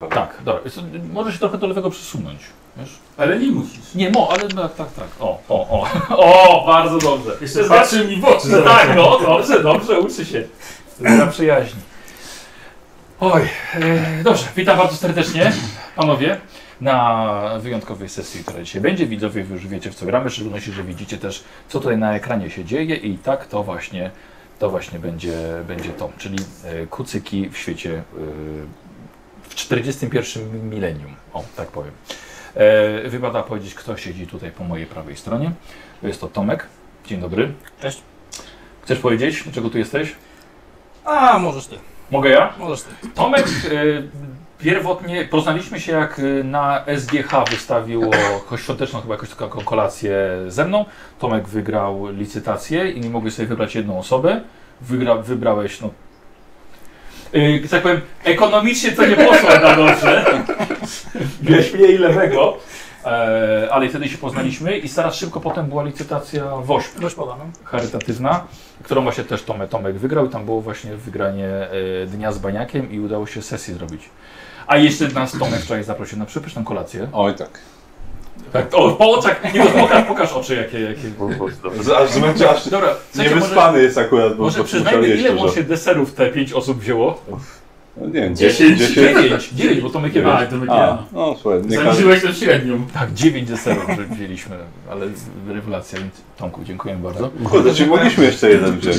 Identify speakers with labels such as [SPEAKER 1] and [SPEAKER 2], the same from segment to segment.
[SPEAKER 1] Tak, dobra. Jest- Możesz się trochę do lewego przesunąć. Wiesz?
[SPEAKER 2] Ale nie musisz.
[SPEAKER 1] Nie, mo, ale no, tak, tak. O, o, o. O, bardzo dobrze.
[SPEAKER 3] Jeszcze patrzy
[SPEAKER 1] mi w oczy.
[SPEAKER 3] zobaczy.
[SPEAKER 1] tak, no, dobrze, dobrze, uczy się. Na przyjaźni. Oj, e, dobrze, witam bardzo serdecznie, panowie, na wyjątkowej sesji, która dzisiaj będzie. Widzowie wy już wiecie, w co gramy, w szczególności, że widzicie też, co tutaj na ekranie się dzieje i tak to właśnie, to właśnie będzie, będzie to, czyli e, kucyki w świecie e, w 41 milenium, o, tak powiem. E, wypada powiedzieć, kto siedzi tutaj po mojej prawej stronie. Jest to Tomek. Dzień dobry.
[SPEAKER 3] Cześć.
[SPEAKER 1] Chcesz powiedzieć, dlaczego tu jesteś?
[SPEAKER 3] A, możesz ty,
[SPEAKER 1] Mogę ja?
[SPEAKER 3] możesz ty.
[SPEAKER 1] Tomek, y, pierwotnie poznaliśmy się jak y, na SGH wystawiło jakąś świąteczną chyba jakąś taką kolację ze mną. Tomek wygrał licytację i nie mogłeś sobie wybrać jedną osobę. Wygra, wybrałeś, no... y, że tak powiem, ekonomicznie to nie poszło na dobrze. Wiesz mniej lewego. E, ale wtedy się poznaliśmy i zaraz szybko potem była licytacja w ośmiu
[SPEAKER 3] Dość podano.
[SPEAKER 1] charytatywna, którą właśnie też Tomek, Tomek wygrał i tam było właśnie wygranie e, dnia z baniakiem i udało się sesję zrobić. A jeszcze nas Tomek wczoraj zaprosił na przepyszną kolację.
[SPEAKER 4] Oj tak.
[SPEAKER 1] Tak, o, po oczach, nie, pokaż, pokaż oczy jakie, jakie.
[SPEAKER 4] Z- Aż zmęczasz się.
[SPEAKER 1] Dobra, w sensie może,
[SPEAKER 4] Niewyspany jest akurat, bo
[SPEAKER 1] może
[SPEAKER 4] to
[SPEAKER 1] przyznajmy ile łącznie deserów te pięć osób wzięło?
[SPEAKER 4] No, nie wiem,
[SPEAKER 2] Dziesięć?
[SPEAKER 4] 10.
[SPEAKER 1] Dziewięć, dziewięć, bo Tomek je
[SPEAKER 2] A,
[SPEAKER 1] wie.
[SPEAKER 2] to
[SPEAKER 4] A,
[SPEAKER 2] będzie.
[SPEAKER 4] no słuchaj, nie każdy.
[SPEAKER 2] Zaniżyłeś na średnią.
[SPEAKER 1] Tak, dziewięć deserów że wzięliśmy, ale rewelacja, więc Tomku, dziękuję bardzo.
[SPEAKER 4] Kurde, czy mogliśmy jeszcze jeden wziąć?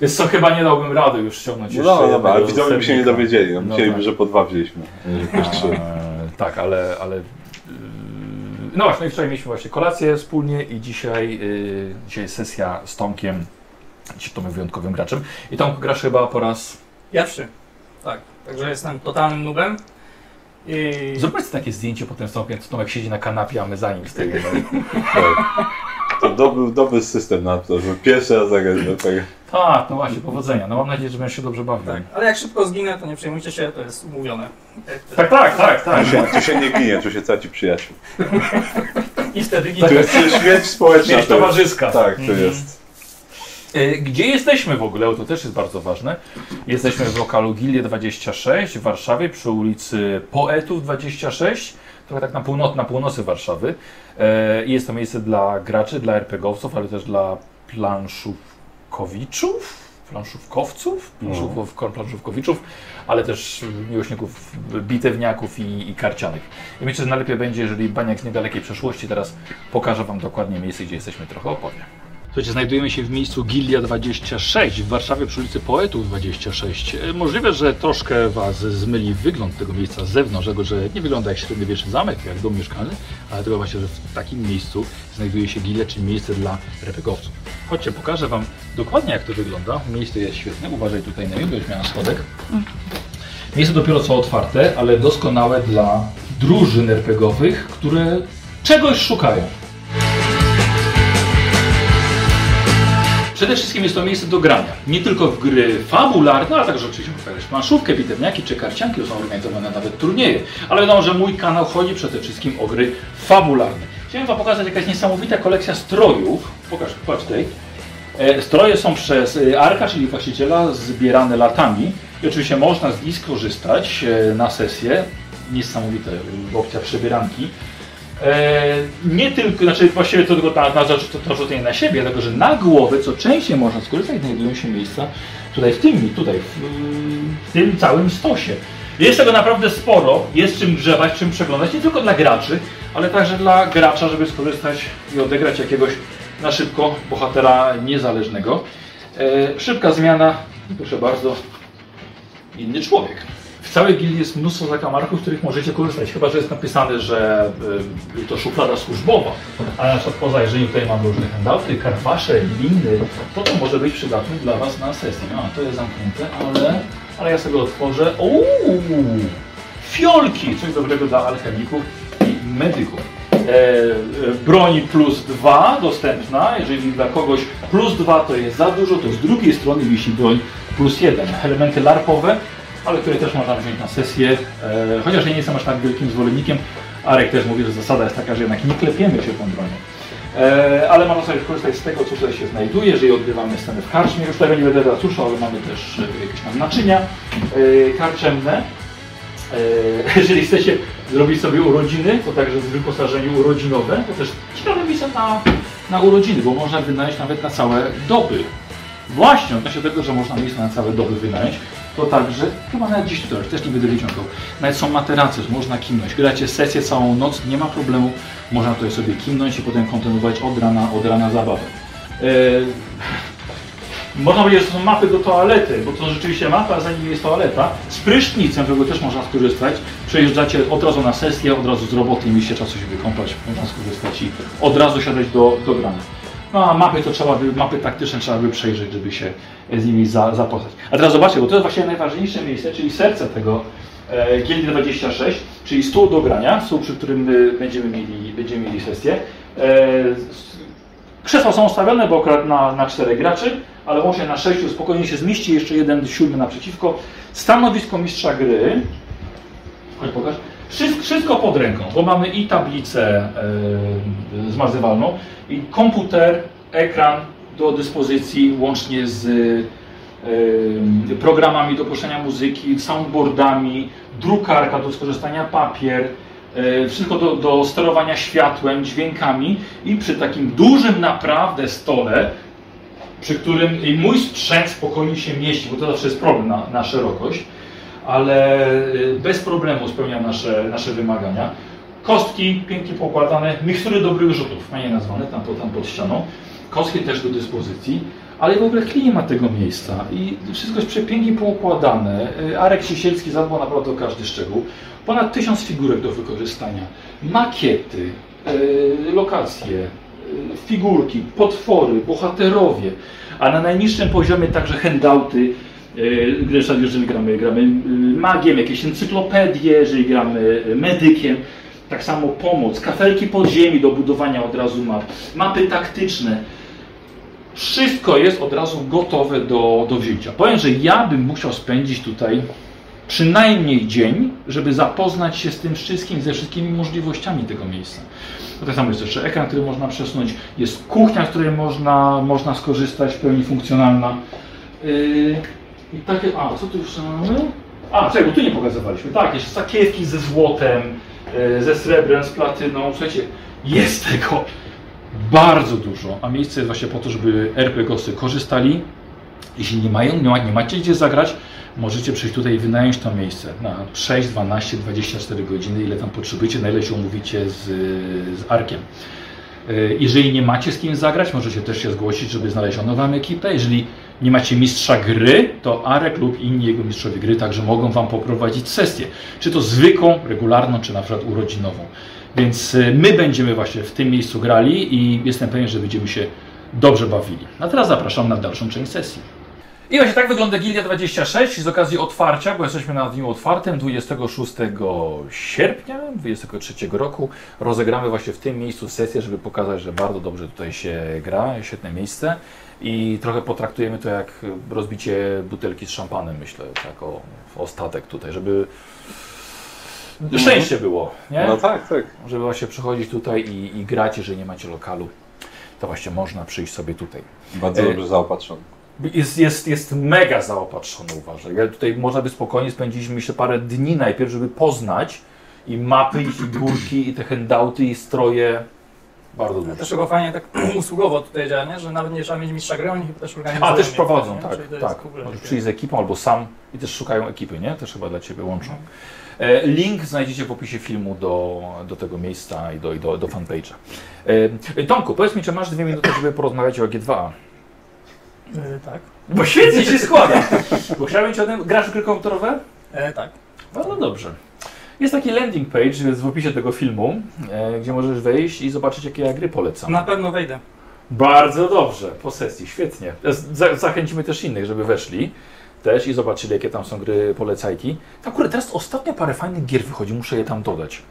[SPEAKER 1] Więc co chyba nie dałbym rady już ściągnąć
[SPEAKER 4] No
[SPEAKER 1] jeszcze
[SPEAKER 4] dobra, dobra, ale
[SPEAKER 1] jednego
[SPEAKER 4] widzowie by się nie
[SPEAKER 1] sernika.
[SPEAKER 4] dowiedzieli. No,
[SPEAKER 1] No
[SPEAKER 4] Myśleliby,
[SPEAKER 1] tak.
[SPEAKER 4] że po dwa wzięliśmy. Już trzy.
[SPEAKER 1] Eee, tak, ale. ale yy, no właśnie, no i wczoraj mieliśmy właśnie kolację wspólnie i dzisiaj, yy, dzisiaj sesja z Tomkiem, dzisiaj Tomek wyjątkowym graczem. I Tomek grasz chyba po raz.
[SPEAKER 3] Pierwszy. Tak, także jestem totalnym nubem. I...
[SPEAKER 1] Zobaczcie takie zdjęcie potem z Tomkiem, co Tomek siedzi na kanapie, a my za nim w tej
[SPEAKER 4] Tak. To dobry, dobry system na to, że pierwszy raz zagrać do tego.
[SPEAKER 1] Tak, no właśnie, powodzenia. No mam nadzieję, że będziesz się dobrze bawił.
[SPEAKER 3] Tak, ale jak szybko zginę, to nie przejmujcie się, to jest umówione.
[SPEAKER 1] tak, tak, tak. tak.
[SPEAKER 4] Tu się, tu się nie ginie, tu się traci przyjaciół.
[SPEAKER 3] I wtedy
[SPEAKER 4] Tu
[SPEAKER 3] ginę.
[SPEAKER 4] Tak. jest śmierć społeczna.
[SPEAKER 1] Mieć
[SPEAKER 4] to jest.
[SPEAKER 1] towarzyska.
[SPEAKER 4] Tak, to
[SPEAKER 3] Mhm.
[SPEAKER 4] jest.
[SPEAKER 1] E, Gdzie jesteśmy w ogóle? Bo to też jest bardzo ważne. Jesteśmy w lokalu Gilie 26 w Warszawie przy ulicy Poetów 26, trochę tak na, północ, na północy Warszawy. E, Jest to miejsce dla graczy, dla RPGowców, ale też dla planszówkowiczów. Planszówkowców, planszówkow, planszówkowiczów, ale też miłośników bitewniaków i, i karcianych. I myślę, że najlepiej będzie, jeżeli Baniak z niedalekiej przeszłości teraz pokaże Wam dokładnie miejsce, gdzie jesteśmy, trochę opowie. Słuchajcie, znajdujemy się w miejscu Gilia 26 w Warszawie przy ulicy Poetów 26. E, Możliwe, że troszkę Was zmyli wygląd tego miejsca z zewnątrz, dlatego że nie wygląda jak średniowieczny zamek, jak dom mieszkalny, ale tylko właśnie, że w takim miejscu znajduje się gilia, czyli miejsce dla repegowców. Chodźcie, pokażę Wam dokładnie jak to wygląda. Miejsce jest świetne, uważaj tutaj na jugo, miałem schodek. Miejsce dopiero co otwarte, ale doskonałe dla drużyn RPGowych, które czegoś szukają. Przede wszystkim jest to miejsce do grania. Nie tylko w gry fabularne, ale także oczywiście można grać w planszówkę, bitewniaki czy karcianki, są organizowane nawet turnieje. Ale wiadomo, że mój kanał chodzi przede wszystkim o gry fabularne. Chciałem Wam pokazać jakaś niesamowita kolekcja strojów. Pokaż, patrz tutaj. E, Stroje są przez e, Arka, czyli właściciela, zbierane latami. I oczywiście można z nich skorzystać e, na sesję. Niesamowita e, opcja przebieranki. E, nie tylko, znaczy właściwie to tylko na, na zarzu- to, to rzucenie na siebie, dlatego że na głowę, co częściej można skorzystać, znajdują się miejsca tutaj w tym, tutaj w, w tym całym stosie. Jest tego naprawdę sporo, jest czym grzebać, czym przeglądać, nie tylko dla graczy, ale także dla gracza, żeby skorzystać i odegrać jakiegoś na szybko bohatera niezależnego. E, szybka zmiana, proszę bardzo, inny człowiek. W całej gildii jest mnóstwo zakamarków, z których możecie korzystać, chyba że jest napisane, że y, to szuflada służbowa. Ale na przykład poza, jeżeli tutaj mam różne handouty, karwasze, liny, to to może być przydatne dla Was na sesji. A, to jest zamknięte, ale, ale ja sobie otworzę. Uuu, fiolki, coś dobrego dla alchemików i medyków. E, e, broni plus dwa dostępna, jeżeli dla kogoś plus dwa to jest za dużo, to z drugiej strony wisi broń plus jeden. Elementy larpowe, ale które też można wziąć na sesję, e, chociaż ja nie jestem aż tak wielkim zwolennikiem. Arek też mówi, że zasada jest taka, że jednak nie klepiemy się tą bronią. E, ale można sobie korzystać z tego, co tutaj się znajduje. Jeżeli odgrywamy scenę w karczmie, już tego nie będę teraz słyszał, ale mamy też e, jakieś tam naczynia e, karczemne. E, jeżeli chcecie zrobić sobie urodziny, to także z wyposażeniu urodzinowe, to też ciekawe miejsce na, na urodziny, bo można wynająć nawet na całe doby. Właśnie, odnośnie tego, że można miejsce na całe doby wynająć, to także, chyba nawet dziś to też nie będę wyciągał, nawet są materace, że można kimnąć. Gracie sesję całą noc, nie ma problemu, można tutaj sobie kimnąć i potem kontynuować od rana, od rana zabawę. E, można powiedzieć, że to są mapy do toalety, bo to rzeczywiście mapa, a za nimi jest toaleta. Z prysznicem, którego też można skorzystać. Przejeżdżacie od razu na sesję, od razu z roboty, mieliście czasu się wykąpać, można skorzystać i od razu siadać do, do grania. No a mapy to trzeba by, mapy taktyczne trzeba by przejrzeć, żeby się z nimi za, zapoznać. A teraz zobaczcie, bo to jest właśnie najważniejsze miejsce, czyli serce tego e, Gildii 26, czyli stół do grania, stół, przy którym e, będziemy mieli, będziemy mieli sesję. E, s- krzesła są ustawione, bo akurat na, na czterech graczy, ale łącznie na sześciu spokojnie się zmieści, jeszcze jeden siódmy naprzeciwko. Stanowisko mistrza gry, Chodź pokaż. Wszystko, wszystko pod ręką, bo mamy i tablicę yy, zmazywalną, i komputer, ekran do dyspozycji łącznie z yy, programami do puszczania muzyki, soundboardami, drukarka do skorzystania papier, yy, wszystko do, do sterowania światłem, dźwiękami i przy takim dużym naprawdę stole przy którym i mój sprzęt spokojnie się mieści, bo to zawsze jest problem na, na szerokość, ale y, bez problemu spełnia nasze, nasze wymagania. Kostki pięknie pokładane, mikstury dobrych rzutów, fajnie nazwane, tam, po- tam pod ścianą. Kostki też do dyspozycji, ale w ogóle klimat tego miejsca i wszystko jest przepięknie poukładane. Y, Arek Sisielski zadbał naprawdę o każdy szczegół. Ponad tysiąc figurek do wykorzystania, makiety, y, lokacje, figurki, potwory, bohaterowie, a na najniższym poziomie także handouty, yy, jeżeli jeżeli gramy, gramy yy, magiem, jakieś encyklopedie, jeżeli gramy yy, medykiem, tak samo pomoc, kafelki podziemi do budowania od razu map, mapy taktyczne. Wszystko jest od razu gotowe do, do wzięcia. Powiem, że ja bym musiał spędzić tutaj przynajmniej dzień, żeby zapoznać się z tym wszystkim, ze wszystkimi możliwościami tego miejsca. No tak samo jest jeszcze ekran, który można przesunąć, jest kuchnia, z której można, można skorzystać, w pełni funkcjonalna. Yy, I takie, a co tu jeszcze mamy? A, czego tu nie pokazywaliśmy. Tak, jeszcze sakiewki ze złotem, yy, ze srebrem, z platyną. Słuchajcie, jest tego bardzo dużo, a miejsce jest właśnie po to, żeby RPGosy y korzystali. Jeśli nie mają, nie, ma, nie macie gdzie zagrać, możecie przyjść tutaj i wynająć to miejsce na 6, 12, 24 godziny, ile tam potrzebujecie, na ile się umówicie z, z Arkiem. Y, Jeżeli nie macie z kim zagrać, możecie też się zgłosić, żeby znaleziono Wam ekipę. Jeżeli nie macie mistrza gry, to Arek lub inni jego mistrzowie gry także mogą Wam poprowadzić sesję. Czy to zwykłą, regularną, czy na przykład urodzinową. Więc y, my będziemy właśnie w tym miejscu grali i jestem pewien, że będziemy się dobrze bawili. A teraz zapraszam na dalszą część sesji. I właśnie tak wygląda Gildia 26 z okazji otwarcia, bo jesteśmy na dniu otwartym 26 sierpnia 23 roku. Rozegramy właśnie w tym miejscu sesję, żeby pokazać, że bardzo dobrze tutaj się gra, świetne miejsce i trochę potraktujemy to jak rozbicie butelki z szampanem, myślę, tak o o ostatek tutaj, żeby szczęście było, nie?
[SPEAKER 4] No tak, tak.
[SPEAKER 1] żeby właśnie przychodzić tutaj i, i grać, jeżeli nie macie lokalu, to właśnie można przyjść sobie tutaj.
[SPEAKER 4] Bardzo
[SPEAKER 1] E,
[SPEAKER 4] dobrze zaopatrzony.
[SPEAKER 1] Jest, jest, jest mega zaopatrzony, uważaj. Ja tutaj można by spokojnie spędziliśmy jeszcze parę dni najpierw, żeby poznać i mapy, i figurki, i te handouty, i stroje. Bardzo
[SPEAKER 3] Też
[SPEAKER 1] dużo.
[SPEAKER 3] chyba fajnie tak usługowo tutaj działa, nie? że nawet nie trzeba mieć mistrza gry, oni też organizują.
[SPEAKER 1] A też
[SPEAKER 3] nie?
[SPEAKER 1] prowadzą,
[SPEAKER 3] Nie?
[SPEAKER 1] tak.
[SPEAKER 3] Czyli to jest
[SPEAKER 1] tak.
[SPEAKER 3] w ogóle
[SPEAKER 1] Możesz
[SPEAKER 3] takie-
[SPEAKER 1] przyjść z ekipą albo sam i też szukają ekipy, nie? Też chyba dla Ciebie łączą.
[SPEAKER 3] Mhm.
[SPEAKER 1] E, Link znajdziecie w opisie filmu do, do tego miejsca i do, i do, do fanpage'a. E, Tomku, powiedz mi, czy masz dwie minuty, żeby porozmawiać o G2A?
[SPEAKER 3] E, tak.
[SPEAKER 1] Bo świetnie się składa! Bo chciałem Cię o tym... Grasz w gry komputerowe?
[SPEAKER 3] E, tak.
[SPEAKER 1] Bardzo No, dobrze. Jest taki landing page w opisie tego filmu, e, gdzie możesz wejść i zobaczyć, jakie ja gry polecam.
[SPEAKER 3] Na pewno wejdę.
[SPEAKER 1] Bardzo dobrze, po sesji, świetnie. Z- Za zachęcimy też innych, żeby weszli też i zobaczyli, jakie tam są gry polecajki. Akurat teraz ostatnio parę fajnych gier wychodzi, muszę je tam dodać.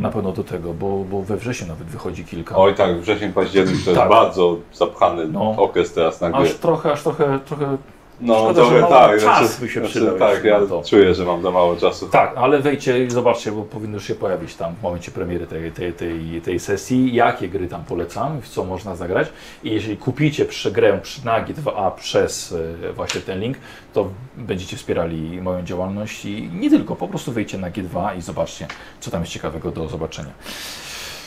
[SPEAKER 1] Na pewno do tego, bo, bo we wrześniu nawet wychodzi kilka.
[SPEAKER 4] Oj tak, wrzesień, październik to jest
[SPEAKER 1] Tak.
[SPEAKER 4] bardzo zapchany
[SPEAKER 1] No.
[SPEAKER 4] okres teraz na gry.
[SPEAKER 1] Aż trochę, aż trochę, trochę
[SPEAKER 4] No,
[SPEAKER 5] Szkoda,
[SPEAKER 4] trochę
[SPEAKER 5] że mało
[SPEAKER 4] tak.
[SPEAKER 5] czasu by się przydał
[SPEAKER 4] tak,
[SPEAKER 5] jeszcze
[SPEAKER 4] ja
[SPEAKER 5] na to.
[SPEAKER 4] czuję, że mam za mało czasu.
[SPEAKER 1] Tak, ale wejdźcie i zobaczcie, bo powinno się pojawić tam w momencie premiery tej, tej, tej, tej sesji, jakie gry tam polecam, w co można zagrać. I jeśli kupicie prze- grę przy- na G2A przez e, właśnie ten link, to będziecie wspierali moją działalność i nie tylko, po prostu wejdźcie na G2 i zobaczcie, co tam jest ciekawego do zobaczenia.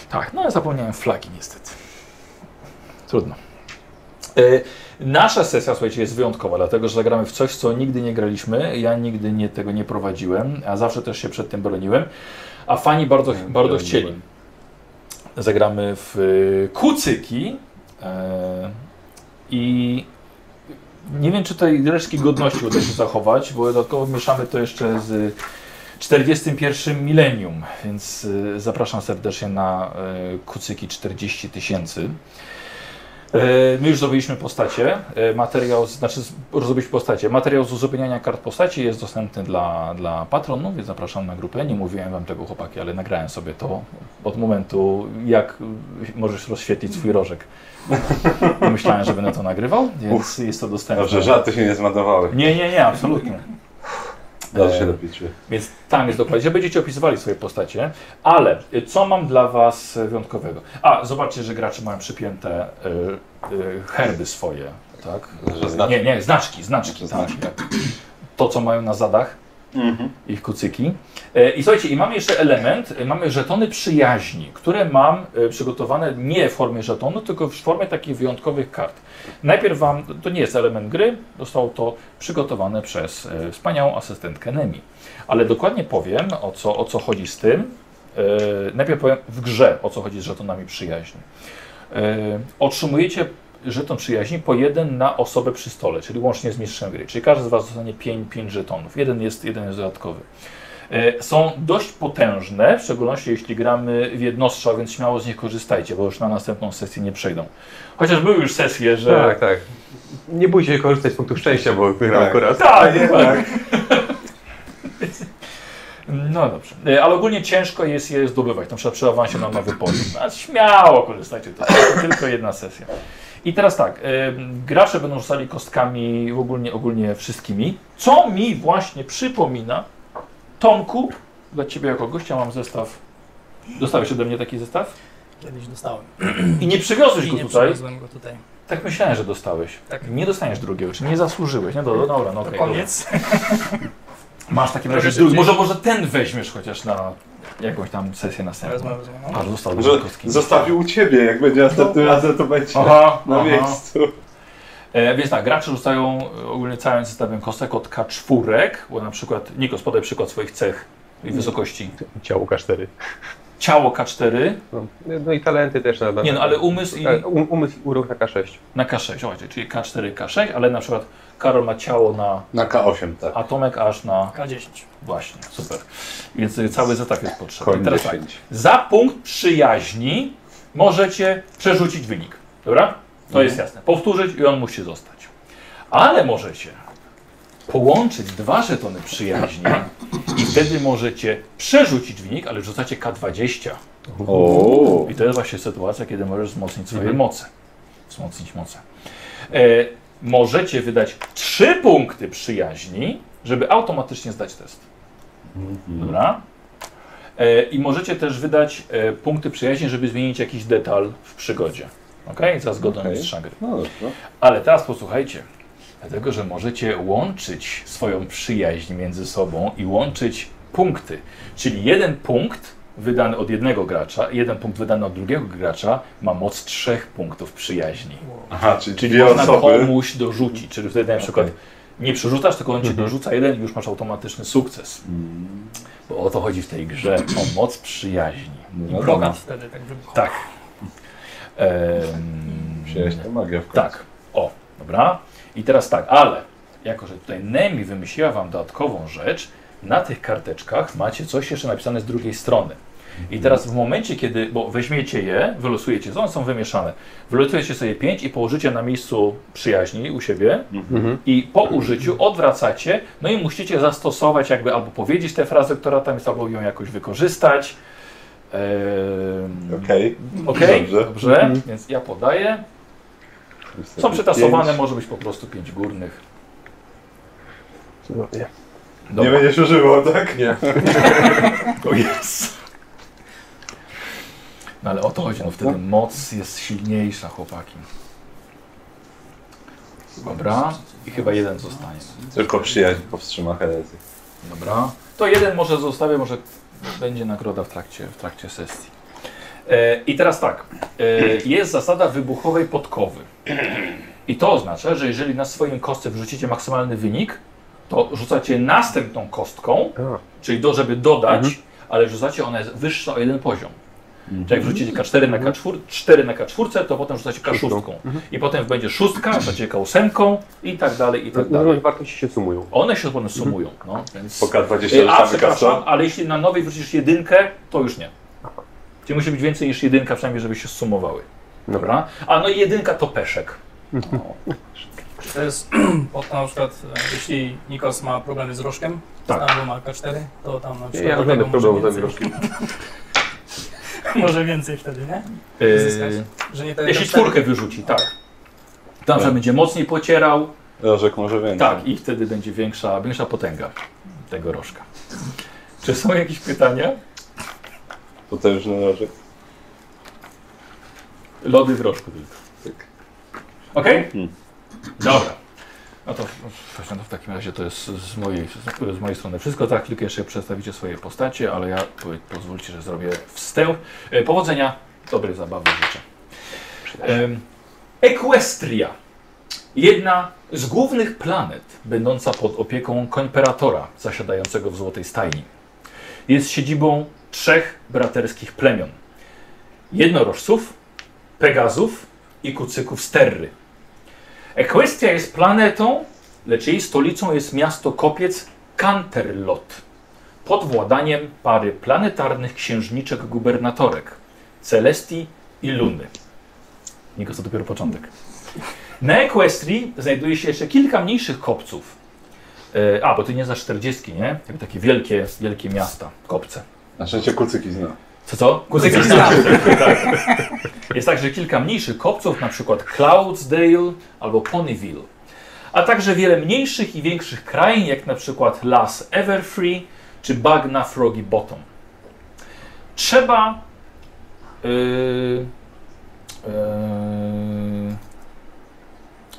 [SPEAKER 1] Tak, no ja zapomniałem flagi niestety. Trudno. E, Nasza sesja, słuchajcie, jest wyjątkowa, dlatego że zagramy w coś, w co nigdy nie graliśmy. Ja nigdy nie, tego nie prowadziłem, a zawsze też się przed tym broniłem. A fani bardzo, bardzo chcieli. Zagramy w y, kucyki e, i nie wiem, czy tej resztki godności uda się zachować, bo dodatkowo mieszamy to jeszcze z 41 milenium, więc y, zapraszam serdecznie na y, kucyki 40 tysięcy. E, My już zrobiliśmy postacie, e, materiał, z- znaczy z- zrobiliśmy postacie. Materiał z uzupełniania kart postaci jest dostępny dla, dla patronów, więc zapraszam na grupę. Nie mówiłem wam tego chłopaki, ale nagrałem sobie to od momentu, jak y, możesz rozświetlić swój rożek. Myślałem, że będę to nagrywał, więc jest to dostępne.
[SPEAKER 4] Dobrze, żarty się nie zmatowały.
[SPEAKER 1] Nie, nie, nie, absolutnie.
[SPEAKER 4] Dobrze się
[SPEAKER 1] E,
[SPEAKER 4] dopiczyły.
[SPEAKER 1] więc tam jest dokładnie, że będziecie opisywali swoje postacie, ale y, co mam dla Was y, wyjątkowego? A, zobaczcie, że gracze mają przypięte y, y, herby swoje, tak?
[SPEAKER 4] Że znaczki.
[SPEAKER 1] Nie, nie, znaczki, znaczki, tak,
[SPEAKER 4] Że znaczki. Mhm.
[SPEAKER 1] tak. To, co mają na zadach, ich kucyki. E, I słuchajcie, i mamy jeszcze element, e, mamy żetony przyjaźni, które mam e, przygotowane nie w formie żetonu, tylko w formie takich wyjątkowych kart. Najpierw wam, to nie jest element gry, zostało to przygotowane przez e, wspaniałą asystentkę Nemi. Ale dokładnie powiem, o co, o co chodzi z tym. E, Najpierw powiem w grze, o co chodzi z żetonami przyjaźni. E, Otrzymujecie żeton przyjaźni po jeden na osobę przy stole, czyli łącznie z mistrzem gry. Czyli każdy z Was dostanie 5, 5 żetonów. Jeden jest, jeden jest dodatkowy. E, Są dość potężne, w szczególności jeśli gramy w jednostrzał, więc śmiało z nich korzystajcie, bo już na następną sesję nie przejdą. Chociaż były już sesje, że...
[SPEAKER 5] Tak, tak. Nie bójcie się korzystać z punktów szczęścia, bo wygrał
[SPEAKER 4] Tak.
[SPEAKER 5] akurat.
[SPEAKER 1] Tak, tak. No dobrze. E, Ale ogólnie ciężko jest je zdobywać. Na przykład przy awansie na nowy poziom. A śmiało korzystajcie. To jest tylko jedna sesja. I teraz tak, e, gracze będą rzucali kostkami ogólnie, ogólnie wszystkimi, co mi właśnie przypomina, Tomku, dla Ciebie jako gościa mam zestaw, dostałeś ode mnie taki zestaw
[SPEAKER 3] Kiedyś dostałem.
[SPEAKER 1] i nie przywiozłeś
[SPEAKER 3] I
[SPEAKER 1] go
[SPEAKER 3] nie
[SPEAKER 1] tutaj,
[SPEAKER 3] przywiozłem go tutaj.
[SPEAKER 1] tak myślałem, że dostałeś,
[SPEAKER 3] Tak.
[SPEAKER 1] nie dostaniesz drugiego, czyli nie zasłużyłeś, no dobra, dobra no
[SPEAKER 3] To
[SPEAKER 1] okej, dobra.
[SPEAKER 3] koniec.
[SPEAKER 1] Masz w takim
[SPEAKER 3] Trochę
[SPEAKER 1] razie drugi.
[SPEAKER 3] szybciej.
[SPEAKER 1] Może, może ten weźmiesz chociaż na jakąś tam sesję
[SPEAKER 3] Rozmowę,
[SPEAKER 1] następną.
[SPEAKER 3] rozmowę. no.
[SPEAKER 1] Aż został
[SPEAKER 4] Że
[SPEAKER 1] dużo kostki.
[SPEAKER 4] zostawił u ciebie, jak będzie następnym razem, to będzie
[SPEAKER 1] Aha,
[SPEAKER 4] na
[SPEAKER 1] aha.
[SPEAKER 4] miejscu.
[SPEAKER 1] E, więc tak, gracze rzucają e, ogólnie całym zestawem kostek od K4, bo na przykład, Nikos, podaj przykład swoich cech i wysokości.
[SPEAKER 5] Ciało K4.
[SPEAKER 1] Ciało K4,
[SPEAKER 5] No, no i talenty też na, na
[SPEAKER 1] nie no, ale umysł i
[SPEAKER 5] Tak, um, umysł i urok na K6.
[SPEAKER 1] na K6, słuchajcie, czyli K4, K6, ale na przykład Karol ma ciało na
[SPEAKER 4] Na K8, tak.
[SPEAKER 1] atomek aż na,
[SPEAKER 3] K10.
[SPEAKER 1] właśnie, super. Więc e, cały zestaw jest potrzebny.
[SPEAKER 4] Koń
[SPEAKER 1] Teraz tak,
[SPEAKER 4] 10.
[SPEAKER 1] Za punkt przyjaźni możecie przerzucić wynik. Dobra? To jest jasne. Powtórzyć i on musi zostać. Ale możecie połączyć dwa żetony przyjaźni i wtedy możecie przerzucić wynik, ale rzucacie K20.
[SPEAKER 4] O.
[SPEAKER 1] I to jest właśnie sytuacja, kiedy możesz wzmocnić swoje
[SPEAKER 5] Mhm.
[SPEAKER 1] moce. Wzmocnić moce. E, możecie wydać trzy punkty przyjaźni, żeby automatycznie zdać test. Dobra. E, I możecie też wydać e, punkty przyjaźni, żeby zmienić jakiś detal w przygodzie. Ok? Za zgodą
[SPEAKER 4] Okej.
[SPEAKER 1] mistrza gry.
[SPEAKER 4] No dobrze.
[SPEAKER 1] Ale teraz posłuchajcie. Dlatego, że możecie łączyć swoją przyjaźń między sobą i łączyć punkty. Czyli jeden punkt wydany od jednego gracza, jeden punkt wydany od drugiego gracza ma moc trzech punktów przyjaźni.
[SPEAKER 4] Aha, czyli,
[SPEAKER 1] Czyli
[SPEAKER 4] dwie
[SPEAKER 1] można
[SPEAKER 4] osoby.
[SPEAKER 1] komuś dorzucić. Czyli wtedy na przykład nie przerzucasz, tylko on ci
[SPEAKER 4] Mhm.
[SPEAKER 1] dorzuca jeden i już masz automatyczny sukces.
[SPEAKER 4] Mm.
[SPEAKER 1] Bo o to chodzi w tej grze, o moc przyjaźni.
[SPEAKER 4] No
[SPEAKER 3] Brokat
[SPEAKER 4] dobra.
[SPEAKER 3] wtedy tak wybuchł.
[SPEAKER 1] Tak.
[SPEAKER 4] Przyjaźń to magia w końcu.
[SPEAKER 1] Tak, o, dobra. I teraz tak, ale jako, że tutaj Nemi wymyśliła Wam dodatkową rzecz, na tych karteczkach macie coś jeszcze napisane z drugiej strony. I teraz w momencie, kiedy, bo weźmiecie je, wylosujecie, one są wymieszane, wylosujecie sobie pięć i położycie na miejscu przyjaźni u siebie i po użyciu odwracacie, no i musicie zastosować jakby albo powiedzieć tę frazę, która tam jest, albo ją jakoś wykorzystać. Ehm,
[SPEAKER 4] Okej.
[SPEAKER 1] Okej,
[SPEAKER 4] Dobrze.
[SPEAKER 1] dobrze, więc ja podaję. Są przetasowane, może być po prostu pięć górnych.
[SPEAKER 5] Cudownie.
[SPEAKER 4] Nie będziesz używał, tak?
[SPEAKER 5] Nie.
[SPEAKER 1] O jest. No ale o to chodzi, no wtedy moc jest silniejsza, chłopaki. Dobra, i chyba jeden zostanie.
[SPEAKER 4] Tylko przyjaźń powstrzyma herezję.
[SPEAKER 1] Dobra. To jeden może zostawię, może będzie nagroda w trakcie, w trakcie sesji. E, I teraz tak. E, jest zasada wybuchowej podkowy. I to oznacza, że jeżeli na swoim kostce wrzucicie maksymalny wynik, to rzucacie następną kostką,
[SPEAKER 5] A.
[SPEAKER 1] czyli do, żeby dodać, ale rzucacie one wyższe o jeden poziom. Czyli jak wrzucicie K4 na K4, 4 na K4, to potem rzucacie K6. I potem będzie szóstka, rzucacie K8 i tak dalej, i tak dalej.
[SPEAKER 5] Normalnie wartości się sumują.
[SPEAKER 1] One się potem sumują, no, więc...
[SPEAKER 4] Poka 20
[SPEAKER 1] Ej, A,
[SPEAKER 4] rzucamy
[SPEAKER 1] przepraszam,
[SPEAKER 4] kasa.
[SPEAKER 1] ale jeśli na nowej wrzucisz jedynkę, to już nie. Czyli musi być więcej niż jedynka, przynajmniej żeby się sumowały. Dobra. A no i jedynka to peszek.
[SPEAKER 3] To jest pod na przykład, e, jeśli Nikos ma problemy z rożkiem,
[SPEAKER 1] Tak.
[SPEAKER 3] albo ma K4, to tam na
[SPEAKER 5] Ja,
[SPEAKER 3] przykład
[SPEAKER 5] ja
[SPEAKER 3] do
[SPEAKER 5] nie będę
[SPEAKER 3] tego
[SPEAKER 5] próbował
[SPEAKER 3] może
[SPEAKER 5] ten
[SPEAKER 3] więcej,
[SPEAKER 5] rożki.
[SPEAKER 3] może więcej wtedy, nie? Zyskać.
[SPEAKER 1] Yy,
[SPEAKER 3] Że nie tak
[SPEAKER 1] jeśli
[SPEAKER 3] jak tam
[SPEAKER 1] czwórkę wyrzuci, tak. Tam, że będzie mocniej pocierał,
[SPEAKER 4] Rożek może więcej.
[SPEAKER 1] tak, i wtedy będzie większa, większa potęga tego rożka. Czy są jakieś pytania?
[SPEAKER 4] Potężny rożek.
[SPEAKER 1] Lody w rożku tylko. Okej?
[SPEAKER 4] Mhm.
[SPEAKER 1] Dobra. No to właśnie no w takim razie to jest z mojej, z mojej strony wszystko. Tak, tylko jeszcze przedstawicie swoje postacie, ale ja po- pozwólcie, że zrobię wstęp. E, Powodzenia, dobrej zabawy życzę. Em, Equestria. Jedna z głównych planet, będąca pod opieką koimperatora zasiadającego w Złotej Stajni. Jest siedzibą trzech braterskich plemion. Jednorożców, Pegazów i kucyków z Terry. Equestria jest planetą, lecz jej stolicą jest miasto kopiec Canterlot pod władaniem pary planetarnych księżniczek gubernatorek Celestii i Luny. Niko, to dopiero początek. Na Equestrii znajduje się jeszcze kilka mniejszych kopców. E, a, bo ty nie znasz 40, nie? Jakby takie wielkie, wielkie miasta, kopce.
[SPEAKER 4] Na szczęście kucyki zna.
[SPEAKER 1] Co co? Kuzyki
[SPEAKER 3] znam.
[SPEAKER 1] Jest także kilka mniejszych kopców, na przykład Cloudsdale albo Ponyville, a także wiele mniejszych i większych krain, jak na przykład Las Everfree czy Bagna Froggy Bottom. Trzeba yy,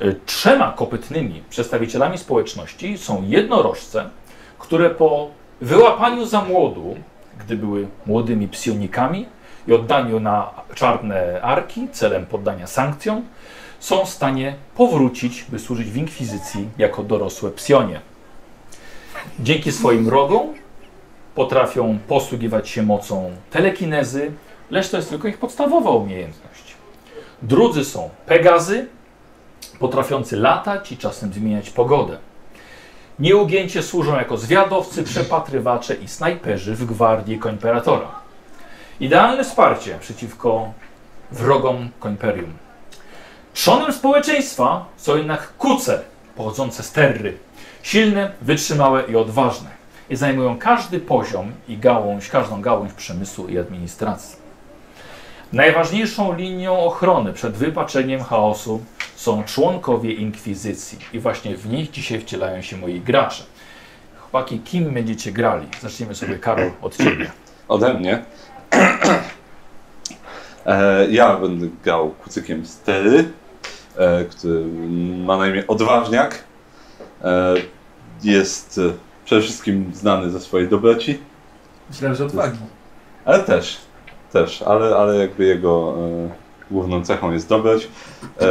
[SPEAKER 1] yy, yy, trzema kopytnymi przedstawicielami społeczności są jednorożce, które po wyłapaniu za młodu, gdy były młodymi psionikami, i oddaniu na czarne arki celem poddania sankcjom, są w stanie powrócić, by służyć w inkwizycji jako dorosłe psionie. Dzięki swoim rogom potrafią posługiwać się mocą telekinezy, lecz to jest tylko ich podstawowa umiejętność. Drudzy są pegazy, potrafiący latać i czasem zmieniać pogodę. Nieugięcie służą jako zwiadowcy, przepatrywacze i snajperzy w gwardii koimperatora. Idealne wsparcie przeciwko wrogom Koimperium. Trzonem społeczeństwa są jednak kuce pochodzące z Terry. Silne, wytrzymałe i odważne. I zajmują każdy poziom i gałąź, każdą gałąź przemysłu i administracji. Najważniejszą linią ochrony przed wypaczeniem chaosu są członkowie Inkwizycji. I właśnie w nich dzisiaj wcielają się moi gracze. Chłopaki, kim będziecie grali? Zaczniemy sobie, Karol, od Ciebie.
[SPEAKER 4] Ode mnie. E, ja będę grał kucykiem Stery, e, który ma na imię Odważniak. E, jest e, przede wszystkim znany ze swojej dobroci,
[SPEAKER 3] Myślałem, że odwagi.
[SPEAKER 4] ale też, też, ale, ale jakby jego e, główną cechą jest dobroć. E,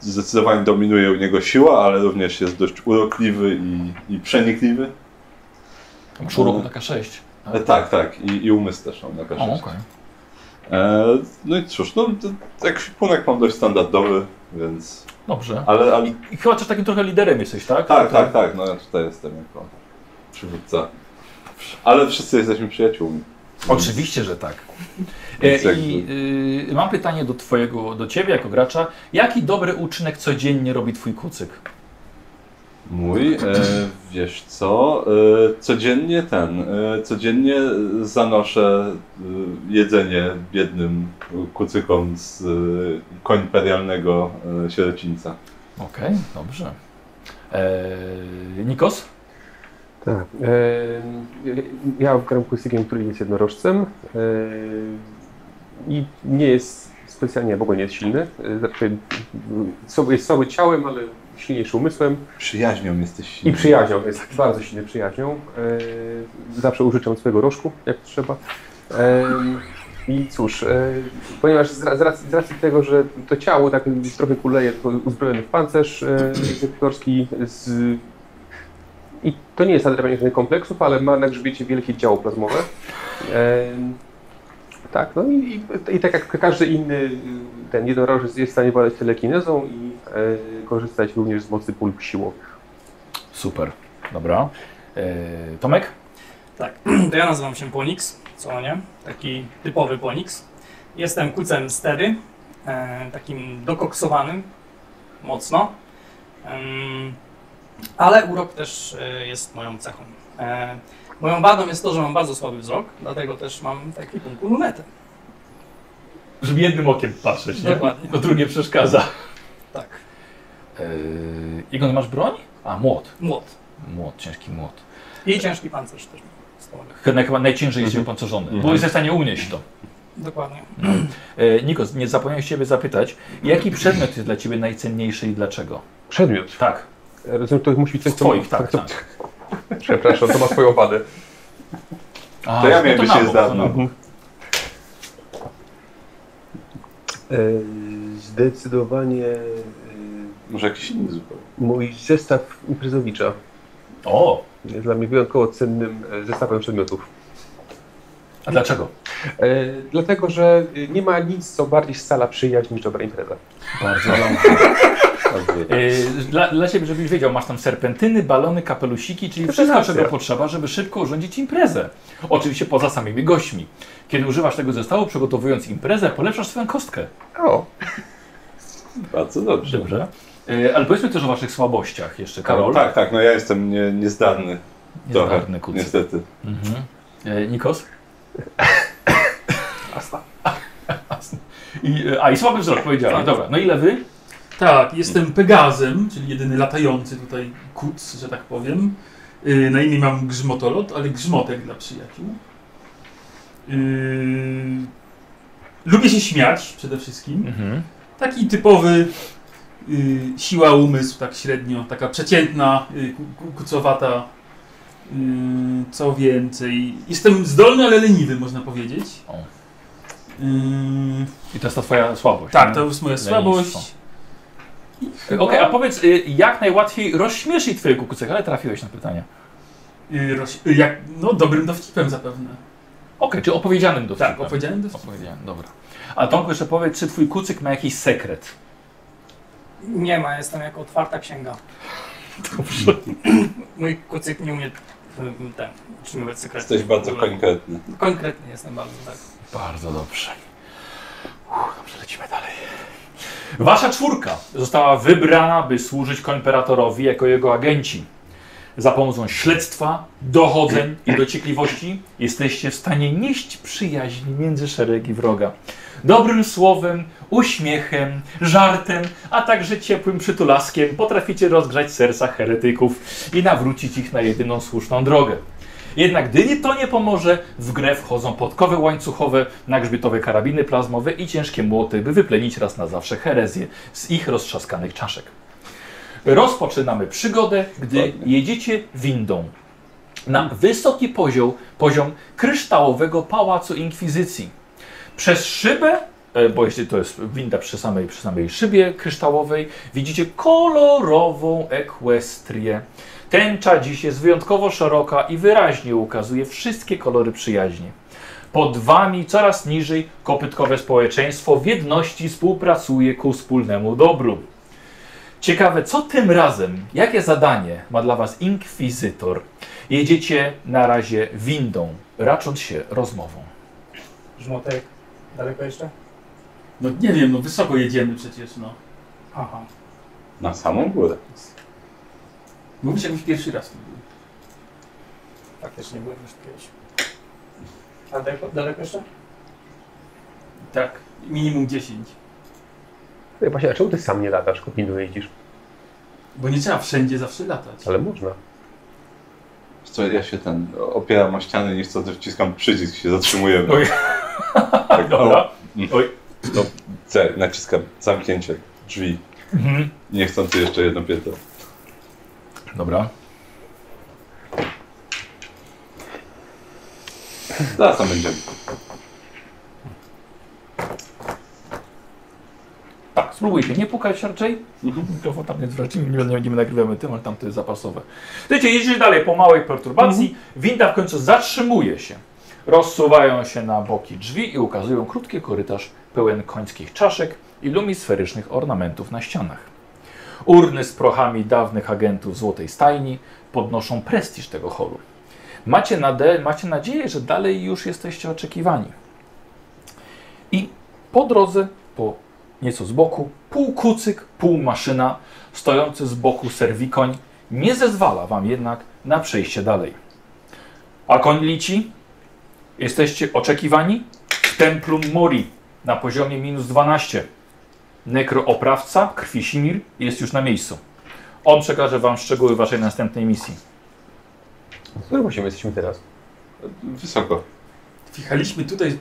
[SPEAKER 4] zdecydowanie dominuje u niego siła, ale również jest dość urokliwy i, i przenikliwy.
[SPEAKER 1] Masz uroku taka 6.
[SPEAKER 4] E, tak, tak, i, i umysł też on na
[SPEAKER 1] O,
[SPEAKER 4] każdym
[SPEAKER 1] okej.
[SPEAKER 4] E, no i cóż, no t- t- ekwipunek mam dość standardowy, więc...
[SPEAKER 1] Dobrze.
[SPEAKER 4] Ale, ale
[SPEAKER 1] I chyba też takim trochę liderem jesteś, tak?
[SPEAKER 4] tak, tak, tak, no ja tutaj jestem jako przywódca. Ale wszyscy jesteśmy przyjaciółmi.
[SPEAKER 1] Oczywiście, że tak. E,
[SPEAKER 4] Więc
[SPEAKER 1] I y, mam pytanie do twojego, do ciebie jako gracza. Jaki dobry uczynek codziennie robi twój kucyk?
[SPEAKER 4] Mój, e, wiesz co, e, codziennie ten, e, codziennie zanoszę e, jedzenie biednym kucykom z e, końperialnego e, sierocińca.
[SPEAKER 1] Okej, dobrze. E, Nikos?
[SPEAKER 5] Tak. E, ja gram Kusikiem, który jest jednorożcem e, i nie jest specjalnie, w ogóle nie jest silny. E, Raczej m, słaby- jest słaby ciałem, ale silniejszy umysłem
[SPEAKER 4] Przyjaźnią jesteś silny.
[SPEAKER 5] i przyjaźnią. Jest bardzo silny przyjaźnią. E, zawsze użyczam swojego rożku, jak trzeba. E, I cóż, e, ponieważ z, ra- z, racji, z racji tego, że to ciało tak trochę kuleje, tylko uzbrojony w pancerz e, egzekutorski z i to nie jest nadrabianie żadnych kompleksów, ale ma na grzbiecie wielkie działo plazmowe. Em, tak, no i, i, i tak jak każdy inny y, ten jednorożec jest w stanie władać telekinezą i e, korzystać również z mocy pól siłowych.
[SPEAKER 1] Super, dobra. E, Tomek?
[SPEAKER 3] Tak, to ja nazywam się Ponix, co nie? Taki typowy Ponix. Jestem kucem stery, e, takim dokoksowanym, mocno. Em, ale urok też e, jest moją cechą. E, moją wadą jest to, że mam bardzo słaby wzrok, dlatego też mam taki punkt lunetę.
[SPEAKER 1] Żeby jednym okiem patrzeć,
[SPEAKER 3] nie? Dokładnie.
[SPEAKER 1] To drugie przeszkadza.
[SPEAKER 3] Tak,
[SPEAKER 1] E, Igon, masz broń? A, młot.
[SPEAKER 3] młot.
[SPEAKER 1] Młot, ciężki młot.
[SPEAKER 3] I ciężki pancerz też. mam z tobą.
[SPEAKER 1] Chyba, chyba najciężej jest wypancerzony, bo jesteś w stanie unieść to.
[SPEAKER 3] Dokładnie.
[SPEAKER 1] E, Nikos, nie zapomniałem się Ciebie zapytać, jaki przedmiot jest dla Ciebie najcenniejszy i dlaczego?
[SPEAKER 5] Przedmiot.
[SPEAKER 1] Tak,
[SPEAKER 5] Rozumiem, to musi być coś, co...
[SPEAKER 1] twoich, tak, tak.
[SPEAKER 5] Przepraszam, to ma swoją wadę.
[SPEAKER 1] A,
[SPEAKER 4] To ja
[SPEAKER 1] no
[SPEAKER 4] miałem
[SPEAKER 1] na
[SPEAKER 4] się
[SPEAKER 1] bok,
[SPEAKER 4] z dawna.
[SPEAKER 1] to na bok.
[SPEAKER 6] E, Zdecydowanie e,
[SPEAKER 4] Może jakiś inny zupełnie.
[SPEAKER 6] mój zestaw imprezowicza
[SPEAKER 1] O,
[SPEAKER 6] jest dla mnie wyjątkowo cennym e, zestawem przedmiotów.
[SPEAKER 5] Mhm.
[SPEAKER 1] a dlaczego?
[SPEAKER 5] E, dlatego, że e, nie ma nic, co bardziej scala przyjaźń niż dobra impreza.
[SPEAKER 1] Bardzo dla mnie.
[SPEAKER 7] Tak.
[SPEAKER 1] E, dla, dla Ciebie, żebyś wiedział, masz tam serpentyny, balony, kapelusiki, czyli wszystko,
[SPEAKER 5] racja.
[SPEAKER 1] czego potrzeba, żeby szybko urządzić imprezę. Oczywiście poza samymi gośćmi. Kiedy używasz tego zestawu, przygotowując imprezę, polepszasz swoją kostkę.
[SPEAKER 5] O,
[SPEAKER 4] Bardzo dobrze.
[SPEAKER 1] Dobrze. E, Ale powiedzmy też o Waszych słabościach jeszcze, Karol.
[SPEAKER 4] Tak, tak, no ja jestem nie, niezdarny.
[SPEAKER 7] tak.
[SPEAKER 4] Trochę,
[SPEAKER 1] Niezdarny kucyk.
[SPEAKER 4] niestety.
[SPEAKER 1] Mhm. E, Nikos? Asna. I, e, a i słaby wzrok, powiedziałem.
[SPEAKER 7] Tak.
[SPEAKER 1] Dobra, no ile wy?
[SPEAKER 7] Tak, jestem Pegazem, czyli jedyny latający tutaj kuc, że tak powiem. Yy, na imię mam Grzmotolot, ale Grzmotek dla przyjaciół. Yy, lubię się śmiać przede wszystkim. Taki typowy yy, siła umysł, tak średnio, taka przeciętna, yy, ku- ku- kucowata. Yy, co więcej, jestem zdolny, ale leniwy, można powiedzieć.
[SPEAKER 1] O.
[SPEAKER 7] Yy,
[SPEAKER 1] I to jest ta twoja słabość.
[SPEAKER 7] tak,
[SPEAKER 1] nie?
[SPEAKER 7] to jest moja
[SPEAKER 1] Lenistwo.
[SPEAKER 7] słabość. I
[SPEAKER 1] Okej,
[SPEAKER 7] chyba-
[SPEAKER 1] a powiedz, y, jak najłatwiej rozśmieszyć twojego kucyka, ale trafiłeś na pytanie.
[SPEAKER 7] Y, roś, y, jak, no dobrym dowcipem zapewne.
[SPEAKER 1] Okej, czy opowiedzianym dowcipem.
[SPEAKER 7] Tak, opowiedziałem dowcip.
[SPEAKER 1] Opowiedzianym, dobra. A Tomku jeszcze powiedz, czy twój kucyk ma jakiś sekret?
[SPEAKER 3] Nie ma, jestem jak otwarta księga.
[SPEAKER 1] Dobrze.
[SPEAKER 3] Mój kucyk nie umie mm, ten, utrzymywać sekretów.
[SPEAKER 4] Jesteś bardzo konkretny.
[SPEAKER 3] Konkretny jestem bardzo, tak.
[SPEAKER 1] Bardzo dobrze. Uff, dobrze, lecimy dalej. Wasza czwórka została wybrana, by służyć koimperatorowi jako jego agenci. Za pomocą śledztwa, dochodzeń i dociekliwości jesteście w stanie nieść przyjaźń między szeregi wroga. Dobrym słowem, uśmiechem, żartem, a także ciepłym przytulaskiem potraficie rozgrzać serca heretyków i nawrócić ich na jedyną słuszną drogę. Jednak gdy nie- to nie pomoże, w grę wchodzą podkowy łańcuchowe, nagrzbietowe karabiny plazmowe i ciężkie młoty, by wyplenić raz na zawsze herezję z ich roztrzaskanych czaszek. Rozpoczynamy przygodę, gdy
[SPEAKER 4] Dokładnie.
[SPEAKER 1] jedziecie windą na wysoki poziom, poziom kryształowego pałacu inkwizycji. Przez szybę, e, bo jeśli to jest winda przy samej, przy samej szybie kryształowej, widzicie kolorową ekwestrię. Tęcza dziś jest wyjątkowo szeroka i wyraźnie ukazuje wszystkie kolory przyjaźni. Pod wami coraz niżej kopytkowe społeczeństwo w jedności współpracuje ku wspólnemu dobru. Ciekawe, co tym razem, jakie zadanie ma dla was inkwizytor? Jedziecie na razie windą, racząc się rozmową.
[SPEAKER 3] Żmotek, daleko jeszcze?
[SPEAKER 7] No nie wiem, no wysoko jedziemy przecież, no.
[SPEAKER 3] Aha.
[SPEAKER 4] Na samą górę.
[SPEAKER 7] Mówisz jakbyś pierwszy raz tu był.
[SPEAKER 3] Faktycznie byłem już kiedyś. A daleko, daleko jeszcze?
[SPEAKER 7] Tak, minimum 10.
[SPEAKER 5] Ej, właśnie, a czemu ty sam nie latasz, kopinu jeździsz?
[SPEAKER 7] Bo nie trzeba wszędzie zawsze latać.
[SPEAKER 5] Ale można.
[SPEAKER 4] Wiesz Co, ja się ten opieram o ścianę, nie chcąc wciskam przycisk, się zatrzymujemy.
[SPEAKER 1] Oj.
[SPEAKER 4] Tak,
[SPEAKER 1] Dobra. Oj.
[SPEAKER 4] No, C, naciskam zamknięcie drzwi.
[SPEAKER 1] Mhm.
[SPEAKER 4] Nie chcący jeszcze jedno piętro.
[SPEAKER 1] Dobra.
[SPEAKER 4] Zaraz tam będziemy.
[SPEAKER 1] Tak, spróbujcie, nie pukać raczej. Mikrofon tam nie zwracimy, nie będziemy- nie nagrywamy tym, ale tamte jest zapasowe. Słuchajcie, jedziecie dalej po małej perturbacji. Winda w końcu zatrzymuje się. Rozsuwają się na boki drzwi i ukazują krótki korytarz pełen końskich czaszek i lumisferycznych ornamentów na ścianach. Urny z prochami dawnych agentów Złotej Stajni podnoszą prestiż tego choru. Macie, nade- macie nadzieję, że dalej już jesteście oczekiwani. I po drodze, po nieco z boku, pół kucyk, pół maszyna, stojący z boku serwikoń, nie zezwala wam jednak na przejście dalej. Akonlici, jesteście oczekiwani w Templum Mori na poziomie minus 12. Nekrooprawca, Krwisimir, jest już na miejscu. On przekaże wam szczegóły waszej następnej misji.
[SPEAKER 5] W którym poziomie jesteśmy teraz?
[SPEAKER 4] Wysoko.
[SPEAKER 2] Wjechaliśmy tutaj.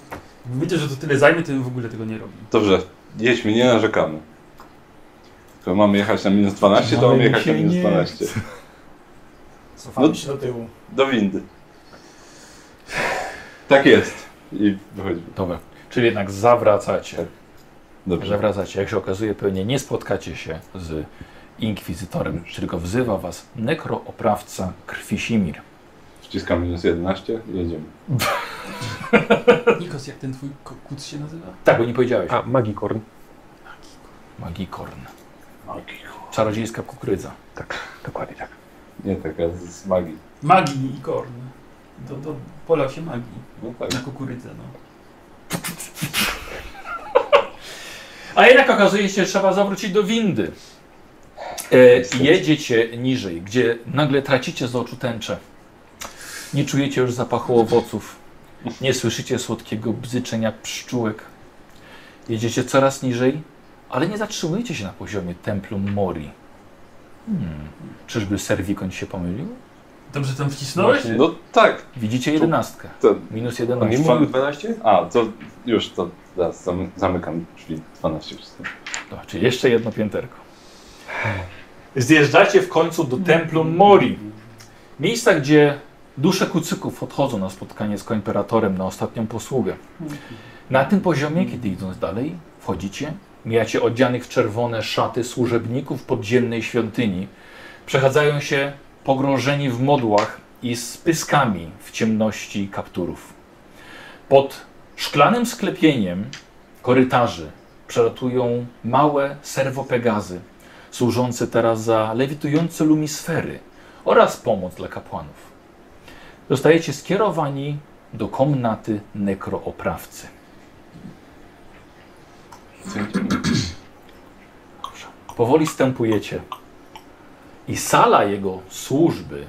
[SPEAKER 2] Mówicie, że to tyle zajmie, to bym w ogóle tego nie robi.
[SPEAKER 4] Dobrze, jedźmy, nie narzekamy. Tylko mamy jechać na minus 12, to
[SPEAKER 1] Ale
[SPEAKER 4] mamy
[SPEAKER 1] mi
[SPEAKER 4] jechać
[SPEAKER 1] się
[SPEAKER 4] na minus
[SPEAKER 1] nie
[SPEAKER 4] 12.
[SPEAKER 3] Cofamy
[SPEAKER 4] No.
[SPEAKER 3] się do tyłu.
[SPEAKER 4] Do windy. Tak jest. I wychodzimy.
[SPEAKER 1] Dobra. Czyli jednak zawracacie.
[SPEAKER 4] Dobrze.
[SPEAKER 1] Zawracacie. Jak się okazuje, pewnie nie spotkacie się z inkwizytorem, tylko wzywa was nekrooprawca Krwisimir.
[SPEAKER 4] Wciskam minus 11 i jedziemy.
[SPEAKER 2] Nikos, jak ten twój ko- kuc się nazywa?
[SPEAKER 1] Tak, bo nie powiedziałeś.
[SPEAKER 5] A, Magikorn.
[SPEAKER 1] Magikorn. Czarodziejska kukurydza.
[SPEAKER 5] Dokładnie tak.
[SPEAKER 4] Nie, taka z, z magii.
[SPEAKER 2] Magii i korn. Do, do pola się magii.
[SPEAKER 4] No tak.
[SPEAKER 2] Na kukurydzę, no.
[SPEAKER 1] A jednak okazuje się, że trzeba zawrócić do windy. E, jedziecie niżej, gdzie nagle tracicie z oczu tęczę. Nie czujecie już zapachu owoców. Nie słyszycie słodkiego bzyczenia pszczółek. Jedziecie coraz niżej, ale nie zatrzymujecie się na poziomie Templum Mori. Hmm. Czyżby Serwikon się pomylił?
[SPEAKER 2] Dobrze tam wcisnąłeś?
[SPEAKER 4] No tak.
[SPEAKER 1] Widzicie jedenastkę.
[SPEAKER 4] To,
[SPEAKER 1] Minus
[SPEAKER 5] On nie
[SPEAKER 1] jedenaście.
[SPEAKER 5] mówił 12?
[SPEAKER 4] a, to już to zaraz zam, zamykam drzwi 12 wszystko.
[SPEAKER 1] To, czyli No, jeszcze jedno pięterko. Zjeżdżacie w końcu do Templum Mori. Miejsca, gdzie dusze kucyków odchodzą na spotkanie z koimperatorem na ostatnią posługę. Na tym poziomie, kiedy idąc dalej, wchodzicie, mijacie odzianych w czerwone szaty służebników podziemnej świątyni. Przechadzają się pogrążeni w modłach i z pyskami w ciemności kapturów. Pod szklanym sklepieniem korytarzy przelatują małe serwopegazy, służące teraz za lewitujące lumisfery oraz pomoc dla kapłanów. Zostajecie skierowani do komnaty nekrooprawcy. Powoli stępujecie i sala jego służby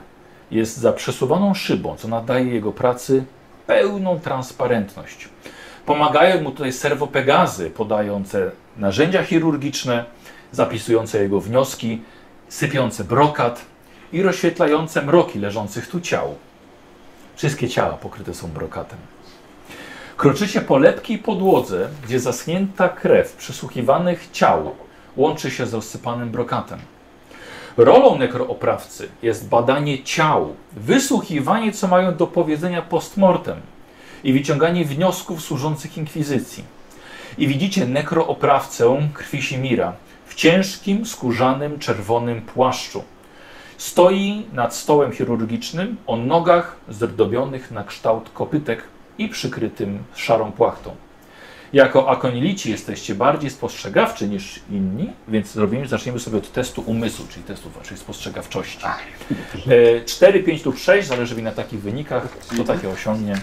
[SPEAKER 1] jest za przesuwaną szybą, co nadaje jego pracy pełną transparentność. Pomagają mu tutaj serwopegazy podające narzędzia chirurgiczne, zapisujące jego wnioski, sypiące brokat i rozświetlające mroki leżących tu ciał. Wszystkie ciała pokryte są brokatem. Kroczycie po lepkiej podłodze, gdzie zaschnięta krew przesłuchiwanych ciał łączy się z rozsypanym brokatem. Rolą nekrooprawcy jest badanie ciał, wysłuchiwanie, co mają do powiedzenia postmortem i wyciąganie wniosków służących inkwizycji. I widzicie nekrooprawcę Krwisimira w ciężkim, skórzanym, czerwonym płaszczu. Stoi nad stołem chirurgicznym o nogach zdobionych na kształt kopytek i przykrytym szarą płachtą. Jako akonilici jesteście bardziej spostrzegawczy niż inni, więc zrobimy, zaczniemy sobie od testu umysłu, czyli testu waszej spostrzegawczości. E, 4, 5 lub 6, zależy mi na takich wynikach, kto takie osiągnie,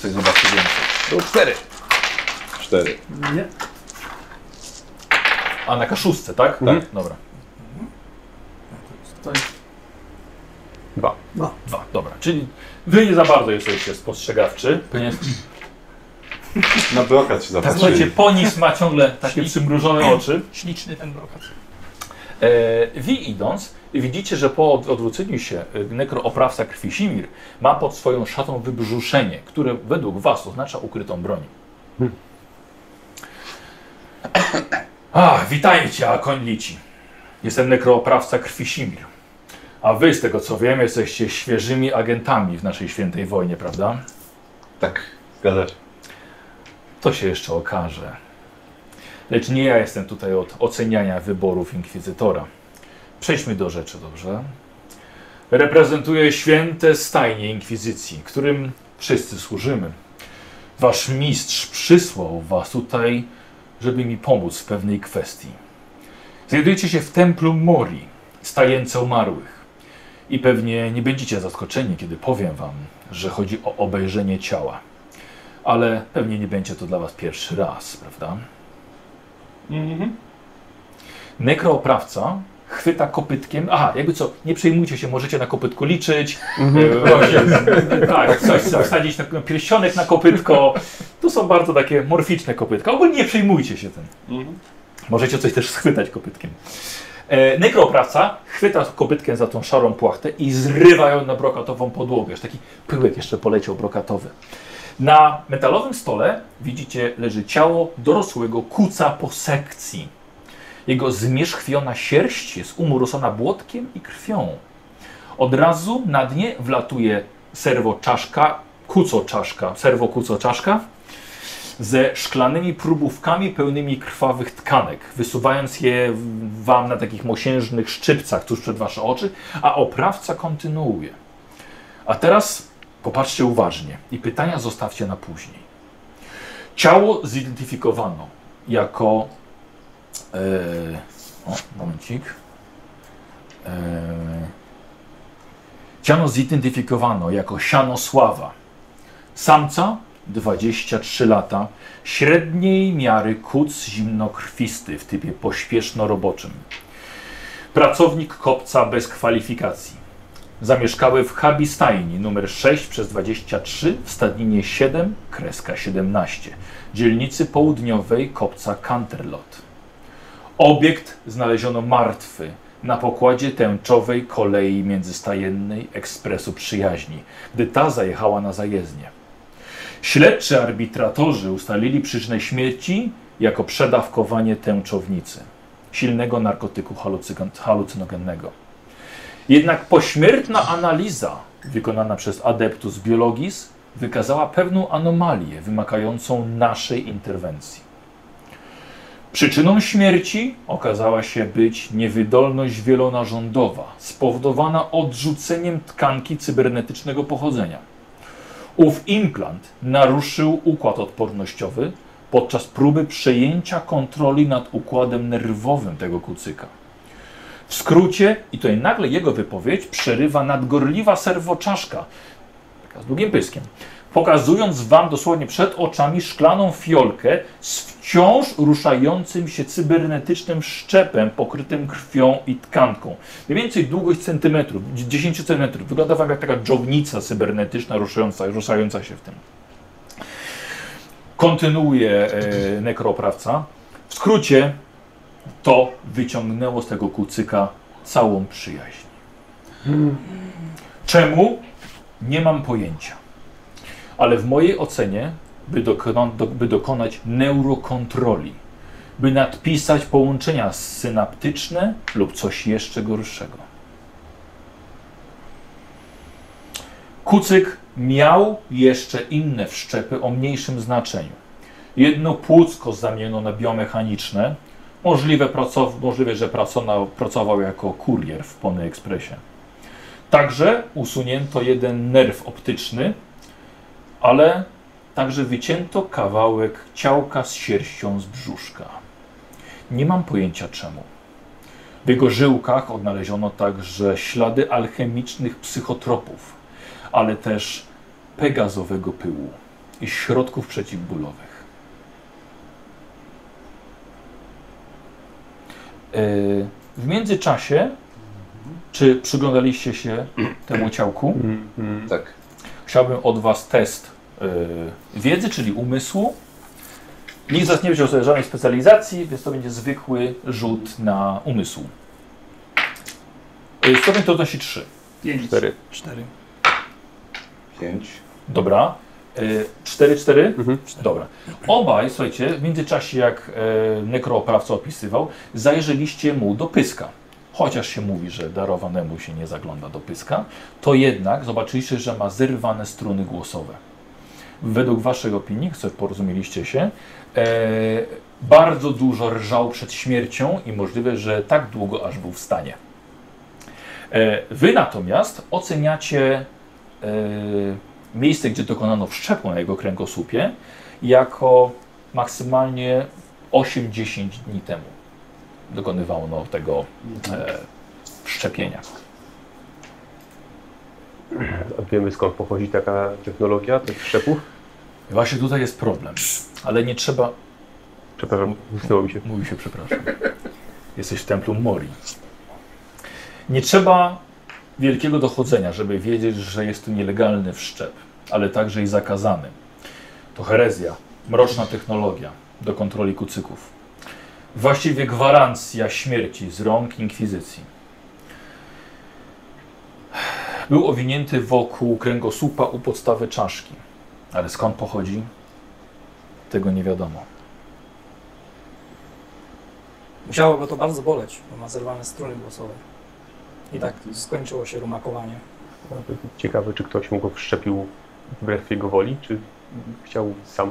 [SPEAKER 1] coś zobaczy więcej.
[SPEAKER 4] 4.
[SPEAKER 2] Nie.
[SPEAKER 1] A na kaszusce, tak?
[SPEAKER 5] Mhm.
[SPEAKER 1] Tak, dobra.
[SPEAKER 2] To jest
[SPEAKER 5] Dwa.
[SPEAKER 1] Dwa, dobra. Czyli wy nie za bardzo jesteście spostrzegawczy.
[SPEAKER 4] Na brokat się
[SPEAKER 1] Tak, Słuchajcie,
[SPEAKER 4] zapatrzyli.
[SPEAKER 1] ponis ma ciągle takie przymrużone oczy.
[SPEAKER 3] Śliczny ten brokat.
[SPEAKER 1] E, wi idąc, I widzicie, że po od- odwróceniu się y, nekrooprawca krwi Simir ma pod swoją szatą wybrzuszenie, które według was oznacza ukrytą broń. A, witajcie, akonlici. Jestem nekrooprawca krwi Simir. A wy, z tego co wiem, jesteście świeżymi agentami w naszej świętej wojnie, prawda?
[SPEAKER 4] Tak, zgadza się.
[SPEAKER 1] To się jeszcze okaże. Lecz nie ja jestem tutaj od oceniania wyborów inkwizytora. Przejdźmy do rzeczy, dobrze? Reprezentuję święte stajnie inkwizycji, którym wszyscy służymy. Wasz mistrz przysłał was tutaj, żeby mi pomóc w pewnej kwestii. Znajdujecie się w templu Mori, stajence umarłych. I pewnie nie będziecie zaskoczeni, kiedy powiem wam, że chodzi o obejrzenie ciała ale pewnie nie będzie to dla Was pierwszy raz, prawda?
[SPEAKER 4] Mhm.
[SPEAKER 1] Nekrooprawca chwyta kopytkiem. Aha, jakby co, nie przejmujcie się, możecie na kopytku liczyć.
[SPEAKER 4] Mhm.
[SPEAKER 1] E, tak, coś tam wsadzić na na pierścionek na kopytko. To są bardzo takie morficzne kopytka. Ogólnie nie przejmujcie się tym.
[SPEAKER 4] Mhm.
[SPEAKER 1] Możecie coś też schwytać kopytkiem. E, nekrooprawca chwyta kopytkiem za tą szarą płachtę i zrywa ją na brokatową podłogę. Aż taki pyłek jeszcze poleciał brokatowy. Na metalowym stole widzicie leży ciało dorosłego kuca po sekcji. Jego zmierzchwiona sierść jest umurosona błotkiem i krwią. Od razu na dnie wlatuje serwo czaszka, kuco czaszka, serwo kuco czaszka ze szklanymi próbówkami pełnymi krwawych tkanek, wysuwając je w- wam na takich mosiężnych szczypcach tuż przed wasze oczy, a oprawca kontynuuje. A teraz Popatrzcie uważnie i pytania zostawcie na później. Ciało zidentyfikowano jako. E, o, momencik. E, ciano zidentyfikowano jako Sianosława. Samca 23 lata, średniej miary kuc zimnokrwisty w typie pośpieszno-roboczym. Pracownik kopca bez kwalifikacji zamieszkały w Habistajni numer 6 przez 23 w Stadninie 7, kreska 17, dzielnicy południowej kopca Canterlot. Obiekt znaleziono martwy na pokładzie tęczowej kolei międzystajennej ekspresu przyjaźni, gdy ta zajechała na zajezdnię. Śledczy arbitratorzy ustalili przyczynę śmierci jako przedawkowanie tęczownicy, silnego narkotyku halucygan- halucynogennego. Jednak pośmiertna analiza wykonana przez Adeptus Biologis wykazała pewną anomalię wymagającą naszej interwencji. Przyczyną śmierci okazała się być niewydolność wielonarządowa spowodowana odrzuceniem tkanki cybernetycznego pochodzenia. Ów implant naruszył układ odpornościowy podczas próby przejęcia kontroli nad układem nerwowym tego kucyka. W skrócie, i tutaj nagle jego wypowiedź przerywa nadgorliwa serwoczaszka, taka z długim pyskiem, pokazując wam dosłownie przed oczami szklaną fiolkę z wciąż ruszającym się cybernetycznym szczepem pokrytym krwią i tkanką. Mniej więcej długość centymetrów, 10 centymetrów. Wygląda wam jak taka dżownica cybernetyczna ruszająca, ruszająca się w tym. Kontynuuje e, nekroprawca. W skrócie, to wyciągnęło z tego kucyka całą przyjaźń. Czemu? Nie mam pojęcia. Ale w mojej ocenie, by, dokona, do, by dokonać neurokontroli, by nadpisać połączenia synaptyczne lub coś jeszcze gorszego. Kucyk miał jeszcze inne wszczepy o mniejszym znaczeniu. Jedno płucko zamieniono na biomechaniczne, Możliwe, pracow- możliwe że pracował, pracował jako kurier w Pony Ekspresie. Także usunięto jeden nerw optyczny, ale także wycięto kawałek ciałka z sierścią z brzuszka. Nie mam pojęcia czemu. W jego żyłkach odnaleziono także ślady alchemicznych psychotropów, ale też pegazowego pyłu i środków przeciwbólowych. Yy, W międzyczasie, czy przyglądaliście się temu ciałku?
[SPEAKER 5] Mhm.
[SPEAKER 4] Tak.
[SPEAKER 1] Chciałbym od Was test yy, wiedzy, czyli umysłu. Nikt z Was nie wziął sobie żadnej specjalizacji, więc to będzie zwykły rzut na umysł. Yy, Y, Stopień to odnosi 3.
[SPEAKER 2] Pięć.
[SPEAKER 5] Cztery.
[SPEAKER 2] Cztery.
[SPEAKER 4] Pięć.
[SPEAKER 1] Dobra. 4-4?
[SPEAKER 5] Mhm.
[SPEAKER 1] Dobra. Obaj, słuchajcie, w międzyczasie jak e, nekrooprawca opisywał, zajrzeliście mu do pyska. Chociaż się mówi, że darowanemu się nie zagląda do pyska, to jednak zobaczyliście, że ma zerwane struny głosowe. Według waszej opinii, co porozumieliście się, e, bardzo dużo rżał przed śmiercią i możliwe, że tak długo, aż był w stanie. E, wy natomiast oceniacie e, miejsce, gdzie dokonano wszczepu na jego kręgosłupie, jako maksymalnie 8-10 dni temu dokonywano tego e, wszczepienia.
[SPEAKER 6] A wiemy skąd pochodzi taka technologia tych szczepów?
[SPEAKER 1] Właśnie tutaj jest problem, ale nie trzeba.
[SPEAKER 6] Przepraszam, wysnęło mi się.
[SPEAKER 1] Mówi się, przepraszam. Jesteś w templu Mori. Nie trzeba wielkiego dochodzenia, żeby wiedzieć, że jest tu nielegalny wszczep, ale także i zakazany. To herezja, mroczna technologia do kontroli kucyków. Właściwie gwarancja śmierci z rąk inkwizycji. Był owinięty wokół kręgosłupa u podstawy czaszki, ale skąd pochodzi, tego nie wiadomo.
[SPEAKER 3] Musiało go to bardzo boleć, bo ma zerwane struny głosowe. I tak skończyło się rumakowanie.
[SPEAKER 6] Ciekawe, czy ktoś mu go wszczepił wbrew jego woli, czy chciał sam.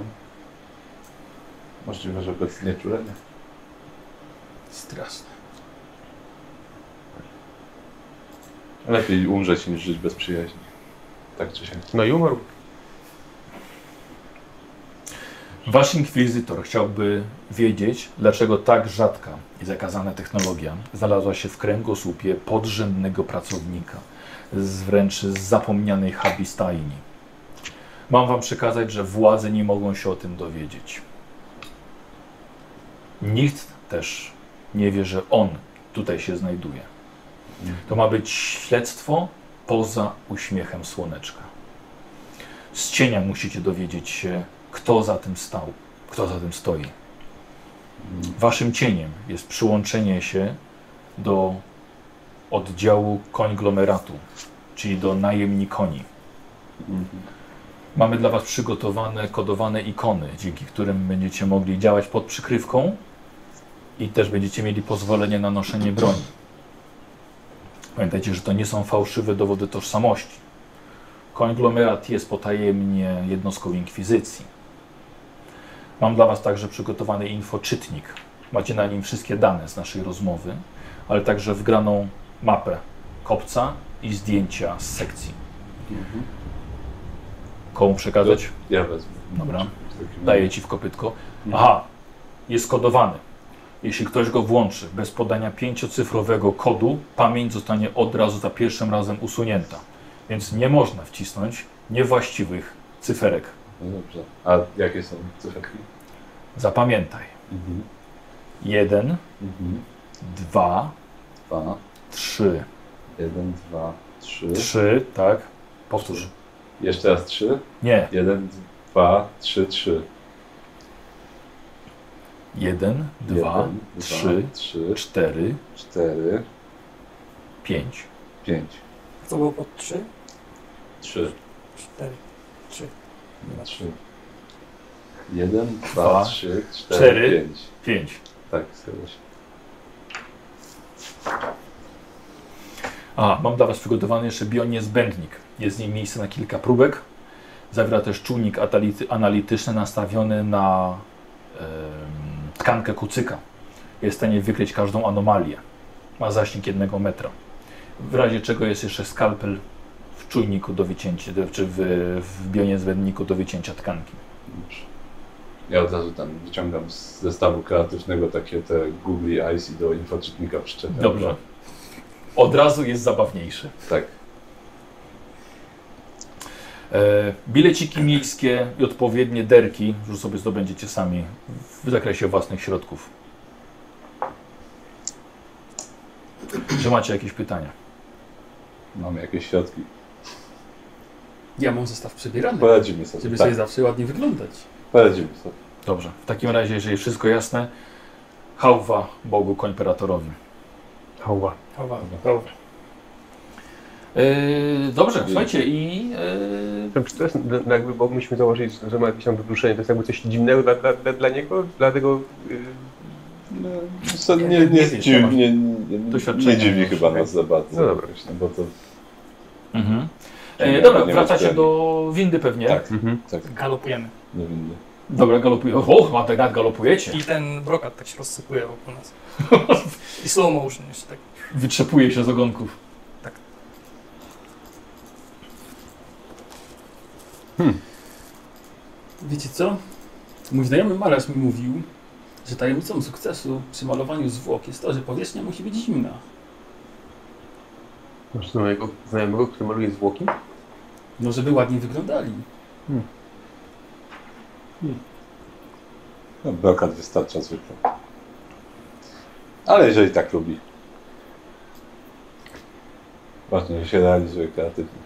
[SPEAKER 4] Możliwe, że bez znieczulenia.
[SPEAKER 1] Straszne.
[SPEAKER 4] Lepiej umrzeć niż żyć bez przyjaźni. Tak czy siak.
[SPEAKER 6] No i umarł.
[SPEAKER 1] Wasz inkwizytor chciałby wiedzieć, dlaczego tak rzadka i zakazana technologia znalazła się w kręgosłupie podrzędnego pracownika z wręcz z zapomnianej habistajni. Mam wam przekazać, że władze nie mogą się o tym dowiedzieć. Nikt też nie wie, że on tutaj się znajduje. To ma być śledztwo poza uśmiechem słoneczka. Z cienia musicie dowiedzieć się, kto za tym stał, kto za tym stoi. Waszym cieniem jest przyłączenie się do oddziału konglomeratu, czyli do najemni koni. Mamy dla Was przygotowane, kodowane ikony, dzięki którym będziecie mogli działać pod przykrywką i też będziecie mieli pozwolenie na noszenie broni. Pamiętajcie, że to nie są fałszywe dowody tożsamości. Konglomerat jest potajemnie jednostką inkwizycji. Mam dla Was także przygotowany infoczytnik. Macie na nim wszystkie dane z naszej rozmowy, ale także wgraną mapę kopca i zdjęcia z sekcji. Komu przekazać?
[SPEAKER 4] Ja wezmę.
[SPEAKER 1] Dobra.
[SPEAKER 4] W takim
[SPEAKER 1] Daję Ci w kopytko. Aha, jest kodowany. Jeśli ktoś go włączy bez podania pięciocyfrowego kodu, pamięć zostanie od razu za pierwszym razem usunięta. Więc nie można wcisnąć niewłaściwych cyferek.
[SPEAKER 4] No dobrze. A jakie są cyferki?
[SPEAKER 1] Zapamiętaj. Jeden,
[SPEAKER 4] Mhm.
[SPEAKER 1] dwa,
[SPEAKER 4] Dwa,
[SPEAKER 1] trzy.
[SPEAKER 4] jeden, dwa, trzy.
[SPEAKER 1] Trzy, tak? Powtórz.
[SPEAKER 4] Jeszcze raz trzy.
[SPEAKER 1] Nie.
[SPEAKER 4] Jeden, dwa, trzy, trzy.
[SPEAKER 1] Jeden, dwa,
[SPEAKER 4] jeden,
[SPEAKER 1] trzy,
[SPEAKER 4] dwa, trzy,
[SPEAKER 1] cztery,
[SPEAKER 4] cztery,
[SPEAKER 1] pięć.
[SPEAKER 4] pięć.
[SPEAKER 3] Co było pod 3?
[SPEAKER 4] Trzy.
[SPEAKER 3] 4.
[SPEAKER 4] Trzy. Jeden, dwa,
[SPEAKER 1] Dwa,
[SPEAKER 4] trzy, cztery,
[SPEAKER 1] cztery.
[SPEAKER 4] pięć.
[SPEAKER 1] Pięć.
[SPEAKER 4] Tak, zgadza się.
[SPEAKER 1] A, mam dla Was przygotowany jeszcze bioniezbędnik. Jest w nim miejsce na kilka próbek. Zawiera też czujnik atality- analityczny nastawiony na em, tkankę kucyka. Jest w stanie wykryć każdą anomalię. Ma zasięg jednego metra. W razie czego jest jeszcze skalpel w czujniku do wycięcia, czy w, w bioniezbędniku do wycięcia tkanki.
[SPEAKER 4] Dobrze. Ja od razu tam wyciągam z zestawu kreatywnego takie te Google Eyes i do infoczytnika przyczepiam.
[SPEAKER 1] Dobrze. Od razu jest zabawniejszy.
[SPEAKER 4] Tak.
[SPEAKER 1] E, bileciki miejskie i odpowiednie derki już sobie zdobędziecie sami w zakresie własnych środków. Czy macie jakieś pytania?
[SPEAKER 4] Mam jakieś środki.
[SPEAKER 2] Ja mam zestaw przebierany.
[SPEAKER 4] Poradzimy sobie.
[SPEAKER 2] Żeby
[SPEAKER 4] Tak,
[SPEAKER 2] sobie zawsze ładnie wyglądać.
[SPEAKER 4] poradzimy sobie.
[SPEAKER 1] Dobrze. W takim razie, jeżeli wszystko jasne, hałwa Bogu Koimperatorowi.
[SPEAKER 6] Hałwa.
[SPEAKER 2] Chowa. Chowa.
[SPEAKER 1] Yy, dobrze, słuchajcie, i yy,
[SPEAKER 6] Czy to jest, d- d- jakby, bo myśmy założyli, że ma jakieś tam wykluczenie, to jest jakby coś dziwnego dla, dla, dla, dla niego, dla tego... y,
[SPEAKER 4] No, to nie,
[SPEAKER 1] Nie
[SPEAKER 4] nie, nie,
[SPEAKER 1] wiesz,
[SPEAKER 4] dziw,
[SPEAKER 1] masz
[SPEAKER 4] nie, nie,
[SPEAKER 1] doświadczenia.
[SPEAKER 4] nie dziwnie chyba nas za bardzo.
[SPEAKER 6] No dobra.
[SPEAKER 4] Myślę, bo to
[SPEAKER 1] Mhm.
[SPEAKER 4] Nie,
[SPEAKER 1] E,
[SPEAKER 4] nie
[SPEAKER 1] dobra,
[SPEAKER 4] wiem,
[SPEAKER 1] wracacie
[SPEAKER 4] czy-
[SPEAKER 1] do windy pewnie.
[SPEAKER 4] Tak.
[SPEAKER 3] galopujemy.
[SPEAKER 4] niewinnie.
[SPEAKER 1] Dobra, galopuje. Och, ma tak galopujecie.
[SPEAKER 3] I ten brokat tak się rozsypuje wokół nas. I slow motion jeszcze tak.
[SPEAKER 1] Wytrzepuje się z ogonków.
[SPEAKER 3] Tak.
[SPEAKER 1] Hmm.
[SPEAKER 2] Wiecie co? Mój znajomy malarz mi mówił, że tajemnicą sukcesu przy malowaniu zwłok jest to, że powierzchnia musi być zimna.
[SPEAKER 6] Masz znajomego, znajomego, który maluje zwłoki?
[SPEAKER 2] No, żeby ładnie wyglądali.
[SPEAKER 4] No, brokat wystarcza zwykle. Ale jeżeli tak lubi. Ważne, że się realizuje kreatywnie.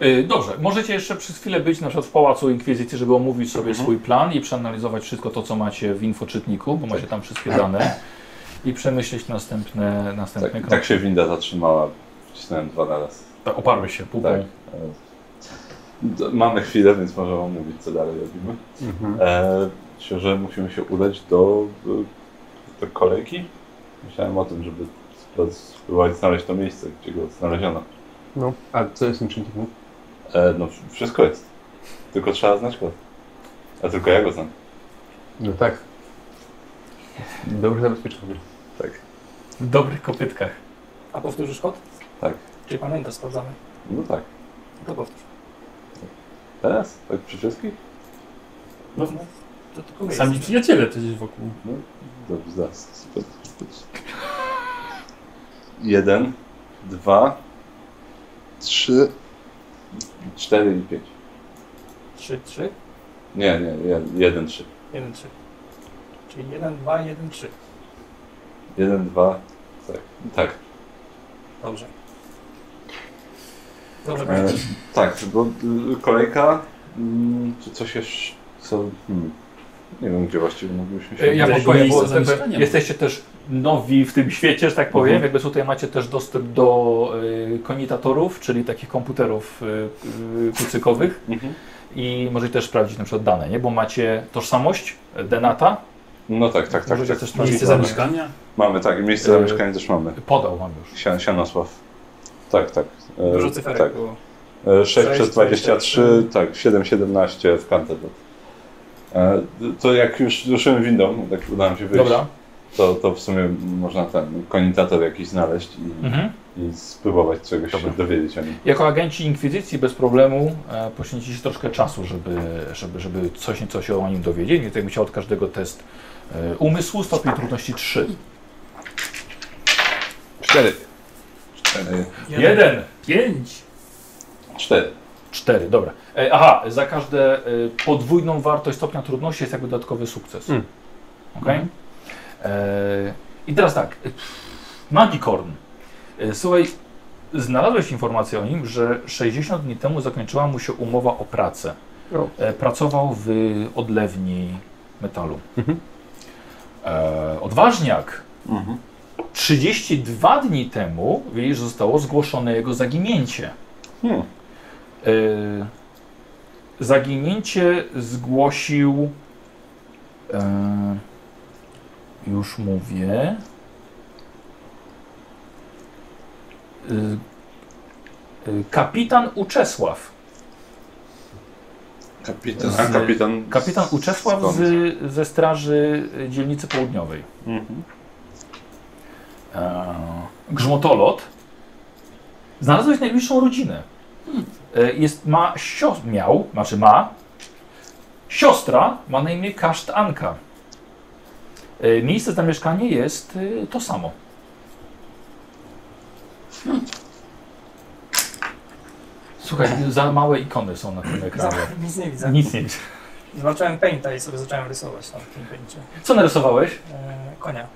[SPEAKER 1] E, dobrze, możecie jeszcze przez chwilę być na przykład w Pałacu Inkwizycji, żeby omówić sobie
[SPEAKER 4] Mhm.
[SPEAKER 1] swój plan i przeanalizować wszystko to, co macie w infoczytniku, bo
[SPEAKER 4] Tak.
[SPEAKER 1] macie tam wszystkie dane i przemyśleć następne, następne
[SPEAKER 4] Tak, tak
[SPEAKER 1] kroki.
[SPEAKER 4] się winda zatrzymała. Wcisnąłem dwa na raz.
[SPEAKER 1] Tak, oparłeś się pół.
[SPEAKER 4] Tak. D- Mamy chwilę, więc może wam mówić, co dalej robimy. E, myślę, że musimy się udać do, e, do kolejki. Myślałem o tym, żeby spro- spróbować znaleźć to miejsce, gdzie go znaleziono.
[SPEAKER 6] No, a co jest tym czynnikiem?
[SPEAKER 4] E, no, w- wszystko jest. Tylko trzeba znać kod. A tylko ja go znam.
[SPEAKER 6] No tak. Dobrze zabezpieczony.
[SPEAKER 4] Tak.
[SPEAKER 1] W dobrych kopytkach.
[SPEAKER 3] A powtórzysz kod?
[SPEAKER 4] Tak.
[SPEAKER 3] Czy pamiętasz, sprawdzamy?
[SPEAKER 4] No tak.
[SPEAKER 3] To powtórz.
[SPEAKER 4] Teraz? Tak przy wszystkich?
[SPEAKER 2] No,
[SPEAKER 3] To tylko my
[SPEAKER 2] sami
[SPEAKER 3] jesteśmy.
[SPEAKER 2] przyjaciele przecież wokół.
[SPEAKER 4] Dobrze, zaraz. Jeden, dwa, trzy, cztery i pięć.
[SPEAKER 3] Trzy, trzy,
[SPEAKER 4] Nie, nie, jed- jeden, trzy.
[SPEAKER 3] jeden, trzy. Czyli jeden, dwa, jeden, trzy.
[SPEAKER 4] Jeden, dwa, tak. Tak,
[SPEAKER 3] Dobrze. Dobrze,
[SPEAKER 4] e,
[SPEAKER 3] pamiętasz.
[SPEAKER 4] tak bo y, kolejka, mm, czy coś jeszcze, co, hmm. nie wiem, gdzie właściwie moglibyśmy się...
[SPEAKER 1] E, Ja
[SPEAKER 2] Gdzieś
[SPEAKER 1] wam powiem,
[SPEAKER 2] miejsce
[SPEAKER 1] bo
[SPEAKER 2] zamieszkania.
[SPEAKER 1] jesteście też nowi w tym świecie, że tak powiem.
[SPEAKER 4] Mhm.
[SPEAKER 1] Jakby tutaj macie też dostęp do y, konitatorów, czyli takich komputerów y, y, kucykowych
[SPEAKER 4] Mhm.
[SPEAKER 1] i możecie też sprawdzić na przykład dane, nie? Bo macie tożsamość, y, denata,
[SPEAKER 4] No tak, tak, tak.
[SPEAKER 1] możecie
[SPEAKER 4] tak.
[SPEAKER 1] też sprawdzić
[SPEAKER 2] Miejsce
[SPEAKER 1] dane.
[SPEAKER 2] zamieszkania.
[SPEAKER 4] Mamy, tak, miejsce
[SPEAKER 1] E,
[SPEAKER 4] zamieszkania też mamy.
[SPEAKER 1] Podał wam już.
[SPEAKER 4] Sian, Sianosław. Tak, tak. E,
[SPEAKER 3] Dużo cyferek
[SPEAKER 4] tak.
[SPEAKER 3] było.
[SPEAKER 4] E, 6
[SPEAKER 3] Sześć,
[SPEAKER 4] przez 23,
[SPEAKER 3] 24.
[SPEAKER 4] tak, 7, 17 w Canterlot. E, To jak już ruszyłem windą, tak udało mi się wyjść,
[SPEAKER 1] Dobra.
[SPEAKER 4] to, to w sumie można ten konitator jakiś znaleźć i,
[SPEAKER 1] Mhm.
[SPEAKER 4] i spróbować czegoś się dowiedzieć o nim.
[SPEAKER 1] Jako agenci Inkwizycji bez problemu e, poświęciliście troszkę czasu, żeby, żeby, żeby coś nieco się o nim dowiedzieć. Nie tak musiał od każdego test e, umysłu, stopień trudności 3.
[SPEAKER 4] 4. 4.
[SPEAKER 1] Jeden.
[SPEAKER 2] Pięć.
[SPEAKER 4] 4.
[SPEAKER 1] 4, dobra. E, aha, za każdą e, podwójną wartość stopnia trudności jest jakby dodatkowy sukces.
[SPEAKER 6] Mm.
[SPEAKER 1] Okej? E, I teraz tak. Magikorn. E, słuchaj, znalazłeś informację o nim, że 60 dni temu zakończyła mu się umowa o pracę.
[SPEAKER 6] O.
[SPEAKER 1] E, pracował w odlewni metalu.
[SPEAKER 6] Mhm.
[SPEAKER 1] E, odważniak. 32 dni temu, widzisz, zostało zgłoszone jego zaginięcie.
[SPEAKER 4] Hmm.
[SPEAKER 1] E, zaginięcie zgłosił. E, już mówię. E, e, kapitan Uczesław.
[SPEAKER 4] Kapitan.
[SPEAKER 1] Z-
[SPEAKER 4] A kapitan.
[SPEAKER 1] Kapitan
[SPEAKER 4] z-
[SPEAKER 1] Uczesław
[SPEAKER 4] skąd?
[SPEAKER 1] z, ze straży e, dzielnicy południowej.
[SPEAKER 4] Mhm.
[SPEAKER 1] E, grzmotolot. Znalazłeś najbliższą rodzinę. E, Jest, ma, sio, miał, znaczy ma, siostra ma na imię Kaszt Anka. E, Miejsce zamieszkania jest e, to samo. Słuchaj, za małe ikony są na tym ekranie.
[SPEAKER 3] Nic nie widzę.
[SPEAKER 1] Nic nie.
[SPEAKER 3] Zobaczyłem painta i sobie zacząłem rysować tam w tym paincie.
[SPEAKER 1] Co narysowałeś?
[SPEAKER 3] E, konia.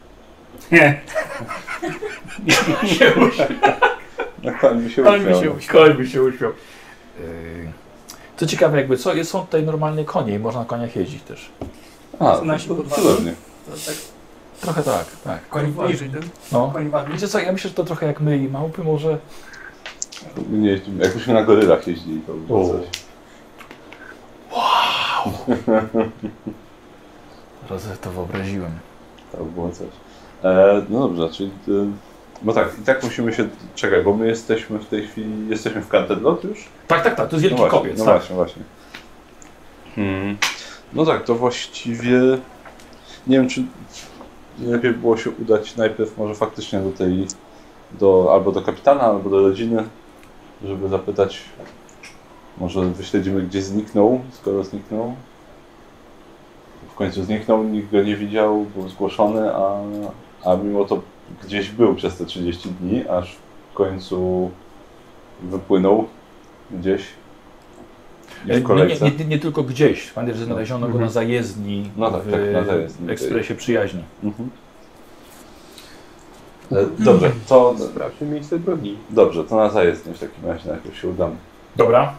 [SPEAKER 4] No, koń mi się uśmiał.
[SPEAKER 1] Koń by się uśmiał. E, Co ciekawe, jakby co, jest- są tutaj normalne konie i można na koniach jeździć też.
[SPEAKER 4] A,
[SPEAKER 3] Nasi
[SPEAKER 4] to
[SPEAKER 3] podwale.
[SPEAKER 4] cudownie.
[SPEAKER 3] To tak
[SPEAKER 1] Trochę tak, tak.
[SPEAKER 3] Koń bliżej, do-
[SPEAKER 1] No.
[SPEAKER 3] koń bardziej.
[SPEAKER 1] Wiecie co, ja myślę, że to trochę jak my i małpy może.
[SPEAKER 4] Nie jeździmy. Jakbyśmy na gorylach jeździli, to by było
[SPEAKER 1] O.
[SPEAKER 4] coś.
[SPEAKER 1] Teraz to wyobraziłem.
[SPEAKER 4] To by było coś. E, no dobrze, czyli... E, bo tak, i tak musimy się... Czekaj, bo my jesteśmy w tej chwili... Jesteśmy w Canterlot już?
[SPEAKER 1] Tak, tak, tak, to jest
[SPEAKER 4] No
[SPEAKER 1] wielki
[SPEAKER 4] właśnie,
[SPEAKER 1] kopiec,
[SPEAKER 4] no
[SPEAKER 1] tak.
[SPEAKER 4] właśnie, właśnie. Hmm. No tak, to właściwie... Nie wiem, czy nie lepiej by było się udać najpierw może faktycznie do tej... Do, albo do kapitana, albo do rodziny, żeby zapytać... Może wyśledzimy, gdzie zniknął, skoro zniknął. W końcu zniknął, nikt go nie widział, był zgłoszony, a, a mimo to gdzieś był przez te 30 dni, aż w końcu wypłynął gdzieś. I
[SPEAKER 1] E, Nie,
[SPEAKER 4] w
[SPEAKER 1] nie,
[SPEAKER 4] kolejce. Mhm.
[SPEAKER 1] nie, nie tylko gdzieś. Pamiętam, że znaleziono go na zajezdni
[SPEAKER 4] No tak,
[SPEAKER 1] w
[SPEAKER 4] tak, na zajezdni.
[SPEAKER 1] ekspresie przyjaźni.
[SPEAKER 4] Mhm. E, Dobrze, to
[SPEAKER 5] Sprawdźmy miejsce zbrodni.
[SPEAKER 4] dobrze, to na zajezdnię w takim razie najpierw się udam.
[SPEAKER 1] Dobra.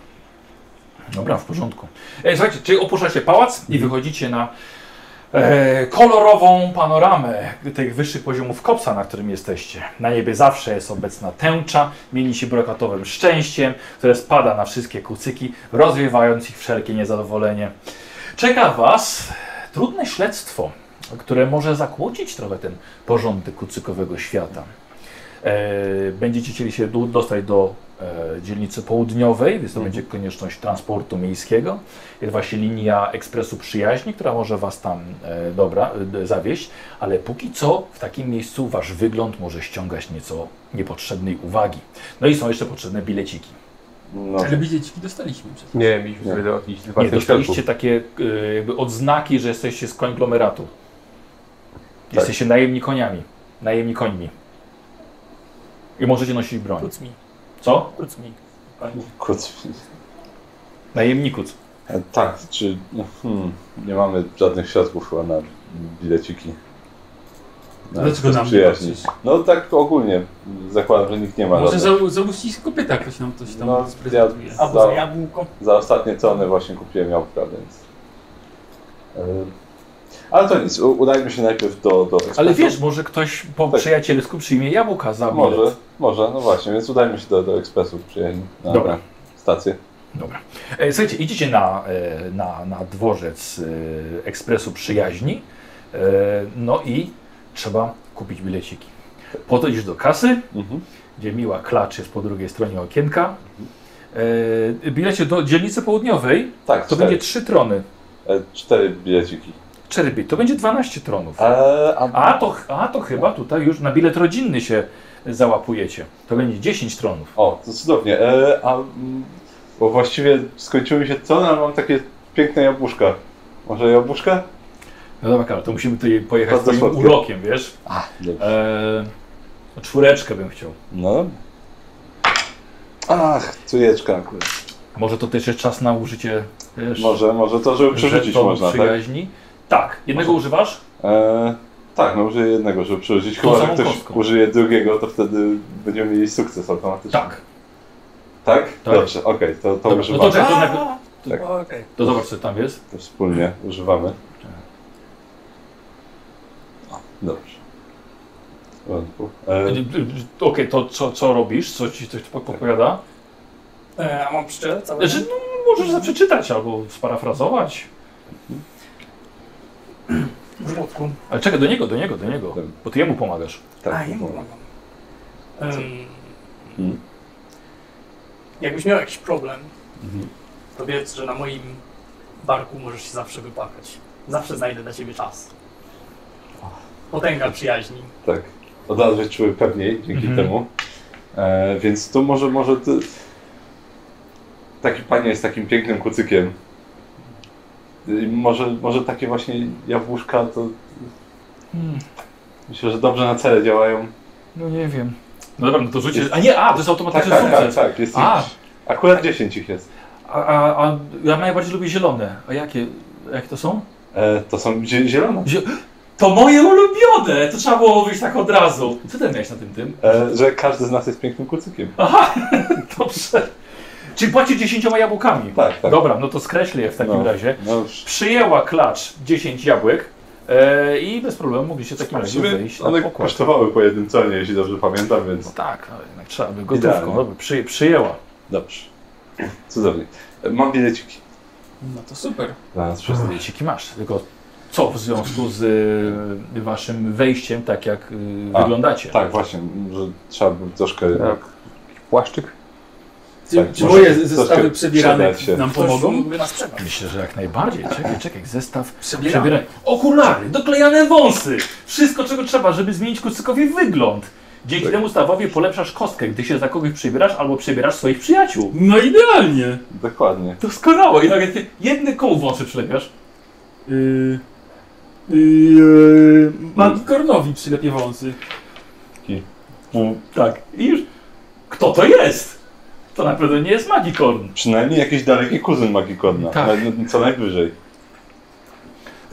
[SPEAKER 1] Dobra, w porządku. E, słuchajcie, czyli opuszczacie pałac i wychodzicie na e, kolorową panoramę tych wyższych poziomów kopca, na którym jesteście. Na niebie zawsze jest obecna tęcza, mieni się brokatowym szczęściem, które spada na wszystkie kucyki, rozwiewając ich wszelkie niezadowolenie. Czeka Was trudne śledztwo, które może zakłócić trochę ten porządek kucykowego świata. E, będziecie chcieli się du- dostać do e, dzielnicy południowej, więc to będzie konieczność transportu miejskiego. Jest właśnie linia ekspresu przyjaźni, która może Was tam e, dobra, e, d- zawieźć, ale póki co w takim miejscu Wasz wygląd może ściągać nieco niepotrzebnej uwagi. No i są jeszcze potrzebne bileciki.
[SPEAKER 4] No,
[SPEAKER 2] Ale bileciki dostaliśmy przecież.
[SPEAKER 5] Nie, mieliśmy
[SPEAKER 4] Nie.
[SPEAKER 5] sobie jakiś
[SPEAKER 1] Nie,
[SPEAKER 5] zwartych środków.
[SPEAKER 1] dostaliście takie e, jakby odznaki, że jesteście z konglomeratu. Jesteście najemni koniami, najemni końmi. I możecie nosić broń.
[SPEAKER 3] Kuc mi,
[SPEAKER 1] Co?
[SPEAKER 3] kuc mi. Koń.
[SPEAKER 4] kurczę.
[SPEAKER 1] Najemników.
[SPEAKER 4] E, Tak, czy no, hmm, nie mamy żadnych środków chyba na bileciki. Na
[SPEAKER 2] Dlaczego nam nie
[SPEAKER 4] No. przyjaźni.
[SPEAKER 2] patrzysz?
[SPEAKER 4] No tak ogólnie zakładam, że nikt nie ma
[SPEAKER 2] Może za,
[SPEAKER 4] żadnych.
[SPEAKER 2] zamusić kopyta ktoś nam coś tam
[SPEAKER 4] No,
[SPEAKER 2] sprezentuje.
[SPEAKER 4] ja-
[SPEAKER 3] Albo za jabłko.
[SPEAKER 4] Za ostatnie ceny właśnie kupiłem jabłka, więc. E, Ale to nic, u- udajmy się najpierw do, do ekspresu.
[SPEAKER 1] Ale wiesz, może ktoś po
[SPEAKER 4] Tak.
[SPEAKER 1] przyjacielsku przyjmie jabłka za bilet.
[SPEAKER 4] Może, może, no właśnie, więc udajmy się do, do ekspresu przyjaźni. Na
[SPEAKER 1] Dobra.
[SPEAKER 4] Stację.
[SPEAKER 1] E, Słuchajcie, idziecie na, e, na, na dworzec e, ekspresu przyjaźni, e, no i trzeba kupić bileciki. Podchodzisz do kasy,
[SPEAKER 4] Mhm.
[SPEAKER 1] gdzie miła klacz jest po drugiej stronie okienka. E, Bilecie do dzielnicy południowej
[SPEAKER 4] Tak,
[SPEAKER 1] to
[SPEAKER 4] cztery,
[SPEAKER 1] będzie 3 trony.
[SPEAKER 4] e, cztery bileciki.
[SPEAKER 1] Czerpie, to będzie 12 tronów.
[SPEAKER 4] E, a,
[SPEAKER 1] A to, ch- a to chyba tutaj już na bilet rodzinny się załapujecie. To będzie 10 tronów.
[SPEAKER 4] O, to cudownie. E, a, mm, bo właściwie skończyły mi się ceny, ale mam takie piękne jabłuszka. Może jabłuszka?
[SPEAKER 1] No dobra, Karol, to musimy tutaj pojechać z
[SPEAKER 4] Bardzo
[SPEAKER 1] twoim
[SPEAKER 4] słodkie.
[SPEAKER 1] urokiem, wiesz? Eee, no czwóreczkę bym chciał.
[SPEAKER 4] No. Ach, tujeczka akurat.
[SPEAKER 1] Może to też jest czas na użycie wiesz,
[SPEAKER 4] Może, może to, żeby przerzucić
[SPEAKER 1] żetonu
[SPEAKER 4] można, tak?
[SPEAKER 1] przyjaźni. Tak, jednego używasz?
[SPEAKER 4] E, tak, no użyję jednego, żeby przerzucić.
[SPEAKER 1] Tą
[SPEAKER 4] Chyba, że
[SPEAKER 1] samą
[SPEAKER 4] ktoś
[SPEAKER 1] kostką.
[SPEAKER 4] użyje drugiego, to wtedy będziemy mieli sukces automatycznie.
[SPEAKER 1] Tak.
[SPEAKER 4] Tak?
[SPEAKER 1] Tak.
[SPEAKER 4] Dobrze, okej, to, to
[SPEAKER 1] Dobra,
[SPEAKER 4] używamy.
[SPEAKER 1] no to, czekaj, to, najpierw-
[SPEAKER 4] Tak.
[SPEAKER 3] O, Okej.
[SPEAKER 1] to zobacz co tam jest.
[SPEAKER 4] To wspólnie używamy.
[SPEAKER 1] Tak.
[SPEAKER 4] O, dobrze. W porządku. E,
[SPEAKER 1] Okej, to co, co robisz? Co ci coś po- popowiada?
[SPEAKER 3] E, A mam pszczelę całe?
[SPEAKER 1] Znaczy, no, możesz zaprzeczytać albo sparafrazować.
[SPEAKER 3] W żłobku.
[SPEAKER 1] Ale czekaj, do niego, do niego, do niego.
[SPEAKER 4] Tak.
[SPEAKER 1] Bo ty jemu pomagasz.
[SPEAKER 4] tak,
[SPEAKER 3] A, ja
[SPEAKER 4] to
[SPEAKER 3] nie
[SPEAKER 4] było.
[SPEAKER 3] mam. Ym,
[SPEAKER 4] Mhm.
[SPEAKER 3] Jakbyś miał jakiś problem,
[SPEAKER 4] Mhm.
[SPEAKER 3] to wiedz, że na moim barku możesz się zawsze wypłakać. Zawsze znajdę dla ciebie czas. Potęga przyjaźni.
[SPEAKER 4] Tak. Od razu się czuły pewniej dzięki
[SPEAKER 1] Mhm.
[SPEAKER 4] temu. E, więc to może, może ty... Taki panie z takim pięknym kucykiem. I może, może takie właśnie jabłuszka to
[SPEAKER 1] Hmm,
[SPEAKER 4] myślę, że dobrze na cele działają.
[SPEAKER 1] no nie wiem. No dobra, no to rzucisz. A nie, a to jest
[SPEAKER 4] Tak,
[SPEAKER 1] automatyczny
[SPEAKER 4] tak, tak,
[SPEAKER 1] sukces.
[SPEAKER 4] tak. Jest
[SPEAKER 1] Znaczy, A.
[SPEAKER 4] ich, akurat 10 ich jest.
[SPEAKER 1] A, a, a ja najbardziej lubię zielone. A jakie? Jakie to są?
[SPEAKER 4] E, to są zie- zielone.
[SPEAKER 1] To moje ulubione! To trzeba było wyjść tak od razu. Co ty miałeś na tym tym?
[SPEAKER 4] E, że każdy z nas jest pięknym kucykiem.
[SPEAKER 1] Dobrze. Czyli płacisz 10 jabłkami.
[SPEAKER 4] Tak, tak.
[SPEAKER 1] Dobra, no to skreślę je w takim
[SPEAKER 4] No.
[SPEAKER 1] razie.
[SPEAKER 4] No już.
[SPEAKER 1] Przyjęła klacz 10 jabłek, E, I bez problemu mogliście w takim razie
[SPEAKER 4] Właściwie
[SPEAKER 1] wejść na
[SPEAKER 4] One
[SPEAKER 1] pokład.
[SPEAKER 4] kosztowały pojedynconie, jeśli dobrze pamiętam,
[SPEAKER 1] No
[SPEAKER 4] więc
[SPEAKER 1] tak, no, jednak trzeba by
[SPEAKER 4] Idealnie.
[SPEAKER 1] gotówką. Dobra, przy, przyjęła.
[SPEAKER 4] dobrze. Cudownie. E, Mam bileciki
[SPEAKER 2] No to super.
[SPEAKER 4] dla nas wszystkich.
[SPEAKER 1] Wszystkie masz, tylko co w związku z y, waszym wejściem, tak jak y,
[SPEAKER 4] A,
[SPEAKER 1] wyglądacie.
[SPEAKER 4] Tak, właśnie, że trzeba by troszkę
[SPEAKER 5] Tak. Płaszczyk?
[SPEAKER 2] Czy,
[SPEAKER 4] Tak,
[SPEAKER 2] czy
[SPEAKER 4] może
[SPEAKER 2] moje
[SPEAKER 4] troszkę
[SPEAKER 2] zestawy
[SPEAKER 4] przydać
[SPEAKER 2] przebierane
[SPEAKER 4] się.
[SPEAKER 2] nam
[SPEAKER 3] Ktoś
[SPEAKER 2] pomogą?
[SPEAKER 3] mógłby nas sprzedać.
[SPEAKER 1] Myślę, że jak najbardziej. Czekaj, czekaj, zestaw
[SPEAKER 2] Przebieramy.
[SPEAKER 1] Przebieraj. Okulary, doklejane wąsy. Wszystko, czego trzeba, żeby zmienić kucykowi wygląd. Dzięki temu stawowi polepszasz kostkę, gdy się za kogoś przebierasz albo przebierasz swoich przyjaciół.
[SPEAKER 2] No idealnie.
[SPEAKER 4] Dokładnie.
[SPEAKER 1] Doskonałe. I nagle ty jedny koło wąsy przylepiasz.
[SPEAKER 2] Yy, yy, mam Kornowi przylepię wąsy.
[SPEAKER 4] No.
[SPEAKER 1] Tak. I już. Kto to jest? To na pewno nie jest Magikorn.
[SPEAKER 4] Przynajmniej jakiś daleki kuzyn Magikodna.
[SPEAKER 1] Tak.
[SPEAKER 4] No, Co najwyżej.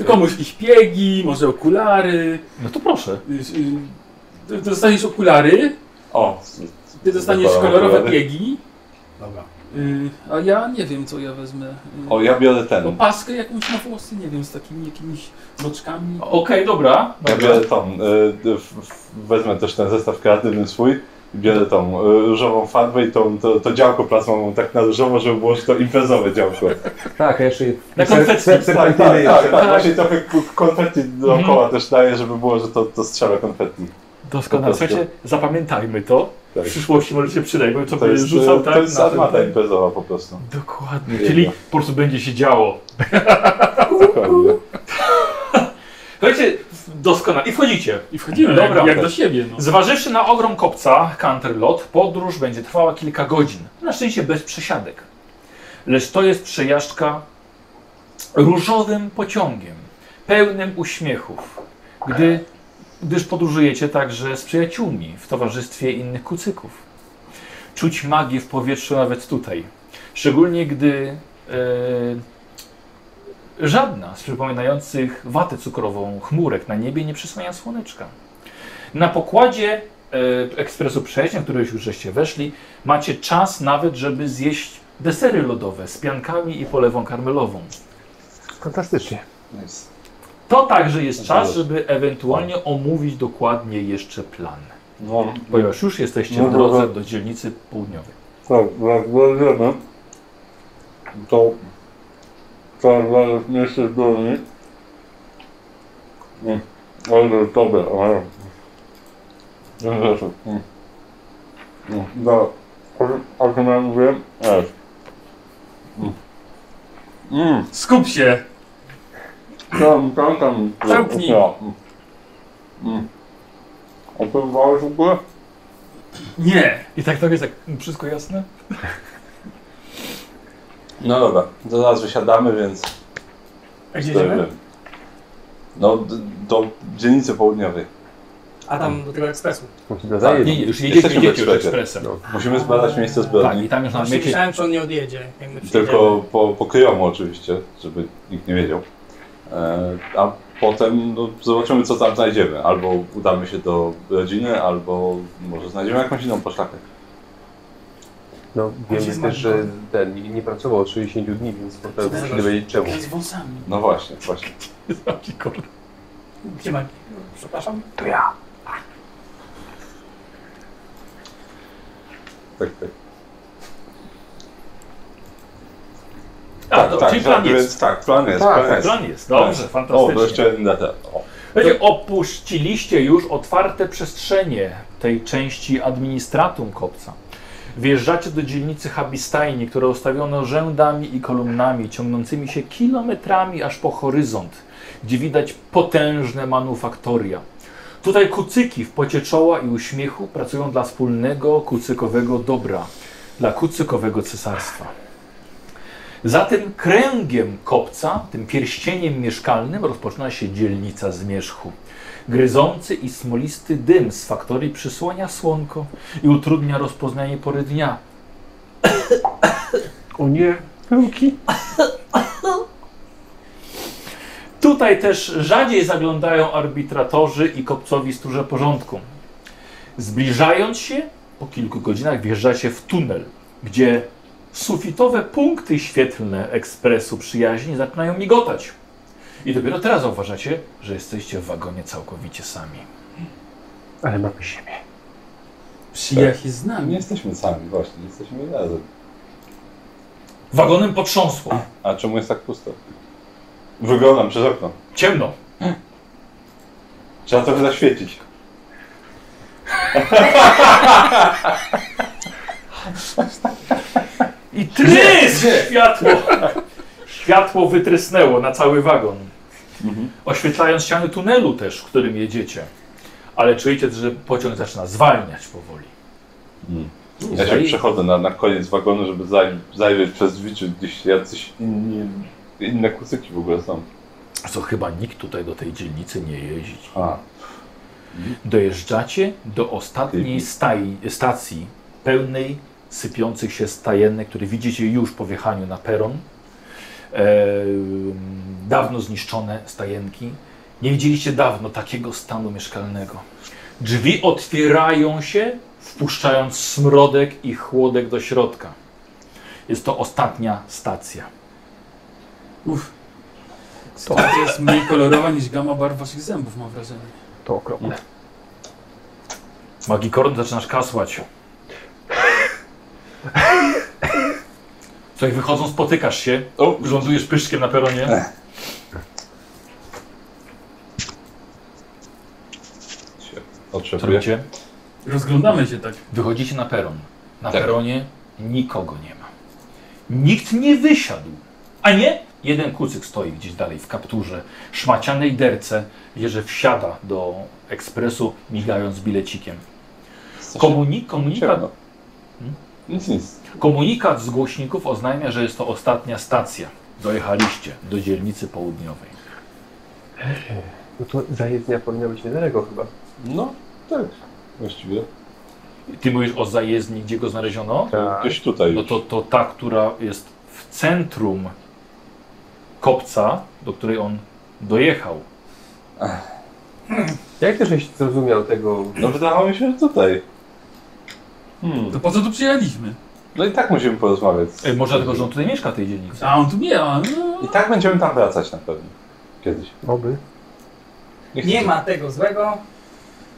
[SPEAKER 2] Komuś ich piegi, może okulary.
[SPEAKER 1] No to proszę.
[SPEAKER 2] Yy, yy, ty dostaniesz okulary,
[SPEAKER 4] O,
[SPEAKER 2] ty dostaniesz
[SPEAKER 4] Zakładam
[SPEAKER 2] kolorowe
[SPEAKER 4] okulary.
[SPEAKER 2] piegi.
[SPEAKER 1] Dobra.
[SPEAKER 2] Yy, a ja nie wiem, co ja wezmę. Yy,
[SPEAKER 4] o ja biorę
[SPEAKER 2] no,
[SPEAKER 4] ten.
[SPEAKER 2] paskę jakąś na włosy, nie wiem, z takimi jakimiś moczkami.
[SPEAKER 1] Okej, dobra.
[SPEAKER 4] Ja
[SPEAKER 1] dobra.
[SPEAKER 4] biorę tą. y, w- w- Wezmę też ten zestaw kreatywny swój. i Biorę tą y, różową farbę i tą, to, to działko plazmową tak na różowo, żeby było że to imprezowe działko.
[SPEAKER 5] Tak, a jeszcze
[SPEAKER 1] Na konfetti.
[SPEAKER 4] Tak, tak, tak, tak. Właśnie trochę ku- konfetti dookoła
[SPEAKER 1] Mhm.
[SPEAKER 4] też daje, żeby było, że to, to strzela konfetti.
[SPEAKER 1] Doskonale.
[SPEAKER 4] Po prostu.
[SPEAKER 1] Słuchajcie, zapamiętajmy to.
[SPEAKER 4] Tak.
[SPEAKER 1] W przyszłości może się przydać, bo co
[SPEAKER 4] To
[SPEAKER 1] by
[SPEAKER 4] jest,
[SPEAKER 1] rzucał
[SPEAKER 4] y,
[SPEAKER 1] tak
[SPEAKER 4] to jest
[SPEAKER 1] na ten-
[SPEAKER 4] armata imprezowa po prostu.
[SPEAKER 1] Dokładnie.
[SPEAKER 4] Jedna.
[SPEAKER 1] Czyli po prostu będzie się działo.
[SPEAKER 4] Dokładnie.
[SPEAKER 1] Słuchajcie, doskonale. I wchodzicie.
[SPEAKER 2] I wchodzimy
[SPEAKER 1] Dobra,
[SPEAKER 2] jak, jak
[SPEAKER 1] tak.
[SPEAKER 2] do siebie. No.
[SPEAKER 1] Zważywszy na ogrom kopca, Canterlot, podróż będzie trwała kilka godzin. Na szczęście bez przesiadek. Lecz to jest przejażdżka różowym pociągiem, pełnym uśmiechów, gdy, gdyż podróżujecie także z przyjaciółmi w towarzystwie innych kucyków. Czuć magię w powietrzu nawet tutaj. Szczególnie gdy e, żadna z przypominających watę cukrową chmurek na niebie nie przysłania słoneczka. Na pokładzie e, ekspresu przejaźnia, w który już żeście weszli, macie czas nawet, żeby zjeść desery lodowe z piankami i polewą karmelową.
[SPEAKER 5] Fantastycznie.
[SPEAKER 4] Nice.
[SPEAKER 1] To także jest czas,
[SPEAKER 4] Dobrze.
[SPEAKER 1] żeby
[SPEAKER 4] Tak.
[SPEAKER 1] ewentualnie omówić dokładnie jeszcze plan.
[SPEAKER 4] No,
[SPEAKER 1] Ponieważ już jesteście
[SPEAKER 4] No
[SPEAKER 1] w drodze
[SPEAKER 4] dobra.
[SPEAKER 1] do dzielnicy południowej.
[SPEAKER 4] tak, jak dojdziemy, to trzeba znaleźć miejsce z broni. Mm, Ale dobra, ale... Rzeczy. mm. Mm, Dobra, a co ja mówię? Ej. Mm. Mm,
[SPEAKER 2] Skup się!
[SPEAKER 4] tam, tam, tam...
[SPEAKER 2] Zamknij.
[SPEAKER 4] Ja. Mm. Mm. A co wywałeś w ogóle?
[SPEAKER 2] Nie!
[SPEAKER 1] I tak to jest, jak wszystko jasne?
[SPEAKER 4] No dobra, to zaraz wysiadamy, więc...
[SPEAKER 3] A Gdzie idziemy?
[SPEAKER 4] No, d- do dzielnicy południowej.
[SPEAKER 3] A tam do tego ekspresu.
[SPEAKER 4] Tak,
[SPEAKER 1] Nie, nie, już jedziecie,
[SPEAKER 4] Jesteśmy No,
[SPEAKER 1] jedziecie już
[SPEAKER 4] we Szwedzie.
[SPEAKER 1] ekspresem.
[SPEAKER 4] Musimy zbadać miejsce
[SPEAKER 1] Tak,
[SPEAKER 4] zbrodni.
[SPEAKER 1] i tam już
[SPEAKER 3] Właśnie
[SPEAKER 1] mamy
[SPEAKER 3] myślałem, czy on nie odjedzie, jak my przyjedziemy.
[SPEAKER 4] Tylko po, po kryjomu oczywiście, żeby nikt nie wiedział. E, a potem no, zobaczymy, co tam znajdziemy. Albo udamy się do rodziny, albo może znajdziemy jakąś inną poszlakę.
[SPEAKER 5] No,
[SPEAKER 2] Gdzie
[SPEAKER 5] wiemy
[SPEAKER 2] jest
[SPEAKER 5] też, że
[SPEAKER 2] Magikon?
[SPEAKER 5] ten nie- nie pracował od 60 dni, więc potem
[SPEAKER 2] Zdarza
[SPEAKER 5] musimy
[SPEAKER 2] się.
[SPEAKER 5] wiedzieć czemu.
[SPEAKER 2] Z wąsami.
[SPEAKER 4] No właśnie, właśnie.
[SPEAKER 1] Tak,
[SPEAKER 3] Gdzie ma... Przepraszam?
[SPEAKER 4] Tak, tak.
[SPEAKER 1] A, to, no, Tak, czyli plan
[SPEAKER 4] Tak, więc
[SPEAKER 1] jest.
[SPEAKER 4] Tak, plan jest.
[SPEAKER 5] Tak,
[SPEAKER 4] plan jest. Tak.
[SPEAKER 1] Plan jest, dobrze,
[SPEAKER 4] O,
[SPEAKER 1] fantastycznie.
[SPEAKER 4] to jeszcze jedna te. O,
[SPEAKER 1] Słuchajcie, opuściliście już otwarte przestrzenie tej części administratum kopca. Wjeżdżacie do dzielnicy Habistajni, które ustawiono rzędami i kolumnami ciągnącymi się kilometrami aż po horyzont, gdzie widać potężne manufaktoria. Tutaj kucyki w pocie czoła i uśmiechu pracują dla wspólnego kucykowego dobra, dla kucykowego cesarstwa. Za tym kręgiem kopca, tym pierścieniem mieszkalnym, rozpoczyna się dzielnica zmierzchu. Gryzący i smolisty dym z faktorii przysłania słonko i utrudnia rozpoznanie pory dnia.
[SPEAKER 5] O nie, luki.
[SPEAKER 1] Tutaj też rzadziej zaglądają arbitratorzy i kopcowi stróże porządku. Zbliżając się, po kilku godzinach wjeżdżacie w tunel, gdzie sufitowe punkty świetlne ekspresu przyjaźni zaczynają migotać I dopiero teraz zauważacie, że jesteście w wagonie całkowicie sami.
[SPEAKER 6] Ale mamy siebie.
[SPEAKER 2] Przyjaźń z
[SPEAKER 4] Nie
[SPEAKER 2] nami.
[SPEAKER 4] jesteśmy sami, właśnie, jesteśmy razem.
[SPEAKER 1] Wagonem potrząsło.
[SPEAKER 4] A czemu jest tak pusto? Wyglądam przez okno.
[SPEAKER 1] Ciemno.
[SPEAKER 4] Trzeba trochę zaświecić.
[SPEAKER 1] I trys! Światło! Światło wytrysnęło na cały wagon. Oświetlając ściany tunelu też, w którym jedziecie. Ale czujecie, że pociąg zaczyna zwalniać powoli.
[SPEAKER 4] Ja się przechodzę na, na koniec wagonu, żeby zaj, zajrzeć przez drzwi, czy gdzieś jacyś inni, inne kusyki w ogóle są.
[SPEAKER 1] Co chyba nikt tutaj do tej dzielnicy nie jeździ.
[SPEAKER 4] A,
[SPEAKER 1] Dojeżdżacie do ostatniej staj, stacji pełnej sypiących się stajennek, które widzicie już po wjechaniu na peron. Ehm, dawno zniszczone stajenki. Nie widzieliście dawno takiego stanu mieszkalnego. Drzwi otwierają się, wpuszczając smrodek i chłodek do środka. Jest to ostatnia stacja.
[SPEAKER 2] Uff. Skóra jest mniej kolorowa niż gama barw waszych zębów, mam wrażenie.
[SPEAKER 6] To okropne.
[SPEAKER 1] Magikorn, zaczynasz kasłać. Co jak wychodzą, spotykasz się,
[SPEAKER 4] O!
[SPEAKER 1] rządujesz pyszkiem na
[SPEAKER 4] E,
[SPEAKER 1] peronie.
[SPEAKER 4] się
[SPEAKER 1] Co
[SPEAKER 4] otrzepuję.
[SPEAKER 1] robicie?
[SPEAKER 2] Rozglądamy się tak.
[SPEAKER 1] Wychodzicie na peron. Na
[SPEAKER 4] Tak.
[SPEAKER 1] peronie nikogo nie ma. Nikt nie wysiadł. A nie? Jeden kucyk stoi gdzieś dalej w kapturze, szmacianej derce, wie, że wsiada do ekspresu, migając bilecikiem. Komuni komunikat
[SPEAKER 4] Ciemno.
[SPEAKER 1] Hmm?
[SPEAKER 4] Nic, nic.
[SPEAKER 1] Komunikat z głośników oznajmia, że jest to ostatnia stacja. Dojechaliście do dzielnicy południowej.
[SPEAKER 5] No to zajezdnia powinna być niedaleko chyba.
[SPEAKER 4] No, tak. Właściwie.
[SPEAKER 1] Ty mówisz o zajezdni, gdzie go znaleziono?
[SPEAKER 5] Tak.
[SPEAKER 4] Gdzieś tutaj
[SPEAKER 1] No
[SPEAKER 4] już.
[SPEAKER 1] to, to ta, która jest w centrum kopca, do której on dojechał.
[SPEAKER 5] Jak ty żeś zrozumiał tego?
[SPEAKER 4] No wydawało mi się, że tutaj. Hmm.
[SPEAKER 2] To po co tu przyjechaliśmy?
[SPEAKER 4] No i tak musimy porozmawiać.
[SPEAKER 1] E, Może dlatego, że on tutaj mieszka w tej dzielnicy.
[SPEAKER 2] A on tu nie ma. No.
[SPEAKER 4] I tak będziemy tam wracać na pewno. Kiedyś.
[SPEAKER 6] Oby.
[SPEAKER 4] Nie, chcę
[SPEAKER 3] Nie
[SPEAKER 4] tu-
[SPEAKER 3] ma tego złego.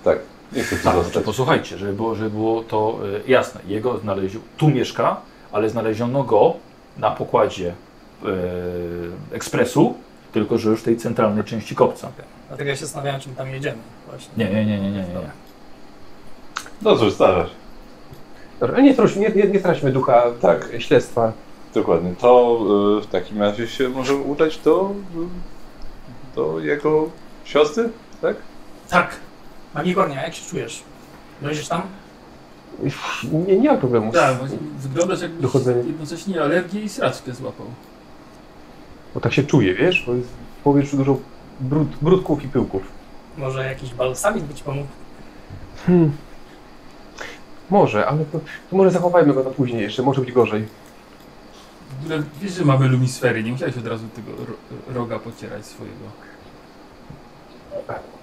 [SPEAKER 4] Tak. Nie chcę tu
[SPEAKER 1] Tak,
[SPEAKER 4] zostać.
[SPEAKER 1] posłuchajcie, żeby było, żeby było to e, jasne. Jego znaleźli, tu mieszka, ale znaleziono go na pokładzie e, ekspresu, tylko że już w tej centralnej części kopca.
[SPEAKER 3] Dlatego ja się zastanawiałem, czym tam jedziemy. Właśnie.
[SPEAKER 1] Nie, nie, nie, nie, nie. nie.
[SPEAKER 4] No cóż, starasz.
[SPEAKER 5] Dobra, nie, truś, nie, nie, nie traćmy ducha
[SPEAKER 4] Tak.
[SPEAKER 5] śledztwa.
[SPEAKER 4] Dokładnie. To y, w takim razie się możemy udać do, y, do jego siostry, tak?
[SPEAKER 3] Tak. Magikornia, jak się czujesz? Dojdziesz tam?
[SPEAKER 5] Uff, Nie, nie ma problemu.
[SPEAKER 2] Tak, właśnie wyglądasz jakbyś
[SPEAKER 5] Dochodzenie.
[SPEAKER 2] jednocześnie alergię i sraczkę złapał.
[SPEAKER 5] Bo tak się czuję, wiesz? Bo jest w powietrzu dużo brud, brudków i pyłków.
[SPEAKER 3] Może jakiś balsamik by ci pomógł?
[SPEAKER 5] Może, ale to, to może zachowajmy go na później jeszcze, może być gorzej.
[SPEAKER 2] W ogóle wiesz, że mamy lumisfery, nie musiałeś od razu tego ro- roga pocierać swojego.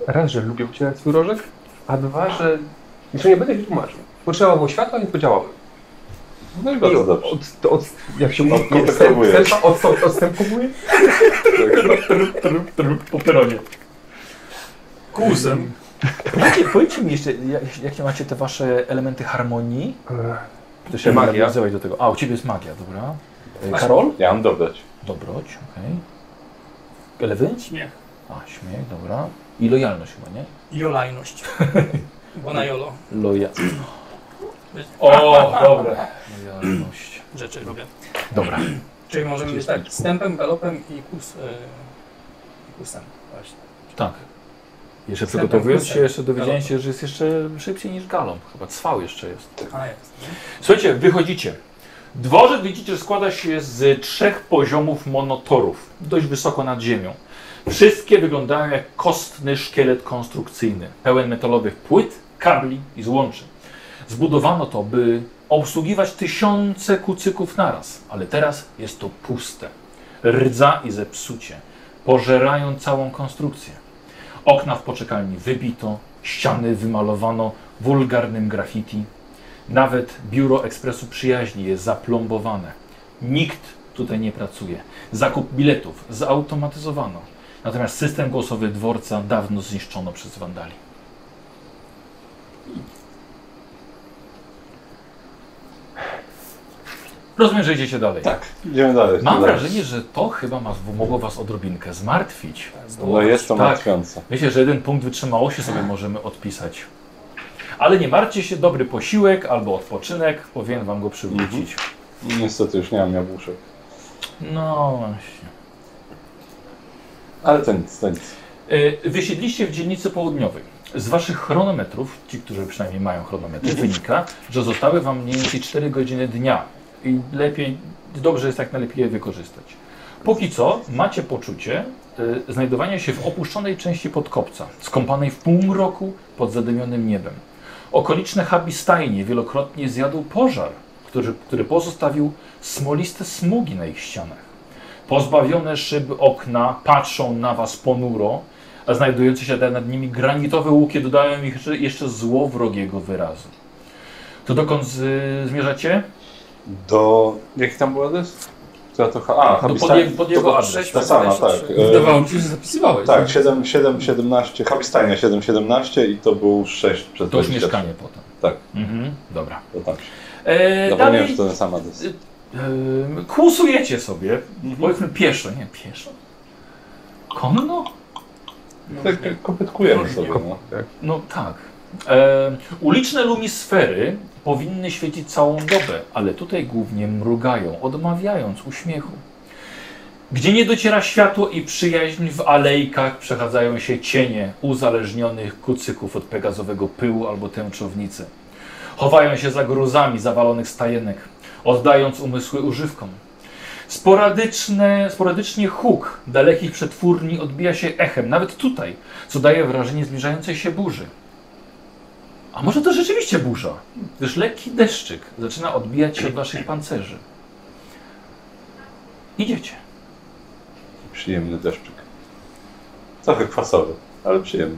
[SPEAKER 5] Raz, że lubię ucinać swój rożek, a dwa, że... Jeszcze nie będę się tłumaczył. Potrzeba było światła, więc podziałały.
[SPEAKER 4] No i bardzo
[SPEAKER 5] od,
[SPEAKER 4] dobrze.
[SPEAKER 5] od, od, jak się mówi,
[SPEAKER 4] Odkontaktowuję.
[SPEAKER 5] odstęp- odstąp- odstępowuję?
[SPEAKER 1] Po peronie.
[SPEAKER 2] Kłusem.
[SPEAKER 1] Jakie, powiedzcie mi jeszcze, jak- jakie macie te wasze elementy harmonii? To się
[SPEAKER 5] Magia.
[SPEAKER 1] nawiązywać do tego. A, u ciebie jest magia, dobra. E, Karol?
[SPEAKER 4] Ja mam dobrać.
[SPEAKER 1] Dobroć, okej. Okay. Lewy?
[SPEAKER 2] Śmiech.
[SPEAKER 1] A, śmiech, dobra. I lojalność chyba, nie?
[SPEAKER 3] Jolajność. Bo na jolo
[SPEAKER 1] Loja... O, dobra. Lojalność.
[SPEAKER 3] rzeczy robię.
[SPEAKER 1] Dobra.
[SPEAKER 3] Czyli możemy być tak, stępem, galopem i kus, yy, kusem. Właśnie.
[SPEAKER 1] Tak. Jeszcze
[SPEAKER 3] Jestem
[SPEAKER 1] przygotowując
[SPEAKER 3] plusem.
[SPEAKER 1] się, jeszcze dowiedziałem się, że jest jeszcze szybciej niż galon. Chyba cwał jeszcze jest.
[SPEAKER 3] A jest.
[SPEAKER 1] Słuchajcie, wychodzicie. Dworzec widzicie, że składa się z trzech poziomów monotorów, dość wysoko nad ziemią. Wszystkie wyglądają jak kostny szkielet konstrukcyjny, pełen metalowych płyt, kabli i złączy. Zbudowano to, by obsługiwać tysiące kucyków naraz, ale teraz jest to puste. Rdza i zepsucie pożerają całą konstrukcję. Okna w poczekalni wybito, ściany wymalowano wulgarnym graffiti, nawet biuro ekspresu przyjaźni jest zaplombowane. Nikt tutaj nie pracuje. Zakup biletów zautomatyzowano. Natomiast system głosowy dworca dawno zniszczono przez wandali. Rozumiem, że idziecie dalej.
[SPEAKER 4] Tak, idziemy dalej.
[SPEAKER 1] Mam
[SPEAKER 4] Dalej.
[SPEAKER 1] wrażenie, że to chyba ma, mogło was odrobinkę zmartwić.
[SPEAKER 4] No jest to
[SPEAKER 1] Tak.
[SPEAKER 4] martwiące.
[SPEAKER 1] Myślę, że jeden punkt wytrzymałości sobie możemy odpisać. Ale nie martwcie się, dobry posiłek albo odpoczynek, powinien wam go przywrócić.
[SPEAKER 4] Niestety już nie mam jabłuszek.
[SPEAKER 1] No właśnie.
[SPEAKER 4] Ale to nic, to nic.
[SPEAKER 1] E, Wysiedliście w dzielnicy południowej. Z waszych chronometrów, ci, którzy przynajmniej mają chronometry, wynika, że zostały wam mniej więcej 4 godziny dnia. I lepiej, dobrze jest tak najlepiej je wykorzystać. Póki co macie poczucie e, znajdowania się w opuszczonej części podkopca, skąpanej w półmroku pod zadymionym niebem. Okoliczne hubi stajnie wielokrotnie zjadł pożar, który, który pozostawił smoliste smugi na ich ścianach. Pozbawione szyb okna patrzą na was ponuro, a znajdujące się nad nimi granitowe łuki dodają ich jeszcze- jeszcze złowrogiego wyrazu. To dokąd z, zmierzacie?
[SPEAKER 4] Do... Jaki tam był adres? Która to... ha- A,
[SPEAKER 1] Do, No, pod,
[SPEAKER 4] Habistan...
[SPEAKER 1] je, pod jego adres.
[SPEAKER 4] Ta sama, tak. E,
[SPEAKER 2] Wydawało mi się, że zapisywałeś.
[SPEAKER 4] tak, 7, 7, 17, Habistania 7, 17 i to był 6 przed
[SPEAKER 1] To już
[SPEAKER 4] wejściem.
[SPEAKER 1] mieszkanie potem.
[SPEAKER 4] Tak.
[SPEAKER 1] Mhm, dobra.
[SPEAKER 4] To tam się.
[SPEAKER 1] E,
[SPEAKER 4] Zapomniałem,
[SPEAKER 1] dalej
[SPEAKER 4] tak. że to ten sam adres.
[SPEAKER 1] Ym, Kłusujecie sobie, powiedzmy pieszo, nie pieszo? Konno?
[SPEAKER 4] Tak, kopytkujemy sobie, no.
[SPEAKER 1] No tak. E, uliczne lumisfery powinny świecić całą dobę, ale tutaj głównie mrugają, odmawiając uśmiechu. Gdzie nie dociera światło i przyjaźń, w alejkach przechadzają się cienie uzależnionych kucyków od pegazowego pyłu albo tęczownicy. Chowają się za gruzami zawalonych stajenek, oddając umysły używkom. Sporadyczne, sporadycznie huk dalekich przetwórni odbija się echem, nawet tutaj, co daje wrażenie zbliżającej się burzy. A może to rzeczywiście burza, gdyż lekki deszczyk zaczyna odbijać się od waszych pancerzy. Idziecie.
[SPEAKER 4] Przyjemny deszczyk. Trochę kwasowy, ale przyjemny.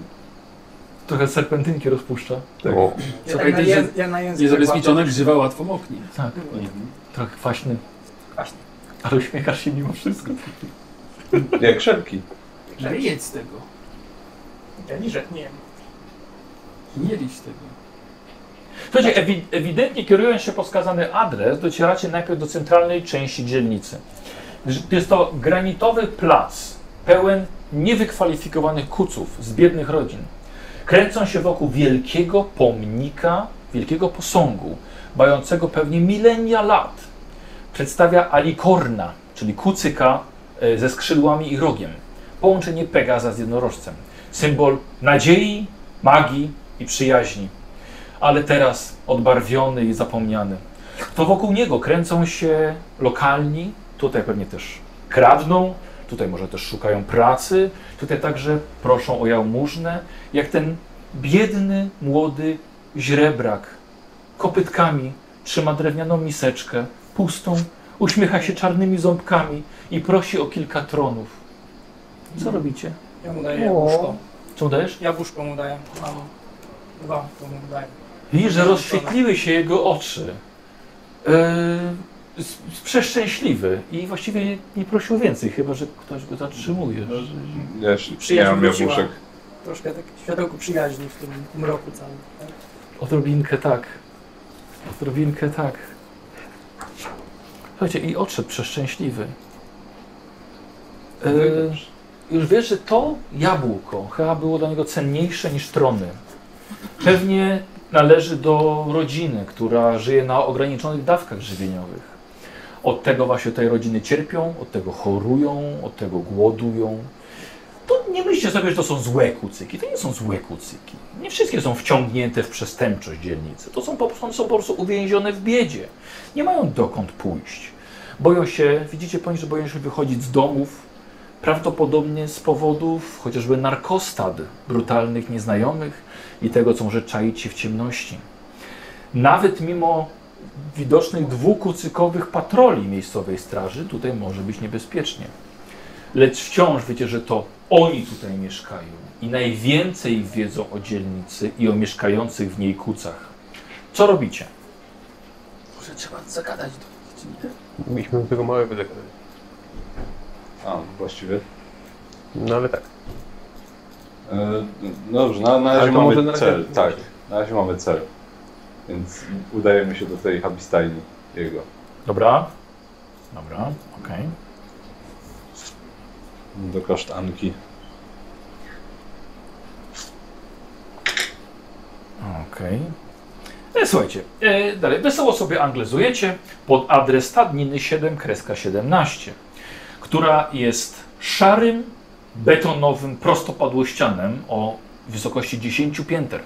[SPEAKER 1] Trochę serpentynki rozpuszcza.
[SPEAKER 5] O,
[SPEAKER 2] Co powiedzieć, że
[SPEAKER 3] ja na język
[SPEAKER 2] niezabezpieczona grzywa łatwo moknie.
[SPEAKER 1] Tak. Trochę kwaśny. Ale uśmiechasz się mimo wszystko.
[SPEAKER 4] Jak szybki.
[SPEAKER 2] Ale jedz z tego.
[SPEAKER 3] Ja nie żetniem.
[SPEAKER 2] Nie liść tego.
[SPEAKER 1] Słuchajcie, ewi ewidentnie kierując się po wskazany adres, docieracie najpierw do centralnej części dzielnicy. Grz- Jest to granitowy plac, pełen niewykwalifikowanych kuców z biednych rodzin. Kręcą się wokół wielkiego pomnika, wielkiego posągu, mającego pewnie milenia lat. Przedstawia alikorna, czyli kucyka e, ze skrzydłami i rogiem. Połączenie Pegaza z jednorożcem. Symbol nadziei, magii i przyjaźni ale teraz odbarwiony i zapomniany. To wokół niego kręcą się lokalni, tutaj pewnie też kradną, tutaj może też szukają pracy, tutaj także proszą o jałmużnę, jak ten biedny, młody źrebrak kopytkami trzyma drewnianą miseczkę, pustą, uśmiecha się czarnymi ząbkami i prosi o kilka tronów. Co robicie?
[SPEAKER 3] Ja mu daję jabłuszko.
[SPEAKER 1] Co dajesz?
[SPEAKER 3] Jabłuszko mu daję. Mam dwa, to mu daję.
[SPEAKER 1] Widzisz, że rozświetliły się jego oczy. Yy, s- s- przeszczęśliwy i właściwie nie prosił więcej, chyba że ktoś go zatrzymuje.
[SPEAKER 4] No, Ja jeszcze nie
[SPEAKER 3] Przyjaźń
[SPEAKER 4] mam
[SPEAKER 3] wróciła.
[SPEAKER 4] jabłuszek.
[SPEAKER 3] Troszkę tak światełko przyjaźni w tym mroku całym. tak?
[SPEAKER 1] Odrobinkę tak. Odrobinkę tak. Słuchajcie, i odszedł przeszczęśliwy. Yy, już wiesz, że to jabłko chyba było dla niego cenniejsze niż trony. Pewnie należy do rodziny, która żyje na ograniczonych dawkach żywieniowych. Od tego właśnie tej rodziny cierpią, od tego chorują, od tego głodują. To nie myślcie sobie, że to są złe kucyki. To nie są złe kucyki. Nie wszystkie są wciągnięte w przestępczość dzielnicy. To są po, są, są po prostu uwięzione w biedzie. Nie mają dokąd pójść. Boją się, widzicie po nich, że boją się wychodzić z domów, Prawdopodobnie z powodów chociażby narkostad, brutalnych nieznajomych i tego, co może czaić się w ciemności. Nawet mimo widocznych dwukucykowych patroli miejscowej straży, tutaj może być niebezpiecznie. Lecz wciąż wiecie, że to oni tutaj mieszkają i najwięcej wiedzą o dzielnicy i o mieszkających w niej kucach. Co robicie?
[SPEAKER 2] Może trzeba zagadać do nich, czy nie?
[SPEAKER 5] mieliśmy do tego małe wyzwanie.
[SPEAKER 4] A, właściwie.
[SPEAKER 6] No ale tak.
[SPEAKER 4] E, No dobrze, na, na razie
[SPEAKER 5] Ale to
[SPEAKER 4] mamy
[SPEAKER 5] może na razie-
[SPEAKER 4] cel, tak. Na razie mamy cel. Więc udajemy się do tej habistajni jego.
[SPEAKER 1] Dobra. Dobra, okej.
[SPEAKER 4] Do kasztanki.
[SPEAKER 1] Okej. E, Słuchajcie, e, dalej. Wesoło sobie anglizujecie pod adres Tadniny 7, kreska 17, która jest szarym, betonowym prostopadłościanem o wysokości 10 pięter.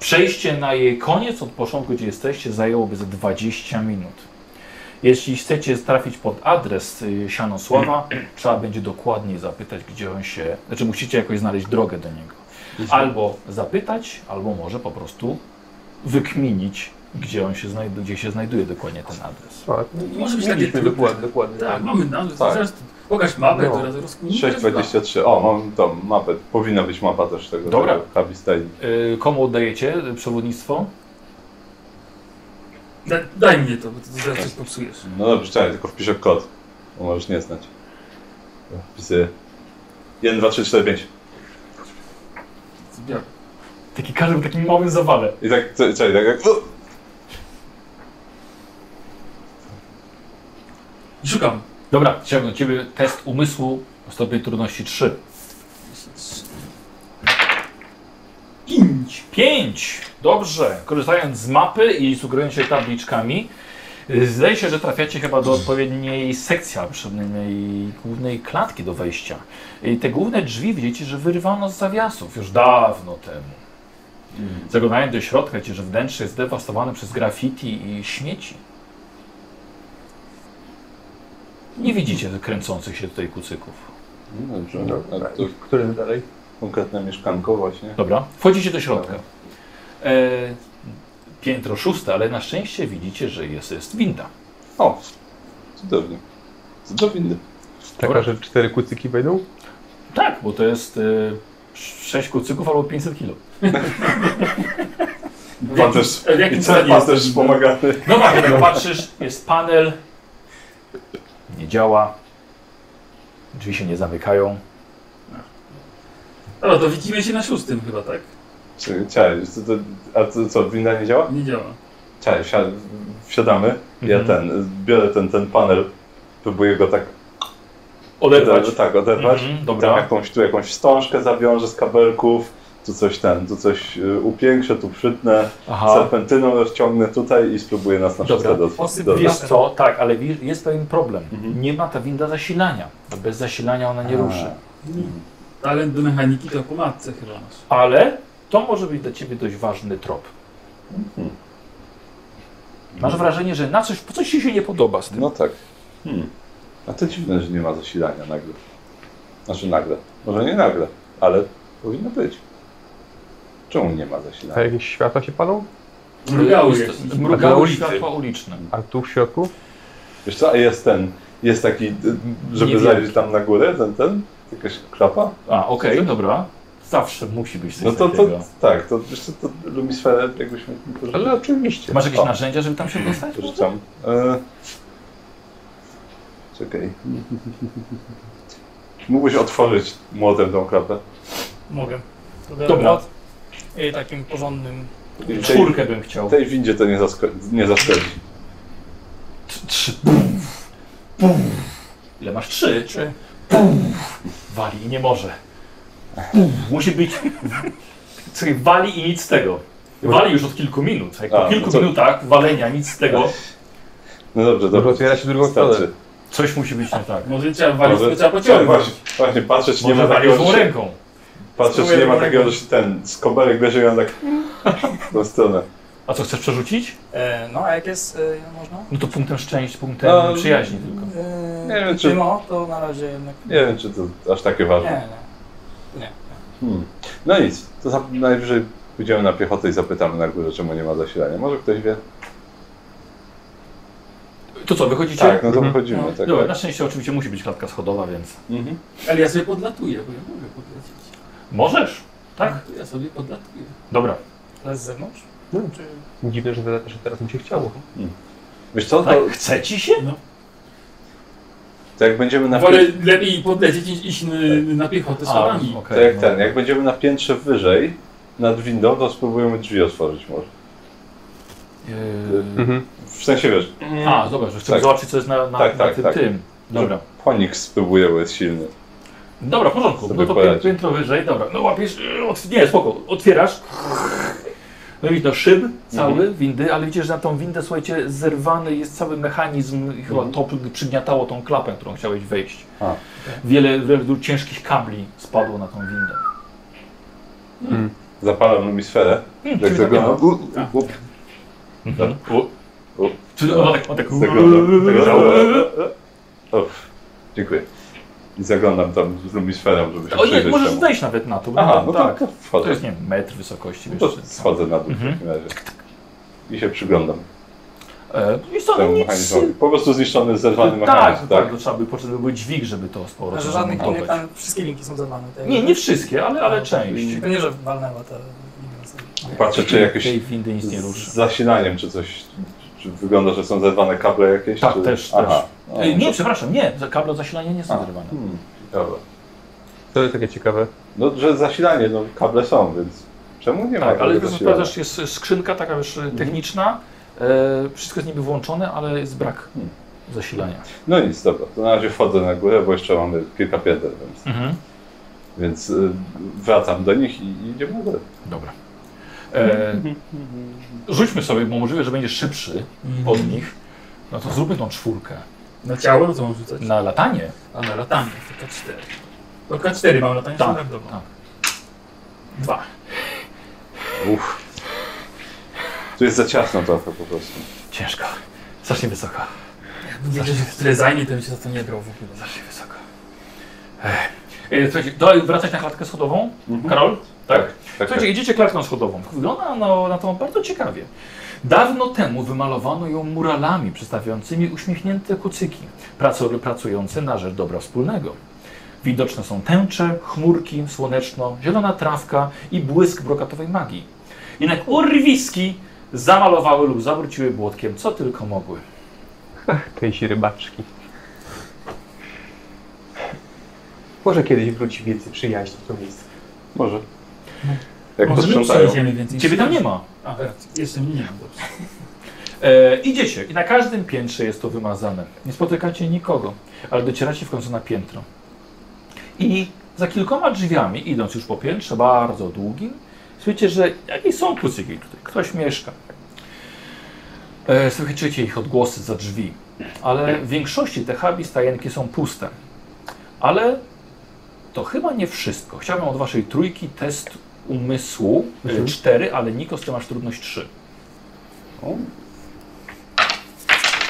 [SPEAKER 1] Przejście na jej koniec od początku, gdzie jesteście, zajęłoby ze 20 minut. Jeśli chcecie trafić pod adres y, Sianosława, trzeba będzie dokładniej zapytać, gdzie on się. Znaczy, musicie jakoś znaleźć drogę do niego albo zapytać, albo może po prostu wykminić, gdzie on się znajduje, gdzie się znajduje dokładnie ten adres.
[SPEAKER 5] A,
[SPEAKER 2] Może być takie
[SPEAKER 5] mieliśmy
[SPEAKER 2] trudne.
[SPEAKER 5] no, dokładnie, dokładnie.
[SPEAKER 2] Tak, mamy nazwę.
[SPEAKER 4] Tak.
[SPEAKER 2] Zaraz pokaż mapę,
[SPEAKER 5] No.
[SPEAKER 2] to teraz rozkminimy.
[SPEAKER 4] 6,23. O, mam tą mapę. Powinna być mapa też tego.
[SPEAKER 1] Dobra.
[SPEAKER 4] tego Habistajni.
[SPEAKER 1] Yy, komu oddajecie y, przewodnictwo?
[SPEAKER 2] Da, daj mnie to, bo to zaraz coś popsujesz.
[SPEAKER 4] No dobrze, czekaj, tylko wpiszę kod. Bo możesz nie znać. Wpisuję. 1, 2, 3, 4, 5.
[SPEAKER 2] Ja-
[SPEAKER 1] Taki każdy w takim małym zawale.
[SPEAKER 4] I tak, czekaj, tak jak...
[SPEAKER 2] Szukam.
[SPEAKER 1] Dobra, chciałbym do ciebie test umysłu o stopień trudności 3.
[SPEAKER 2] Pięć.
[SPEAKER 1] 5! Dobrze, korzystając z mapy i sugerując się tabliczkami, y, zdaje się, że trafiacie chyba do odpowiedniej sekcji, a przynajmniej głównej klatki do wejścia. I te główne drzwi widzicie, że wyrywano z zawiasów już dawno temu. Zaglądając do środka, widzicie, że wnętrze jest dewastowane przez graffiti i śmieci. Nie widzicie kręcących się tutaj kucyków.
[SPEAKER 4] No dobrze.
[SPEAKER 5] Dobra.
[SPEAKER 4] A to
[SPEAKER 5] Którym dalej?
[SPEAKER 4] konkretne mieszkanko właśnie.
[SPEAKER 1] Dobra, wchodzicie do środka.
[SPEAKER 4] Dobra.
[SPEAKER 1] E, piętro szóste, ale na szczęście widzicie, że jest, jest winda.
[SPEAKER 4] O, cudownie. Cudownie.
[SPEAKER 6] Taka, że cztery kucyki wejdą?
[SPEAKER 1] Tak, bo to jest y, 6 kucyków albo 500 kilo.
[SPEAKER 4] Pan też,
[SPEAKER 2] W jakim
[SPEAKER 4] i
[SPEAKER 2] stanie
[SPEAKER 4] ten pan
[SPEAKER 2] jesteś?
[SPEAKER 4] też pomagany.
[SPEAKER 1] No właśnie, jak patrzysz, jest panel, nie działa, drzwi się nie zamykają.
[SPEAKER 2] Dobra, to widzimy się na szóstym chyba, tak?
[SPEAKER 4] Czekaj, Czekaj, co to, a co, co, winda nie działa?
[SPEAKER 2] Nie działa.
[SPEAKER 4] Czekaj, wsia- wsiadamy.
[SPEAKER 1] Mhm.
[SPEAKER 4] Ja ten, biorę ten, ten panel, próbuję go tak
[SPEAKER 1] Oderwać.
[SPEAKER 4] Tak, oderwać.
[SPEAKER 1] Mhm,
[SPEAKER 4] Tam
[SPEAKER 1] dobra.
[SPEAKER 4] Tak, jakąś, tu jakąś wstążkę zawiążę z kabelków, tu coś ten, tu coś y, upiększę, tu przytnę,
[SPEAKER 1] Aha.
[SPEAKER 4] serpentyną rozciągnę tutaj i spróbuję nas na
[SPEAKER 1] Dobra.
[SPEAKER 4] szóstkę do,
[SPEAKER 2] Posyp
[SPEAKER 4] do,
[SPEAKER 1] Wiesz co, tak, ale wi- jest pewien problem.
[SPEAKER 4] Mhm.
[SPEAKER 1] Nie ma ta winda zasilania. Bez zasilania ona nie
[SPEAKER 4] A.
[SPEAKER 1] ruszy.
[SPEAKER 2] Talent do mechaniki to po matce chyba masz.
[SPEAKER 1] Ale to może być dla ciebie dość ważny trop.
[SPEAKER 4] Mhm.
[SPEAKER 1] Masz wrażenie, że na coś, coś ci się nie podoba z tym.
[SPEAKER 4] No tak. Hmm. A to dziwne, że nie ma zasilania nagle. Znaczy nagle. Może nie nagle, ale powinno być. Czemu nie ma
[SPEAKER 6] A
[SPEAKER 4] zasilania?
[SPEAKER 6] jakieś światła się palą?
[SPEAKER 4] No,
[SPEAKER 2] Mrugały
[SPEAKER 1] Jest-
[SPEAKER 2] jakiś.
[SPEAKER 1] Mrugały
[SPEAKER 6] ulicy.
[SPEAKER 1] światła uliczne.
[SPEAKER 6] A tu w środku?
[SPEAKER 4] Wiesz co, a jest ten, jest taki, y, żeby
[SPEAKER 1] Niewielki.
[SPEAKER 4] zajrzeć tam na górę, ten, ten, jakaś klapa?
[SPEAKER 1] A, okej, dobra. Znaczy, Zawsze musi być coś
[SPEAKER 4] No to, to
[SPEAKER 1] takiego.
[SPEAKER 4] tak, to wiesz co, to lumisferę jakbyśmy...
[SPEAKER 6] Ale oczywiście.
[SPEAKER 1] Masz jakieś
[SPEAKER 4] O.
[SPEAKER 1] narzędzia, żeby tam się dostać?
[SPEAKER 4] Rzucam. E... Czekaj. Mógłbyś otworzyć młotem tą klapę.
[SPEAKER 3] Mogę. To
[SPEAKER 1] Dobra.
[SPEAKER 3] I takim porządnym.
[SPEAKER 4] I tej,
[SPEAKER 1] Czwórkę bym chciał.
[SPEAKER 4] tej windzie to nie, zasko- nie zaszkodzi.
[SPEAKER 1] Tr- Trzy. Bum. Bum. Ile masz? Trzy.
[SPEAKER 3] Trzy.
[SPEAKER 1] Bum. Wali i nie może. Bum. Musi być... Słuchaj, wali i nic z tego. Wali już od kilku minut. Jak po
[SPEAKER 4] A, no
[SPEAKER 1] kilku
[SPEAKER 4] co-
[SPEAKER 1] minutach walenia, nic z tego,
[SPEAKER 4] No dobrze,
[SPEAKER 6] Dobrze,
[SPEAKER 4] dobrze.
[SPEAKER 6] otwiera się w drugą stronę.
[SPEAKER 4] Starczy.
[SPEAKER 1] coś musi być nie tak.
[SPEAKER 2] Może trzeba walić,
[SPEAKER 4] Może-
[SPEAKER 2] to trzeba
[SPEAKER 4] Chciałem
[SPEAKER 2] pociągnąć.
[SPEAKER 4] właśnie, właśnie patrzeć, czy nie
[SPEAKER 1] Może
[SPEAKER 4] ma
[SPEAKER 1] wali
[SPEAKER 4] takiego,
[SPEAKER 1] złą
[SPEAKER 4] że,
[SPEAKER 1] ręką.
[SPEAKER 4] patrzeć, czy nie ma takiego, że się ten skobelek bierze i on tak w tą stronę.
[SPEAKER 1] A co, chcesz przerzucić?
[SPEAKER 3] E, no a jak jest, e, można?
[SPEAKER 1] No to punktem szczęścia, punktem
[SPEAKER 4] No,
[SPEAKER 1] przyjaźni tylko.
[SPEAKER 3] E,
[SPEAKER 4] Nie wiem, czy-
[SPEAKER 3] No, to na razie jednak.
[SPEAKER 4] Nie wiem, czy to aż takie
[SPEAKER 3] Nie,
[SPEAKER 4] ważne.
[SPEAKER 3] nie.
[SPEAKER 4] Hmm. No nic, to za- najwyżej pójdziemy na piechotę i zapytamy na górze, czemu nie ma zasilania. Może ktoś wie?
[SPEAKER 1] To co, wychodzicie?
[SPEAKER 4] Tak, no to
[SPEAKER 6] Mhm.
[SPEAKER 4] wychodzimy.
[SPEAKER 2] No,
[SPEAKER 4] tak,
[SPEAKER 1] Dobra, na
[SPEAKER 4] tak.
[SPEAKER 1] szczęście oczywiście musi być klatka schodowa, więc...
[SPEAKER 4] Mhm.
[SPEAKER 2] Ale ja sobie podlatuję, bo ja mogę podlecieć.
[SPEAKER 1] Możesz? Tak?
[SPEAKER 2] To Ja sobie podlatuję.
[SPEAKER 1] Dobra.
[SPEAKER 3] Ale z zewnątrz?
[SPEAKER 1] No.
[SPEAKER 3] Czy...
[SPEAKER 6] Dziwne, że, te- że teraz mi się chciało.
[SPEAKER 4] Wiesz co,
[SPEAKER 1] Tak?
[SPEAKER 4] No to
[SPEAKER 1] Chce ci się?
[SPEAKER 2] No.
[SPEAKER 4] To jak będziemy na
[SPEAKER 2] Wolę
[SPEAKER 4] piętrze,
[SPEAKER 2] lepiej podlecieć niż iść n- na piechotę schodami.
[SPEAKER 1] okej,
[SPEAKER 4] to jak
[SPEAKER 1] no.
[SPEAKER 4] ten, jak będziemy na piętrze wyżej, nad windą, to spróbujemy drzwi otworzyć może.
[SPEAKER 1] Yy,
[SPEAKER 5] Mhm.
[SPEAKER 4] W sensie wiesz,
[SPEAKER 1] A, dobra, że chcemy
[SPEAKER 4] Tak.
[SPEAKER 1] zobaczyć, co jest na, na,
[SPEAKER 4] Tak,
[SPEAKER 1] na
[SPEAKER 4] tak,
[SPEAKER 1] tym,
[SPEAKER 4] tak.
[SPEAKER 1] tym. Dobra.
[SPEAKER 4] ponik spróbuje, bo jest silny.
[SPEAKER 1] Dobra, w porządku.
[SPEAKER 4] Sobie
[SPEAKER 1] No to pię-
[SPEAKER 4] poradzi.
[SPEAKER 1] piętro wyżej, dobra. No łapiesz, yy, otw- nie, spoko, otwierasz. No i no szyb cały
[SPEAKER 4] Mhm.
[SPEAKER 1] windy, ale widzisz, że na tą windę, słuchajcie, zerwany jest cały mechanizm i chyba to przygniatało tą klapę, którą chciałeś wejść.
[SPEAKER 4] Mhm. A.
[SPEAKER 1] Wiele, wielu ciężkich kabli spadło na tą windę.
[SPEAKER 4] Zapalam lumisferę.
[SPEAKER 1] Hmm,
[SPEAKER 4] Jak zaglądam. u- u-
[SPEAKER 2] Tak.
[SPEAKER 4] u-
[SPEAKER 1] Mhm.
[SPEAKER 4] U.
[SPEAKER 1] Czyli ona tak, ona tak...
[SPEAKER 4] Zaglądam. zaglądam. Uff, dziękuję. I zaglądam tam z lumisferą, żeby się
[SPEAKER 1] O nie,
[SPEAKER 4] przyjrzeć
[SPEAKER 1] możesz
[SPEAKER 4] temu.
[SPEAKER 1] zejść nawet na to. bo
[SPEAKER 4] Aha,
[SPEAKER 1] nawet
[SPEAKER 4] no tak,
[SPEAKER 1] tak.
[SPEAKER 4] to
[SPEAKER 1] To
[SPEAKER 4] wchodzę.
[SPEAKER 1] jest, nie wiem, metr wysokości.
[SPEAKER 4] No
[SPEAKER 1] wiesz,
[SPEAKER 4] to
[SPEAKER 1] czy tam.
[SPEAKER 4] schodzę na dół w
[SPEAKER 1] Mhm.
[SPEAKER 4] takim razie. I się przyglądam
[SPEAKER 1] E, I co, no
[SPEAKER 4] temu
[SPEAKER 1] nic...
[SPEAKER 4] mechanizmowi. Po prostu zniszczony, zerwany
[SPEAKER 1] Tak,
[SPEAKER 4] mechanizm,
[SPEAKER 1] tak,
[SPEAKER 4] tak?
[SPEAKER 1] tak, to trzeba by potrzebny był dźwig, żeby to sporo
[SPEAKER 3] Że żadnych
[SPEAKER 1] zamontować.
[SPEAKER 3] linek, a wszystkie linki są zerwane. Te-
[SPEAKER 1] Nie, nie wszystkie, ale, ale część.
[SPEAKER 3] To nie, że walnęła ta linka. sobie.
[SPEAKER 4] tak? Patrzę, czy jakieś
[SPEAKER 1] Tej windy nic nie ruszy.
[SPEAKER 4] z zasilaniem, czy coś, czy wygląda, że są zerwane kable jakieś?
[SPEAKER 1] Tak,
[SPEAKER 4] czy...
[SPEAKER 1] też,
[SPEAKER 4] Aha. No,
[SPEAKER 1] Ej, no- nie,
[SPEAKER 4] to-
[SPEAKER 1] przepraszam, nie, za- kable od zasilania nie są
[SPEAKER 4] A.
[SPEAKER 1] zerwane.
[SPEAKER 4] Hmm, dobra.
[SPEAKER 5] To jest takie ciekawe.
[SPEAKER 4] No, że zasilanie, no kable są, więc czemu nie ma
[SPEAKER 1] Tak, ale
[SPEAKER 4] tego
[SPEAKER 1] to
[SPEAKER 4] zasilania?
[SPEAKER 1] sprawdzasz, jest skrzynka taka wiesz, techniczna, e, wszystko jest niby włączone, ale jest brak
[SPEAKER 4] Hmm.
[SPEAKER 1] zasilania.
[SPEAKER 4] No nic, dobra, to na razie wchodzę na górę, bo jeszcze mamy kilka pięter, więc,
[SPEAKER 1] Mhm.
[SPEAKER 4] więc y, wracam do nich i, i idziemy na górę.
[SPEAKER 1] Dobra. E, rzućmy sobie, bo możliwe, że będziesz szybszy od nich. No to zróbmy tą czwórkę.
[SPEAKER 2] Na ciało no to mam rzucać.
[SPEAKER 1] Na latanie.
[SPEAKER 2] A na latanie, to K4. To K4 mam latanie
[SPEAKER 1] Tak,
[SPEAKER 2] standardowo.
[SPEAKER 1] tak. Dwa.
[SPEAKER 4] Uff. Tu jest za ciasno trochę po prostu.
[SPEAKER 1] Ciężko. Strasznie wysoko. Tak.
[SPEAKER 2] Jakbym wiedział, że tyle zajmie, to bym się za to nie brał w ogóle.
[SPEAKER 1] Strasznie wysoko. Ech. E, słuchajcie, dalej wracać na klatkę schodową? Karol? Tak.
[SPEAKER 4] Mhm. tak, tak.
[SPEAKER 1] Słuchajcie, idziecie klatką schodową. Wygląda na, na to bardzo ciekawie. Dawno temu wymalowano ją muralami przedstawiającymi uśmiechnięte kucyki, praco- pracujące na rzecz dobra wspólnego. Widoczne są tęcze, chmurki, słoneczno, zielona trawka i błysk brokatowej magii. Jednak urwiski zamalowały lub zawróciły błotkiem, co tylko mogły.
[SPEAKER 6] Tejsi rybaczki.
[SPEAKER 5] Może kiedyś wróci więcej przyjaźni w to miejsce.
[SPEAKER 4] Może. Jak
[SPEAKER 2] Może my
[SPEAKER 4] posprzątają.
[SPEAKER 2] przyniesiemy więcej.
[SPEAKER 1] Ciebie tam nie ma.
[SPEAKER 2] A, racja. jeszcze mnie nie mam, dobrze.
[SPEAKER 1] E, idziecie i na każdym piętrze jest to wymazane. Nie spotykacie nikogo, ale docieracie w końcu na piętro. I za kilkoma drzwiami, idąc już po piętrze, bardzo długim, słyszycie, że jakieś są kucyki tutaj, ktoś mieszka. E, słyszycie ich odgłosy za drzwi, ale w większości te hubi stajenki są puste. Ale to chyba nie wszystko. Chciałbym od waszej trójki test umysłu
[SPEAKER 4] Mhm.
[SPEAKER 1] e, cztery, ale Nikos, ty masz trudność trzy.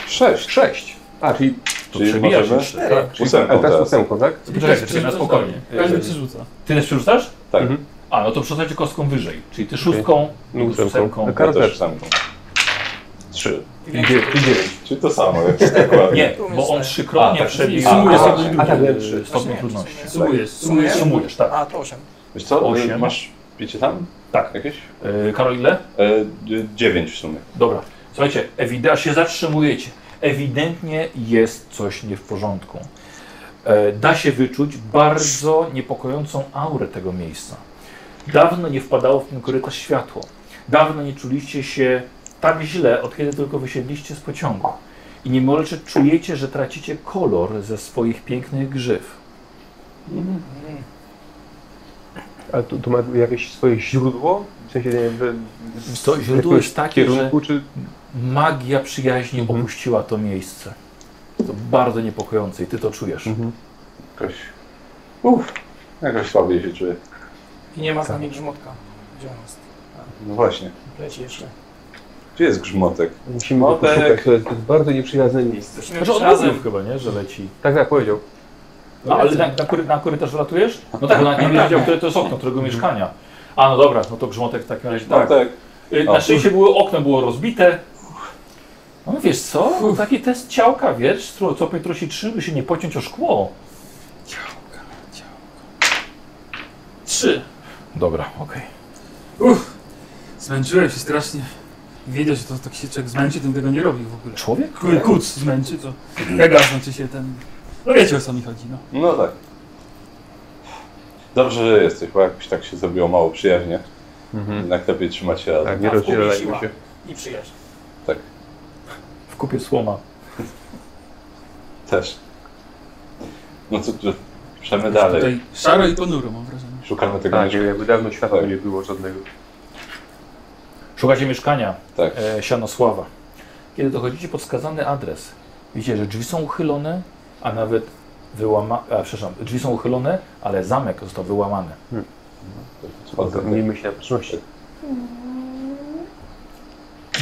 [SPEAKER 4] Sześć.
[SPEAKER 5] Sześć. A, czyli,
[SPEAKER 1] To
[SPEAKER 4] Czyli
[SPEAKER 1] przebijasz
[SPEAKER 4] możemy?
[SPEAKER 1] jeszcze.
[SPEAKER 4] Tak,
[SPEAKER 5] czyli
[SPEAKER 4] ósemką
[SPEAKER 5] a teraz
[SPEAKER 4] teraz.
[SPEAKER 5] ósemką, tak?
[SPEAKER 1] Poczekaj, poczekaj, na spokojnie.
[SPEAKER 2] Każdy
[SPEAKER 1] Y,
[SPEAKER 2] przerzuca.
[SPEAKER 1] Ty też przerzucasz?
[SPEAKER 4] Tak.
[SPEAKER 5] Mhm.
[SPEAKER 1] A, no to przerzucacie kostką wyżej. Czyli ty szóstką,
[SPEAKER 5] No,
[SPEAKER 1] okay.
[SPEAKER 5] ósemką.
[SPEAKER 1] ósemką.
[SPEAKER 5] No, Karol
[SPEAKER 4] Ja też
[SPEAKER 5] też.
[SPEAKER 4] ósemką. Trzy.
[SPEAKER 5] I dziewięć. I dziewięć.
[SPEAKER 4] Czyli to samo, jak dokładnie.
[SPEAKER 1] Nie, bo on
[SPEAKER 4] A,
[SPEAKER 1] trzykrotnie
[SPEAKER 4] tak.
[SPEAKER 1] przebił
[SPEAKER 4] A,
[SPEAKER 1] y,
[SPEAKER 4] a,
[SPEAKER 1] stopień
[SPEAKER 5] a, tak,
[SPEAKER 1] y,
[SPEAKER 5] trzy.
[SPEAKER 1] stopień trudności.
[SPEAKER 2] Sumujesz, sumujesz.
[SPEAKER 1] Sumujesz, tak.
[SPEAKER 3] A, to 8.
[SPEAKER 4] Wiesz co, no,
[SPEAKER 1] Osiem.
[SPEAKER 4] masz picie tam?
[SPEAKER 1] Tak.
[SPEAKER 4] Jakieś?
[SPEAKER 1] Y, Karol, ile?
[SPEAKER 4] E, dzie- dziewięć w sumie.
[SPEAKER 1] Dobra. Słuchajcie, ewidentnie się zatrzymujecie. Ewidentnie jest coś nie w porządku. E, Da się wyczuć bardzo niepokojącą aurę tego miejsca. Dawno nie wpadało w ten korytarz światło. Dawno nie czuliście się tak źle, od kiedy tylko wysiedliście z pociągu. I niemalże czujecie, że tracicie kolor ze swoich pięknych grzyw.
[SPEAKER 5] A to, to ma jakieś swoje źródło? W sensie, nie wiem, że... z
[SPEAKER 1] To źródło
[SPEAKER 5] jakiegoś
[SPEAKER 1] jest takie, że
[SPEAKER 5] Kierunku, czy...
[SPEAKER 1] magia przyjaźni
[SPEAKER 5] Mhm.
[SPEAKER 1] opuściła to miejsce. To bardzo niepokojące i ty to czujesz.
[SPEAKER 5] Mhm.
[SPEAKER 4] Jakoś... Uff. Jakoś słabiej się czuję.
[SPEAKER 3] I nie ma z
[SPEAKER 4] Tak.
[SPEAKER 3] nami grzmotka. Gdzie on jest?
[SPEAKER 4] No właśnie.
[SPEAKER 3] Leci jeszcze.
[SPEAKER 4] Gdzie jest grzmotek?
[SPEAKER 5] Musimy go
[SPEAKER 4] Motek.
[SPEAKER 5] poszukać, to jest, to jest bardzo nieprzyjazne miejsce.
[SPEAKER 3] Musimy
[SPEAKER 1] Znaczy
[SPEAKER 3] być
[SPEAKER 1] on razem
[SPEAKER 3] razem.
[SPEAKER 1] chyba, nie? Że leci.
[SPEAKER 5] Tak, tak, powiedział.
[SPEAKER 1] No, ale na, na, kory, na korytarz latujesz? No tak, bo nawet nie wiedział, które to jest okno, którego mieszkania. A no dobra, no to Grzmotek w takim razie Mhm. tak.
[SPEAKER 4] Grzmotek.
[SPEAKER 1] Y,
[SPEAKER 4] O.
[SPEAKER 1] Na szczęście było, okno było rozbite. No wiesz co, no, taki test ciałka, wiesz, co, co Piotrusi trzy, by się nie pociąć o szkło.
[SPEAKER 2] Trzy.
[SPEAKER 1] Dobra, okej.
[SPEAKER 2] Uff. Zmęczyłem się strasznie. Wiedział, że to tak się człowiek zmęczy, ten tego nie robił w ogóle.
[SPEAKER 1] Człowiek?
[SPEAKER 2] Kuc zmęczy to. Pega znaczy się ten. No wiecie o co mi chodzi, no.
[SPEAKER 4] No tak. Dobrze, że jesteś, bo jakbyś tak się zrobiło mało przyjaźnie.
[SPEAKER 5] Mhm.
[SPEAKER 4] Jednak lepiej trzymać się razem.
[SPEAKER 5] Tak, nie
[SPEAKER 3] A w głowie
[SPEAKER 5] rozdzielajmy
[SPEAKER 3] siła.
[SPEAKER 5] się.
[SPEAKER 3] I przyjaźń.
[SPEAKER 1] W kupie słoma.
[SPEAKER 4] Też. No co, że
[SPEAKER 1] No
[SPEAKER 4] przemy
[SPEAKER 2] Jest
[SPEAKER 4] dalej.
[SPEAKER 2] Tutaj szaro i ponuro mam wrażenie.
[SPEAKER 4] Szukamy tego
[SPEAKER 5] Tak,
[SPEAKER 4] mieszkania.
[SPEAKER 5] jakby dawno światła
[SPEAKER 4] Tak.
[SPEAKER 5] nie było żadnego.
[SPEAKER 1] Szukacie mieszkania
[SPEAKER 4] Tak.
[SPEAKER 1] e, Sianosława. Kiedy dochodzicie pod wskazany adres, widzicie, że drzwi są uchylone, a nawet wyłama... A, przepraszam, drzwi są uchylone, ale zamek został wyłamany.
[SPEAKER 4] Chodzę.
[SPEAKER 5] Miejmy się na baczności.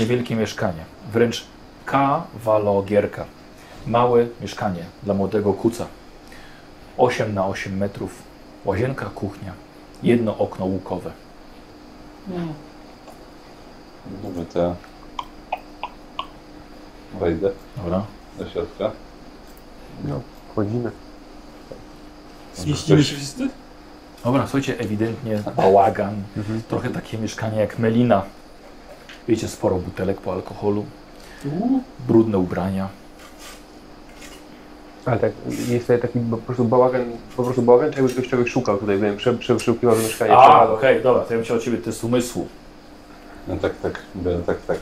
[SPEAKER 1] Niewielkie mieszkanie, wręcz kawalogierka. Małe mieszkanie dla młodego kuca. 8 na 8 metrów, łazienka, kuchnia, jedno okno łukowe.
[SPEAKER 4] Dobra, to ja wejdę
[SPEAKER 1] Dobra.
[SPEAKER 4] do środka.
[SPEAKER 5] Wchodzimy.
[SPEAKER 2] Zmieścimy się wszyscy?
[SPEAKER 1] Dobra, słuchajcie, ewidentnie bałagan.
[SPEAKER 5] Mhm.
[SPEAKER 1] Trochę takie mieszkanie jak Melina. Wiecie, sporo butelek po alkoholu, brudne ubrania.
[SPEAKER 5] Ale tak, jest tutaj taki po prostu bałagan, po prostu bałagan, jakby ktoś czegoś szukał tutaj, wiem, prze, prze, przeszukiwał mieszkanie.
[SPEAKER 1] A, okej,
[SPEAKER 5] przebadał.
[SPEAKER 1] dobra, to ja bym chciał od ciebie test umysłu.
[SPEAKER 4] No tak, tak, mówię, tak, tak.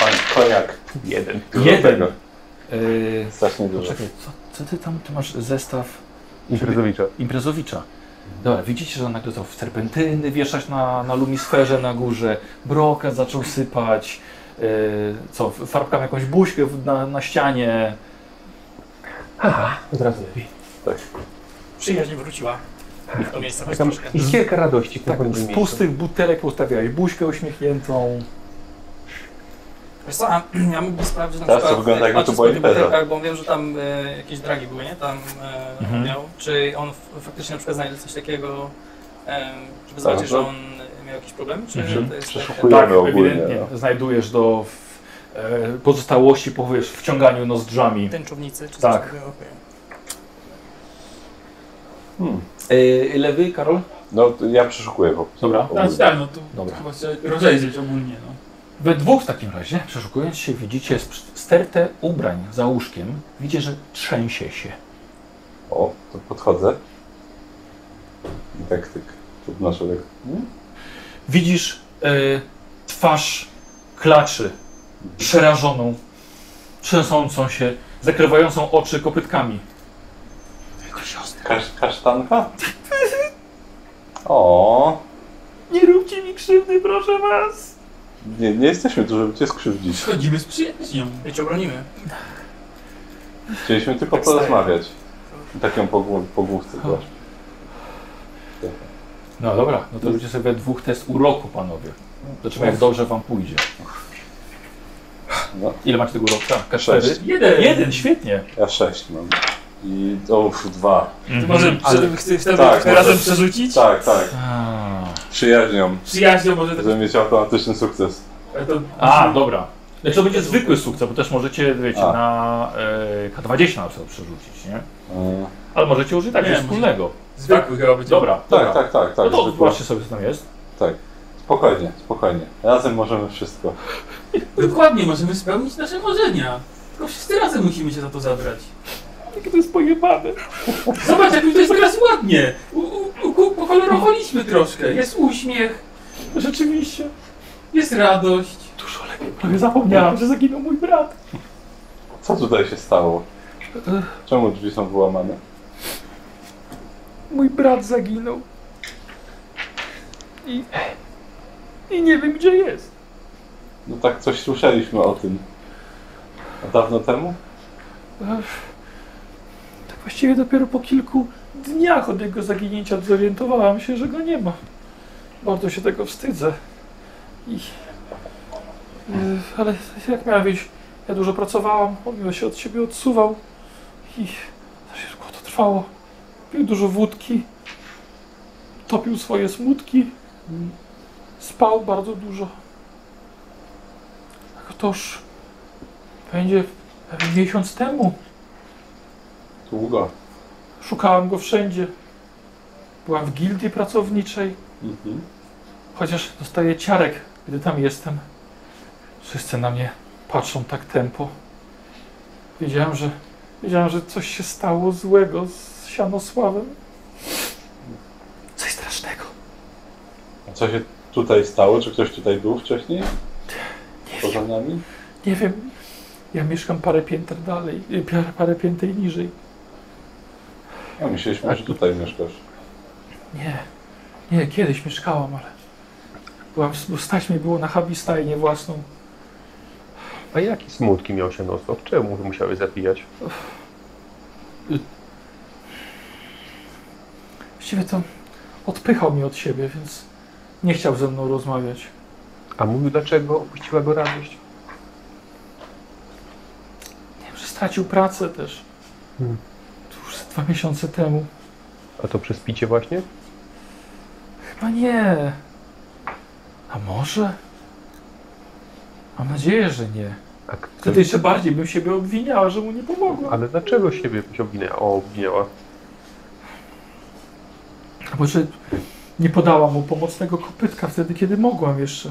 [SPEAKER 4] Pan, koniak.
[SPEAKER 1] Jeden.
[SPEAKER 4] Dużo
[SPEAKER 1] Jeden.
[SPEAKER 4] tego.
[SPEAKER 1] Yy,
[SPEAKER 4] Strasznie dużo.
[SPEAKER 1] poczekaj, co, co ty tam, ty masz zestaw
[SPEAKER 5] Imprezowicza.
[SPEAKER 1] imprezowicza. Dobra, widzicie, że on nagle zaczął w serpentyny wieszać na, na lumisferze na górze, brokat zaczął sypać, yy, co, farbkam jakąś buźkę w- na, na ścianie.
[SPEAKER 5] Od razu lepiej.
[SPEAKER 3] Przyjaźń wróciła do miejsca choć
[SPEAKER 5] Tam
[SPEAKER 3] troszkę.
[SPEAKER 5] iskierka radości w tym
[SPEAKER 1] Tak,
[SPEAKER 5] tak,
[SPEAKER 1] z pustych butelek postawiałeś buźkę uśmiechniętą.
[SPEAKER 3] Wiesz co, a ja mógłbym sprawdzić na
[SPEAKER 4] Teraz Tak, to
[SPEAKER 3] przykład,
[SPEAKER 4] wygląda
[SPEAKER 3] jak patrzę
[SPEAKER 4] jakby to
[SPEAKER 3] po
[SPEAKER 4] była
[SPEAKER 3] tych
[SPEAKER 4] impreza.
[SPEAKER 3] butelkach, bo wiem, że tam e, jakieś dragi były, nie? Tam e,
[SPEAKER 1] Mhm.
[SPEAKER 3] miał. Czy on f- faktycznie na przykład znajdzie coś takiego, e, żeby
[SPEAKER 4] Tak,
[SPEAKER 3] zobaczyć,
[SPEAKER 4] no.
[SPEAKER 3] że on miał jakiś problem? Czy
[SPEAKER 1] Mhm.
[SPEAKER 3] to jest tak,
[SPEAKER 4] Przeszukujemy ogólnie. No.
[SPEAKER 1] Znajdujesz do w, e, pozostałości po wiesz, wciąganiu nozdrzami.
[SPEAKER 3] tęczownicy, czy
[SPEAKER 1] Tak.
[SPEAKER 3] coś takiego? Okej.
[SPEAKER 4] Hmm.
[SPEAKER 1] E, lewy, Karol?
[SPEAKER 4] No to ja przeszukuję po prostu.
[SPEAKER 1] Dobra.
[SPEAKER 4] Ogólnie.
[SPEAKER 2] tak, no to
[SPEAKER 1] Dobra.
[SPEAKER 2] chyba się rozejrzeć ogólnie, no.
[SPEAKER 1] We dwóch w takim razie, przeszukując się, widzicie sp- stertę ubrań za łóżkiem. Widzicie, że trzęsie się.
[SPEAKER 4] O, to podchodzę. I tak, tak. Tu wnoszę tak.
[SPEAKER 1] Hmm? Widzisz e, twarz klaczy, przerażoną, trzęsącą się, zakrywającą oczy kopytkami.
[SPEAKER 4] Kasz, kasztanka? O,
[SPEAKER 1] Nie róbcie mi krzywdy, proszę was!
[SPEAKER 4] nie, nie jesteśmy tu, żeby cię skrzywdzić.
[SPEAKER 2] Przychodzimy z przyjaźnią.
[SPEAKER 3] My cię obronimy.
[SPEAKER 4] Chcieliśmy tylko
[SPEAKER 3] Tak
[SPEAKER 4] porozmawiać. Taką po, głu- po główce była.
[SPEAKER 1] No dobra, no to ludzie sobie we dwóch test uroku, panowie. Zobaczymy, jak dobrze wam pójdzie.
[SPEAKER 4] No.
[SPEAKER 1] Ile macie tego uroku? Tak, K4?
[SPEAKER 4] Sześć.
[SPEAKER 1] Jeden! Jeden, świetnie!
[SPEAKER 4] Ja sześć mam. I o, uff, dwa.
[SPEAKER 2] To może
[SPEAKER 4] Mhm. Ale-
[SPEAKER 2] prze- chce- chcemy
[SPEAKER 4] tak,
[SPEAKER 2] razem
[SPEAKER 4] może-
[SPEAKER 2] przerzucić?
[SPEAKER 4] Tak, tak.
[SPEAKER 1] A,
[SPEAKER 4] Przyjaźnią,
[SPEAKER 2] Przyjaźnią może tak...
[SPEAKER 4] żeby mieć automatyczny sukces.
[SPEAKER 2] ale To,
[SPEAKER 1] A dobra. Znaczy to będzie zwykły sukces, bo też możecie, wiecie,
[SPEAKER 4] A.
[SPEAKER 1] na e, K20 na przykład przerzucić, nie?
[SPEAKER 4] E,
[SPEAKER 1] Ale możecie użyć
[SPEAKER 2] Nie,
[SPEAKER 1] takiego wspólnego.
[SPEAKER 2] zwykły chyba będzie.
[SPEAKER 1] Dobra, dobra.
[SPEAKER 4] Tak, tak, tak,
[SPEAKER 1] No
[SPEAKER 4] tak.
[SPEAKER 1] to
[SPEAKER 4] zwykła-
[SPEAKER 1] zobaczcie sobie, co tam jest.
[SPEAKER 4] Spokojnie, spokojnie. Razem możemy wszystko.
[SPEAKER 2] Dokładnie, możemy spełnić nasze marzenia. Tylko wszyscy razem musimy się za to zabrać.
[SPEAKER 1] Jakie to jest pojebane.
[SPEAKER 2] Zobacz, jak mi to jest teraz ładnie. U, u, u, pokolorowaliśmy troszkę. Jest uśmiech,
[SPEAKER 1] Rzeczywiście.
[SPEAKER 2] jest radość.
[SPEAKER 1] Prawie zapomniałam, że zaginął mój brat.
[SPEAKER 4] Co tutaj się stało? Czemu drzwi są wyłamane?
[SPEAKER 1] Mój brat zaginął. I... I nie wiem, gdzie jest.
[SPEAKER 4] No tak coś słyszeliśmy o tym. A dawno temu?
[SPEAKER 1] Tak właściwie dopiero po kilku dniach od jego zaginięcia zorientowałam się, że go nie ma. Bardzo się tego wstydzę. I... Yy, Ale jak miałem wiedzieć, ja dużo pracowałam, on miło się od siebie odsuwał i strasznie długo to trwało. Pił dużo wódki, topił swoje smutki, spał bardzo dużo. Tak toż będzie pewnie miesiąc temu.
[SPEAKER 4] Długo.
[SPEAKER 1] Szukałam go wszędzie. Byłam w gildii pracowniczej,
[SPEAKER 4] Mhm.
[SPEAKER 1] chociaż dostaję ciarek, gdy tam jestem. Wszyscy na mnie patrzą tak tempo. Wiedziałam, że
[SPEAKER 8] Wiedziałem, że coś się stało złego z Sianosławem.
[SPEAKER 3] Coś strasznego.
[SPEAKER 4] A co się tutaj stało? Czy ktoś tutaj był wcześniej? Poza nami?
[SPEAKER 8] Nie wiem, ja mieszkam parę pięter dalej, y, parę, parę piętej niżej.
[SPEAKER 4] Ja No, myśleliśmy, że tutaj mieszkasz.
[SPEAKER 8] Nie, nie, kiedyś mieszkałam, ale byłam, bo stać mi było na habistajnię własną.
[SPEAKER 6] A jakie smutki miał się non-stop? Czemu musiałeś zapijać?
[SPEAKER 8] Właściwie to odpychał mnie od siebie, więc nie chciał ze mną rozmawiać.
[SPEAKER 6] A mówił dlaczego opuściła go radość?
[SPEAKER 8] Nie wiem, że stracił pracę też.
[SPEAKER 6] Hmm.
[SPEAKER 8] To już dwa miesiące temu.
[SPEAKER 6] A to przez picie właśnie?
[SPEAKER 8] Chyba nie. A może? Mam nadzieję, że nie.
[SPEAKER 6] A kto-
[SPEAKER 8] Wtedy jeszcze bardziej bym siebie obwiniała, że mu nie pomogła.
[SPEAKER 6] Ale dlaczego siebie się obwinęła? O, obwinęła.
[SPEAKER 8] Bo że nie podała mu pomocnego kopytka wtedy, kiedy mogłam jeszcze.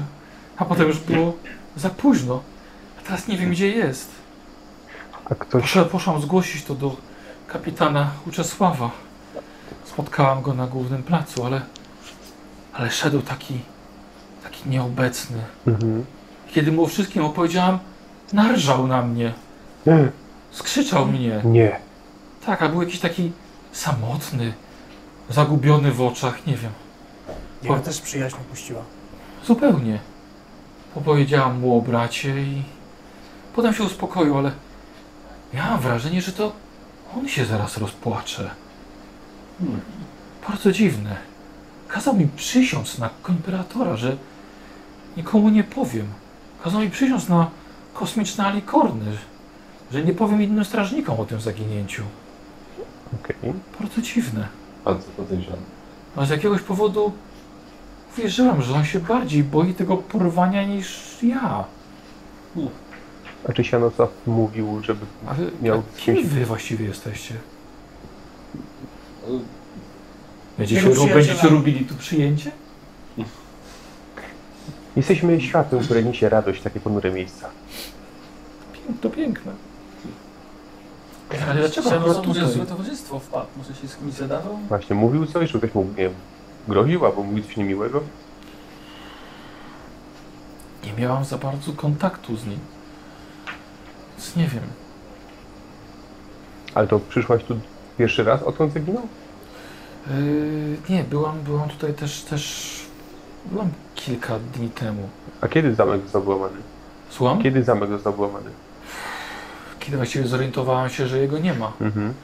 [SPEAKER 8] A potem już było za późno. A teraz nie wiem, gdzie jest.
[SPEAKER 6] A ktoś...
[SPEAKER 8] Poszła, poszłam zgłosić to do kapitana Uczesława. Spotkałam go na głównym placu, ale, ale szedł taki, taki nieobecny.
[SPEAKER 6] Mhm.
[SPEAKER 8] Kiedy mu o wszystkim opowiedziałam, narżał na mnie.
[SPEAKER 6] Nie.
[SPEAKER 8] Skrzyczał mnie.
[SPEAKER 6] Nie.
[SPEAKER 8] Tak, a był jakiś taki samotny, zagubiony w oczach, nie wiem.
[SPEAKER 3] Jego też przyjaźń opuściła.
[SPEAKER 8] Zupełnie. Opowiedziałam mu o bracie i potem się uspokoił, ale miałam wrażenie, że to on się zaraz rozpłacze. Bardzo dziwne. Kazał mi przysiąc na komperatora, że nikomu nie powiem. Kazał mi przysiąc na kosmiczne alikorny, że nie powiem innym strażnikom o tym zaginięciu.
[SPEAKER 6] Okej.
[SPEAKER 8] Bardzo dziwne.
[SPEAKER 4] Bardzo podejrzany.
[SPEAKER 8] A z jakiegoś powodu uwierzyłam, że on się bardziej boi tego porwania niż ja.
[SPEAKER 6] A czy Sianosa mówił, żeby...
[SPEAKER 8] A wy,
[SPEAKER 6] Miał
[SPEAKER 8] a kim
[SPEAKER 6] kimś-
[SPEAKER 8] wy właściwie jesteście?
[SPEAKER 4] Y,
[SPEAKER 8] Będziecie,
[SPEAKER 3] Jego
[SPEAKER 8] ro- będziecie
[SPEAKER 3] przyjacielami.
[SPEAKER 8] robili tu przyjęcie?
[SPEAKER 6] Jesteśmy światłem, które niesie radość, w takie ponure miejsca.
[SPEAKER 8] Pięk- To piękne. Ale dlaczego
[SPEAKER 2] Chciałbym
[SPEAKER 8] akurat
[SPEAKER 2] zobaczyć, że
[SPEAKER 8] tutaj?
[SPEAKER 2] złe towarzystwo wpadł. Może się z kimś zadawał?
[SPEAKER 6] Właśnie, mówił coś, że ktoś mu, nie wiem, groził albo mówił coś niemiłego?
[SPEAKER 8] Nie miałam za bardzo kontaktu z nim. Więc nie wiem.
[SPEAKER 6] Ale to przyszłaś tu pierwszy raz, odkąd zaginął?
[SPEAKER 8] Yy, nie, byłam, byłam tutaj też, też... Byłam kilka dni temu.
[SPEAKER 6] A kiedy zamek został wyłamany?
[SPEAKER 8] Słucham?
[SPEAKER 6] Kiedy zamek został wyłamany?
[SPEAKER 8] Kiedy właściwie zorientowałam się, że jego nie ma.
[SPEAKER 6] Mhm.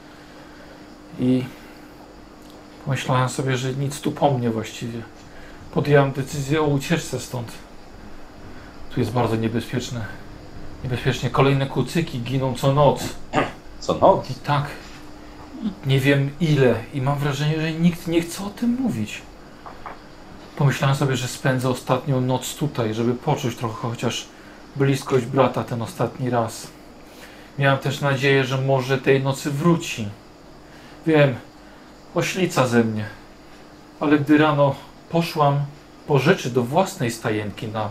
[SPEAKER 8] I pomyślałem sobie, że nic tu po mnie właściwie. Podjęłam decyzję o ucieczce stąd. Tu jest bardzo niebezpieczne. Niebezpiecznie. Kolejne kucyki giną co noc.
[SPEAKER 4] Co no?
[SPEAKER 8] I tak. Nie wiem ile. I mam wrażenie, że nikt nie chce o tym mówić. Pomyślałem sobie, że spędzę ostatnią noc tutaj, żeby poczuć trochę chociaż bliskość brata ten ostatni raz. Miałem też nadzieję, że może tej nocy wróci. Wiem, oślica ze mnie. Ale gdy rano poszłam po rzeczy do własnej stajenki na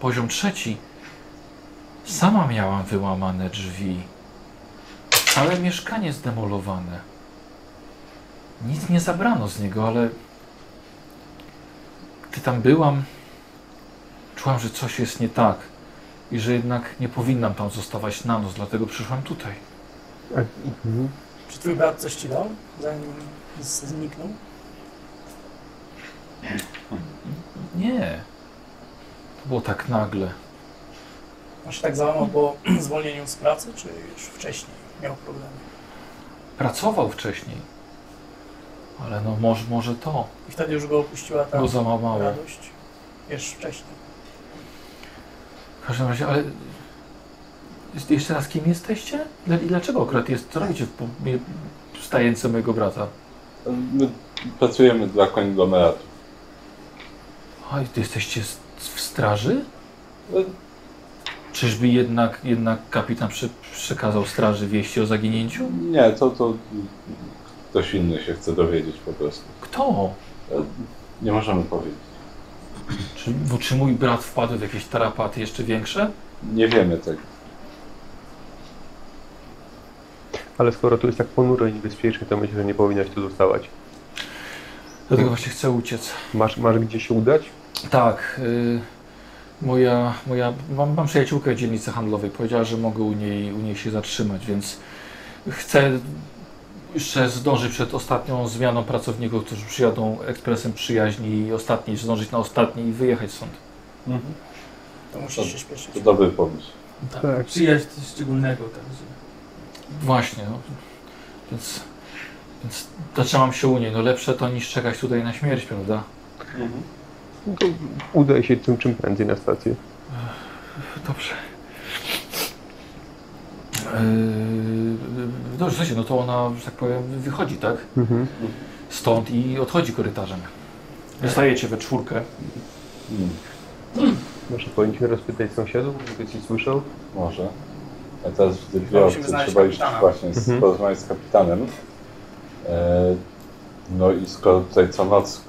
[SPEAKER 8] poziom trzeci, sama miałam wyłamane drzwi. Całe mieszkanie zdemolowane. Nic nie zabrano z niego, ale gdy tam byłam, czułam, że coś jest nie tak i że jednak nie powinnam tam zostawać na noc, dlatego przyszłam tutaj.
[SPEAKER 6] Mhm.
[SPEAKER 3] Czy twój brat coś ci dał, zanim z- zniknął?
[SPEAKER 8] Nie. To było tak nagle.
[SPEAKER 3] Aż tak załamał po zwolnieniu z pracy, czy już wcześniej miał problemy?
[SPEAKER 8] Pracował wcześniej. Ale no może, może to
[SPEAKER 3] I wtedy już go opuściła ta
[SPEAKER 8] go załamało.
[SPEAKER 3] radość. Wiesz, wcześniej.
[SPEAKER 8] W każdym razie, ale... jest- Jeszcze raz, kim jesteście? Dla- I dlaczego akurat jest, co robicie w, po- mie- w stajence mojego brata?
[SPEAKER 4] My pracujemy dla konglomeratu.
[SPEAKER 8] A i ty jesteście s- w straży? E,
[SPEAKER 4] Y,
[SPEAKER 8] Czyżby jednak, jednak kapitan przy, przekazał straży wieści o zaginięciu?
[SPEAKER 4] Nie, to, to ktoś inny się chce dowiedzieć po prostu.
[SPEAKER 8] Kto?
[SPEAKER 4] Nie możemy powiedzieć.
[SPEAKER 8] Czy, bo czy mój brat wpadł w jakieś tarapaty jeszcze większe?
[SPEAKER 4] Nie wiemy tego.
[SPEAKER 6] Ale skoro tu jest tak ponuro i niebezpiecznie, to myślę, że nie powinnaś tu zostawać.
[SPEAKER 8] Dlatego właśnie chcę uciec.
[SPEAKER 6] Masz, masz gdzie się udać?
[SPEAKER 8] Tak. y, moja, moja, mam, mam przyjaciółkę w dzielnicy handlowej. Powiedziała, że mogę u niej, u niej się zatrzymać, więc chcę jeszcze zdążyć przed ostatnią zmianą pracowników, którzy przyjadą ekspresem przyjaźni i ostatniej, zdążyć na ostatniej i wyjechać stąd. Mhm.
[SPEAKER 3] To musisz się śpieszyć.
[SPEAKER 4] To dobry pomysł.
[SPEAKER 6] Tak.
[SPEAKER 2] Przyjaźń coś szczególnego, także.
[SPEAKER 8] Właśnie, no. Więc, więc zatrzymam się u niej. No lepsze to niż czekać tutaj na śmierć, prawda?
[SPEAKER 6] No to udaj się tym czym prędzej na stację.
[SPEAKER 8] Dobrze. Yy, dobrze, słuchajcie, no to ona, że tak powiem, wychodzi, tak?
[SPEAKER 6] Mhm.
[SPEAKER 8] Stąd i odchodzi korytarzem. Zostajecie we czwórkę.
[SPEAKER 4] Mm,
[SPEAKER 6] Może powinniśmy rozpytać sąsiadów, żeby coś słyszał.
[SPEAKER 4] może. A teraz widzę
[SPEAKER 3] Musimy
[SPEAKER 4] dwie opcje.
[SPEAKER 3] znaleźć
[SPEAKER 4] Trzeba iść
[SPEAKER 3] kapitana.
[SPEAKER 4] właśnie z,
[SPEAKER 6] Mhm.
[SPEAKER 4] porozmawiać z kapitanem. E, no i skoro tutaj co noc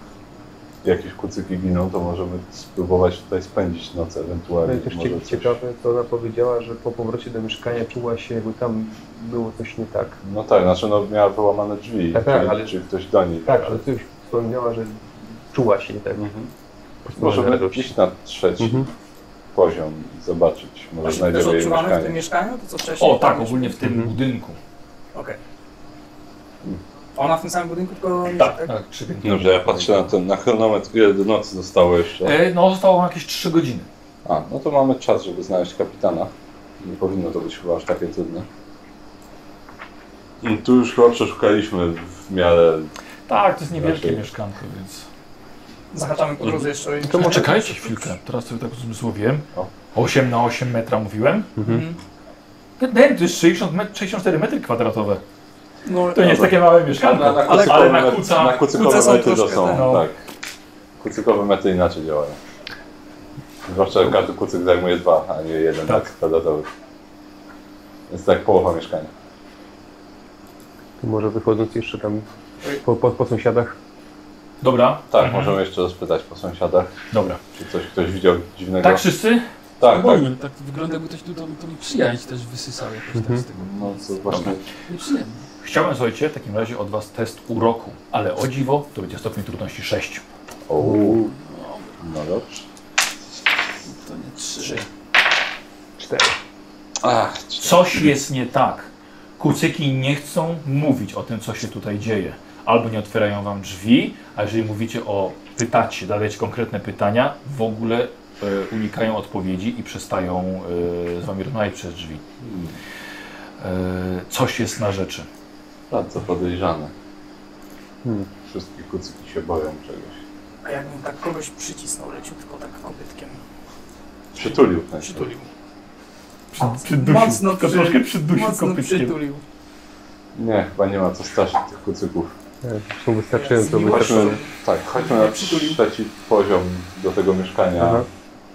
[SPEAKER 4] jakieś kucyki giną, to możemy spróbować tutaj spędzić noc
[SPEAKER 6] No
[SPEAKER 4] ewentualnie.
[SPEAKER 6] i też
[SPEAKER 4] Może
[SPEAKER 6] cie-
[SPEAKER 4] coś-
[SPEAKER 6] ciekawe, to ona powiedziała, że po powrocie do mieszkania czuła się, jakby tam było coś nie tak.
[SPEAKER 4] No tak, znaczy no, miała wyłamane drzwi,
[SPEAKER 6] Tak, tak,
[SPEAKER 4] czyli,
[SPEAKER 6] ale-
[SPEAKER 4] czyli ktoś do niej.
[SPEAKER 6] Tak, ale ty już wspomniała, że czuła się nie tak.
[SPEAKER 4] Mhm.
[SPEAKER 6] Może
[SPEAKER 4] Możemy
[SPEAKER 6] radość.
[SPEAKER 4] iść na trzeci
[SPEAKER 6] Mhm.
[SPEAKER 4] poziom i zobaczyć. Może
[SPEAKER 3] Właśnie też
[SPEAKER 4] znajdziemy jej
[SPEAKER 3] odczuwamy w tym
[SPEAKER 4] mieszkanie.
[SPEAKER 3] mieszkaniu, to co wcześniej?
[SPEAKER 1] O tak, ogólnie w tym
[SPEAKER 6] Mhm.
[SPEAKER 1] budynku.
[SPEAKER 3] Okej. Ona w tym samym budynku, tylko...
[SPEAKER 1] Tak, tak, trzy piętra.
[SPEAKER 4] Dobrze, ja patrzę na ten na chronometr, ile do nocy zostało jeszcze.
[SPEAKER 1] E, No, zostało wam jakieś 3 godziny.
[SPEAKER 4] A, no to mamy czas, żeby znaleźć kapitana. Nie powinno to być chyba aż takie trudne. Mm, Tu już chyba przeszukaliśmy w miarę.
[SPEAKER 1] Tak, to jest niewielkie
[SPEAKER 4] Raczej.
[SPEAKER 1] mieszkanko, więc...
[SPEAKER 3] Zahaczamy po drodze jeszcze...
[SPEAKER 8] To może czekajcie chwilkę, teraz sobie tak uzmysłowiłem.
[SPEAKER 4] O.
[SPEAKER 1] 8 na 8 metra mówiłem.
[SPEAKER 3] Mhm.
[SPEAKER 1] Nie, to jest 60 met, 64 metry kwadratowe.
[SPEAKER 3] No,
[SPEAKER 1] To nie jest takie małe mieszkanko. ale, ale na kuca...
[SPEAKER 4] na kucykowe
[SPEAKER 3] kuce są
[SPEAKER 4] mety to
[SPEAKER 3] troszkę,
[SPEAKER 4] są.
[SPEAKER 3] tak.
[SPEAKER 1] No.
[SPEAKER 4] Tak. Kucykowe mety inaczej działają. Zwłaszcza, że każdy kucyk zajmuje dwa, a nie jeden tak. kwadratowy. Więc tak połowa mieszkania.
[SPEAKER 6] To może wychodząc jeszcze tam po, po, po sąsiadach.
[SPEAKER 1] Dobra,
[SPEAKER 4] Tak, możemy jeszcze rozpytać po sąsiadach,
[SPEAKER 1] dobra.
[SPEAKER 4] czy coś ktoś widział dziwnego.
[SPEAKER 1] Tak wszyscy?
[SPEAKER 4] tak.
[SPEAKER 2] Bo
[SPEAKER 4] tak.
[SPEAKER 2] nie, tak wygląda, jakby ktoś tu tam, tam przyjaźń też wysysał jakoś tak z tego.
[SPEAKER 4] No co właśnie.
[SPEAKER 2] Nieprzyjemnie.
[SPEAKER 1] Chciałem, słuchajcie, w takim razie od was test uroku, ale o dziwo to będzie stopień trudności 6.
[SPEAKER 4] O, no dobrze.
[SPEAKER 2] To nie trzy.
[SPEAKER 4] Ach,
[SPEAKER 1] Coś jest nie tak. Kucyki nie chcą mówić o tym, co się tutaj dzieje. Albo nie otwierają wam drzwi, a jeżeli mówicie o, pytacie, zadajecie konkretne pytania, w ogóle e, unikają odpowiedzi i przestają e, z wami rozmawiać przez drzwi. E, coś jest na rzeczy.
[SPEAKER 4] bardzo podejrzane.
[SPEAKER 6] Hmm.
[SPEAKER 4] Wszystkie kucyki się boją czegoś.
[SPEAKER 3] A jakbym tak kogoś przycisnął leciutko, tak kopytkiem.
[SPEAKER 4] Przytulił w sensie.
[SPEAKER 3] Przytulił.
[SPEAKER 1] Przydusił,
[SPEAKER 3] Mocno
[SPEAKER 1] tylko
[SPEAKER 3] przy-
[SPEAKER 1] troszkę przydusił
[SPEAKER 3] Mocno
[SPEAKER 1] kopytkiem.
[SPEAKER 3] przytulił.
[SPEAKER 4] Nie, chyba nie ma co straszyć tych kucyków.
[SPEAKER 6] Tak, Są wystarczająco
[SPEAKER 3] Zmiła-
[SPEAKER 6] wystarczająco.
[SPEAKER 4] Chodźmy, tak, chodźmy na trzeci poziom do tego mieszkania
[SPEAKER 6] Aha.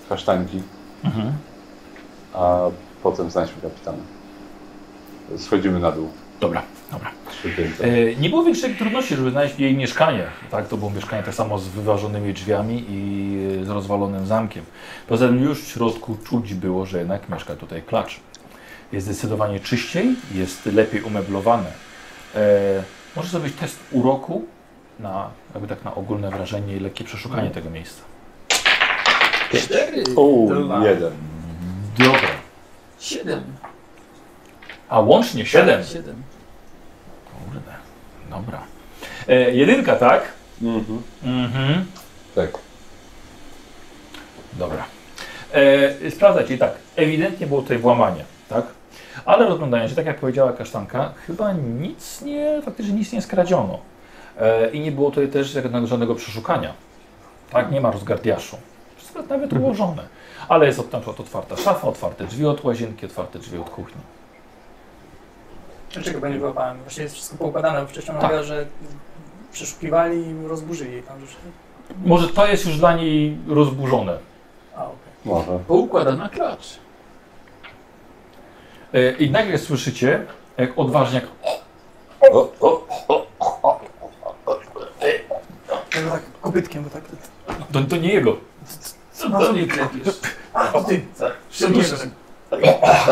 [SPEAKER 4] kasztanki,
[SPEAKER 1] Mhm.
[SPEAKER 4] a potem znajdźmy kapitana. Schodzimy na dół.
[SPEAKER 1] Dobra, dobra.
[SPEAKER 4] Trzy piętra.
[SPEAKER 1] E, nie było większej trudności, żeby znaleźć jej mieszkanie. Tak, to było mieszkanie tak samo z wyważonymi drzwiami i e, z rozwalonym zamkiem. Poza tym już w środku czuć było, że jednak mieszka tutaj klacz. Jest zdecydowanie czyściej, jest lepiej umeblowane. E, może zrobić test uroku na, jakby tak na ogólne wrażenie i lekkie przeszukanie tego miejsca.
[SPEAKER 4] O,
[SPEAKER 3] Dwa.
[SPEAKER 4] jeden.
[SPEAKER 1] Dobra.
[SPEAKER 2] Siedem.
[SPEAKER 1] A łącznie 7.
[SPEAKER 2] Siedem.
[SPEAKER 1] Kurde. Dobra. E, jedynka, tak?
[SPEAKER 4] Mhm.
[SPEAKER 1] Mhm.
[SPEAKER 4] Tak.
[SPEAKER 1] Dobra. E, sprawdzać i tak, ewidentnie było tutaj włamanie, tak? Ale rozglądając się, tak jak powiedziała Kasztanka, chyba nic nie, faktycznie nic nie skradziono. E, I nie było tutaj też żadnego- żadnego przeszukania. Tak, nie ma rozgardiaszu. Wszystko jest nawet ułożone. Ale jest od, na przykład otwarta szafa, otwarte drzwi od łazienki, otwarte drzwi od kuchni.
[SPEAKER 3] Dlaczego go nie wyłapałem? Właśnie jest wszystko poukładane, bo wcześniej ona mówiła, że przeszukiwali i rozburzyli jej tam rzeczy.
[SPEAKER 1] Może to jest już dla niej rozburzone.
[SPEAKER 3] A, okej.
[SPEAKER 4] Może.
[SPEAKER 2] Poukłada na klacz.
[SPEAKER 1] E, I nagle słyszycie, jak odważniak
[SPEAKER 4] O, o,
[SPEAKER 3] Okay. tak kopytkiem, bo tak...
[SPEAKER 1] To, to nie jego.
[SPEAKER 2] Co to nie klepiesz?
[SPEAKER 3] A, o ty! Przepraszam.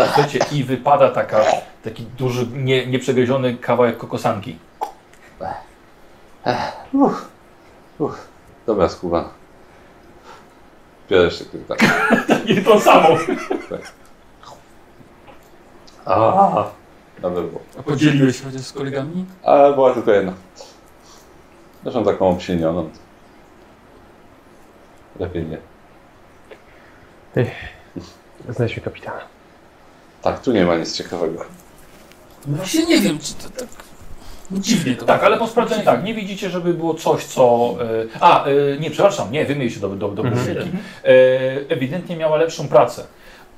[SPEAKER 1] Słuchajcie, i wypada taka, taki duży, nie, nieprzegryziony kawałek kokosanki.
[SPEAKER 4] Dobra, skuba. Bierzesz tak, tak.
[SPEAKER 1] I to samo.
[SPEAKER 4] A, Dobre było.
[SPEAKER 2] A podzieliłeś chociaż z kolegami?
[SPEAKER 4] Ale była tylko jedna. Zresztą taką obsienioną. Lepiej nie.
[SPEAKER 6] Znajdźmy kapitana.
[SPEAKER 4] Tak, tu nie ma nic ciekawego.
[SPEAKER 2] No Właśnie nie wiem, czy to tak... No dziwnie to.
[SPEAKER 1] Tak, ale po sprawdzeniu tak, nie widzicie, żeby było coś, co... E, a, e, nie, przepraszam, nie, wy mieliście do, do, do mhm. e, Ewidentnie miała lepszą pracę.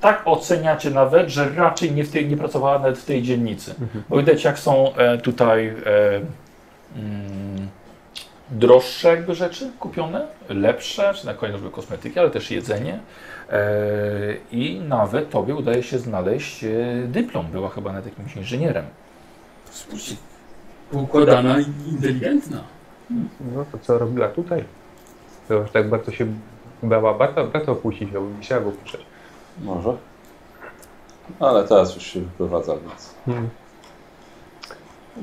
[SPEAKER 1] Tak oceniacie nawet, że raczej nie, w tej, nie pracowała nawet w tej dzielnicy. Bo widać, jak są e, tutaj e, mm, droższe jakby rzeczy kupione, lepsze, czy na koniec były kosmetyki, ale też jedzenie. E, I nawet tobie udaje się znaleźć e, dyplom. Była chyba nawet jakimś inżynierem.
[SPEAKER 2] Spójrzcie, poukładana i inteligentna.
[SPEAKER 6] No to co robiła tutaj? To że tak bardzo się bała brata, brata opuścić, bo musiała go opuszczać.
[SPEAKER 4] Może. Ale teraz już się wyprowadza, więc.
[SPEAKER 6] Nie
[SPEAKER 4] No,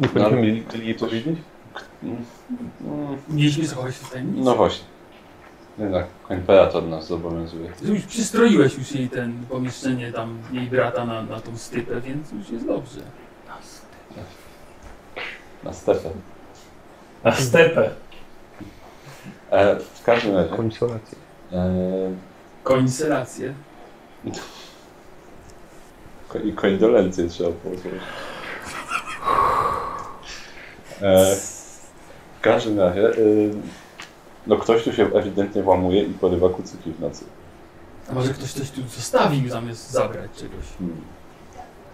[SPEAKER 4] Ale-
[SPEAKER 6] będziemy mieli mieli jej powiedzieć?
[SPEAKER 4] Mm,
[SPEAKER 2] Mieliśmy zachować się w tajemnicy.
[SPEAKER 4] No właśnie. Jednak imperator nas zobowiązuje.
[SPEAKER 2] Ty Już przystroiłeś już jej ten pomieszczenie tam, jej brata na, na tą stypę, więc już jest dobrze.
[SPEAKER 4] Na stefę.
[SPEAKER 1] Na stepę.
[SPEAKER 4] E, w każdym razie.
[SPEAKER 6] Konsolację.
[SPEAKER 4] E,
[SPEAKER 2] Koinselacje.
[SPEAKER 4] ko- I kondolencje trzeba położyć. E, w każdym razie. E, no ktoś tu się ewidentnie włamuje i porywa kucyki w nocy.
[SPEAKER 2] A może ktoś coś tu zostawił zamiast zabrać czegoś.
[SPEAKER 4] Hmm.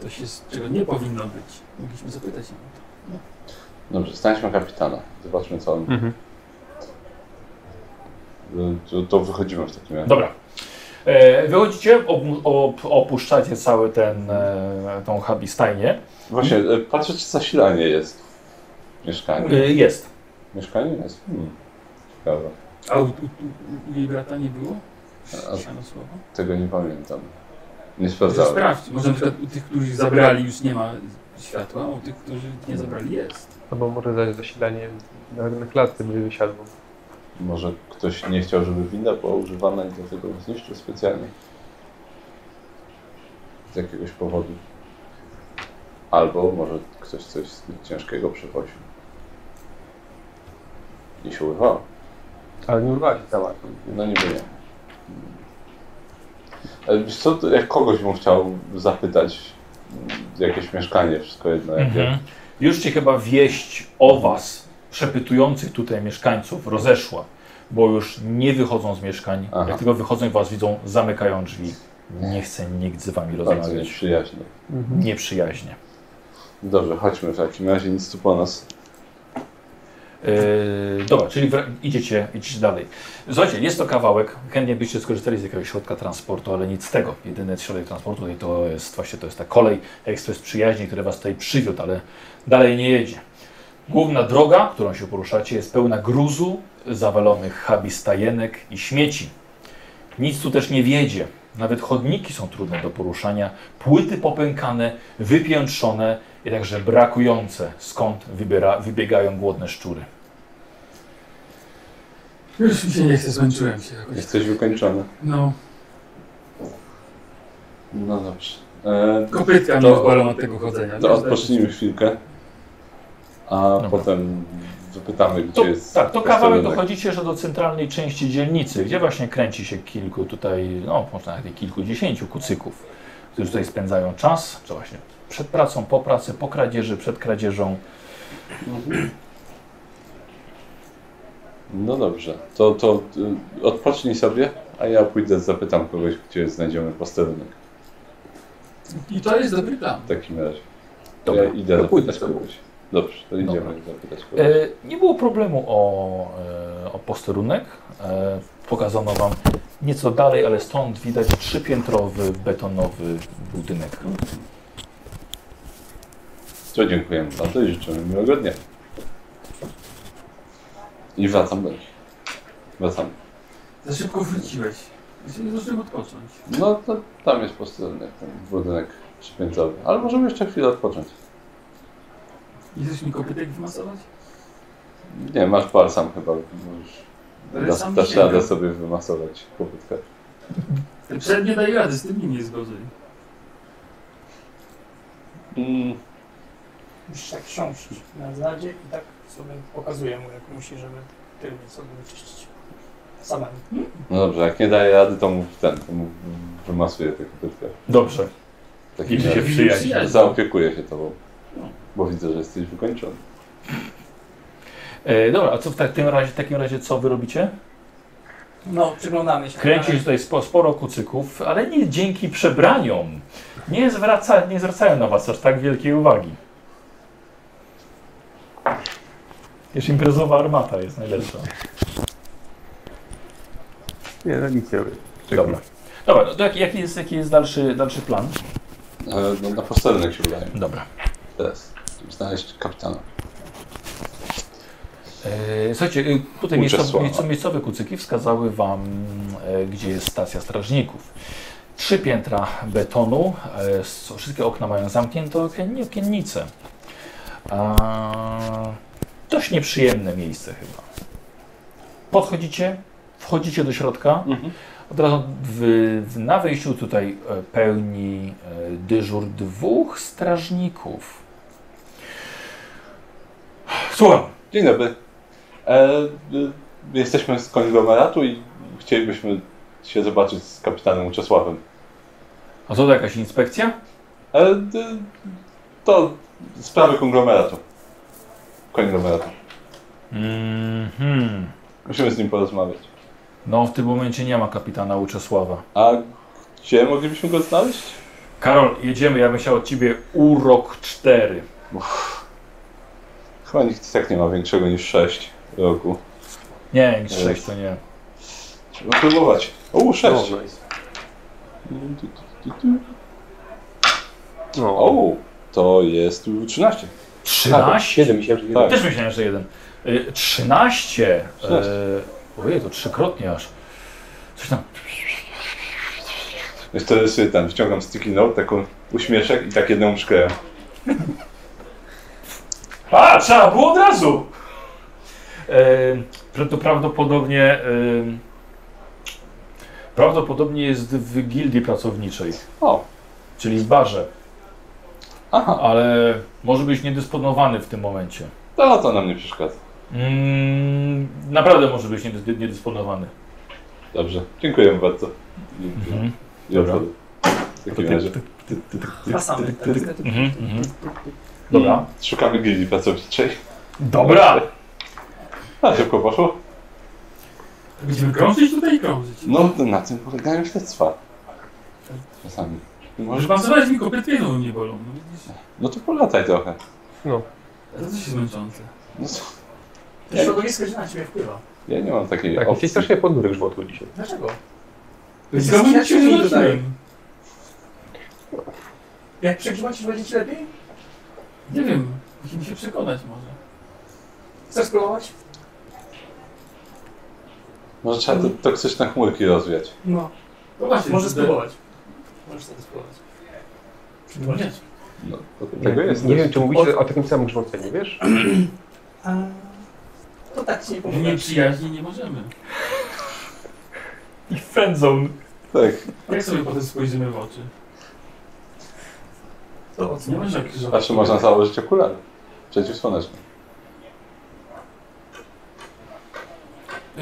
[SPEAKER 2] Coś jest, czego nie powinno być. Mogliśmy zapytać ją.
[SPEAKER 4] Dobrze, znajdźmy kapitana. Zobaczmy co on.
[SPEAKER 6] Mhm.
[SPEAKER 4] E, To, to wychodzimy w takim razie.
[SPEAKER 1] Dobra. E, Wychodzicie, obu- op- opuszczacie cały ten, e, tą habistajnię.
[SPEAKER 4] Właśnie, e, patrzę czy zasilanie jest. Mieszkanie.
[SPEAKER 1] E, Jest.
[SPEAKER 4] Mieszkanie jest. Hmm. Ciekawe.
[SPEAKER 2] A u, u, u, u jej brata nie było?
[SPEAKER 4] A- a-
[SPEAKER 2] Ściano słowo.
[SPEAKER 4] Tego nie pamiętam. Nie
[SPEAKER 2] Może
[SPEAKER 4] sprawdzałem.
[SPEAKER 2] Sprawdź. Może na przykład u tych, których zabrali już nie ma światła, a u tych, którzy nie zabrali jest.
[SPEAKER 6] Albo może za zasilanie na, na klatce by wysiadło.
[SPEAKER 4] Może ktoś nie chciał, żeby winda była używana i dlatego ją zniszczył specjalnie. Z jakiegoś powodu. Albo może ktoś coś zbyt ciężkiego przewoził. I się urwało.
[SPEAKER 6] Ale nie urwała się cała.
[SPEAKER 4] No niby nie. Ale Wiesz co, to jak kogoś bym chciał zapytać mm, jakieś mieszkanie, wszystko jedno jakie.
[SPEAKER 1] Mhm. Już cię chyba wieść o was, przepytujących tutaj mieszkańców, rozeszła, bo już nie wychodzą z mieszkań.
[SPEAKER 4] Aha.
[SPEAKER 1] Jak tylko wychodzą i was widzą, zamykają drzwi. Nie chce nikt z wami
[SPEAKER 4] Bardzo
[SPEAKER 1] rozmawiać.
[SPEAKER 4] nieprzyjaźnie.
[SPEAKER 1] Nieprzyjaźnie.
[SPEAKER 4] Dobrze, chodźmy w takim razie, nic tu po nas.
[SPEAKER 1] E, dobra, czyli wra- idziecie, idziecie dalej. Słuchajcie, jest to kawałek. Chętnie byście skorzystali z jakiegoś środka transportu, ale nic z tego. Jedyny środek transportu tutaj to jest właśnie to jest ta kolej ekspres przyjaźni, który was tutaj przywiódł, ale dalej nie jedzie. Główna droga, którą się poruszacie, jest pełna gruzu, zawalonych habistajenek i śmieci. Nic tu też nie wiedzie. Nawet chodniki są trudne do poruszania, płyty popękane, wypiętrzone i także brakujące, skąd wybiera, wybiegają głodne szczury.
[SPEAKER 2] Już mi się nie chce, zmęczyłem się jakoś.
[SPEAKER 4] Jesteś wykończony.
[SPEAKER 2] No,
[SPEAKER 4] No dobrze. E,
[SPEAKER 2] kopytka mnie
[SPEAKER 4] To-
[SPEAKER 2] bolą od tego chodzenia.
[SPEAKER 4] to odpocznijmy chwilkę, a potem wypytamy, gdzie
[SPEAKER 1] To,
[SPEAKER 4] jest.
[SPEAKER 1] tak, to
[SPEAKER 4] jest
[SPEAKER 1] kawałek
[SPEAKER 4] rynek.
[SPEAKER 1] dochodzicie, że do centralnej części dzielnicy, gdzie właśnie kręci się kilku tutaj, no można nawet kilkudziesięciu kucyków, którzy tutaj spędzają czas, co właśnie przed pracą, po pracy, po kradzieży, przed kradzieżą.
[SPEAKER 4] No dobrze, to, to y, odpocznij sobie, a ja pójdę, zapytam kogoś, gdzie znajdziemy posterunek.
[SPEAKER 2] I to jest dobry plan.
[SPEAKER 4] W takim razie.
[SPEAKER 1] Dobra,
[SPEAKER 4] ja idę
[SPEAKER 6] to pójdę
[SPEAKER 4] zapytać
[SPEAKER 6] z tobą.
[SPEAKER 4] kogoś. Dobrze, to idziemy zapytać kogoś.
[SPEAKER 1] E, nie było problemu o, e, o posterunek, e, pokazano Wam nieco dalej, ale stąd widać trzypiętrowy, betonowy budynek.
[SPEAKER 4] To dziękujemy bardzo i życzymy miłego dnia. I wracam do nich. Wracam.
[SPEAKER 2] Za szybko wróciłeś. Dzisiaj zaczniemy odpocząć.
[SPEAKER 4] No to tam jest posterunek, ten budynek przypiętowy. Ale możemy jeszcze chwilę odpocząć.
[SPEAKER 2] Nie chcesz mi kopytek wymasować?
[SPEAKER 4] Nie, masz pal sam chyba. Możesz,
[SPEAKER 2] Ale
[SPEAKER 4] dasz,
[SPEAKER 2] sam
[SPEAKER 4] dasz
[SPEAKER 2] sięgam.
[SPEAKER 4] radę sobie wymasować kopytkę.
[SPEAKER 2] Te przednie daje rady, z tym nie jest gorzej.
[SPEAKER 4] Mm,
[SPEAKER 3] Musisz tak siąść na zadzie i tak sobie pokazuję mu, jak musi, żeby tylnie sobie wyczyścić. Samemu.
[SPEAKER 4] No dobrze, jak nie daje rady, to mu ten, to mu wymasuję tę kopytkę.
[SPEAKER 1] Dobrze.
[SPEAKER 4] W takim
[SPEAKER 1] Widzicie
[SPEAKER 4] razie
[SPEAKER 1] przyjaźń.
[SPEAKER 4] Zaopiekuję się tobą. Bo widzę, że jesteś wykończony.
[SPEAKER 1] E, dobra, a co w tak- tym razie, w takim razie co wy robicie?
[SPEAKER 3] No, przyglądamy się.
[SPEAKER 1] Kręci się tutaj spo, sporo kucyków, ale nie dzięki przebraniom. Nie, zwraca, nie zwracają na was aż tak wielkiej uwagi. Jeszcze imprezowa armata jest najlepsza.
[SPEAKER 5] Nie, no nic nie robię. Czekam.
[SPEAKER 1] Dobra. Dobra, no to jaki, jaki, jest, jaki jest dalszy, dalszy plan?
[SPEAKER 4] E, No, na posterunek się udaje.
[SPEAKER 1] Dobra.
[SPEAKER 4] Teraz. żeby Znaleźć kapitana.
[SPEAKER 1] E, słuchajcie, e, tutaj
[SPEAKER 4] Uczesława.
[SPEAKER 1] miejscowe, miejscowe, miejscowe kucyki wskazały wam, e, gdzie jest stacja strażników. Trzy piętra betonu, e, s- wszystkie okna mają zamknięte okien, okiennice. A, dość nieprzyjemne miejsce chyba. Podchodzicie, wchodzicie do środka. Od razu w, w, na wyjściu tutaj e, pełni e, dyżur dwóch strażników. Słucham.
[SPEAKER 4] Dzień dobry. E, y, jesteśmy z konglomeratu i chcielibyśmy się zobaczyć z kapitanem Czesławem.
[SPEAKER 1] A co to jakaś inspekcja?
[SPEAKER 4] E, y, to sprawy konglomeratu. Konglomeratu.
[SPEAKER 1] Mhm.
[SPEAKER 4] Musimy z nim porozmawiać.
[SPEAKER 1] No w tym momencie nie ma kapitana Uczesława.
[SPEAKER 4] A gdzie moglibyśmy go znaleźć?
[SPEAKER 1] Karol, jedziemy, ja bym chciał od ciebie urok 4.
[SPEAKER 4] Chyba nikt tak nie ma większego niż 6 roku.
[SPEAKER 1] Nie, nic 6 to nie.
[SPEAKER 4] Trzeba próbować. O, 6.
[SPEAKER 5] No, nice. No,
[SPEAKER 4] O, to jest 13.
[SPEAKER 1] 13?
[SPEAKER 5] siedem myślałem, że
[SPEAKER 4] Tak.
[SPEAKER 1] Też myślałem, że jeden. Y, 13.
[SPEAKER 4] Trzynaście.
[SPEAKER 1] E, ojej, to trzykrotnie aż. Coś tam.
[SPEAKER 4] Jeszcze rysuję ten, wyciągam sticky note, taką uśmieszek i tak jedną szkleję.
[SPEAKER 1] A, trzeba było od razu! E, to prawdopodobnie. E, prawdopodobnie jest w gildii pracowniczej.
[SPEAKER 4] O.
[SPEAKER 1] Czyli w barze.
[SPEAKER 4] Aha,
[SPEAKER 1] Ale może być niedysponowany w tym momencie.
[SPEAKER 4] to, to nam nie przeszkadza.
[SPEAKER 1] Mm, naprawdę może być niedys- niedysponowany.
[SPEAKER 4] Dobrze, dziękuję bardzo.
[SPEAKER 5] Mhm.
[SPEAKER 1] Mhm,
[SPEAKER 4] Dziękuję. I
[SPEAKER 1] Dobra.
[SPEAKER 4] odchodzę. W takim razie
[SPEAKER 3] Chyba samy. tak.
[SPEAKER 1] Mhm, mhm. Dobra.
[SPEAKER 4] szukamy gildii pracowniczej.
[SPEAKER 1] Dobra!
[SPEAKER 4] A szybko poszło?
[SPEAKER 2] Będziemy krążyć tutaj i krążyć.
[SPEAKER 4] No, to na tym polegają śledztwa. Czasami.
[SPEAKER 2] Może
[SPEAKER 4] Może...
[SPEAKER 2] pan zadać mi kopytkę, no mnie bolą, no widzisz?
[SPEAKER 4] No to polataj trochę.
[SPEAKER 2] A to też jest męczące.
[SPEAKER 4] No co?
[SPEAKER 3] To środowisko źle na ciebie wpływa.
[SPEAKER 4] Ja nie mam takiej
[SPEAKER 5] tak, mi się
[SPEAKER 4] opcji.
[SPEAKER 5] strasznie podnóżek żwotły dzisiaj.
[SPEAKER 3] Dlaczego?
[SPEAKER 2] Więc ja bym się nie dodaję.
[SPEAKER 3] Jak przegrzmacisz, będzie ci lepiej?
[SPEAKER 2] Nie wiem, musimy się przekonać może.
[SPEAKER 3] Chcesz spróbować?
[SPEAKER 4] Może trzeba to, toksyczne chmurki rozwiać.
[SPEAKER 3] No.
[SPEAKER 2] To właśnie,
[SPEAKER 3] Możesz
[SPEAKER 2] to-
[SPEAKER 3] spróbować. Możesz sobie spróbować.
[SPEAKER 2] Przypomnieć.
[SPEAKER 4] No, to do
[SPEAKER 5] Nie,
[SPEAKER 4] tego jest.
[SPEAKER 5] nie wiem, czy mówicie o takim samym grzmoceniu, wiesz?
[SPEAKER 3] A, to tak ci nie
[SPEAKER 2] W
[SPEAKER 3] powiem.
[SPEAKER 2] nieprzyjaźni nie możemy.
[SPEAKER 1] I friendzone.
[SPEAKER 4] Tak,
[SPEAKER 2] Jak sobie potem spojrzymy w oczy?
[SPEAKER 3] To o co?
[SPEAKER 2] Nie można krzyżować.
[SPEAKER 4] zawsze można założyć okulary. Przeciwsłoneczne.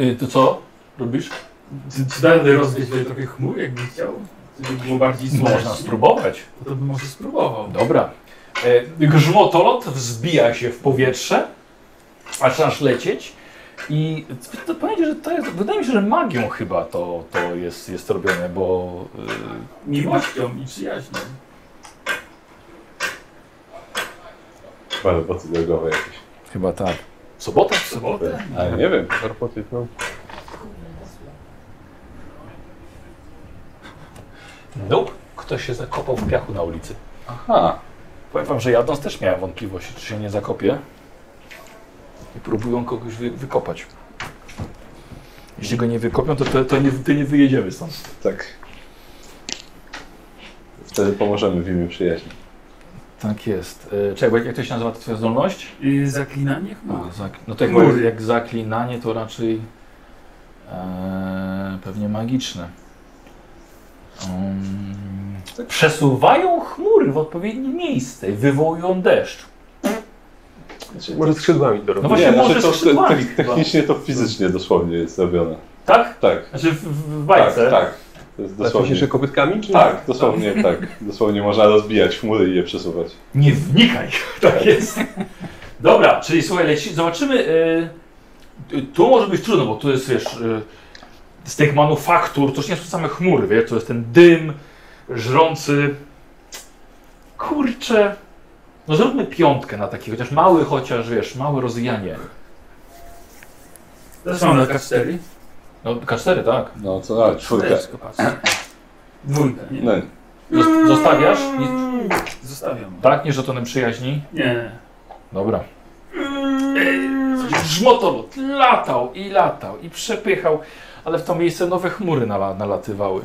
[SPEAKER 1] Y, to co? Robisz?
[SPEAKER 2] Czy, czy dalej rozwieć tutaj trochę chmur, jakby chciał? Żeby było bardziej smacznie?
[SPEAKER 1] Można spróbować.
[SPEAKER 2] To bym może spróbował.
[SPEAKER 1] Dobra. E, grzmotolot wzbija się w powietrze, zaczynasz lecieć i to powiedzieć, że to jest, wydaje mi się, że magią chyba to, to jest, jest robione, bo y,
[SPEAKER 2] Miłością i przyjaźnią.
[SPEAKER 4] Chyba roboty drogowe jakieś.
[SPEAKER 1] chyba tak. Sobota?
[SPEAKER 2] W sobotę?
[SPEAKER 4] Ale nie wiem.
[SPEAKER 5] Roboty, no.
[SPEAKER 1] Nope. Ktoś się zakopał w piachu na ulicy.
[SPEAKER 4] Aha.
[SPEAKER 1] Powiem wam, że jadąc też miałem wątpliwości, czy się nie zakopie. I próbują kogoś wy, wykopać. Jeśli go nie wykopią, to, to, to, nie, to nie wyjedziemy stąd.
[SPEAKER 4] Tak. Wtedy pomożemy w imię przyjaźni.
[SPEAKER 1] Tak jest. E, Czekaj, bo jak- jak to się nazywa, to twoja zdolność?
[SPEAKER 2] Yy, zaklinanie chmur.
[SPEAKER 1] A, zak- no to jak,
[SPEAKER 2] Mury.
[SPEAKER 1] mówię, jak zaklinanie to raczej e, pewnie magiczne. Um, przesuwają chmury w odpowiednie miejsce i wywołują deszcz.
[SPEAKER 4] Znaczy,
[SPEAKER 5] Może skrzydłami do
[SPEAKER 1] No właśnie,
[SPEAKER 4] nie,
[SPEAKER 1] może
[SPEAKER 4] znaczy to, te,
[SPEAKER 1] skrzydłami
[SPEAKER 4] te,
[SPEAKER 1] chyba.
[SPEAKER 4] technicznie to fizycznie dosłownie jest robione.
[SPEAKER 1] Tak?
[SPEAKER 4] Tak,
[SPEAKER 1] Znaczy w, w
[SPEAKER 4] tak,
[SPEAKER 1] bajce.
[SPEAKER 4] tak. To jest
[SPEAKER 5] Znaczy się
[SPEAKER 4] dosłownie.
[SPEAKER 5] że kopytkami? Czy
[SPEAKER 4] Tak, dosłownie tak. Dosłownie można rozbijać chmury i je przesuwać.
[SPEAKER 1] Nie wnikaj. Tak jest. Dobra, czyli słuchaj, leci, zobaczymy. y, y, tu może być trudno, bo tu jest, wiesz, y, z tych manufaktur, to już nie są same chmury, wiesz, to jest ten dym żrący. Kurczę. No zróbmy piątkę na taki, chociaż mały, chociaż, wiesz, małe rozwijanie.
[SPEAKER 2] Też mam na K4.
[SPEAKER 1] No K4, tak.
[SPEAKER 4] No to a, czwórka.
[SPEAKER 2] Też, patrzę. Dwójkę, nie?
[SPEAKER 4] No,
[SPEAKER 1] Zos- Zostawiasz? Nie,
[SPEAKER 2] Zostawiam.
[SPEAKER 1] tak, nie żetonem przyjaźni?
[SPEAKER 2] Nie.
[SPEAKER 1] Dobra. Żmotowód latał i latał i przepychał, ale w to miejsce nowe chmury nala- nalatywały.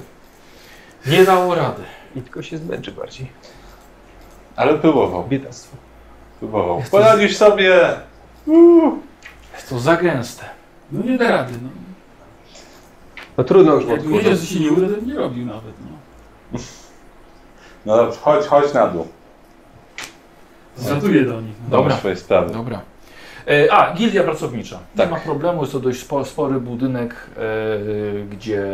[SPEAKER 1] Nie dało rady.
[SPEAKER 5] I tylko się zmęczy bardziej.
[SPEAKER 4] ale próbował,
[SPEAKER 5] Biedactwo.
[SPEAKER 4] próbował. Poradzisz sobie!
[SPEAKER 3] No.
[SPEAKER 1] Jest to za gęste.
[SPEAKER 2] No nie da rady, no.
[SPEAKER 5] No trudno już
[SPEAKER 2] Jak
[SPEAKER 5] odkurzyć.
[SPEAKER 2] wiedział, że się nie uda, to bym nie robił nawet, no.
[SPEAKER 4] No dobrze, chodź, chodź na dół.
[SPEAKER 2] Zratuję do nich. No.
[SPEAKER 1] Dobra.
[SPEAKER 4] Masz swoje sprawy.
[SPEAKER 1] Dobra. E, A, gildia pracownicza.
[SPEAKER 4] Tak.
[SPEAKER 1] Nie ma problemu, jest to dość spo- spory budynek, e, gdzie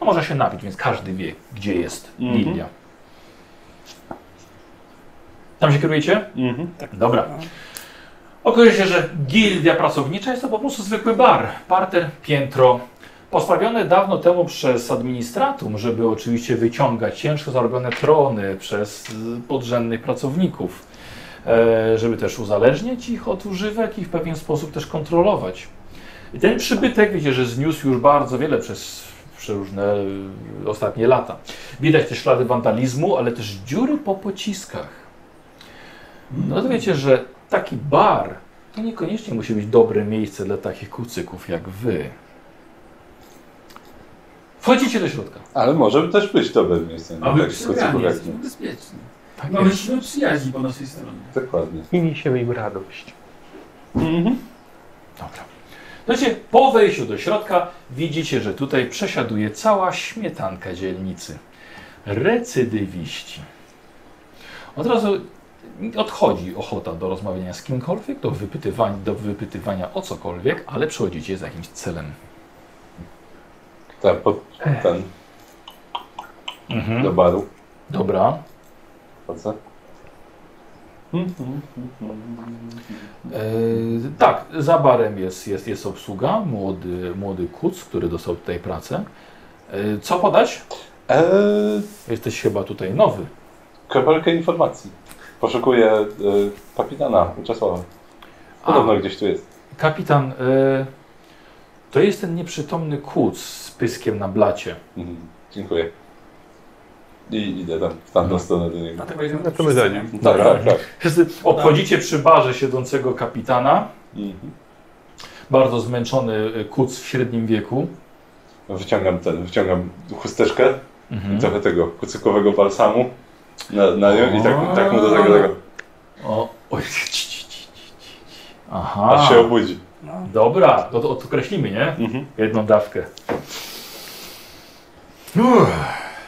[SPEAKER 1] no, można się napić, więc każdy wie, gdzie jest
[SPEAKER 4] Mhm.
[SPEAKER 1] gildia. Tam się kierujecie?
[SPEAKER 4] Mhm.
[SPEAKER 1] Dobra. Okazuje się, że gildia pracownicza jest to po prostu zwykły bar, parter, piętro. Postawione dawno temu przez administratum, żeby oczywiście wyciągać ciężko zarobione trony przez y, podrzędnych pracowników, e, żeby też uzależniać ich od używek i w pewien sposób też kontrolować. I ten przybytek, wiecie, że zniósł już bardzo wiele przez przeróżne y, ostatnie lata. Widać też ślady wandalizmu, ale też dziury po pociskach. No to wiecie, że taki bar to No niekoniecznie musi być dobre miejsce dla takich kucyków jak wy. Wchodzicie do środka.
[SPEAKER 4] Ale może też być dobre miejsce.
[SPEAKER 2] A
[SPEAKER 4] No,
[SPEAKER 2] my
[SPEAKER 4] tak,
[SPEAKER 2] przegrani,
[SPEAKER 4] tak,
[SPEAKER 2] jesteśmy bezpieczni.
[SPEAKER 1] Tak
[SPEAKER 2] Mamy siłę No, przyjaźni po naszej stronie.
[SPEAKER 4] Dokładnie.
[SPEAKER 5] I niesiemy im radość.
[SPEAKER 1] Dobra. Znaczy, po wejściu do środka widzicie, że tutaj przesiaduje cała śmietanka dzielnicy. Recydywiści. Od razu odchodzi ochota do rozmawiania z kimkolwiek, do wypytywania, do wypytywania o cokolwiek, ale przychodzicie z jakimś celem.
[SPEAKER 4] Tak, pod ten, do
[SPEAKER 1] Mhm.
[SPEAKER 4] baru.
[SPEAKER 1] Dobra.
[SPEAKER 4] Chodzę.
[SPEAKER 1] E, tak, za barem jest, jest, jest obsługa, młody, młody kuc, który dostał tutaj pracę. E, co podać?
[SPEAKER 4] Eee,
[SPEAKER 1] Jesteś chyba tutaj nowy.
[SPEAKER 4] kropelkę informacji. Poszukuję e, kapitana Czesława. Podobno gdzieś tu jest.
[SPEAKER 1] Kapitan, e, to jest ten nieprzytomny kuc z pyskiem na blacie.
[SPEAKER 4] Mhm. Dziękuję. I idę tam, w
[SPEAKER 2] No.
[SPEAKER 4] tamtą stronę do niego.
[SPEAKER 2] Dlatego idziemy
[SPEAKER 6] No to my
[SPEAKER 2] wszyscy,
[SPEAKER 6] za
[SPEAKER 2] nie?
[SPEAKER 6] nim.
[SPEAKER 4] Tak, tak, tak.
[SPEAKER 1] Wszyscy Obchodzicie przy barze siedzącego kapitana,
[SPEAKER 4] Mhm.
[SPEAKER 1] bardzo zmęczony e, kuc w średnim wieku.
[SPEAKER 4] No, Wyciągam ten, wyciągam chusteczkę,
[SPEAKER 1] Mhm.
[SPEAKER 4] trochę tego kucykowego balsamu na, na nią i tak, tak mu do tego, tego
[SPEAKER 1] O, oj, ci, ci, ci, ci, ci. Aha,
[SPEAKER 4] aż się obudzi.
[SPEAKER 2] No.
[SPEAKER 1] dobra, to, to odkreślimy, nie?
[SPEAKER 4] Mhm.
[SPEAKER 1] Jedną dawkę.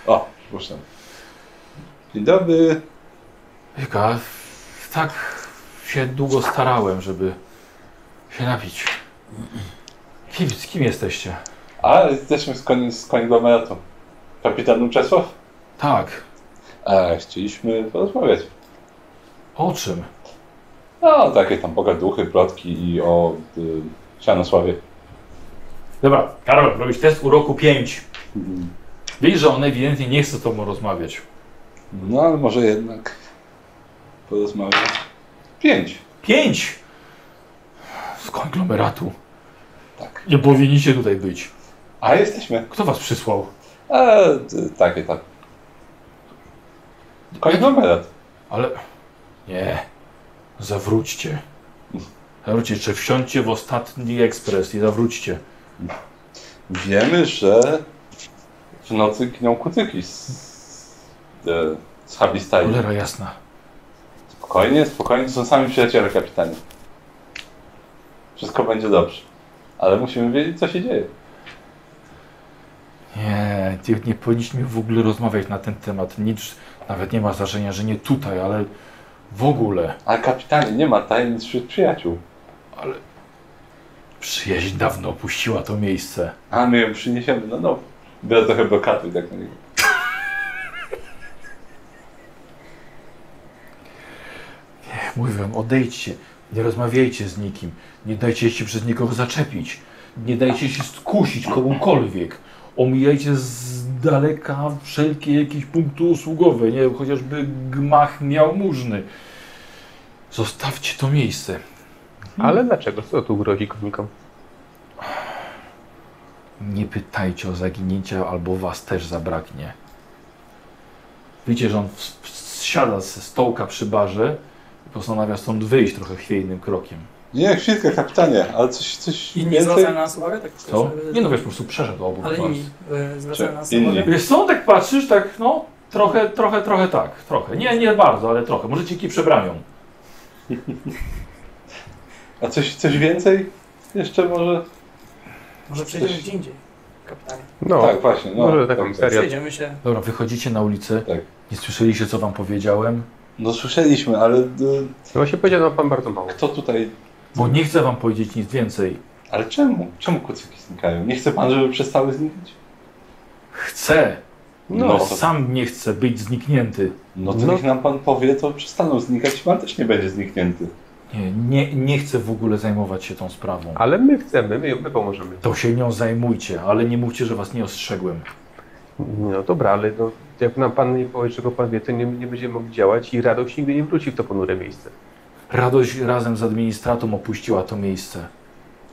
[SPEAKER 4] O, puszczam. Dzień dobry.
[SPEAKER 1] Jaka, tak się długo starałem, żeby się napić. Kim, z kim jesteście?
[SPEAKER 4] A, jesteśmy z, kon, z konglomeratu. Kapitan Czesław?
[SPEAKER 1] Tak,
[SPEAKER 4] A, chcieliśmy porozmawiać.
[SPEAKER 1] o czym?
[SPEAKER 4] No, takie tam pogaduchy, plotki i o y, Sianosławie.
[SPEAKER 1] Dobra, Karol, robisz test uroku 5. Wiesz, że on ewidentnie nie chce z tobą rozmawiać.
[SPEAKER 4] No, ale może jednak porozmawiać. Pięć.
[SPEAKER 1] 5! Z konglomeratu.
[SPEAKER 4] Tak.
[SPEAKER 1] Nie powinniście tutaj być.
[SPEAKER 4] A, jesteśmy.
[SPEAKER 1] Kto was przysłał?
[SPEAKER 4] A, y, takie tam. Konglomerat.
[SPEAKER 1] Ale... Nie. Zawróćcie. Zawróćcie, czy wsiądźcie w ostatni ekspres i zawróćcie.
[SPEAKER 4] Wiemy, że w nocy gnią kucyki z, z, e, z Habistai.
[SPEAKER 1] Cholera jasna.
[SPEAKER 4] Spokojnie, spokojnie, to są sami przyjaciele, kapitanie. Wszystko będzie dobrze. Ale musimy wiedzieć, co się dzieje.
[SPEAKER 1] Nie, nie, nie powinniśmy w ogóle rozmawiać na ten temat. Nic, nawet nie ma znaczenia, że nie tutaj, ale w ogóle.
[SPEAKER 4] Ale kapitanie, nie ma tajemnic wśród przyjaciół.
[SPEAKER 1] Przyjaźń dawno opuściła to miejsce.
[SPEAKER 4] A my ją przyniesiemy na nowo. Biorę trochę brokatu i tak na niego.
[SPEAKER 1] Mówię wam, odejdźcie, nie rozmawiajcie z nikim, nie dajcie się przez nikogo zaczepić, nie dajcie się skusić komukolwiek. Omijajcie z daleka wszelkie jakieś punkty usługowe, nie chociażby gmach miałmużny. Zostawcie to miejsce.
[SPEAKER 5] Ale dlaczego? Co tu grozi konikom?
[SPEAKER 1] Nie pytajcie o zaginięcia, albo was też zabraknie. Widzicie, że on w- w- zsiada ze stołka przy barze i postanawia stąd wyjść trochę chwiejnym krokiem.
[SPEAKER 4] Nie, chwilkę, kapitanie, ale coś, coś
[SPEAKER 3] I nie
[SPEAKER 4] więcej?
[SPEAKER 3] zwracają na nas uwagę? Tak
[SPEAKER 1] Co?
[SPEAKER 3] też, e,
[SPEAKER 1] Nie no, wiesz, po prostu przeszedł obok
[SPEAKER 3] Ale
[SPEAKER 1] was.
[SPEAKER 3] inni e, zwracają na nas
[SPEAKER 4] Inni.
[SPEAKER 3] uwagę?
[SPEAKER 1] Wiesz co, tak patrzysz, tak no, trochę, trochę, trochę tak, trochę. Nie, nie bardzo, ale trochę. Może ci przebranią.
[SPEAKER 4] A coś, coś więcej? Jeszcze może?
[SPEAKER 3] Może przejdziemy gdzie indziej, kapitanie.
[SPEAKER 5] No,
[SPEAKER 4] tak, właśnie. No,
[SPEAKER 5] może taką
[SPEAKER 4] tak, tak.
[SPEAKER 5] serię.
[SPEAKER 3] Przejdziemy się.
[SPEAKER 1] Dobra, wychodzicie na ulicę.
[SPEAKER 4] Tak.
[SPEAKER 1] Nie słyszeliście, co wam powiedziałem?
[SPEAKER 4] No słyszeliśmy, ale y,
[SPEAKER 5] No właśnie powiedział nam pan bardzo mało.
[SPEAKER 4] kto tutaj...
[SPEAKER 1] Bo nie chcę wam powiedzieć nic więcej.
[SPEAKER 4] Ale czemu? Czemu kucyki znikają? Nie chce pan, żeby przestały znikać?
[SPEAKER 1] Chcę,
[SPEAKER 4] No,
[SPEAKER 1] bo
[SPEAKER 4] to,
[SPEAKER 1] sam nie chcę być zniknięty.
[SPEAKER 4] no to
[SPEAKER 5] no.
[SPEAKER 4] niech nam pan powie, to przestaną znikać i pan też nie będzie zniknięty.
[SPEAKER 1] Nie, nie, nie chcę w ogóle zajmować się tą sprawą.
[SPEAKER 5] Ale my chcemy, my, my pomożemy.
[SPEAKER 1] To się nią zajmujcie, ale nie mówcie, że was nie ostrzegłem.
[SPEAKER 5] No dobra, ale no, jak nam pan nie powie, czego pan wie, to nie, nie będziemy mogli działać i radość nigdy nie wróci w to ponure miejsce.
[SPEAKER 1] Radość razem z administratą opuściła to miejsce.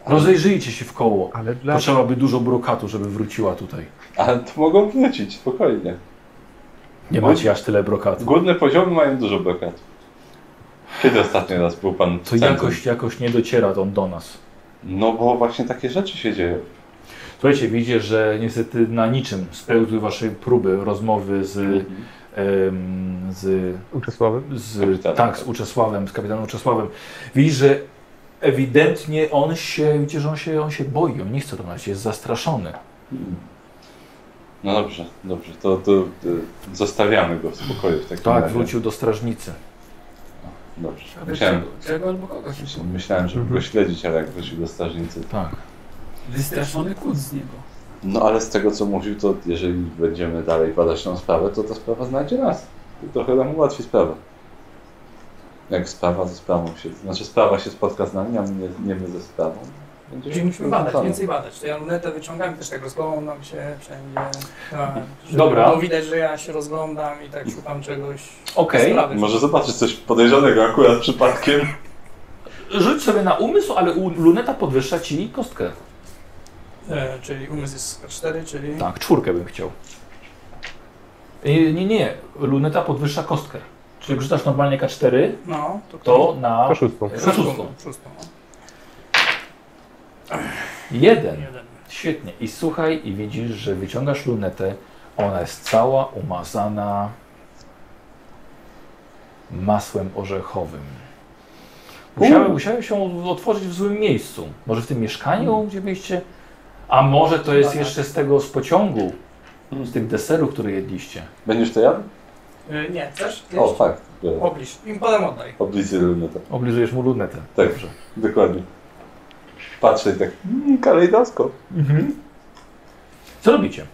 [SPEAKER 1] Rozejrzyjcie się w koło.
[SPEAKER 5] Ale dla...
[SPEAKER 1] Potrzeba by dużo brokatu, żeby wróciła tutaj.
[SPEAKER 4] Ale to mogą wrócić, spokojnie.
[SPEAKER 1] Nie macie aż tyle brokatu.
[SPEAKER 4] Górne poziomy mają dużo blokad. Kiedy ostatni raz był pan w
[SPEAKER 1] To
[SPEAKER 4] centrum?
[SPEAKER 1] jakoś, jakoś nie dociera on do nas.
[SPEAKER 4] No bo właśnie takie rzeczy się dzieją.
[SPEAKER 1] Słuchajcie, widzicie, że niestety na niczym spełzły wasze próby rozmowy z, em, z,
[SPEAKER 5] Uczesławy?
[SPEAKER 1] z
[SPEAKER 4] Kapitanem.
[SPEAKER 1] tak, z Uczesławem, z kapitanem Uczesławem. Widzisz, że ewidentnie on się, widzicie, że on się, on się boi, on nie chce rozmawiać, jest zastraszony.
[SPEAKER 4] No dobrze, dobrze, to, to, to zostawiamy go w spokoju w takim
[SPEAKER 1] Tak,
[SPEAKER 4] razie.
[SPEAKER 1] wrócił do strażnicy.
[SPEAKER 4] Dobrze,
[SPEAKER 2] Albo
[SPEAKER 4] myślałem,
[SPEAKER 2] czego- Czego albo kogoś.
[SPEAKER 4] myślałem,
[SPEAKER 1] Mhm.
[SPEAKER 4] żeby go śledzić, ale jak wrócił do strażnicy.
[SPEAKER 1] Tak.
[SPEAKER 2] Wystraszony kłód z niego.
[SPEAKER 4] No ale z tego co mówił, to jeżeli będziemy dalej badać tą sprawę, to ta sprawa znajdzie nas. To trochę nam ułatwi sprawę. Jak sprawa ze sprawą się, znaczy sprawa się spotka z nami, a my nie, nie my ze sprawą. Będzie-
[SPEAKER 3] Czyli musimy badać,
[SPEAKER 4] Dobra.
[SPEAKER 3] więcej badać. To ja lunetę wyciągam i też tak rozglądam się wszędzie. Tak, żeby
[SPEAKER 9] Dobra.
[SPEAKER 3] było widać, że ja się rozglądam i tak szukam czegoś.
[SPEAKER 9] Okej.
[SPEAKER 3] sprawy.
[SPEAKER 4] Może zobaczyć coś podejrzanego akurat przypadkiem.
[SPEAKER 9] Rzuć sobie na umysł, ale u, luneta podwyższa ci kostkę.
[SPEAKER 3] E, czyli umysł jest K4, czyli...
[SPEAKER 9] Tak, czwórkę bym chciał. Nie, nie, nie. Luneta podwyższa kostkę. Czyli rzucasz normalnie K4,
[SPEAKER 3] No, to kto?
[SPEAKER 9] to na
[SPEAKER 5] To szóstką.
[SPEAKER 3] E,
[SPEAKER 9] szóstką.
[SPEAKER 3] Szóstką. no.
[SPEAKER 9] jeden.
[SPEAKER 3] Jeden.
[SPEAKER 9] Świetnie. I słuchaj, i widzisz, że wyciągasz lunetę. Ona jest cała umazana masłem orzechowym. Musiały, musiały się otworzyć w złym miejscu. Może w tym mieszkaniu,
[SPEAKER 1] Mm.
[SPEAKER 9] gdzie byliście? A może to jest jeszcze
[SPEAKER 1] tak.
[SPEAKER 9] z tego z pociągu,
[SPEAKER 1] Mm.
[SPEAKER 9] z tych deserów, które jedliście.
[SPEAKER 4] Będziesz to ja?
[SPEAKER 3] E, nie, chcesz?
[SPEAKER 4] O, fakt. biorę.
[SPEAKER 3] Obliż. Im potem oddaj.
[SPEAKER 4] Oblizy lunetę.
[SPEAKER 9] Oblizujesz mu lunetę.
[SPEAKER 4] Tak, dokładnie. Patrzę i tak, mmm, kalejdoskop.
[SPEAKER 9] Co robicie?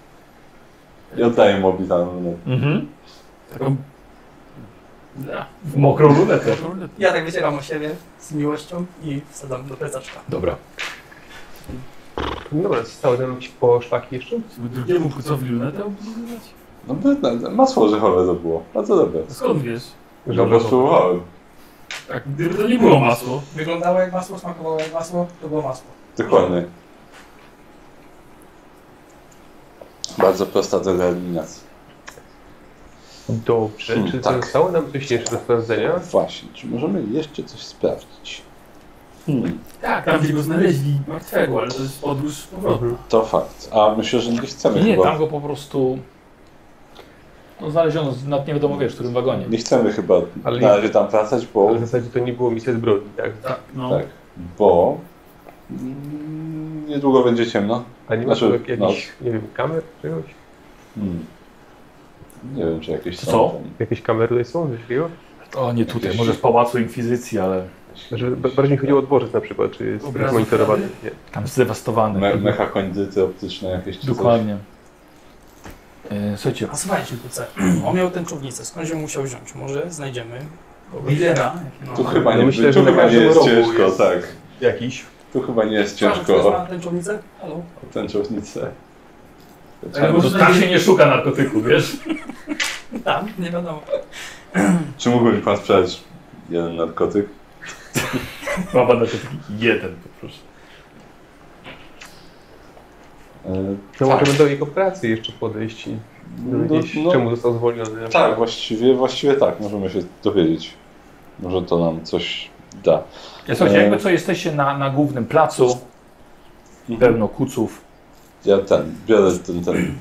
[SPEAKER 4] I oddaję mu oblizaną lunetę.
[SPEAKER 1] Mhm.
[SPEAKER 9] W mokrą lunetę.
[SPEAKER 3] Ja tak wycieram o siebie z miłością i wsadzam do plecaczka.
[SPEAKER 9] Dobra.
[SPEAKER 5] No dobra, zostały nam jakieś poszlaki jeszcze?
[SPEAKER 2] Drugiemu kucowi lunetę oblizywać?
[SPEAKER 4] No, no, no, masło orzechowe to było. Bardzo dobre.
[SPEAKER 2] Skąd wiesz?
[SPEAKER 4] No bo spróbowałem.
[SPEAKER 2] Tak, gdyby to nie było masło.
[SPEAKER 3] Wyglądało jak masło, smakowało jak masło, to było masło.
[SPEAKER 4] Dokładnie. Bardzo prosta droga eliminacji.
[SPEAKER 5] Dobrze,
[SPEAKER 4] Hmm,
[SPEAKER 5] czy
[SPEAKER 4] tak.
[SPEAKER 5] zostało nam coś jeszcze do sprawdzenia?
[SPEAKER 4] Właśnie, czy możemy jeszcze coś sprawdzić?
[SPEAKER 2] Tak, tam gdzie go znaleźli martwego, ale to jest podróż powrotna.
[SPEAKER 4] To fakt. A myślę, że nie chcemy
[SPEAKER 1] Nie,
[SPEAKER 4] chyba.
[SPEAKER 1] tam go po prostu no, znaleziono z- nad nie wiadomo wiesz, w którym wagonie.
[SPEAKER 4] Nie chcemy chyba
[SPEAKER 5] Ale
[SPEAKER 4] na
[SPEAKER 5] nie-
[SPEAKER 4] razie tam wracać, bo,
[SPEAKER 5] Ale w zasadzie to nie było misja zbrodni, tak?
[SPEAKER 2] Tak, no.
[SPEAKER 4] Tak. bo mm, niedługo będzie ciemno.
[SPEAKER 5] A nie ma
[SPEAKER 4] Znaczy,
[SPEAKER 5] tu jakichś, nie wiem, kamer czegoś?
[SPEAKER 4] Hmm. Nie wiem, czy jakieś
[SPEAKER 1] Co?
[SPEAKER 4] tam-
[SPEAKER 5] Jakieś kamery tutaj są, coś takiego?
[SPEAKER 1] O, nie tutaj, może w Pałacu Inkwizycji, ale
[SPEAKER 5] Znaczy, ba- bardziej mi chodziło o dworzec na przykład, czy jest
[SPEAKER 2] Obrazów.
[SPEAKER 5] monitorowany. Nie.
[SPEAKER 1] tam zdewastowany.
[SPEAKER 4] Me mecha kondyty optyczne jakieś czy coś.
[SPEAKER 1] Dokładnie. E, słuchajcie,
[SPEAKER 3] A słuchajcie, kuce, on miał tęczownicę, skąd ją musiał wziąć? Może znajdziemy lidera.
[SPEAKER 4] Tu chyba
[SPEAKER 5] No
[SPEAKER 4] nie,
[SPEAKER 5] myślę,
[SPEAKER 4] tu
[SPEAKER 5] że
[SPEAKER 4] chyba
[SPEAKER 5] na
[SPEAKER 4] nie jest
[SPEAKER 5] każdym rogu
[SPEAKER 4] ciężko,
[SPEAKER 5] jest-
[SPEAKER 4] tak.
[SPEAKER 5] Jakiś.
[SPEAKER 4] Tu chyba nie jest ciężko
[SPEAKER 3] Kto
[SPEAKER 4] o
[SPEAKER 3] zna tęczownicę? Halo?
[SPEAKER 4] tęczownicę.
[SPEAKER 2] Ale może
[SPEAKER 1] tam tak się nie szuka narkotyku, wiesz?
[SPEAKER 3] Tam, nie wiadomo.
[SPEAKER 4] Czy mógłby mi pan sprzedać jeden narkotyk?
[SPEAKER 1] Mama narkotyki jeden, poproszę.
[SPEAKER 4] E,
[SPEAKER 5] No możemy do jego pracy jeszcze podejść i dowiedzieć,
[SPEAKER 4] No, no.
[SPEAKER 5] czemu został zwolniony.
[SPEAKER 4] tak, właściwie, właściwie tak. Możemy się dowiedzieć. Może to nam coś da.
[SPEAKER 1] Słuchajcie,
[SPEAKER 4] E.
[SPEAKER 1] jakby co, jesteście na, na głównym placu, pełno kuców.
[SPEAKER 4] Ja ten, biorę ten, ten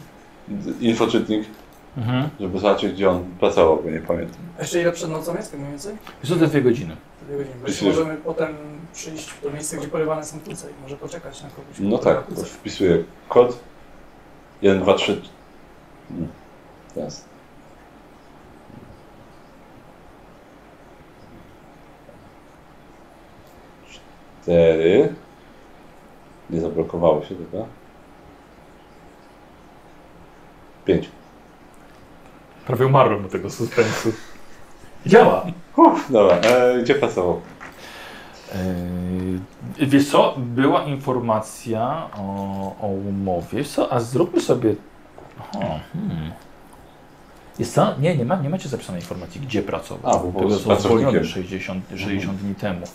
[SPEAKER 4] infoczytnik,
[SPEAKER 1] Mhm.
[SPEAKER 4] żeby zobaczyć, gdzie on pracował, bo nie pamiętam.
[SPEAKER 3] Jeszcze ile przed nocą jest, tak mniej więcej?
[SPEAKER 1] Jest to te dwie godziny.
[SPEAKER 3] Dwie godziny. Być
[SPEAKER 4] Myślę,
[SPEAKER 3] możemy potem przyjść do miejsca, gdzie porywane są kuce i może poczekać na kogoś.
[SPEAKER 4] No
[SPEAKER 3] kto
[SPEAKER 4] tak,
[SPEAKER 3] porywa
[SPEAKER 4] to
[SPEAKER 3] kuce.
[SPEAKER 4] wpisuję kod. 1, 2, 3. Teraz. Cztery. Nie zablokowało się, prawda? Pięć.
[SPEAKER 1] Prawie umarłem do tego suspensu. Działa.
[SPEAKER 4] Dobra, e, gdzie pracował?
[SPEAKER 1] Yy, wiesz co, była informacja o, o umowie. Wiesz co, a zróbmy sobie. Aha, hmm. Jest co? Nie, nie, ma, nie macie zapisanej informacji, gdzie pracował.
[SPEAKER 4] A, bo był
[SPEAKER 1] Tego
[SPEAKER 4] z
[SPEAKER 1] został zwolniony
[SPEAKER 4] pracownikiem. Mhm.
[SPEAKER 1] 60, 60 dni temu.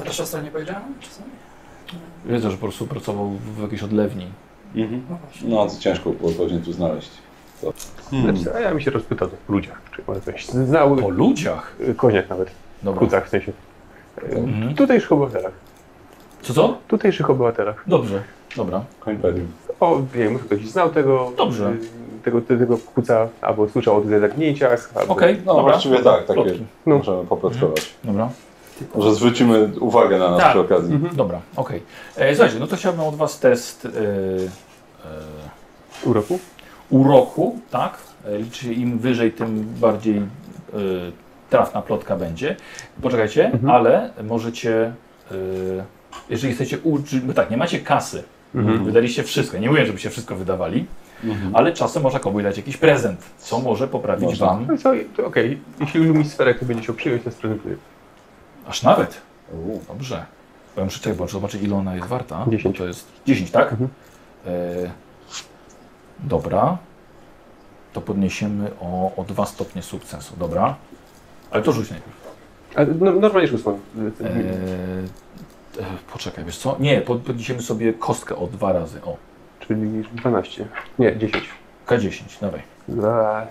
[SPEAKER 3] A ta siostra nie powiedziała nam czasami?
[SPEAKER 1] Wiedzę, że po prostu pracował w jakiejś odlewni.
[SPEAKER 3] No właśnie.
[SPEAKER 4] No, to ciężko było pewnie tu znaleźć. To.
[SPEAKER 5] Znaczy, a ja mi się rozpytał o tych ludziach, czy może coś znał
[SPEAKER 1] Po ludziach.
[SPEAKER 5] y, koniach nawet, w
[SPEAKER 1] Dobra.
[SPEAKER 5] kucach w sensie.
[SPEAKER 1] Mhm.
[SPEAKER 5] W tutejszych obywatelach.
[SPEAKER 1] Co co?
[SPEAKER 5] W tutejszych obywatelach.
[SPEAKER 1] Dobrze. Dobra.
[SPEAKER 4] Koń palił.
[SPEAKER 5] O, wiem, może ktoś znał tego,
[SPEAKER 1] Dobrze.
[SPEAKER 5] y, tego, tego kuca, albo słyszał o tych zagnięciach, albo
[SPEAKER 1] Okej,
[SPEAKER 4] No,
[SPEAKER 1] dobra.
[SPEAKER 4] właściwie tak, takie
[SPEAKER 1] Plotki.
[SPEAKER 5] No.
[SPEAKER 4] możemy poplotkować.
[SPEAKER 1] Dobra.
[SPEAKER 4] Może zwrócimy uwagę na nas
[SPEAKER 1] Tak.
[SPEAKER 4] przy okazji.
[SPEAKER 1] Dobra, okej. E, Słuchajcie, no to chciałbym od Was test e, e,
[SPEAKER 5] uroku.
[SPEAKER 1] uroku, tak? E, Liczy im wyżej, tym bardziej e, trafna plotka będzie. Poczekajcie, ale możecie, e, jeżeli chcecie uczyć, bo tak, nie macie kasy,
[SPEAKER 5] Mhm.
[SPEAKER 1] wydaliście wszystko. Ja Nie mówię, żebyście wszystko wydawali, ale czasem można komuś dać jakiś prezent, co może poprawić
[SPEAKER 4] Można.
[SPEAKER 1] Wam,
[SPEAKER 5] No i co, to okej, jeśli już mi sferę, to będzie się przyjąć na stronę gry.
[SPEAKER 1] aż nawet.
[SPEAKER 4] U.
[SPEAKER 1] Dobrze. Bo ja muszę czekać, bo muszę zobaczyć, ile ona jest warta.
[SPEAKER 5] 10.
[SPEAKER 1] To jest 10, tak?
[SPEAKER 5] Mhm.
[SPEAKER 1] E, dobra. To podniesiemy o, o 2 stopnie sukcesu. Dobra. Ale to rzuć najpierw.
[SPEAKER 5] A, no, normalnie szóstą.
[SPEAKER 1] E, e, poczekaj, wiesz co? Nie, pod, podniesiemy sobie kostkę o dwa razy. O,
[SPEAKER 5] Czyli 12. Nie, 10.
[SPEAKER 1] K10, dawaj.
[SPEAKER 5] Dwa.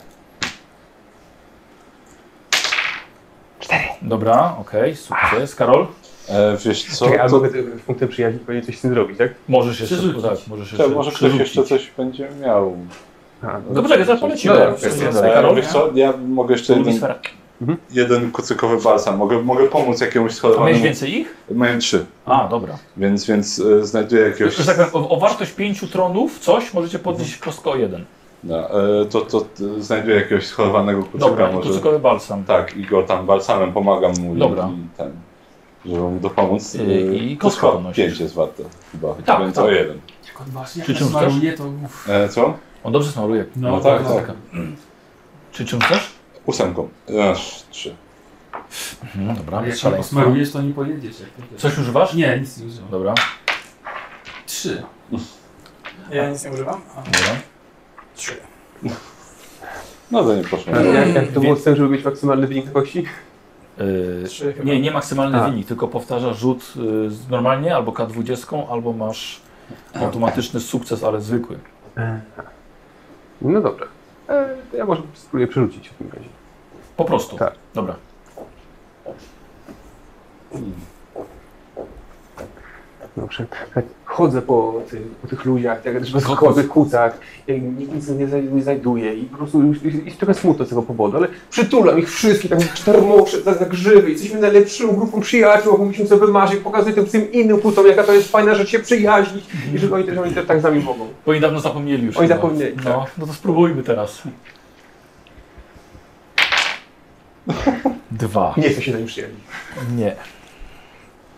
[SPEAKER 1] Dobra, okej, sukces. Karol,
[SPEAKER 4] E, wiesz co,
[SPEAKER 5] Czekaj, a
[SPEAKER 4] to,
[SPEAKER 5] mogę te- punktem przyjaźni pewnie coś z tym zrobić, tak?
[SPEAKER 1] możesz jeszcze...
[SPEAKER 2] Przerzucić.
[SPEAKER 1] Tak, możesz jeszcze
[SPEAKER 4] to może ktoś
[SPEAKER 1] przerzucić.
[SPEAKER 4] jeszcze coś będzie miał.
[SPEAKER 5] A,
[SPEAKER 1] No poczekaj, zaraz polecimy.
[SPEAKER 5] No dobra,
[SPEAKER 1] Wszyscy
[SPEAKER 5] okej.
[SPEAKER 1] dalej.
[SPEAKER 4] E,
[SPEAKER 1] Karol,
[SPEAKER 4] wiesz co, ja mogę jeszcze jeden,
[SPEAKER 1] Lumisfera.
[SPEAKER 4] jeden kucykowy balsam. Mogę, mogę pomóc jakiemuś
[SPEAKER 1] A miałeś
[SPEAKER 4] schorowanemu.
[SPEAKER 1] więcej ich?
[SPEAKER 4] Mają trzy,
[SPEAKER 1] A, dobra.
[SPEAKER 4] więc, więc e, znajduję jakiegoś...
[SPEAKER 1] Że tak powiem, o, o wartość pięciu tronów coś możecie podnieść kostkę o jeden.
[SPEAKER 4] No, e, to, to e, znajduję jakiegoś schorowanego kucyka
[SPEAKER 1] Dobra, i
[SPEAKER 4] może.
[SPEAKER 1] kucykowy balsam.
[SPEAKER 4] Tak, i go tam balsamem pomagam mu. i-
[SPEAKER 1] Dobra.
[SPEAKER 4] I ten, żeby mu dopomóc.
[SPEAKER 1] I-
[SPEAKER 4] E,
[SPEAKER 1] i
[SPEAKER 4] to
[SPEAKER 1] kostkę
[SPEAKER 4] chyba
[SPEAKER 1] podnosisz.
[SPEAKER 4] Pięć jest warte chyba.
[SPEAKER 1] Tak,
[SPEAKER 4] Więc
[SPEAKER 1] tak.
[SPEAKER 4] O jeden.
[SPEAKER 2] Jak on was
[SPEAKER 1] Czy
[SPEAKER 2] jak
[SPEAKER 1] czym
[SPEAKER 2] tak smaruje, to uff.
[SPEAKER 4] E, co?
[SPEAKER 1] On dobrze smaruje.
[SPEAKER 2] No,
[SPEAKER 4] No tak, tak.
[SPEAKER 1] Czy czym chcesz?
[SPEAKER 4] Ósemką. Aż trzy.
[SPEAKER 1] No dobra,
[SPEAKER 2] Ale jak się
[SPEAKER 1] szaleństwo.
[SPEAKER 2] posmarujesz, to nie pojedziesz. Jak to
[SPEAKER 1] Coś używasz?
[SPEAKER 2] Nie, nic nie używam.
[SPEAKER 1] Dobra,
[SPEAKER 2] Trzy.
[SPEAKER 3] Ja nic nie używam? A,
[SPEAKER 1] dobra.
[SPEAKER 3] trzy.
[SPEAKER 4] No to nie proszę.
[SPEAKER 5] jak, jak to było z tym, żeby mieć maksymalny wynik na kości?
[SPEAKER 1] Yy,
[SPEAKER 3] Trzy chyba.
[SPEAKER 1] nie, nie maksymalny
[SPEAKER 5] A.
[SPEAKER 1] wynik, tylko powtarza rzut yy, z- normalnie albo K20, albo masz automatyczny sukces, ale zwykły.
[SPEAKER 5] E, No dobra. E, to ja może spróbuję przerzucić w tym razie.
[SPEAKER 1] Po prostu.
[SPEAKER 5] Tak.
[SPEAKER 1] Dobra.
[SPEAKER 5] Dobrze. Tak chodzę po, ty, po tych ludziach, tak, też po chodzę kucach, jak nikt nic nie, zaj- nie znajduje i po prostu już- i- i trochę smutno z tego powodu, ale przytulam ich wszystkich, tak cztermokrze, tak jak żywy, jesteśmy najlepszą grupą przyjaciół, mówiliśmy sobie wymarzyć, pokazuję tym, tym innym putom, jaka to jest fajna rzecz się przyjaźnić i że oni też, oni też tak z nami mogą.
[SPEAKER 1] Bo oni dawno zapomnieli już.
[SPEAKER 5] Oni
[SPEAKER 1] chyba.
[SPEAKER 5] zapomnieli,
[SPEAKER 1] No,
[SPEAKER 5] tak.
[SPEAKER 1] no to spróbujmy teraz. Dwa.
[SPEAKER 5] Nie chcę się na nim przyjaźnić.
[SPEAKER 1] Nie.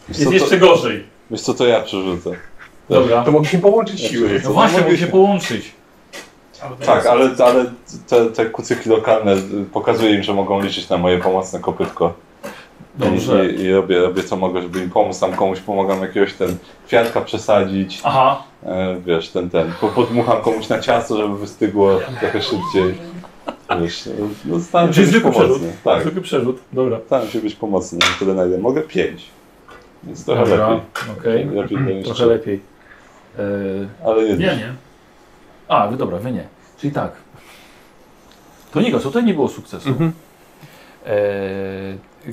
[SPEAKER 4] Wiesz
[SPEAKER 1] Jest
[SPEAKER 4] co, to,
[SPEAKER 1] jeszcze gorzej.
[SPEAKER 4] wiesz co, to ja przerzucę.
[SPEAKER 1] Dobra.
[SPEAKER 5] To mogliśmy połączyć siły.
[SPEAKER 1] No właśnie, mogę się
[SPEAKER 4] mogliśmy.
[SPEAKER 1] połączyć.
[SPEAKER 4] Tak, ale, ale te, te kucyki lokalne y, pokazuję im, że mogą liczyć na moje pomocne kopytko.
[SPEAKER 1] Dobrze.
[SPEAKER 4] I, i, i robię, robię co mogę, żeby im pomóc. Tam komuś pomagam jakiegoś ten kwiatka przesadzić,
[SPEAKER 1] Aha.
[SPEAKER 4] e, wiesz, ten, ten. Po- Podmucham komuś na ciasto, żeby wystygło trochę szybciej. Wiesz, no, no staram się
[SPEAKER 1] Czyli
[SPEAKER 4] być
[SPEAKER 1] zwykły
[SPEAKER 4] pomocny. Tak,
[SPEAKER 1] Zwykły przerzut. Dobra.
[SPEAKER 4] staram się być pomocny, na tyle na ile mogę. Pięć. Więc trochę
[SPEAKER 1] Dobra.
[SPEAKER 4] lepiej.
[SPEAKER 1] Okej.
[SPEAKER 4] Lepiej to niż
[SPEAKER 1] Trochę lepiej. Yy,
[SPEAKER 4] Ale nie,
[SPEAKER 2] Nie, nie.
[SPEAKER 1] A, wy dobra, wy nie. Czyli tak. To nie, tutaj nie było sukcesu. Eee, y,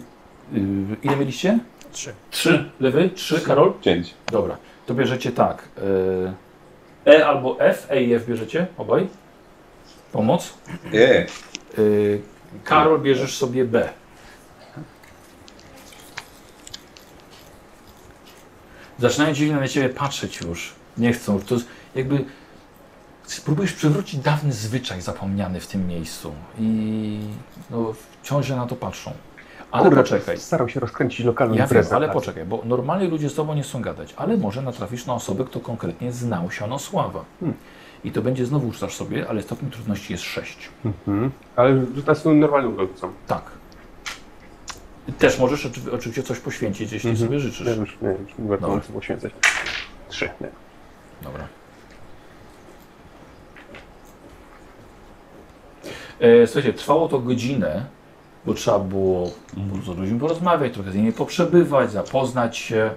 [SPEAKER 1] y, ile mieliście?
[SPEAKER 3] Trzy.
[SPEAKER 1] Trzy. Lewy? Trzy, Karol?
[SPEAKER 4] pięć.
[SPEAKER 1] Dobra. To bierzecie tak. eee, e albo F, E i F bierzecie obaj. Pomoc.
[SPEAKER 4] Jej.
[SPEAKER 1] Eee, Karol, bierzesz sobie B. Zaczynają dziwnie na ciebie patrzeć już. Nie chcą. To jest jakby. Spróbujesz przywrócić dawny zwyczaj zapomniany w tym miejscu. I no, wciąż na to patrzą. Ale
[SPEAKER 5] Kurde,
[SPEAKER 1] poczekaj.
[SPEAKER 5] Starał się rozkręcić lokalną
[SPEAKER 1] Ja wiem,
[SPEAKER 5] imprezę,
[SPEAKER 1] ale
[SPEAKER 5] tak.
[SPEAKER 1] poczekaj, bo normalnie ludzie z tobą nie chcą gadać, ale może natrafisz na osobę, kto konkretnie znał siano sława. I to będzie znowu rzucasz sobie, ale stopień trudności jest 6.
[SPEAKER 5] Mhm. Ale to są normalną rodzicą.
[SPEAKER 1] Tak. Też możesz oczy- oczywiście coś poświęcić, jeśli
[SPEAKER 5] Mhm.
[SPEAKER 1] sobie życzysz.
[SPEAKER 5] Nie wiem, już nie wiem, już nie warto
[SPEAKER 1] Dobra.
[SPEAKER 5] no. poświęcać. Trzy. Nie.
[SPEAKER 1] Dobra. E, słuchajcie, trwało to godzinę, bo trzeba było z ludźmi porozmawiać, trochę z nimi poprzebywać, zapoznać się.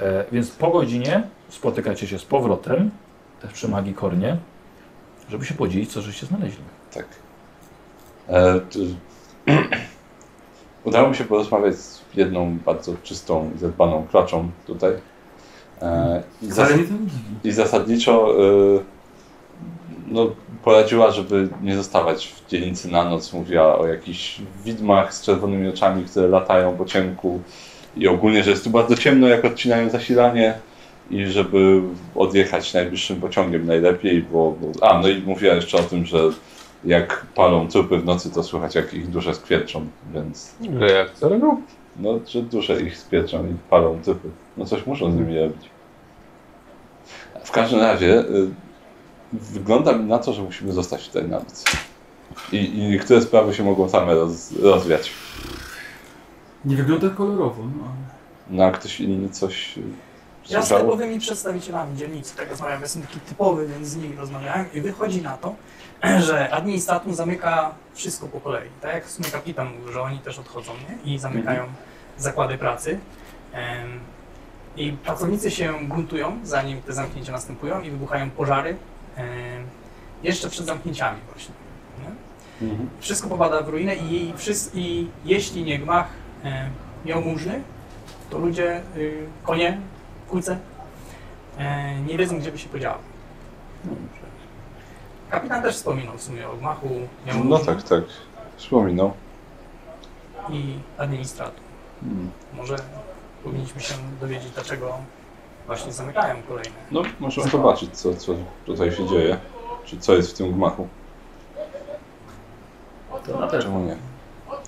[SPEAKER 1] E, więc po godzinie spotykacie się z powrotem, też przy Magii Kornie, żeby się podzielić, co żeście znaleźli.
[SPEAKER 4] Tak. E, t- Udało mi się porozmawiać z jedną bardzo czystą, i zadbaną klaczą tutaj. E, i, zas
[SPEAKER 2] Ale mnie to nie dziwi.
[SPEAKER 4] I zasadniczo y, no, poradziła, żeby nie zostawać w dzielnicy na noc. Mówiła o jakichś widmach z czerwonymi oczami, które latają po ciemku i ogólnie, że jest tu bardzo ciemno, jak odcinają zasilanie i żeby odjechać najbliższym pociągiem najlepiej, bo, bo... A, no i mówiła jeszcze o tym, że jak palą trupy w nocy, to słychać jak ich dusze skwierczą, więc
[SPEAKER 5] Że jak co robią?
[SPEAKER 4] no, że dusze ich spietrzą i palą typy. No coś muszą z nimi robić. W każdym razie y, wygląda mi na to, że musimy zostać tutaj na noc. I, I niektóre sprawy się mogą same roz, rozwiać.
[SPEAKER 2] Nie wygląda kolorowo, no ale...
[SPEAKER 4] No a ktoś inny coś y,
[SPEAKER 3] Ja z
[SPEAKER 4] słyszał?
[SPEAKER 3] typowymi przedstawicielami dzielnicy tak rozmawiam, jestem taki typowy, więc z nimi rozmawiałem i wychodzi na to, że administratum zamyka wszystko po kolei, tak jak w sumie kapitan mówił, że oni też odchodzą nie? i zamykają zakłady pracy. Em, I pracownicy się buntują, zanim te zamknięcia następują i wybuchają pożary em, jeszcze przed zamknięciami właśnie. Nie?
[SPEAKER 4] Mhm.
[SPEAKER 3] Wszystko popada w ruinę i, wszys- i jeśli nie gmach e, jałmużny, to ludzie, y, konie, kulce, e, nie wiedzą, gdzie by się podziały. Kapitan też wspominał w sumie o gmachu jałmużny
[SPEAKER 4] No tak, tak. Wspominał.
[SPEAKER 3] i administratu.
[SPEAKER 4] Hmm.
[SPEAKER 3] Może powinniśmy się dowiedzieć, dlaczego właśnie zamykają kolejne.
[SPEAKER 4] No, możemy zobaczyć, co, co tutaj się dzieje. Czy co jest w tym gmachu.
[SPEAKER 2] To na pewno.
[SPEAKER 4] Czemu nie?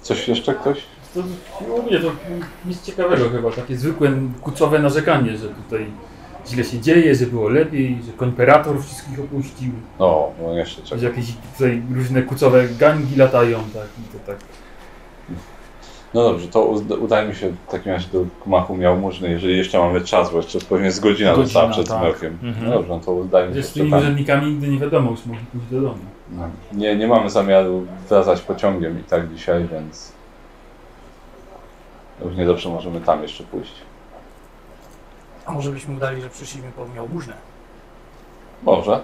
[SPEAKER 4] Coś jeszcze ktoś?
[SPEAKER 2] To u mnie to nic ciekawego chyba. Takie zwykłe kucowe narzekanie, że tutaj źle się dzieje, że było lepiej, że konperator wszystkich opuścił,
[SPEAKER 4] O, no jeszcze czekaj.
[SPEAKER 2] że jakieś tutaj różne kucowe gangi latają, tak i to tak.
[SPEAKER 4] No dobrze, to uz- udajmy się w takim razie do gmachu Jałmużny, jeżeli jeszcze mamy czas, bo jeszcze pewnie z godzina,
[SPEAKER 1] Godzina,
[SPEAKER 4] została przed
[SPEAKER 1] tak.
[SPEAKER 4] zmrokiem.
[SPEAKER 1] Mhm.
[SPEAKER 4] No dobrze, no to udajmy się
[SPEAKER 2] Że z
[SPEAKER 4] jeszcze
[SPEAKER 2] tymi
[SPEAKER 4] tam.
[SPEAKER 2] urzędnikami nigdy nie wiadomo, już mogli pójść do domu.
[SPEAKER 4] No. Nie, nie mamy zamiaru wracać pociągiem i tak dzisiaj, więc równie dobrze możemy tam jeszcze pójść.
[SPEAKER 3] A może byśmy udali, że przyszliśmy po jałmużnę?
[SPEAKER 4] Może.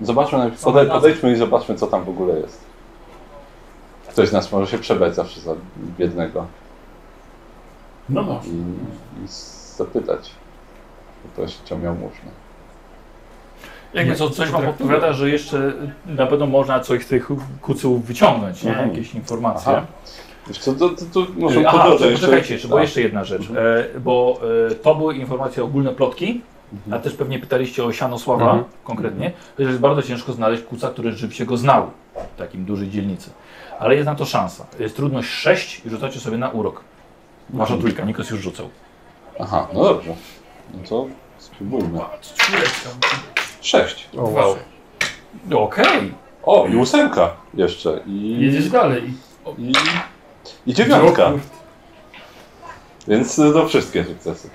[SPEAKER 4] Zobaczmy, najpierw-
[SPEAKER 3] Są
[SPEAKER 4] podej-
[SPEAKER 3] razem.
[SPEAKER 4] podejdźmy i zobaczmy, co tam w ogóle jest. Ktoś z nas może się przebrać zawsze za biednego Mm.
[SPEAKER 2] No może.
[SPEAKER 4] i, i zapytać. To się ciągnie muszne.
[SPEAKER 1] Jakby
[SPEAKER 8] Nie,
[SPEAKER 1] co, coś
[SPEAKER 4] tak.
[SPEAKER 1] wam odpowiada, że jeszcze na pewno można coś z tych kucyłów wyciągnąć, nie?
[SPEAKER 4] Mhm.
[SPEAKER 1] jakieś informacje. Y,
[SPEAKER 4] Aha. Wiesz co, to, to, to może
[SPEAKER 1] Aha,
[SPEAKER 4] po
[SPEAKER 1] Aha
[SPEAKER 4] drodze
[SPEAKER 1] poczekajcie, jeszcze, bo
[SPEAKER 4] Tak.
[SPEAKER 1] jeszcze jedna rzecz, e, bo e, to były informacje ogólne plotki,
[SPEAKER 4] Mhm.
[SPEAKER 1] a też pewnie pytaliście o Sianosława
[SPEAKER 5] Mhm.
[SPEAKER 1] konkretnie, że jest bardzo ciężko znaleźć kuca, który rzeczywiście go znał w takim dużej dzielnicy. Ale jest na to szansa. Jest trudność 6 i rzucacie sobie na urok. Wasza
[SPEAKER 4] Mhm.
[SPEAKER 1] trójka, Nikos już rzucał.
[SPEAKER 4] Aha, no dobrze. No to spróbujmy. Sześć.
[SPEAKER 5] O, wow.
[SPEAKER 1] Okej.
[SPEAKER 4] O, i ósemka jeszcze. I,
[SPEAKER 2] Jedziesz dalej.
[SPEAKER 4] i, i dziewiątka. Więc y, no wszystkie sukcesy.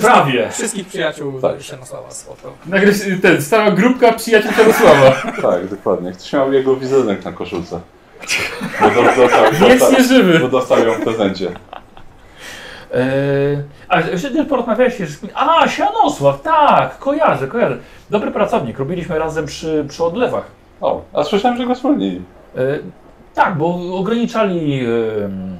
[SPEAKER 1] Prawie.
[SPEAKER 3] Wszystkich przyjaciół
[SPEAKER 4] Tak.
[SPEAKER 3] Szenosława spotkał.
[SPEAKER 2] Nagle się- ten, stała grupka przyjaciół Jarosława.
[SPEAKER 4] Tak, dokładnie. Ktoś miał jego wizerunek na koszulce. Bo do, dostał, dostał,
[SPEAKER 2] Wiecznie
[SPEAKER 4] bo
[SPEAKER 2] żywy.
[SPEAKER 4] dostał ją w prezencie.
[SPEAKER 1] Eee, a jeszcze też porozmawiałeś się z kim? A, Sianosław, tak, kojarzę, kojarzę. Dobry pracownik, robiliśmy razem przy, przy odlewach.
[SPEAKER 4] O, a słyszałem, że go zwolnili.
[SPEAKER 1] E, tak, bo ograniczali em,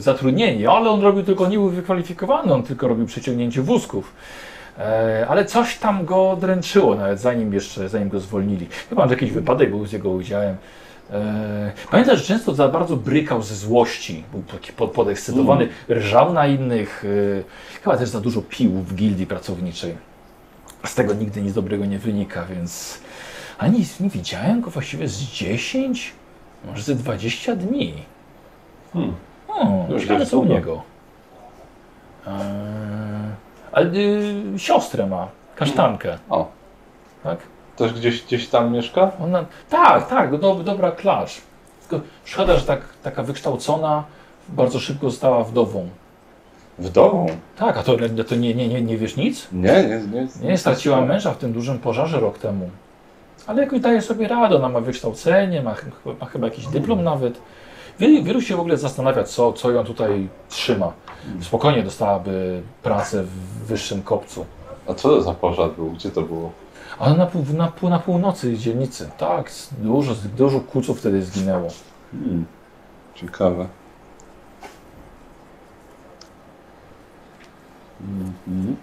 [SPEAKER 1] zatrudnienie, ale on robił tylko, nie był wykwalifikowany, on tylko robił przeciągnięcie wózków. E, ale coś tam go dręczyło nawet, zanim jeszcze, zanim go zwolnili. Chyba, że jakiś wypadek był z jego udziałem. E, pamiętam, że często za bardzo brykał ze złości, był taki pod, podekscytowany,
[SPEAKER 4] Mm.
[SPEAKER 1] rżał na innych, e, chyba też za dużo pił w gildii pracowniczej. Z tego nigdy nic dobrego nie wynika, więc ani nie widziałem go właściwie z 10, może ze 20 dni.
[SPEAKER 4] Hmm.
[SPEAKER 1] O,
[SPEAKER 4] Już
[SPEAKER 1] ciekawe
[SPEAKER 4] dość
[SPEAKER 1] co u
[SPEAKER 4] długo.
[SPEAKER 1] niego. Eee, ale y, siostrę ma, kasztankę.
[SPEAKER 4] O.
[SPEAKER 1] Tak?
[SPEAKER 4] Też gdzieś, gdzieś tam mieszka?
[SPEAKER 1] Ona, tak, tak, do, dobra klacz. Tylko szkoda, że tak, taka wykształcona bardzo szybko została wdową.
[SPEAKER 4] Wdową?
[SPEAKER 1] Tak, a to, to nie, nie, nie, nie wiesz nic?
[SPEAKER 4] Nie, nie, nie.
[SPEAKER 1] Nie, straciła
[SPEAKER 4] tak.
[SPEAKER 1] męża w tym dużym pożarze rok temu. Ale jakoś daje sobie radę, ona ma wykształcenie, ma, ch- ma chyba jakiś dyplom nawet. Wielu, wielu się w ogóle zastanawia, co, co ją tutaj trzyma. Spokojnie dostałaby pracę w wyższym kopcu.
[SPEAKER 4] A co to za pożar był? Gdzie to było?
[SPEAKER 1] Ale na, pół, na, pół, na północy dzielnicy, tak, z- dużo, z- dużo kuców wtedy zginęło.
[SPEAKER 4] Hmm. Ciekawe. Mhm.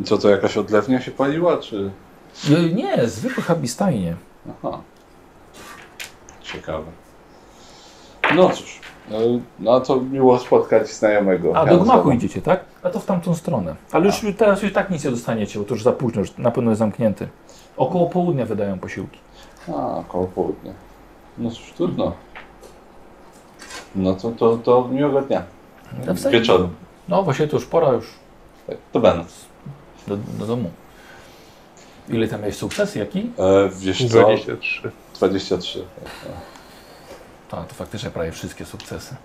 [SPEAKER 4] I co to jakaś odlewnia się paliła, czy.
[SPEAKER 1] Y, Nie, zwykłe habistajnie.
[SPEAKER 4] Aha. Ciekawe. No cóż. e, No to miło spotkać znajomego.
[SPEAKER 1] A do
[SPEAKER 4] Janusza.
[SPEAKER 1] gmachu idziecie, tak? A to w tamtą stronę. Ale już teraz już tak nic nie dostaniecie, bo to już za późno, już na pewno jest zamknięty. Około południa wydają posiłki.
[SPEAKER 4] A, koło południa. No cóż, trudno. No to, to, to miłego dnia.
[SPEAKER 1] Nawzajem.
[SPEAKER 4] Wieczoru.
[SPEAKER 1] No właśnie, to już pora już
[SPEAKER 4] Tak, Dobranoc.
[SPEAKER 1] do, do domu. Ile tam jest sukces? Jaki?
[SPEAKER 4] E, wiesz co?
[SPEAKER 6] 23.
[SPEAKER 4] 23.
[SPEAKER 1] Tak, to faktycznie prawie wszystkie sukcesy.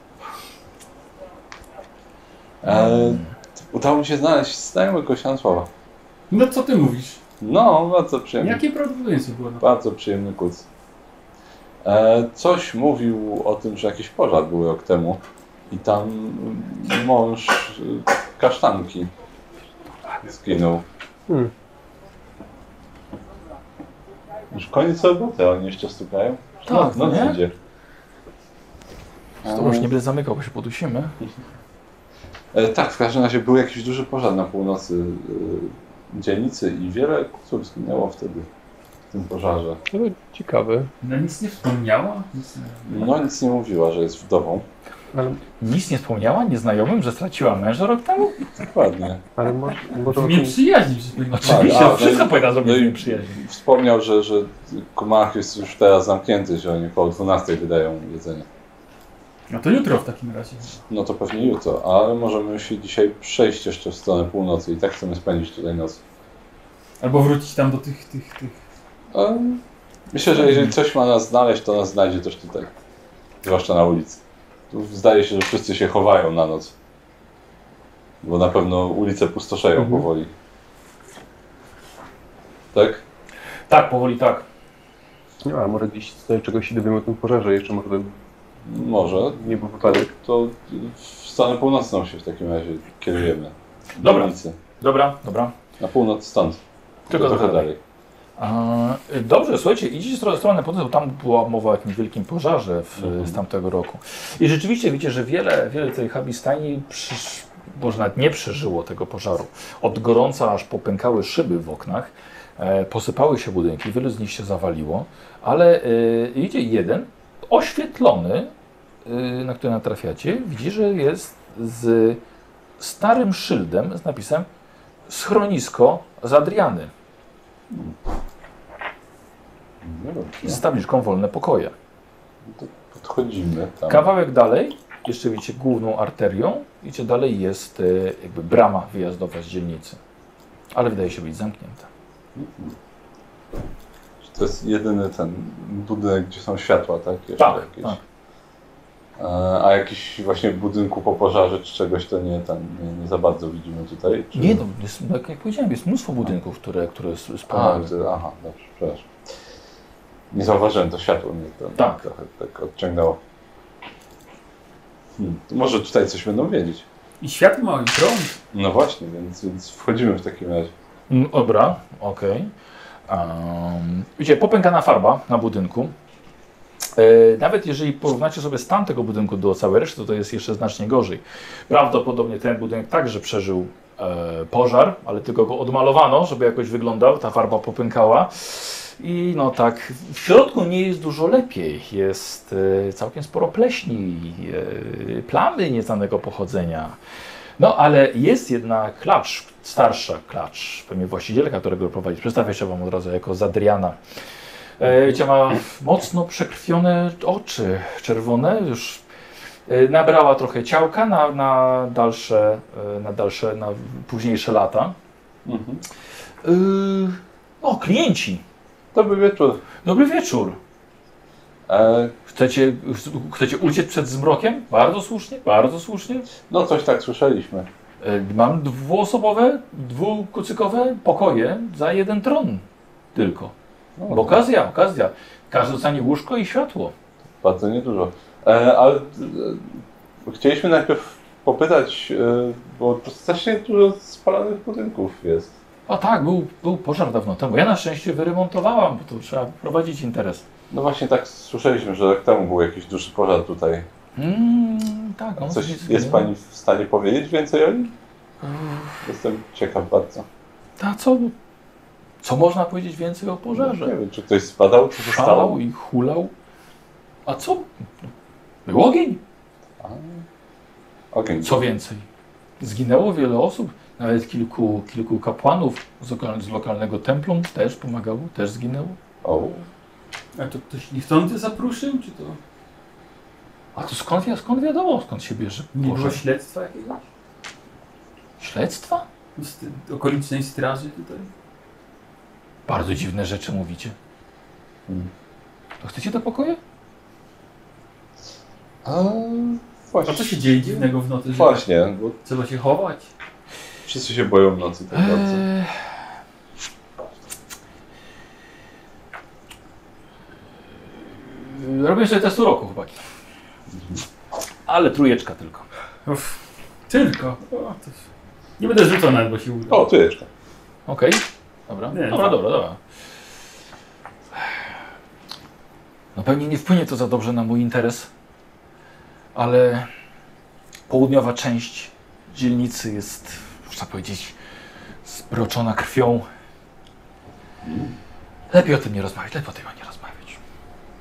[SPEAKER 4] E, udało mi się znaleźć znajomego Siansława.
[SPEAKER 2] No co ty mówisz?
[SPEAKER 4] No, bardzo przyjemny.
[SPEAKER 2] Jakie prawdopodobieństwo było? na-
[SPEAKER 4] Bardzo przyjemny kuc. E, coś mówił o tym, że jakiś pożar był rok temu i tam mąż y, kasztanki zginął.
[SPEAKER 5] Hmm.
[SPEAKER 4] Już koniec roboty, oni jeszcze stukają.
[SPEAKER 1] Tak,
[SPEAKER 4] no,
[SPEAKER 1] nie?
[SPEAKER 4] idzie.
[SPEAKER 1] To już nie będę zamykał, bo się podusimy.
[SPEAKER 4] E, tak, w każdym razie był jakiś duży pożar na północy y, dzielnicy i wiele kuców zginęło wtedy w tym pożarze.
[SPEAKER 6] No, ciekawe.
[SPEAKER 2] No nic nie wspomniała? Nic nie...
[SPEAKER 4] No nic nie mówiła, że jest wdową.
[SPEAKER 1] Nic nie wspomniała nieznajomym, że straciła męża rok temu?
[SPEAKER 4] Dokładnie.
[SPEAKER 5] Ale może, może o
[SPEAKER 2] Nie
[SPEAKER 5] tym...
[SPEAKER 2] przyjaźni się powinno-
[SPEAKER 1] Oczywiście,
[SPEAKER 4] Tak,
[SPEAKER 1] wszystko
[SPEAKER 4] no i-
[SPEAKER 1] powinna zrobić
[SPEAKER 4] no i-
[SPEAKER 1] no przyjaźń.
[SPEAKER 4] Wspomniał, że, że Kumach jest już teraz zamknięty, że oni około 12 wydają jedzenie.
[SPEAKER 2] No to jutro w takim razie.
[SPEAKER 4] No to pewnie jutro, ale możemy się dzisiaj przejść jeszcze w stronę północy i tak chcemy spędzić tutaj noc.
[SPEAKER 2] Albo wrócić tam do tych, tych, tych.
[SPEAKER 4] Em, Myślę, że jeżeli coś ma nas znaleźć, to nas znajdzie też tutaj. Zwłaszcza na ulicy. Tu zdaje się, że wszyscy się chowają na noc. Bo na pewno ulice pustoszeją
[SPEAKER 1] Mhm.
[SPEAKER 4] powoli. Tak?
[SPEAKER 1] Tak, powoli tak.
[SPEAKER 5] No, a może gdzieś tutaj czegoś się dowiemy o tym pożarze jeszcze, może to
[SPEAKER 4] Może.
[SPEAKER 5] nie był wypadek.
[SPEAKER 4] To w stronę północną się w takim razie kierujemy. Do
[SPEAKER 1] Dobra.
[SPEAKER 4] Ulicy.
[SPEAKER 1] Dobra, dobra.
[SPEAKER 4] Na północ stąd.
[SPEAKER 1] Tylko
[SPEAKER 4] trochę
[SPEAKER 1] trochę
[SPEAKER 4] dalej.
[SPEAKER 1] A, y, dobrze, słuchajcie, idziecie w stronę- stronę potem, tam była mowa o jakimś wielkim y, pożarze w, z tamtego roku. I rzeczywiście widzicie, że wiele, wiele tej habistajni przysz, może nawet nie przeżyło tego pożaru. Od gorąca aż popękały szyby w oknach, e, posypały się budynki, wiele z nich się zawaliło, ale e, idzie jeden oświetlony, e, na który natrafiacie, widzi, że jest z starym szyldem z napisem schronisko z Adriany
[SPEAKER 4] No dobrze. No,
[SPEAKER 1] i z tabliczką wolne pokoje.
[SPEAKER 4] Podchodzimy tam.
[SPEAKER 1] Kawałek dalej, jeszcze widzicie główną arterią, widzicie dalej jest e, jakby brama wyjazdowa z dzielnicy, ale wydaje się być zamknięta.
[SPEAKER 4] To jest jedyny ten budynek, gdzie są światła, tak? Jeszcze
[SPEAKER 1] Tak,
[SPEAKER 4] jakieś.
[SPEAKER 1] tak.
[SPEAKER 4] E, A jakiś właśnie budynku po pożarze czy czegoś to nie, ten, nie, nie za bardzo widzimy tutaj? Czy...
[SPEAKER 1] Nie no, jest, no jak- jak powiedziałem, jest mnóstwo budynków, które, które s-
[SPEAKER 4] A,
[SPEAKER 1] spadały.
[SPEAKER 4] to, aha, dobrze, przepraszam. Nie zauważyłem, to światło mnie to,
[SPEAKER 1] Tak.
[SPEAKER 4] trochę tak odciągnęło. Hmm. to Może tutaj coś będą wiedzieć.
[SPEAKER 2] I światło i prąd.
[SPEAKER 4] No właśnie, więc, więc wchodzimy w takim razie.
[SPEAKER 1] Mm, Dobra, okej. Em, widzicie, popękana farba na budynku. E, nawet jeżeli porównacie sobie stan tego budynku do całej reszty, to jest jeszcze znacznie gorzej. Prawdopodobnie ten budynek także przeżył e, pożar, ale tylko go odmalowano, żeby jakoś wyglądał, ta farba popękała. I no tak, w środku nie jest dużo lepiej. Jest e, całkiem sporo pleśni, e, plamy nieznanego pochodzenia. No ale jest jedna klacz, starsza klacz, pewnie właścicielka, którego prowadzi. Przedstawia się Wam od razu jako Zadriana. E, Cię ma mocno przekrwione oczy, czerwone już. E, Nabrała trochę ciałka na, na dalsze, e, na dalsze, na późniejsze lata.
[SPEAKER 4] Mhm.
[SPEAKER 1] E, o, klienci.
[SPEAKER 4] Dobry wieczór.
[SPEAKER 1] Dobry wieczór.
[SPEAKER 4] E,
[SPEAKER 1] Chcecie, chcecie uciec przed zmrokiem? Bardzo słusznie, bardzo słusznie.
[SPEAKER 4] no coś tak słyszeliśmy.
[SPEAKER 1] E, Mam dwuosobowe, dwukucykowe pokoje za jeden tron tylko.
[SPEAKER 4] No,
[SPEAKER 1] Bo okazja, okazja. Każdy dostanie łóżko i światło.
[SPEAKER 4] Bardzo niedużo. E, ale e, chcieliśmy najpierw popytać, e, bo to strasznie dużo spalonych budynków jest.
[SPEAKER 1] A tak, był, był pożar dawno temu. Ja na szczęście wyremontowałam, bo tu trzeba prowadzić interes.
[SPEAKER 4] No właśnie tak słyszeliśmy, że rok temu był jakiś duży pożar tutaj.
[SPEAKER 1] Mm, tak, no,
[SPEAKER 4] Coś
[SPEAKER 1] nic
[SPEAKER 4] jest
[SPEAKER 1] nie-
[SPEAKER 4] Pani w stanie powiedzieć więcej o nim? Jestem ciekaw bardzo.
[SPEAKER 1] A co? Co można powiedzieć więcej o pożarze?
[SPEAKER 4] No, Nie wiem, czy ktoś spadał, czy został.
[SPEAKER 1] Szalał i hulał. A co? Był ogień.
[SPEAKER 4] Ogień.
[SPEAKER 1] Co więcej, zginęło wiele osób, nawet kilku, kilku kapłanów z, lokal, z lokalnego templum też pomagało, też zginęło.
[SPEAKER 4] O,
[SPEAKER 2] A to ktoś niechcący zapruszył, czy to
[SPEAKER 1] A to skąd, wi- skąd wiadomo, skąd się bierze
[SPEAKER 2] nie było
[SPEAKER 1] pożar?
[SPEAKER 2] śledztwa jakiegoś?
[SPEAKER 1] Śledztwa?
[SPEAKER 2] No, Z ty- okolicznej straży tutaj?
[SPEAKER 1] Bardzo dziwne rzeczy mówicie. Mm.
[SPEAKER 4] Hmm.
[SPEAKER 1] To chcecie do pokoju?
[SPEAKER 4] A,
[SPEAKER 2] A co się
[SPEAKER 4] właśnie.
[SPEAKER 2] dzieje dziwnego w nocy, że
[SPEAKER 4] Właśnie, bo
[SPEAKER 2] trzeba się chować?
[SPEAKER 4] wszyscy się boją nocy tak bardzo.
[SPEAKER 1] Eee, Robię sobie test uroku, chłopaki. Ale trójeczka tylko.
[SPEAKER 2] Uff. Tylko. O, to... Nie będę rzucał nawet, bo się uda.
[SPEAKER 4] O, tu jeszcze.
[SPEAKER 1] Okej, dobra.
[SPEAKER 2] Nie,
[SPEAKER 1] dobra,
[SPEAKER 2] tak.
[SPEAKER 1] dobra, dobra. No pewnie nie wpłynie to za dobrze na mój interes, ale południowa część dzielnicy jest, można powiedzieć, zbroczona krwią. Lepiej o tym nie rozmawiać, lepiej o tym nie rozmawiać.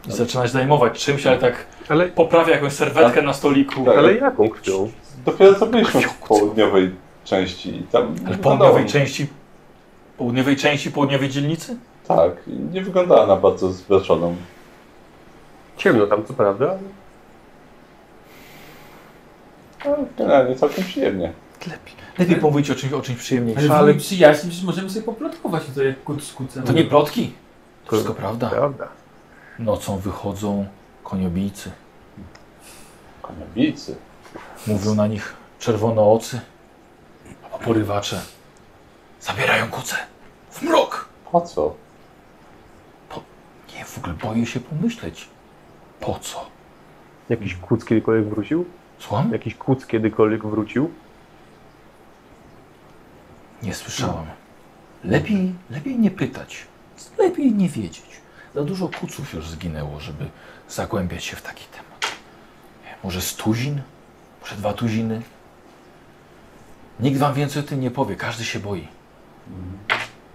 [SPEAKER 1] I zaczyna się zajmować czymś, ale tak
[SPEAKER 5] Ale,
[SPEAKER 1] poprawia jakąś serwetkę na stoliku.
[SPEAKER 4] Tak.
[SPEAKER 5] No, ale jaką krwią?
[SPEAKER 4] Dopiero co byliśmy w południowej części i tam. nie
[SPEAKER 1] Ale
[SPEAKER 4] wyglądało-
[SPEAKER 1] południowej części, południowej części, południowej dzielnicy?
[SPEAKER 4] Tak, i nie wyglądała na bardzo zbleczoną.
[SPEAKER 5] Ciemno tam, co prawda, ale
[SPEAKER 4] Generalnie całkiem przyjemnie.
[SPEAKER 1] Lepiej, lepiej pomówić o czymś, o czymś przyjemniejszym.
[SPEAKER 2] Ale,
[SPEAKER 5] Ale-
[SPEAKER 2] ale... przyjaźni, przecież możemy sobie poplotkować tutaj jak kuc z kucem.
[SPEAKER 1] To nie plotki. To wszystko
[SPEAKER 5] Kurwa.
[SPEAKER 1] prawda.
[SPEAKER 5] prawda.
[SPEAKER 1] Nocą wychodzą koniobijcy.
[SPEAKER 4] Koniobijcy.
[SPEAKER 1] Mówią na nich czerwonoocy, a porywacze zabierają kuce w mrok.
[SPEAKER 4] Po co?
[SPEAKER 1] Nie, w ogóle boję się pomyśleć. Po co?
[SPEAKER 5] Jakiś kuc kiedykolwiek wrócił?
[SPEAKER 1] Słucham?
[SPEAKER 5] Jakiś kuc kiedykolwiek wrócił?
[SPEAKER 1] Nie słyszałam. Lepiej, lepiej nie pytać. Lepiej nie wiedzieć. Za dużo kuców już zginęło, żeby zagłębiać się w taki temat. Nie, Może z tuzin? Może dwa tuziny? Nikt wam więcej o tym nie powie, każdy się boi.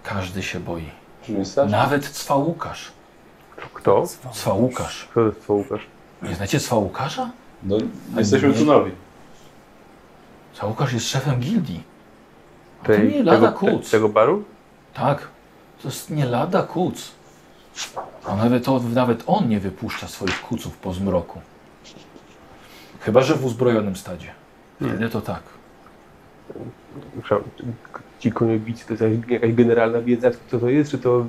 [SPEAKER 1] Każdy się boi.
[SPEAKER 4] Brzmi strasznie.
[SPEAKER 1] Nawet cwałukarz.
[SPEAKER 5] Kto?
[SPEAKER 1] Cwałukarz.
[SPEAKER 5] Kto to jest to Łukasz?
[SPEAKER 1] Nie znacie cwałukarza?
[SPEAKER 4] No, jesteśmy tu nowi.
[SPEAKER 1] Cwałukarz jest szefem gildii. A to
[SPEAKER 5] Tej-
[SPEAKER 1] nie lada
[SPEAKER 5] tego, te,
[SPEAKER 1] kuc.
[SPEAKER 5] tego baru?
[SPEAKER 1] Tak, to jest nie lada kuc. A nawet on, nawet on nie wypuszcza swoich kuców po zmroku. Chyba, że w uzbrojonym stadzie. Wtedy to tak.
[SPEAKER 5] Przepraszam, Ci koniewicy to jest jakaś generalna wiedza, co to jest, czy to...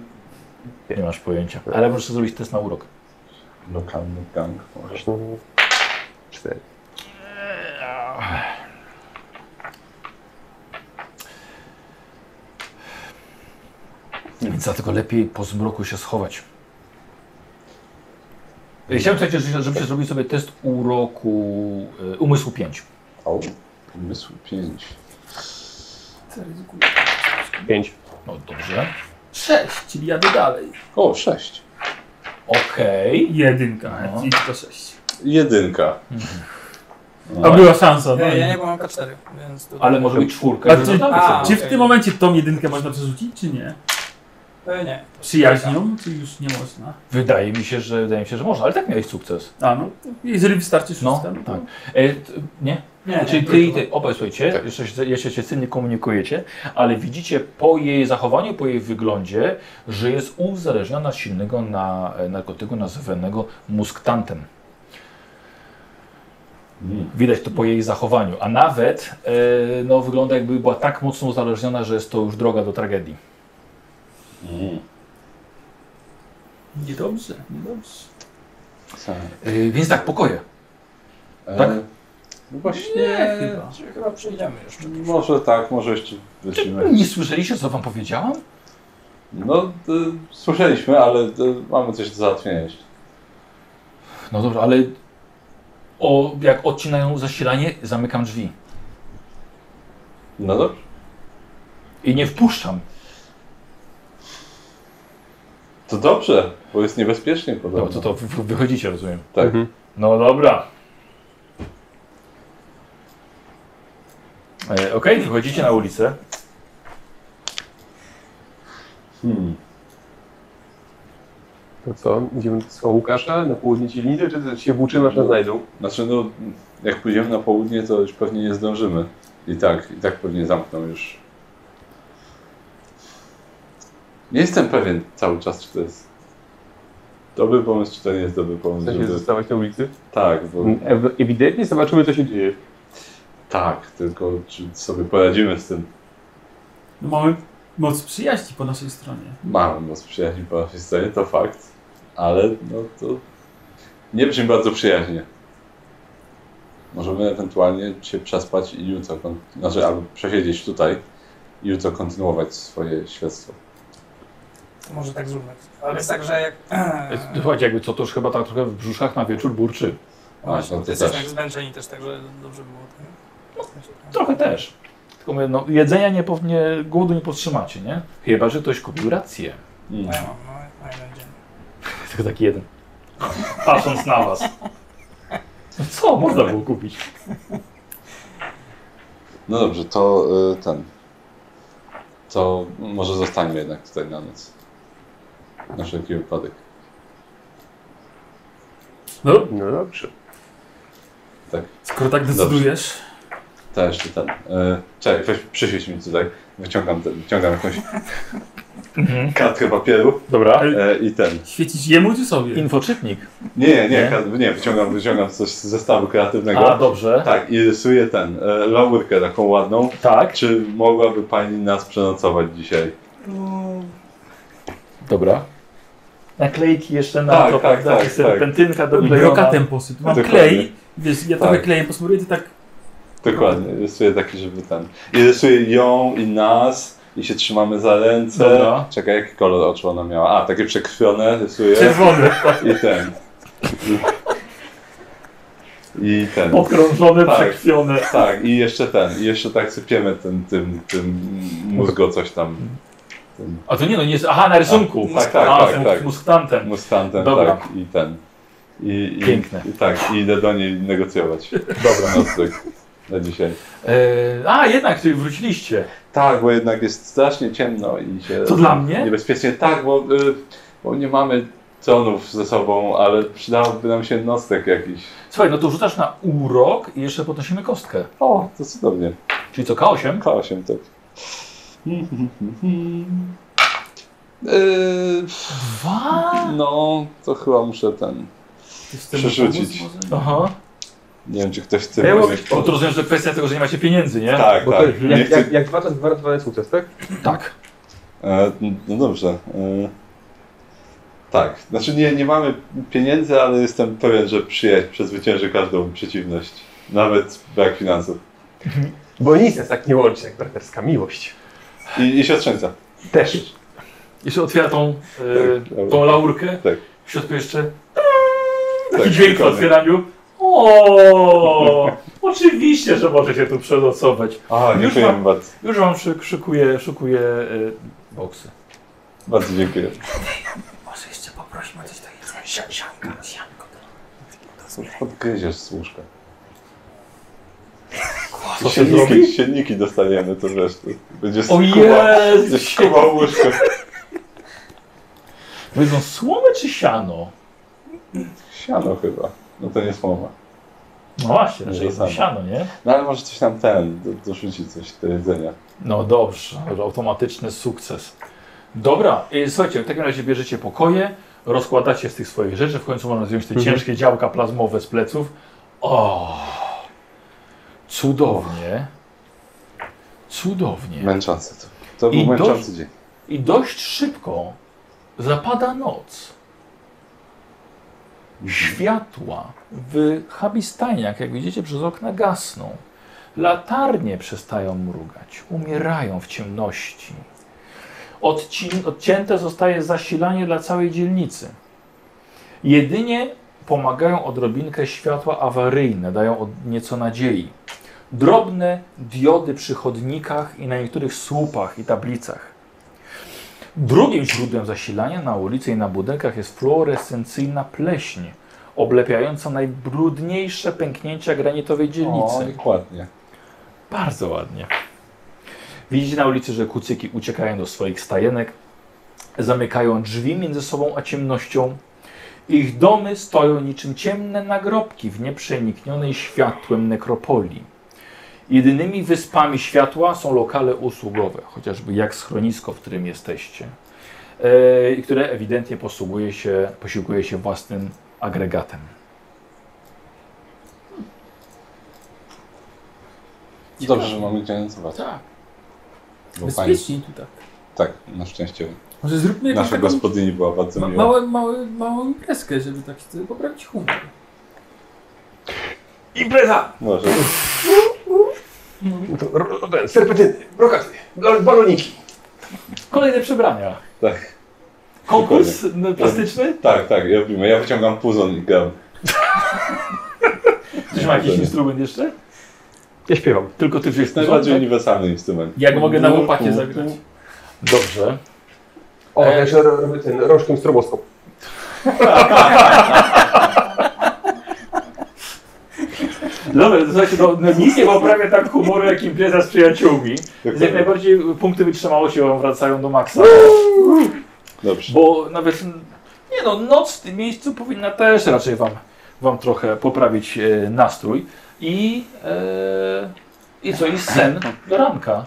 [SPEAKER 1] Nie masz pojęcia. Ale proszę zrobić test na urok.
[SPEAKER 4] Lokalny gang. może.
[SPEAKER 5] No, cztery.
[SPEAKER 1] Więc dlatego lepiej po zmroku się schować. Chciałem, słuchajcie, że- żebyście zrobili sobie test uroku y, umysłu 5.
[SPEAKER 4] Au. Umysł 5.
[SPEAKER 5] Pięć.
[SPEAKER 1] No dobrze.
[SPEAKER 2] Sześć, czyli jadę dalej.
[SPEAKER 4] O, 6.
[SPEAKER 1] Okej.
[SPEAKER 2] Jedynka,
[SPEAKER 1] No.
[SPEAKER 2] czyli to sześć.
[SPEAKER 4] Jedynka.
[SPEAKER 2] A była szansa, no.
[SPEAKER 3] Nie, ja nie
[SPEAKER 2] i-
[SPEAKER 3] mam K4, więc to...
[SPEAKER 1] Ale może być czwórka.
[SPEAKER 2] A
[SPEAKER 1] że
[SPEAKER 2] czy,
[SPEAKER 1] dodamy
[SPEAKER 2] a,
[SPEAKER 1] sobie.
[SPEAKER 2] czy w
[SPEAKER 3] okej.
[SPEAKER 2] tym momencie tą jedynkę można przerzucić, czy nie?
[SPEAKER 3] E, nie.
[SPEAKER 2] Przyjaźnią, czy już nie można?
[SPEAKER 1] Wydaje mi się, że wydaje mi się, że można, ale tak miałeś sukces.
[SPEAKER 2] A no, jeżeli wystarczy
[SPEAKER 1] No,
[SPEAKER 2] szóstka, no, to-
[SPEAKER 1] tak. E, t, nie?
[SPEAKER 3] Nie, nie.
[SPEAKER 1] Czyli ty i ty obaj słuchajcie, jeszcze, się- jeszcze się synnie komunikujecie, ale widzicie po jej zachowaniu, po jej wyglądzie, że jest uzależniona od silnego na, e, narkotyku nazywanego musktantem.
[SPEAKER 4] Mm,
[SPEAKER 1] Widać to po jej zachowaniu, a nawet e, no, wygląda jakby była tak mocno uzależniona, że jest to już droga do tragedii.
[SPEAKER 4] mm.
[SPEAKER 2] no. Niedobrze, niedobrze.
[SPEAKER 1] E, więc tak, pokoje. Tak?
[SPEAKER 4] E, No właśnie.
[SPEAKER 2] chyba.
[SPEAKER 3] Chyba przejdziemy jeszcze.
[SPEAKER 4] Może tak, może jeszcze wyślimy.
[SPEAKER 1] Nie słyszeliście, co wam powiedziałam?
[SPEAKER 4] No, e, słyszeliśmy, ale e, mamy coś do załatwienia jeszcze.
[SPEAKER 1] No dobra, ale o, jak odcinają zasilanie, zamykam drzwi
[SPEAKER 4] No dobrze.
[SPEAKER 1] i nie wpuszczam.
[SPEAKER 4] To dobrze, bo jest niebezpiecznie
[SPEAKER 1] No
[SPEAKER 4] podobno.
[SPEAKER 1] to, to wy- wychodzicie, rozumiem.
[SPEAKER 4] Tak.
[SPEAKER 1] No dobra. E, Okej, wychodzicie na ulicę.
[SPEAKER 4] Hmm.
[SPEAKER 5] To No co, idziemy do Łukasza na południe dzielnicy, czy też się włóczymy, aż nas znajdą?
[SPEAKER 4] Znaczy, no, jak pójdziemy na południe, to już pewnie nie zdążymy. I tak, i tak pewnie zamkną już. Nie jestem pewien cały czas, czy to jest dobry pomysł, czy to nie jest dobry pomysł.
[SPEAKER 5] Chcesz się
[SPEAKER 4] Żeby...
[SPEAKER 5] zostawać na ulicy? Mm,
[SPEAKER 4] Tak, bo...
[SPEAKER 5] Ew- Ewidentnie zobaczymy, co się dzieje.
[SPEAKER 4] tak, tylko czy sobie poradzimy z tym.
[SPEAKER 2] No mamy moc przyjaźni po naszej stronie.
[SPEAKER 4] Mam moc przyjaźni po naszej stronie, to fakt, ale no to nie brzmi bardzo przyjaźnie. Możemy ewentualnie się przespać i jutro, kon- znaczy albo przesiedzieć tutaj i jutro kontynuować swoje śledztwo.
[SPEAKER 3] To może tak zróbmy. Ale jest tak, że jak...
[SPEAKER 1] E, Słuchajcie, jakby co, to już chyba tak trochę w brzuszach na wieczór burczy.
[SPEAKER 4] no
[SPEAKER 3] Właśnie,
[SPEAKER 4] to
[SPEAKER 3] to jesteśmy
[SPEAKER 4] też.
[SPEAKER 3] tak zmęczeni też, także dobrze by było. tak? No.
[SPEAKER 1] Trochę też. Tylko mówię, no, jedzenia nie, pow- nie, głodu nie powstrzymacie, nie? Chyba, że ktoś kupił rację.
[SPEAKER 4] Mm.
[SPEAKER 3] No ja mam, no, na jeden dzień.
[SPEAKER 1] Tylko taki jeden. Patrząc na was. No co, można było kupić.
[SPEAKER 4] No dobrze, to y, ten. To może zostańmy jednak tutaj na noc. Na wszelki wypadek.
[SPEAKER 2] No,
[SPEAKER 5] No dobrze.
[SPEAKER 4] Tak.
[SPEAKER 2] skoro tak decydujesz,
[SPEAKER 4] To jeszcze ten. Y, czekaj, weź przysiedź mi tutaj. Wyciągam, ten, wyciągam jakąś
[SPEAKER 1] Mhm.
[SPEAKER 4] kartkę papieru
[SPEAKER 1] Dobra.
[SPEAKER 4] y, i ten.
[SPEAKER 2] świecić jemu czy sobie?
[SPEAKER 1] Infoczytnik.
[SPEAKER 4] Nie, nie,
[SPEAKER 1] Nie?
[SPEAKER 4] ka- nie, wyciągam, wyciągam coś z zestawu kreatywnego.
[SPEAKER 1] A, dobrze.
[SPEAKER 4] Tak, i rysuję ten, e, laurkę taką ładną.
[SPEAKER 1] Tak.
[SPEAKER 4] Czy mogłaby pani nas przenocować dzisiaj?
[SPEAKER 1] Dobra. Naklejki jeszcze na
[SPEAKER 4] Tak,
[SPEAKER 1] to,
[SPEAKER 4] tak,
[SPEAKER 1] prawda?
[SPEAKER 4] tak,
[SPEAKER 1] Serpentynka do
[SPEAKER 2] Brokatem posyp. Mam
[SPEAKER 4] Dokładnie.
[SPEAKER 2] klej, wiesz, ja trochę
[SPEAKER 4] Tak.
[SPEAKER 2] klejem posmaruję, ty tak
[SPEAKER 4] Dokładnie, rysuję taki, żeby ten. I rysuję ją i nas i się trzymamy za ręce.
[SPEAKER 1] Dobra.
[SPEAKER 4] Czekaj, jaki kolor oczu ona miała? A, takie przekrwione rysuję
[SPEAKER 2] czerwony.
[SPEAKER 4] i ten. I ten.
[SPEAKER 1] Podkrążone,
[SPEAKER 4] Tak.
[SPEAKER 1] przekrwione.
[SPEAKER 4] Tak, i jeszcze ten, i jeszcze tak sypiemy ten, tym, tym mózgo coś tam. Tym
[SPEAKER 1] A to nie, no nie jest. Aha, na rysunku.
[SPEAKER 4] A, tak, tak,
[SPEAKER 1] A,
[SPEAKER 4] tak,
[SPEAKER 1] z-
[SPEAKER 4] tak.
[SPEAKER 1] z musktantem.
[SPEAKER 4] Mustantem,
[SPEAKER 1] Dobra.
[SPEAKER 4] tak, i ten. I, i,
[SPEAKER 1] Piękne.
[SPEAKER 4] I tak, i idę do niej negocjować. Dobra. Nocleg. na dzisiaj.
[SPEAKER 1] E, a, jednak ty wróciliście.
[SPEAKER 4] Tak, bo jednak jest strasznie ciemno i się...
[SPEAKER 1] To dla mnie?
[SPEAKER 4] Niebezpiecznie. Tak, bo, y, bo nie mamy tronów ze sobą, ale przydałoby nam się nostek jakiś.
[SPEAKER 1] Słuchaj, no to rzucasz na urok i jeszcze podnosimy kostkę.
[SPEAKER 4] O, to cudownie.
[SPEAKER 1] Czyli co, K8?
[SPEAKER 4] K8, tak. Yy,
[SPEAKER 1] Dwa?
[SPEAKER 4] no, to chyba muszę ten... Przerzucić.
[SPEAKER 1] Aha.
[SPEAKER 4] Nie wiem, czy ktoś chce...
[SPEAKER 5] Ja
[SPEAKER 4] mi-
[SPEAKER 5] mogę-
[SPEAKER 1] O, to rozumiem, że kwestia tego, że nie macie pieniędzy, nie?
[SPEAKER 4] Tak,
[SPEAKER 5] Bo to
[SPEAKER 4] tak.
[SPEAKER 5] jest,
[SPEAKER 4] Nie
[SPEAKER 5] jak,
[SPEAKER 4] chcę...
[SPEAKER 5] jak, jak dwa to jest gwarantowany sukces, tak?
[SPEAKER 1] tak.
[SPEAKER 4] E, No dobrze. e, Tak, znaczy nie, nie mamy pieniędzy, ale jestem pewien, że przyjaźń przezwycięży każdą przeciwność. Nawet brak finansów.
[SPEAKER 5] Bo nic nas tak nie łączy jak braterska miłość.
[SPEAKER 4] I, i siostrzeńca.
[SPEAKER 5] Też.
[SPEAKER 1] Jeszcze otwiera tą,
[SPEAKER 4] Tak,
[SPEAKER 1] e,
[SPEAKER 4] dobra.
[SPEAKER 1] tą laurkę.
[SPEAKER 4] Tak.
[SPEAKER 1] W środku jeszcze
[SPEAKER 4] Tak,
[SPEAKER 1] taki dźwięk w
[SPEAKER 4] dokładnie.
[SPEAKER 1] otwieraniu. O, oczywiście, że możecie tu przenocować.
[SPEAKER 4] A,
[SPEAKER 1] Już
[SPEAKER 4] dziękuję
[SPEAKER 1] mam-
[SPEAKER 4] bardzo.
[SPEAKER 1] Już wam szyk- szykuję, szykuję e, boksy.
[SPEAKER 4] Bardzo dziękuję.
[SPEAKER 3] Może jeszcze poprosimy o coś takiego. Sianka, sianka. sianko.
[SPEAKER 4] Odgryziesz z łóżka.
[SPEAKER 1] Co się
[SPEAKER 4] Sienniki,
[SPEAKER 1] zrobi?
[SPEAKER 4] sienniki dostaniemy, to wiesz. To będzie
[SPEAKER 1] O
[SPEAKER 4] skuba,
[SPEAKER 1] Jezu!
[SPEAKER 4] będzie skuba łóżko.
[SPEAKER 1] Wiedzą słomę czy siano?
[SPEAKER 4] Siano chyba. No to nie słowa.
[SPEAKER 1] No właśnie,
[SPEAKER 4] Nie,
[SPEAKER 1] że
[SPEAKER 4] to
[SPEAKER 1] jest
[SPEAKER 4] samo.
[SPEAKER 1] siano, nie?
[SPEAKER 4] No ale może coś tam ten, do- dorzuci coś do jedzenia.
[SPEAKER 1] No dobrze, automatyczny sukces. Dobra, y, słuchajcie, w takim razie bierzecie pokoje, rozkładacie z tych swoich rzeczy, w końcu można zdjąć te ciężkie działka plazmowe z pleców. O, cudownie, cudownie.
[SPEAKER 4] Męczące to. To był
[SPEAKER 1] I dość-
[SPEAKER 4] męczący dzień.
[SPEAKER 1] I dość szybko zapada noc. Światła w Habistaniach, jak widzicie, przez okna gasną. Latarnie przestają mrugać, umierają w ciemności. Odcin- odcięte zostaje zasilanie dla całej dzielnicy. Jedynie pomagają odrobinkę światła awaryjne, dają od nieco nadziei. Drobne diody przy chodnikach i na niektórych słupach i tablicach. Drugim źródłem zasilania na ulicy i na budynkach jest fluorescencyjna pleśń, oblepiająca najbrudniejsze pęknięcia granitowej dzielnicy.
[SPEAKER 4] O, dokładnie.
[SPEAKER 1] Bardzo ładnie. Widzicie na ulicy, że kucyki uciekają do swoich stajenek, zamykają drzwi między sobą a ciemnością. Ich domy stoją niczym ciemne nagrobki w nieprzeniknionej światłem nekropolii. Jedynymi wyspami światła są lokale usługowe, chociażby jak schronisko, w którym jesteście, e, i które ewidentnie posługuje się, posiłkuje się własnym agregatem.
[SPEAKER 4] Dobrze, że mamy gdzie nocować.
[SPEAKER 2] Tak.
[SPEAKER 4] Bo fajnie.
[SPEAKER 2] Bezpiecznie tu tak.
[SPEAKER 4] Tak, na szczęście.
[SPEAKER 2] Może zróbmy jakąś
[SPEAKER 4] Nasza
[SPEAKER 2] taką
[SPEAKER 4] gospodyni była bardzo
[SPEAKER 2] ma,
[SPEAKER 4] miła.
[SPEAKER 2] małe, małe, małą imprezkę, żeby tak sobie poprawić humor.
[SPEAKER 4] Może.
[SPEAKER 5] No to, ro, ro, ten, serpetyny, brokaty, bal- baloniki.
[SPEAKER 1] Kolejne przebrania.
[SPEAKER 4] Tak.
[SPEAKER 1] Konkurs no, plastyczny?
[SPEAKER 4] Tak, tak, ja wiem. Ja wyciągam puzon i gram.
[SPEAKER 1] Ktoś ma jakiś
[SPEAKER 4] Dokładnie.
[SPEAKER 1] instrument jeszcze?
[SPEAKER 5] Ja śpiewam.
[SPEAKER 4] E,
[SPEAKER 1] Tylko ty wziąłeś
[SPEAKER 4] Najbardziej uniwersalny instrument.
[SPEAKER 2] Jak mogę na łopacie zagrać?
[SPEAKER 1] Dobrze.
[SPEAKER 5] O,
[SPEAKER 1] E,
[SPEAKER 5] ja jeszcze ro- robię ten rożkiem stroboskop.
[SPEAKER 1] Dobra, to słuchajcie, no, no, nic nie poprawia tak humoru, jak impreza z przyjaciółmi. Więc jak
[SPEAKER 4] Dokładnie.
[SPEAKER 1] najbardziej punkty wytrzymałości wam wracają do maksa.
[SPEAKER 4] Dobrze.
[SPEAKER 1] Bo nawet, nie no, noc w tym miejscu powinna też raczej wam, wam trochę poprawić e, nastrój. I, e, I co, i sen do ranka.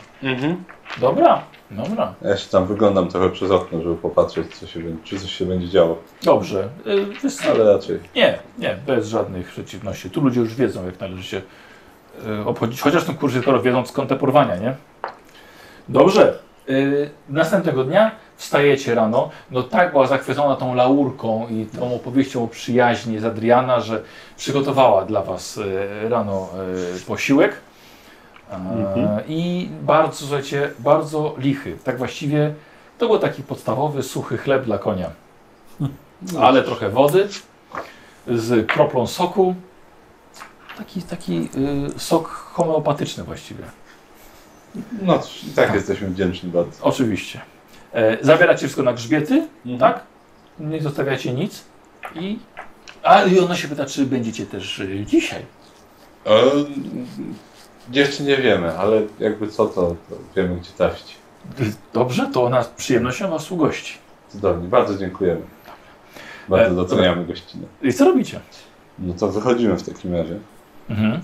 [SPEAKER 1] Dobra, dobra.
[SPEAKER 4] Ja jeszcze tam wyglądam trochę przez okno, żeby popatrzeć, co się będzie, czy coś się będzie działo.
[SPEAKER 1] Dobrze. E, wys-
[SPEAKER 4] Ale raczej.
[SPEAKER 1] Nie, nie, bez żadnych przeciwności. Tu ludzie już wiedzą, jak należy się e, obchodzić. Chociaż ten kurs skoro wiedzą skąd te porwania, nie? Dobrze. Y, następnego dnia wstajecie rano. No tak była zachwycona tą laurką i tą opowieścią o przyjaźni z Adriana, że przygotowała dla was e, rano e, posiłek. E, I bardzo, słuchajcie, bardzo lichy. Tak właściwie to był taki podstawowy, suchy chleb dla konia. Ale trochę wody z kroplą soku. Taki, taki y, sok homeopatyczny właściwie.
[SPEAKER 4] No cóż, i tak jesteśmy wdzięczni bardzo.
[SPEAKER 1] Oczywiście. E, zabieracie wszystko na grzbiety,
[SPEAKER 4] Mhm.
[SPEAKER 1] tak? Nie zostawiacie nic. I... A i ona się pyta, czy będziecie też y, dzisiaj.
[SPEAKER 4] E, Jeszcze nie wiemy, ale jakby co, to, to wiemy gdzie trafić.
[SPEAKER 1] Dobrze, to ona z przyjemnością was ugości.
[SPEAKER 4] Cudownie, bardzo dziękujemy. Bardzo
[SPEAKER 1] E,
[SPEAKER 4] doceniamy gościnę.
[SPEAKER 1] I co robicie?
[SPEAKER 4] No to wychodzimy w takim razie.
[SPEAKER 1] Mhm.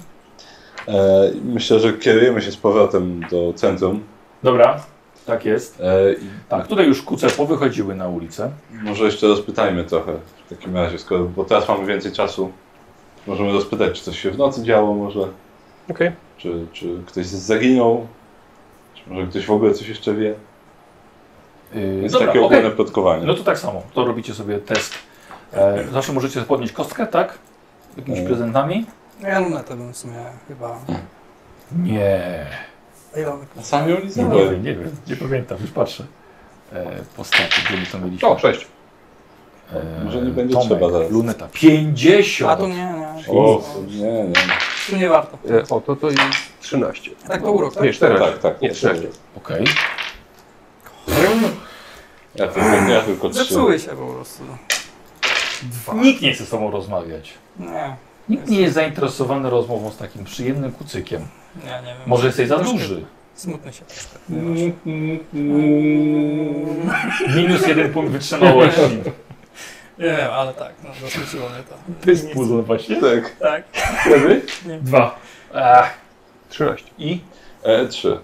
[SPEAKER 4] E, myślę, że kierujemy się z powrotem do centrum.
[SPEAKER 1] Dobra, tak jest.
[SPEAKER 4] E, i
[SPEAKER 1] Tak, tutaj już kuce powychodziły na ulicę.
[SPEAKER 4] może jeszcze rozpytajmy trochę w takim razie, skoro, bo teraz mamy więcej czasu. Możemy rozpytać, czy coś się w nocy działo może,
[SPEAKER 5] Okej.
[SPEAKER 4] czy, czy ktoś zaginął, czy może ktoś w ogóle coś jeszcze wie.
[SPEAKER 1] Yy,
[SPEAKER 4] Jest
[SPEAKER 1] dobra,
[SPEAKER 4] takie
[SPEAKER 1] okej.
[SPEAKER 4] ogólne plotkowanie.
[SPEAKER 1] No to tak samo, to robicie sobie test. E, zawsze możecie podnieść kostkę, tak? Jakimiś
[SPEAKER 4] Mm.
[SPEAKER 1] prezentami?
[SPEAKER 3] Ja na to bym w sumie chyba...
[SPEAKER 1] Nie.
[SPEAKER 3] A ile mamy
[SPEAKER 4] Na samej ulicy?
[SPEAKER 1] Nie
[SPEAKER 4] No,
[SPEAKER 1] powiem, nie wiem, nie pamiętam, już patrzę. E, postaci, gdzie my to mieliśmy.
[SPEAKER 5] O, sześć.
[SPEAKER 1] E,
[SPEAKER 4] Może nie będzie
[SPEAKER 1] Tomek,
[SPEAKER 4] trzeba zaraz.
[SPEAKER 1] Luneta.
[SPEAKER 3] A tu
[SPEAKER 1] 50!
[SPEAKER 3] nie, nie.
[SPEAKER 4] O, nie, nie.
[SPEAKER 3] Tu nie warto.
[SPEAKER 5] E, o, to to jest 13.
[SPEAKER 3] Tak to urok, tak?
[SPEAKER 5] Nie, 14.
[SPEAKER 4] Tak, tak.
[SPEAKER 5] Nie, 13.
[SPEAKER 1] Okej.
[SPEAKER 4] Ja tylko, ja tylko trzy.
[SPEAKER 3] Zepsuły się po prostu.
[SPEAKER 1] Nikt nie chce z tobą rozmawiać.
[SPEAKER 3] Nie,
[SPEAKER 1] Nikt nie jest zainteresowany rozmową z takim przyjemnym kucykiem.
[SPEAKER 3] nie, nie wiem.
[SPEAKER 1] Może jesteś za
[SPEAKER 3] Troszkę
[SPEAKER 1] duży.
[SPEAKER 3] Smutny się troszkę.
[SPEAKER 1] Minus jeden punkt wytrzymałości.
[SPEAKER 3] Nie wiem, ale tak, no dosyciło mnie to. Nie chcę-
[SPEAKER 1] właśnie.
[SPEAKER 4] Tak.
[SPEAKER 3] Tak.
[SPEAKER 1] Dwa. Ach,
[SPEAKER 5] 13.
[SPEAKER 1] I?
[SPEAKER 4] E, trzy.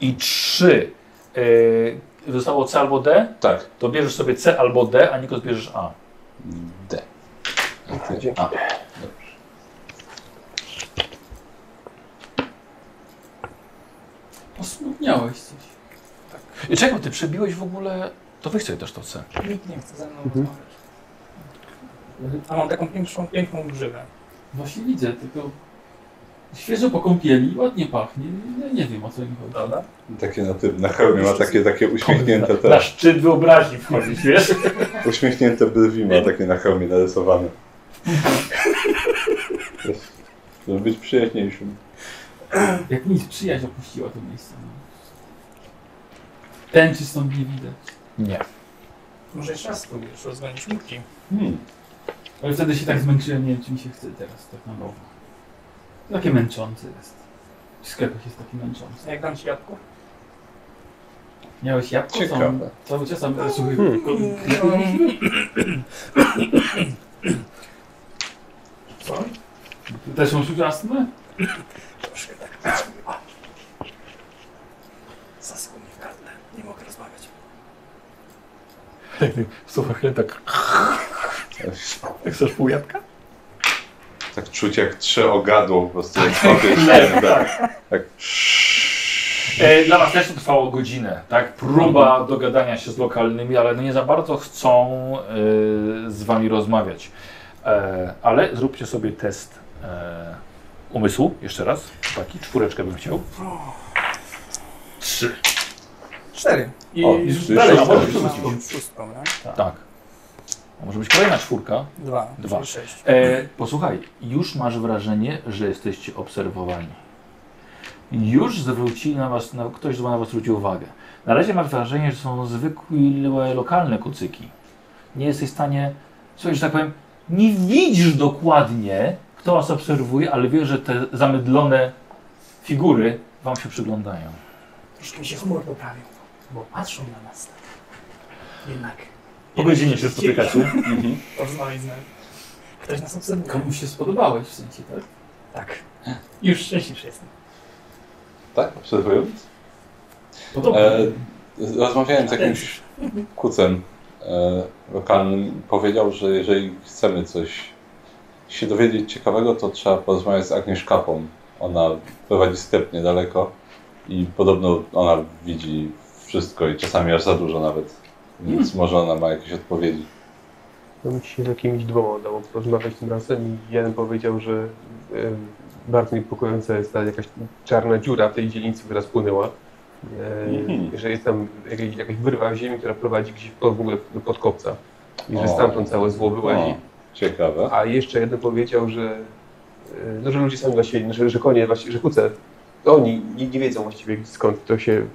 [SPEAKER 1] I trzy. Yy, zostało C albo D?
[SPEAKER 4] Tak.
[SPEAKER 1] To bierzesz sobie C albo D, a Nikos bierzesz A.
[SPEAKER 4] D.
[SPEAKER 5] Dzięki.
[SPEAKER 4] A.
[SPEAKER 2] Osmutniałeś coś.
[SPEAKER 1] I Czego ty przebiłeś w ogóle? To wy sobie też to C.
[SPEAKER 3] Nikt nie chce ze mną rozmawiać. A mam taką piękną, piękną grzywę.
[SPEAKER 2] Właśnie widzę, tylko świeżo po kąpieli, ładnie pachnie. Ja nie wiem o co im chodzi.
[SPEAKER 3] Prawda?
[SPEAKER 4] Takie na tym, na hełmie ma takie, takie uśmiechnięte
[SPEAKER 1] Na,
[SPEAKER 4] te,
[SPEAKER 1] szczyt wyobraźni wchodzisz, wiesz?
[SPEAKER 4] uśmiechnięte brwi ma takie na hełmie narysowane. Żeby być przyjaźniejszym.
[SPEAKER 2] Jak nic, przyjaźń opuściła to miejsce. No. Tęczy stąd nie widać.
[SPEAKER 1] Nie.
[SPEAKER 3] Może jeszcze raz spróbujesz rozwalić murki.
[SPEAKER 4] Hmm.
[SPEAKER 2] Ale wtedy się tak zmęczyłem, nie wiem czy mi się chce teraz tak na nowo. Takie męczące jest. W sklepach jest takie męczące.
[SPEAKER 3] Jak dam ci jabłko?
[SPEAKER 2] Miałeś jabłko?
[SPEAKER 4] Ciekawe.
[SPEAKER 2] Sam- Cały czas tam słuchaj.
[SPEAKER 3] Co?
[SPEAKER 2] Ty Też masz już astmę?
[SPEAKER 3] Troszkę tak. Zaschło mnie w gardle. Nie mogę rozmawiać.
[SPEAKER 1] Słuchaj, tak, tak chcesz pół jabłka?
[SPEAKER 4] Tak czuć jak trzy ogadło po prostu jak kogoś tak. tak.
[SPEAKER 1] E, dla was też to trwało godzinę, tak? Próba dogadania się z lokalnymi, ale no nie za bardzo chcą e, z wami rozmawiać. E, ale zróbcie sobie test e, umysłu, jeszcze raz. Taki czwóreczkę bym chciał. Trzy.
[SPEAKER 3] Cztery.
[SPEAKER 1] I
[SPEAKER 4] O, czyli
[SPEAKER 1] dalej,
[SPEAKER 2] tak,
[SPEAKER 4] szóstka.
[SPEAKER 1] a możesz przerzucić.
[SPEAKER 3] Szóstką, szóstką, nie?
[SPEAKER 1] Tak. A Może być kolejna czwórka.
[SPEAKER 3] Dwa.
[SPEAKER 1] Dwa.
[SPEAKER 3] Dwa. Sześć.
[SPEAKER 1] E, posłuchaj, już masz wrażenie, że jesteście obserwowani. Już zwrócili na was, na, ktoś na was zwrócił uwagę. Na razie masz wrażenie, że są zwykłe lokalne kucyki. Nie jesteś w stanie, słuchaj, że tak powiem, nie widzisz dokładnie, kto was obserwuje, ale wiesz, że te zamydlone figury wam się przyglądają.
[SPEAKER 3] Troszkę mi się humor poprawił, bo patrzą na nas. tak. Jednak
[SPEAKER 1] Po godzinie się spotykacie.
[SPEAKER 3] porozmawiać z nami. Ktoś nas obserwuje.
[SPEAKER 2] Komuś się spodobałeś w sensie, tak?
[SPEAKER 3] Tak. Już szczęśliwszy jestem.
[SPEAKER 4] Tak, obserwując.
[SPEAKER 2] Podobnie.
[SPEAKER 4] E, rozmawiałem z jakimś kucem e, lokalnym. Powiedział, że jeżeli chcemy coś się dowiedzieć ciekawego, to trzeba porozmawiać z Agnieszkapą. Ona prowadzi sklep niedaleko i podobno ona widzi wszystko i czasami aż za dużo nawet. Więc
[SPEAKER 5] Hmm.
[SPEAKER 4] może ona ma jakieś odpowiedzi.
[SPEAKER 5] No mi się z jakimiś dwoma udało porozmawiać tym razem i jeden powiedział, że em, bardzo niepokojąca jest ta jakaś czarna dziura w tej dzielnicy, która spłynęła. E,
[SPEAKER 4] Mhm.
[SPEAKER 5] Że jest tam jakaś, jakaś wyrwa w ziemi, która prowadzi gdzieś po, w ogóle do podkopca. I
[SPEAKER 4] O.
[SPEAKER 5] że stamtąd całe zło wyłazi.
[SPEAKER 4] O, ciekawe.
[SPEAKER 5] A jeszcze jeden powiedział, że, e, no, że ludzie sami właściwie, że, że konie, właści- że kuce, oni nie, nie wiedzą właściwie skąd to się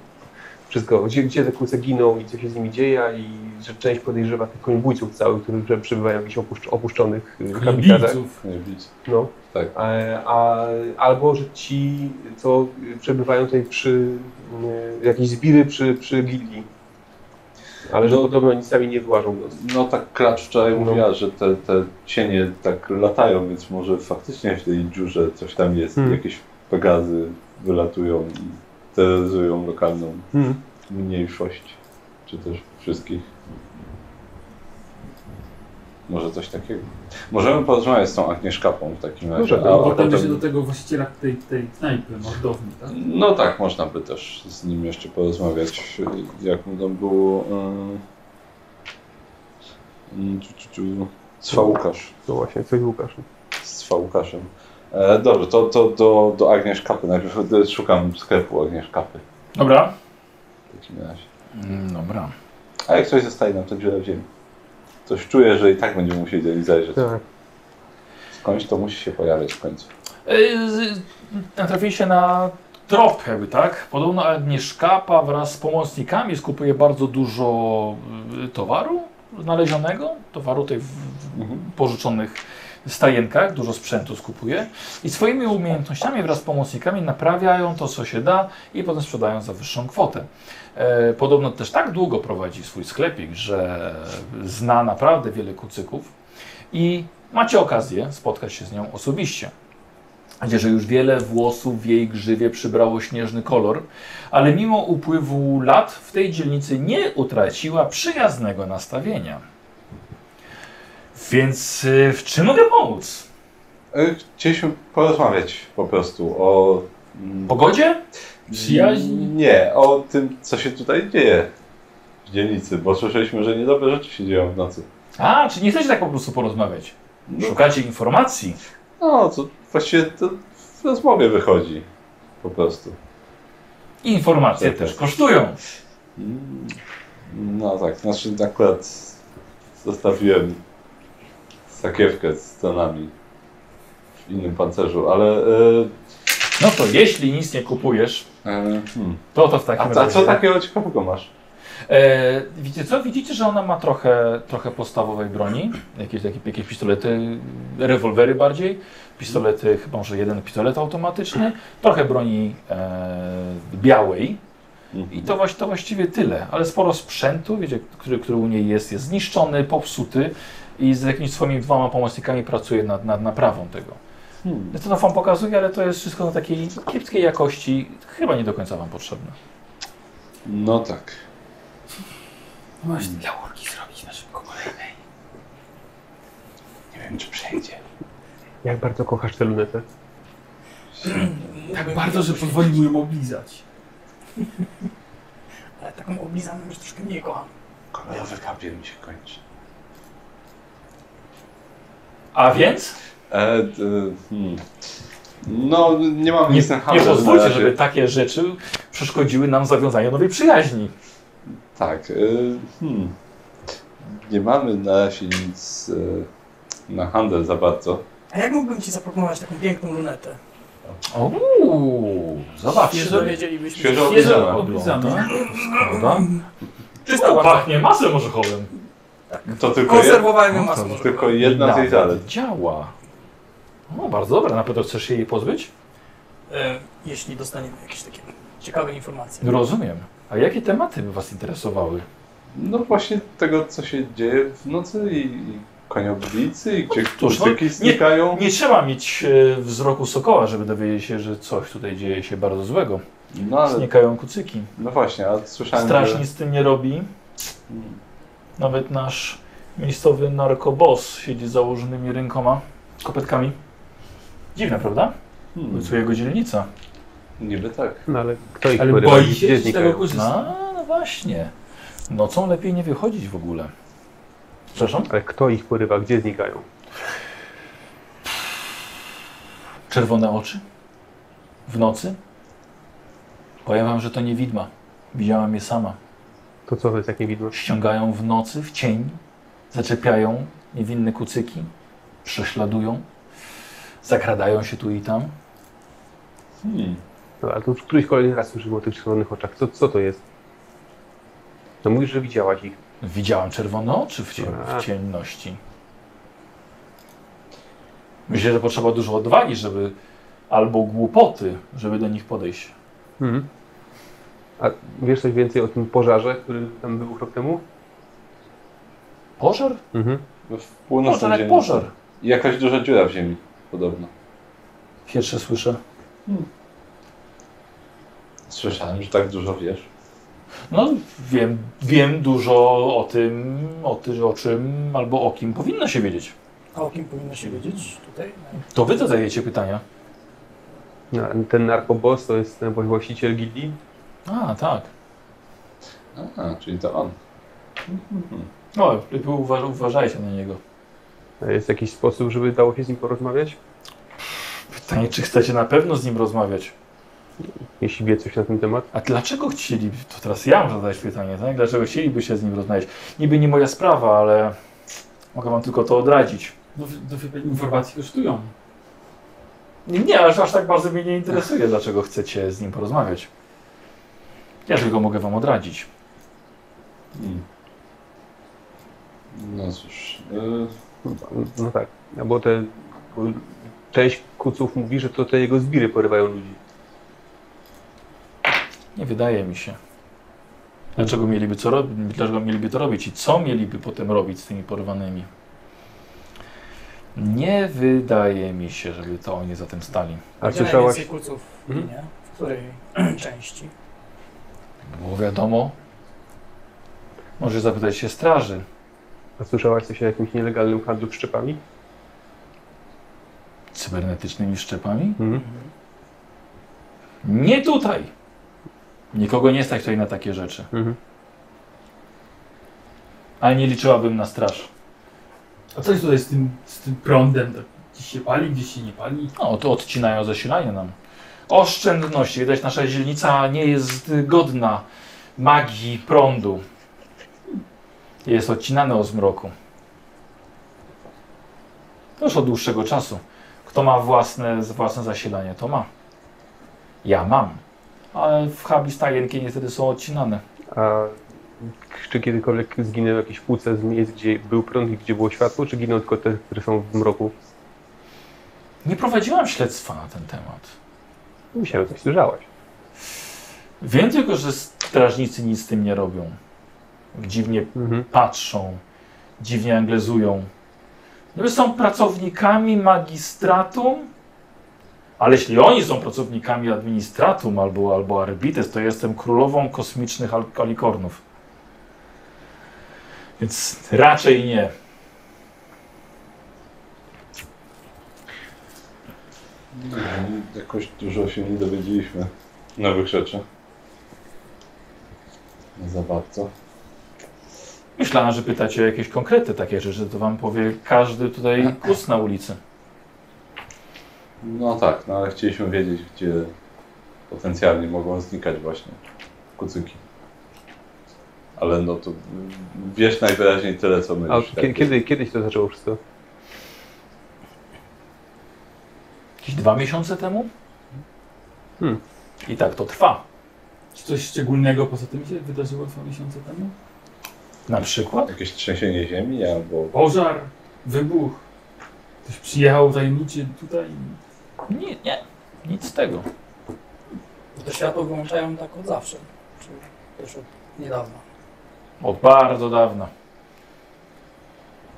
[SPEAKER 5] wszystko, gdzie, gdzie te kłusy giną i co się z nimi dzieje i że część podejrzewa tych konibójców całych, którzy prze- przebywają w jakichś opuszcz- opuszczonych y, habitatach.
[SPEAKER 4] Nie widzę.
[SPEAKER 5] No.
[SPEAKER 4] Tak.
[SPEAKER 5] A, a, albo, że ci, co przebywają tutaj przy y, jakieś zbiry przy, przy gildii. Ale że podobno oni sami nie wyłażą go.
[SPEAKER 4] No tak klacz wczoraj
[SPEAKER 5] No.
[SPEAKER 4] mówiła, że te, te cienie tak latają, więc może faktycznie w tej dziurze coś tam jest,
[SPEAKER 5] Hmm.
[SPEAKER 4] jakieś pegazy wylatują i terroryzują lokalną
[SPEAKER 5] Hmm.
[SPEAKER 4] mniejszość, czy też wszystkich. Może coś takiego. Możemy porozmawiać z tą Agnieszkapą w takim razie.
[SPEAKER 5] Możemy.
[SPEAKER 4] a
[SPEAKER 2] Potem się
[SPEAKER 4] potem-
[SPEAKER 2] do tego właściciela tej, tej knajpy, mordowni, tak?
[SPEAKER 4] No tak, można by też z nim jeszcze porozmawiać, y, jak mu tam było... e, y, y, ciu, ciu, ciu, Cwałukasz.
[SPEAKER 5] No właśnie, coś Łukasz.
[SPEAKER 4] z Łukaszem. E, dobrze, to, to do, do Agnieszkapy. Najpierw szukam sklepu Agnieszkapy
[SPEAKER 7] Dobra.
[SPEAKER 4] w takim razie.
[SPEAKER 1] Mm, Dobra.
[SPEAKER 4] A jak coś zostaje nam, to dziura w ziemi. Coś czuję, że i tak będziemy musieli do nich zajrzeć.
[SPEAKER 5] Tak.
[SPEAKER 4] Skądś to musi się pojawiać w końcu.
[SPEAKER 1] E, Natrafiliście na trop jakby, tak? Podobno Agnieszkapa wraz z pomocnikami skupuje bardzo dużo y, towaru znalezionego, towaru tej w, w pożyczonych stajenkach, dużo sprzętu skupuje i swoimi umiejętnościami wraz z pomocnikami naprawiają to, co się da i potem sprzedają za wyższą kwotę. E, podobno też tak długo prowadzi swój sklepik, że zna naprawdę wiele kucyków i macie okazję spotkać się z nią osobiście. Wiecie, że już wiele włosów w jej grzywie przybrało śnieżny kolor, ale mimo upływu lat w tej dzielnicy nie utraciła przyjaznego nastawienia. Więc y, w czym mogę pomóc?
[SPEAKER 4] E, chcieliśmy porozmawiać po prostu o... mm,
[SPEAKER 1] Pogodzie?
[SPEAKER 2] Przyjaźni?
[SPEAKER 4] Nie, o tym, co się tutaj dzieje w dzielnicy, bo słyszeliśmy, że niedobre rzeczy się dzieją w nocy.
[SPEAKER 1] A, czy nie chcecie tak po prostu porozmawiać?
[SPEAKER 4] No,
[SPEAKER 1] Szukacie informacji?
[SPEAKER 4] no to właściwie to w rozmowie wychodzi po prostu.
[SPEAKER 1] Informacje
[SPEAKER 4] Tak,
[SPEAKER 1] też
[SPEAKER 4] tak.
[SPEAKER 1] kosztują.
[SPEAKER 4] Mm, No tak, znaczy akurat zostawiłem sakiewkę z cenami w innym pancerzu, ale... e,
[SPEAKER 1] No to jeśli nic nie kupujesz,
[SPEAKER 4] e, hmm.
[SPEAKER 1] to to w
[SPEAKER 4] a,
[SPEAKER 1] takim
[SPEAKER 4] a co tak
[SPEAKER 1] razie...
[SPEAKER 4] takiego ciekawego masz?
[SPEAKER 1] E, wiecie co? Widzicie, że ona ma trochę, trochę podstawowej broni. Jakieś, jakieś, jakieś pistolety, rewolwery bardziej. Pistolety, chyba może jeden pistolet automatyczny. Trochę broni e, białej. I to, właś- to właściwie tyle. Ale sporo sprzętu, wiecie, który, który u niej jest, jest zniszczony, popsuty. I z jakimiś swoimi dwoma pomocnikami pracuje nad, nad naprawą tego.
[SPEAKER 4] Hmm.
[SPEAKER 1] Ja to wam pokazuję, ale to jest wszystko na takiej kiepskiej jakości. Chyba nie do końca wam potrzebne.
[SPEAKER 4] No tak.
[SPEAKER 2] Masz dla urki zrobić na szybko kolejnej.
[SPEAKER 4] Nie wiem, czy przejdzie.
[SPEAKER 5] Jak bardzo kochasz tę lunetę?
[SPEAKER 2] Tak bardzo, że pozwolił ją oblizać.
[SPEAKER 3] Ale taką oblizaną już troszkę mniej kocham.
[SPEAKER 4] Kolorowy papier mi się kończy.
[SPEAKER 1] A więc?
[SPEAKER 4] E, d- hmm. No, nie mam
[SPEAKER 1] Nie,
[SPEAKER 4] nic na
[SPEAKER 1] nie
[SPEAKER 4] handel na
[SPEAKER 1] pozwólcie,
[SPEAKER 4] razie.
[SPEAKER 1] żeby takie rzeczy przeszkodziły nam zawiązaniu nowej przyjaźni.
[SPEAKER 4] Tak. e, hmm. Nie mamy na razie nic e, na handel za bardzo.
[SPEAKER 3] A jak mógłbym ci zaproponować taką piękną lunetę?
[SPEAKER 1] Uuu,
[SPEAKER 2] Świeżo
[SPEAKER 1] zobaczcie.
[SPEAKER 2] wiedzielibyśmy.
[SPEAKER 4] Świeżo oblizana.
[SPEAKER 2] oblizana.
[SPEAKER 4] Tak?
[SPEAKER 1] Prawda? Czysto pachnie masłem orzechowym.
[SPEAKER 4] To tylko jed-
[SPEAKER 3] Konserwowałem ją masło.
[SPEAKER 4] To tylko jedna z
[SPEAKER 1] Nawet
[SPEAKER 4] jej zalet.
[SPEAKER 1] Działa. O, bardzo dobra. Na pewno chcesz się jej pozbyć?
[SPEAKER 3] E, Jeśli dostaniemy jakieś takie ciekawe informacje.
[SPEAKER 1] Rozumiem. A jakie tematy by was interesowały?
[SPEAKER 4] No właśnie tego, co się dzieje w nocy i, i konioblicy i gdzie
[SPEAKER 1] cóż, no,
[SPEAKER 4] kucyki
[SPEAKER 1] nie-
[SPEAKER 4] znikają.
[SPEAKER 1] Nie trzeba mieć e, wzroku sokoła, żeby dowiedzieć się, że coś tutaj dzieje się bardzo złego.
[SPEAKER 4] No, ale,
[SPEAKER 1] Znikają kucyki.
[SPEAKER 4] no właśnie, a słyszałem,
[SPEAKER 1] Straż
[SPEAKER 4] że...
[SPEAKER 1] nic z tym nie robi. Nawet nasz miejscowy narkobos siedzi z założonymi rękoma, kopetkami. Dziwne, prawda?
[SPEAKER 4] Hmm,
[SPEAKER 1] Co jego dzielnica.
[SPEAKER 4] niby tak.
[SPEAKER 5] No ale kto ich
[SPEAKER 2] Ale
[SPEAKER 5] porywa?
[SPEAKER 2] boi się
[SPEAKER 5] Gdzie
[SPEAKER 2] z
[SPEAKER 5] znikają?
[SPEAKER 2] tego korzystać.
[SPEAKER 1] No, no właśnie. Nocą lepiej nie wychodzić w ogóle. Przepraszam?
[SPEAKER 5] Ale kto ich porywa? Gdzie znikają?
[SPEAKER 1] Czerwone oczy? W nocy? Powiem wam, że to nie widma. Widziałam je sama.
[SPEAKER 5] To co to jest takie widmo?
[SPEAKER 1] Ściągają w nocy, w cień, zaczepiają niewinne kucyki, prześladują, zakradają się tu i tam.
[SPEAKER 4] Hmm.
[SPEAKER 5] No, ale to już któryś kolejny raz słyszymy o tych czerwonych oczach. Co, co to jest? No mówisz, że widziałaś ich.
[SPEAKER 1] Widziałem czerwone oczy w, ciem
[SPEAKER 5] A.
[SPEAKER 1] w ciemności. Myślę, że potrzeba dużo odwagi, żeby albo głupoty, żeby do nich podejść.
[SPEAKER 2] Mhm.
[SPEAKER 5] A wiesz coś więcej o tym pożarze, który tam wybuchł rok temu?
[SPEAKER 1] Pożar?
[SPEAKER 2] Mhm.
[SPEAKER 4] No, W północnym
[SPEAKER 1] Pożar jak
[SPEAKER 4] dzień-
[SPEAKER 1] pożar.
[SPEAKER 4] I Jakaś duża dziura w ziemi, podobno.
[SPEAKER 1] Pierwsze słyszę.
[SPEAKER 4] Słyszałem, że tak dużo wiesz.
[SPEAKER 1] No wiem, wiem dużo o tym, o tym, o czym albo o kim powinno się wiedzieć.
[SPEAKER 3] A o kim powinno się wiedzieć tutaj?
[SPEAKER 1] To wy zadajecie pytania.
[SPEAKER 5] No, a ten narkoboss to jest ten właściciel gildii?
[SPEAKER 1] A, tak.
[SPEAKER 4] A, czyli to on.
[SPEAKER 1] No, lepiej uważa, uważajcie na niego.
[SPEAKER 5] A Jest jakiś sposób, żeby dało się z nim porozmawiać?
[SPEAKER 1] Pytanie, czy chcecie na pewno z nim rozmawiać?
[SPEAKER 5] Jeśli wie coś na ten temat?
[SPEAKER 1] A dlaczego chcieli, to teraz ja mam zadać pytanie, tak? Dlaczego chcielibyście z nim rozmawiać? Niby nie moja sprawa, ale mogę wam tylko to odradzić.
[SPEAKER 2] No, no informacji kosztują.
[SPEAKER 1] Nie, nie, aż, aż tak bardzo mnie nie interesuje, dlaczego chcecie z nim porozmawiać. Ja tylko mogę wam odradzić.
[SPEAKER 4] Hmm. No cóż. y,
[SPEAKER 5] No tak, no bo te... Bo część kuców mówi, że to te jego zbiry porywają ludzi.
[SPEAKER 1] Nie wydaje mi się. Dlaczego mieliby, co rob- dlaczego mieliby to robić i co mieliby potem robić z tymi porwanymi? Nie wydaje mi się, żeby to oni za tym stali.
[SPEAKER 5] A
[SPEAKER 3] Gdzie
[SPEAKER 5] słyszałaś...
[SPEAKER 3] najwięcej kuców
[SPEAKER 5] Mhm.
[SPEAKER 3] ginie? W której części?
[SPEAKER 1] Bo wiadomo, może zapytać się straży.
[SPEAKER 5] A słyszałaś coś o jakimś nielegalnym handlu szczepami?
[SPEAKER 1] Cybernetycznymi szczepami?
[SPEAKER 5] Mhm.
[SPEAKER 1] Nie tutaj! Nikogo nie stać tutaj na takie rzeczy.
[SPEAKER 5] Mhm.
[SPEAKER 1] Ale nie liczyłabym na straż.
[SPEAKER 2] A co jest tutaj z tym, z tym prądem? Tak, gdzieś się pali, gdzieś się nie pali?
[SPEAKER 1] No, to odcinają zasilanie nam. Oszczędności. Widać, nasza dzielnica nie jest y, godna magii prądu. Jest odcinane o zmroku. To już od dłuższego czasu. Kto ma własne, własne zasilanie, to ma. Ja mam. Ale w Habi stajenki niestety są odcinane.
[SPEAKER 5] A czy kiedykolwiek zginęły jakieś płuce z miejsc, gdzie był prąd i gdzie było światło, czy giną tylko te, które są w mroku?
[SPEAKER 1] Nie prowadziłam śledztwa na ten temat.
[SPEAKER 5] Musiałem coś słyszałaś.
[SPEAKER 1] Wiem tylko, że strażnicy nic z tym nie robią. Dziwnie
[SPEAKER 5] Mhm.
[SPEAKER 1] patrzą, dziwnie anglezują. Gdyby są pracownikami magistratum, ale jeśli oni są pracownikami administratum albo, albo arbites, to jestem królową kosmicznych al- kalikornów. Więc raczej nie.
[SPEAKER 4] y, Jakoś dużo się nie dowiedzieliśmy. Nowych rzeczy. Nie No za bardzo.
[SPEAKER 1] Myślałem, że pytacie o jakieś konkrety takie rzeczy, to wam powie każdy tutaj kus na ulicy.
[SPEAKER 4] No tak, no ale chcieliśmy wiedzieć, gdzie potencjalnie mogą znikać właśnie kucyki. Ale no to y, wiesz najwyraźniej tyle, co my
[SPEAKER 5] A
[SPEAKER 4] już. tak
[SPEAKER 5] kie- kiedy, kiedyś to zaczęło wszystko?
[SPEAKER 1] Jakieś dwa miesiące temu?
[SPEAKER 5] Hmm.
[SPEAKER 1] I tak to trwa.
[SPEAKER 2] Czy coś szczególnego poza tym się wydarzyło dwa miesiące temu?
[SPEAKER 1] Na przykład?
[SPEAKER 4] Jakieś trzęsienie ziemi albo
[SPEAKER 2] Pożar, wybuch. Ktoś przyjechał tajemniczy tutaj.
[SPEAKER 1] Nie, nie, nic z tego.
[SPEAKER 3] To światło wyłączają tak od zawsze. Czy też od niedawna.
[SPEAKER 1] Od bardzo dawna.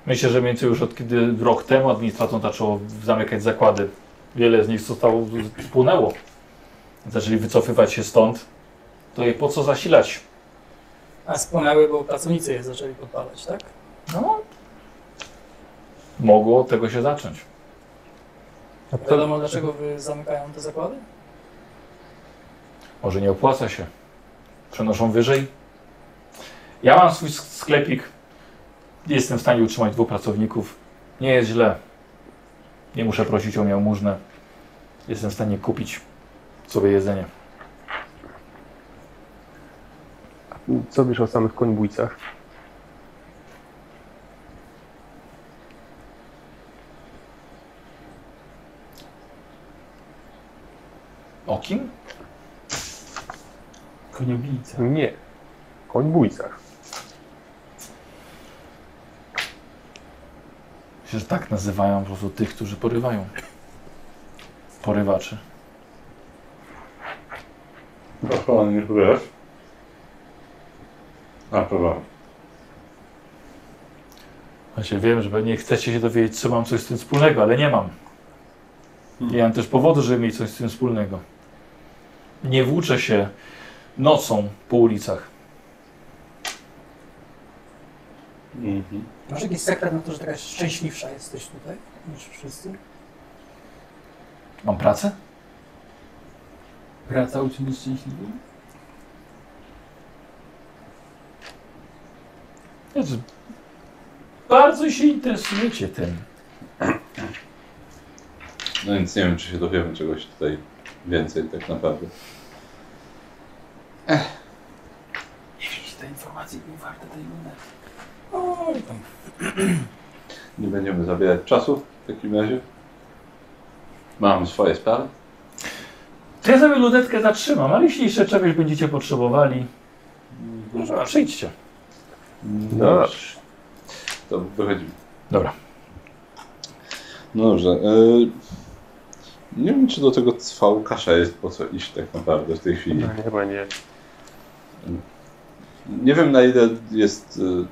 [SPEAKER 1] Myślę, że mniej więcej już od kiedy rok temu administrator zaczęło zamykać zakłady. Wiele z nich zostało, spłynęło. Zaczęli wycofywać się stąd. To je po co zasilać?
[SPEAKER 3] A spłonęły, bo pracownicy je zaczęli podpalać, tak?
[SPEAKER 1] No. Mogło od tego się zacząć.
[SPEAKER 5] A
[SPEAKER 3] Wiadomo dlaczego wy zamykają te zakłady?
[SPEAKER 1] Może nie opłaca się. Przenoszą wyżej. Ja mam swój sk- sklepik. Jestem w stanie utrzymać dwóch pracowników. Nie jest źle. Nie muszę prosić o jałmużnę. Jestem w stanie kupić sobie jedzenie.
[SPEAKER 5] Co wiesz o samych końbójcach?
[SPEAKER 1] O kim?
[SPEAKER 2] Koniobijca.
[SPEAKER 5] Nie. Końbójcach.
[SPEAKER 1] Myślę, że tak nazywają po prostu tych, którzy porywają. Porywaczy.
[SPEAKER 4] Aha, No, nie wiesz. A, prawda.
[SPEAKER 1] Znaczy, wiem, że pewnie chcecie się dowiedzieć, co mam coś z tym wspólnego, ale nie mam. Nie mam też powodu, żeby mieć coś z tym wspólnego. Nie włóczę się nocą po ulicach.
[SPEAKER 4] Mhm.
[SPEAKER 3] Masz jakiś sekret na to, że taka szczęśliwsza jesteś tutaj niż wszyscy?
[SPEAKER 1] Mam pracę?
[SPEAKER 2] Praca uczyni szczęśliwym?
[SPEAKER 1] Znaczy, bardzo się interesujecie tym.
[SPEAKER 4] No więc nie wiem, czy się dowiemy czegoś tutaj więcej tak naprawdę.
[SPEAKER 2] Jeśli te informacje były warte tej luny.
[SPEAKER 3] Oj, tam.
[SPEAKER 4] Nie będziemy zabierać czasu w takim razie. Mam swoje sprawy.
[SPEAKER 1] To ja sobie lunetkę zatrzymam, ale jeśli jeszcze czegoś będziecie potrzebowali, może przyjdźcie.
[SPEAKER 4] Dobrze. To wychodzimy.
[SPEAKER 1] Dobra.
[SPEAKER 4] No dobrze. y, Nie wiem, czy do tego cwałkasza jest po co iść tak naprawdę w tej chwili.
[SPEAKER 5] Nie, No, chyba nie.
[SPEAKER 4] Nie wiem na ile jest y,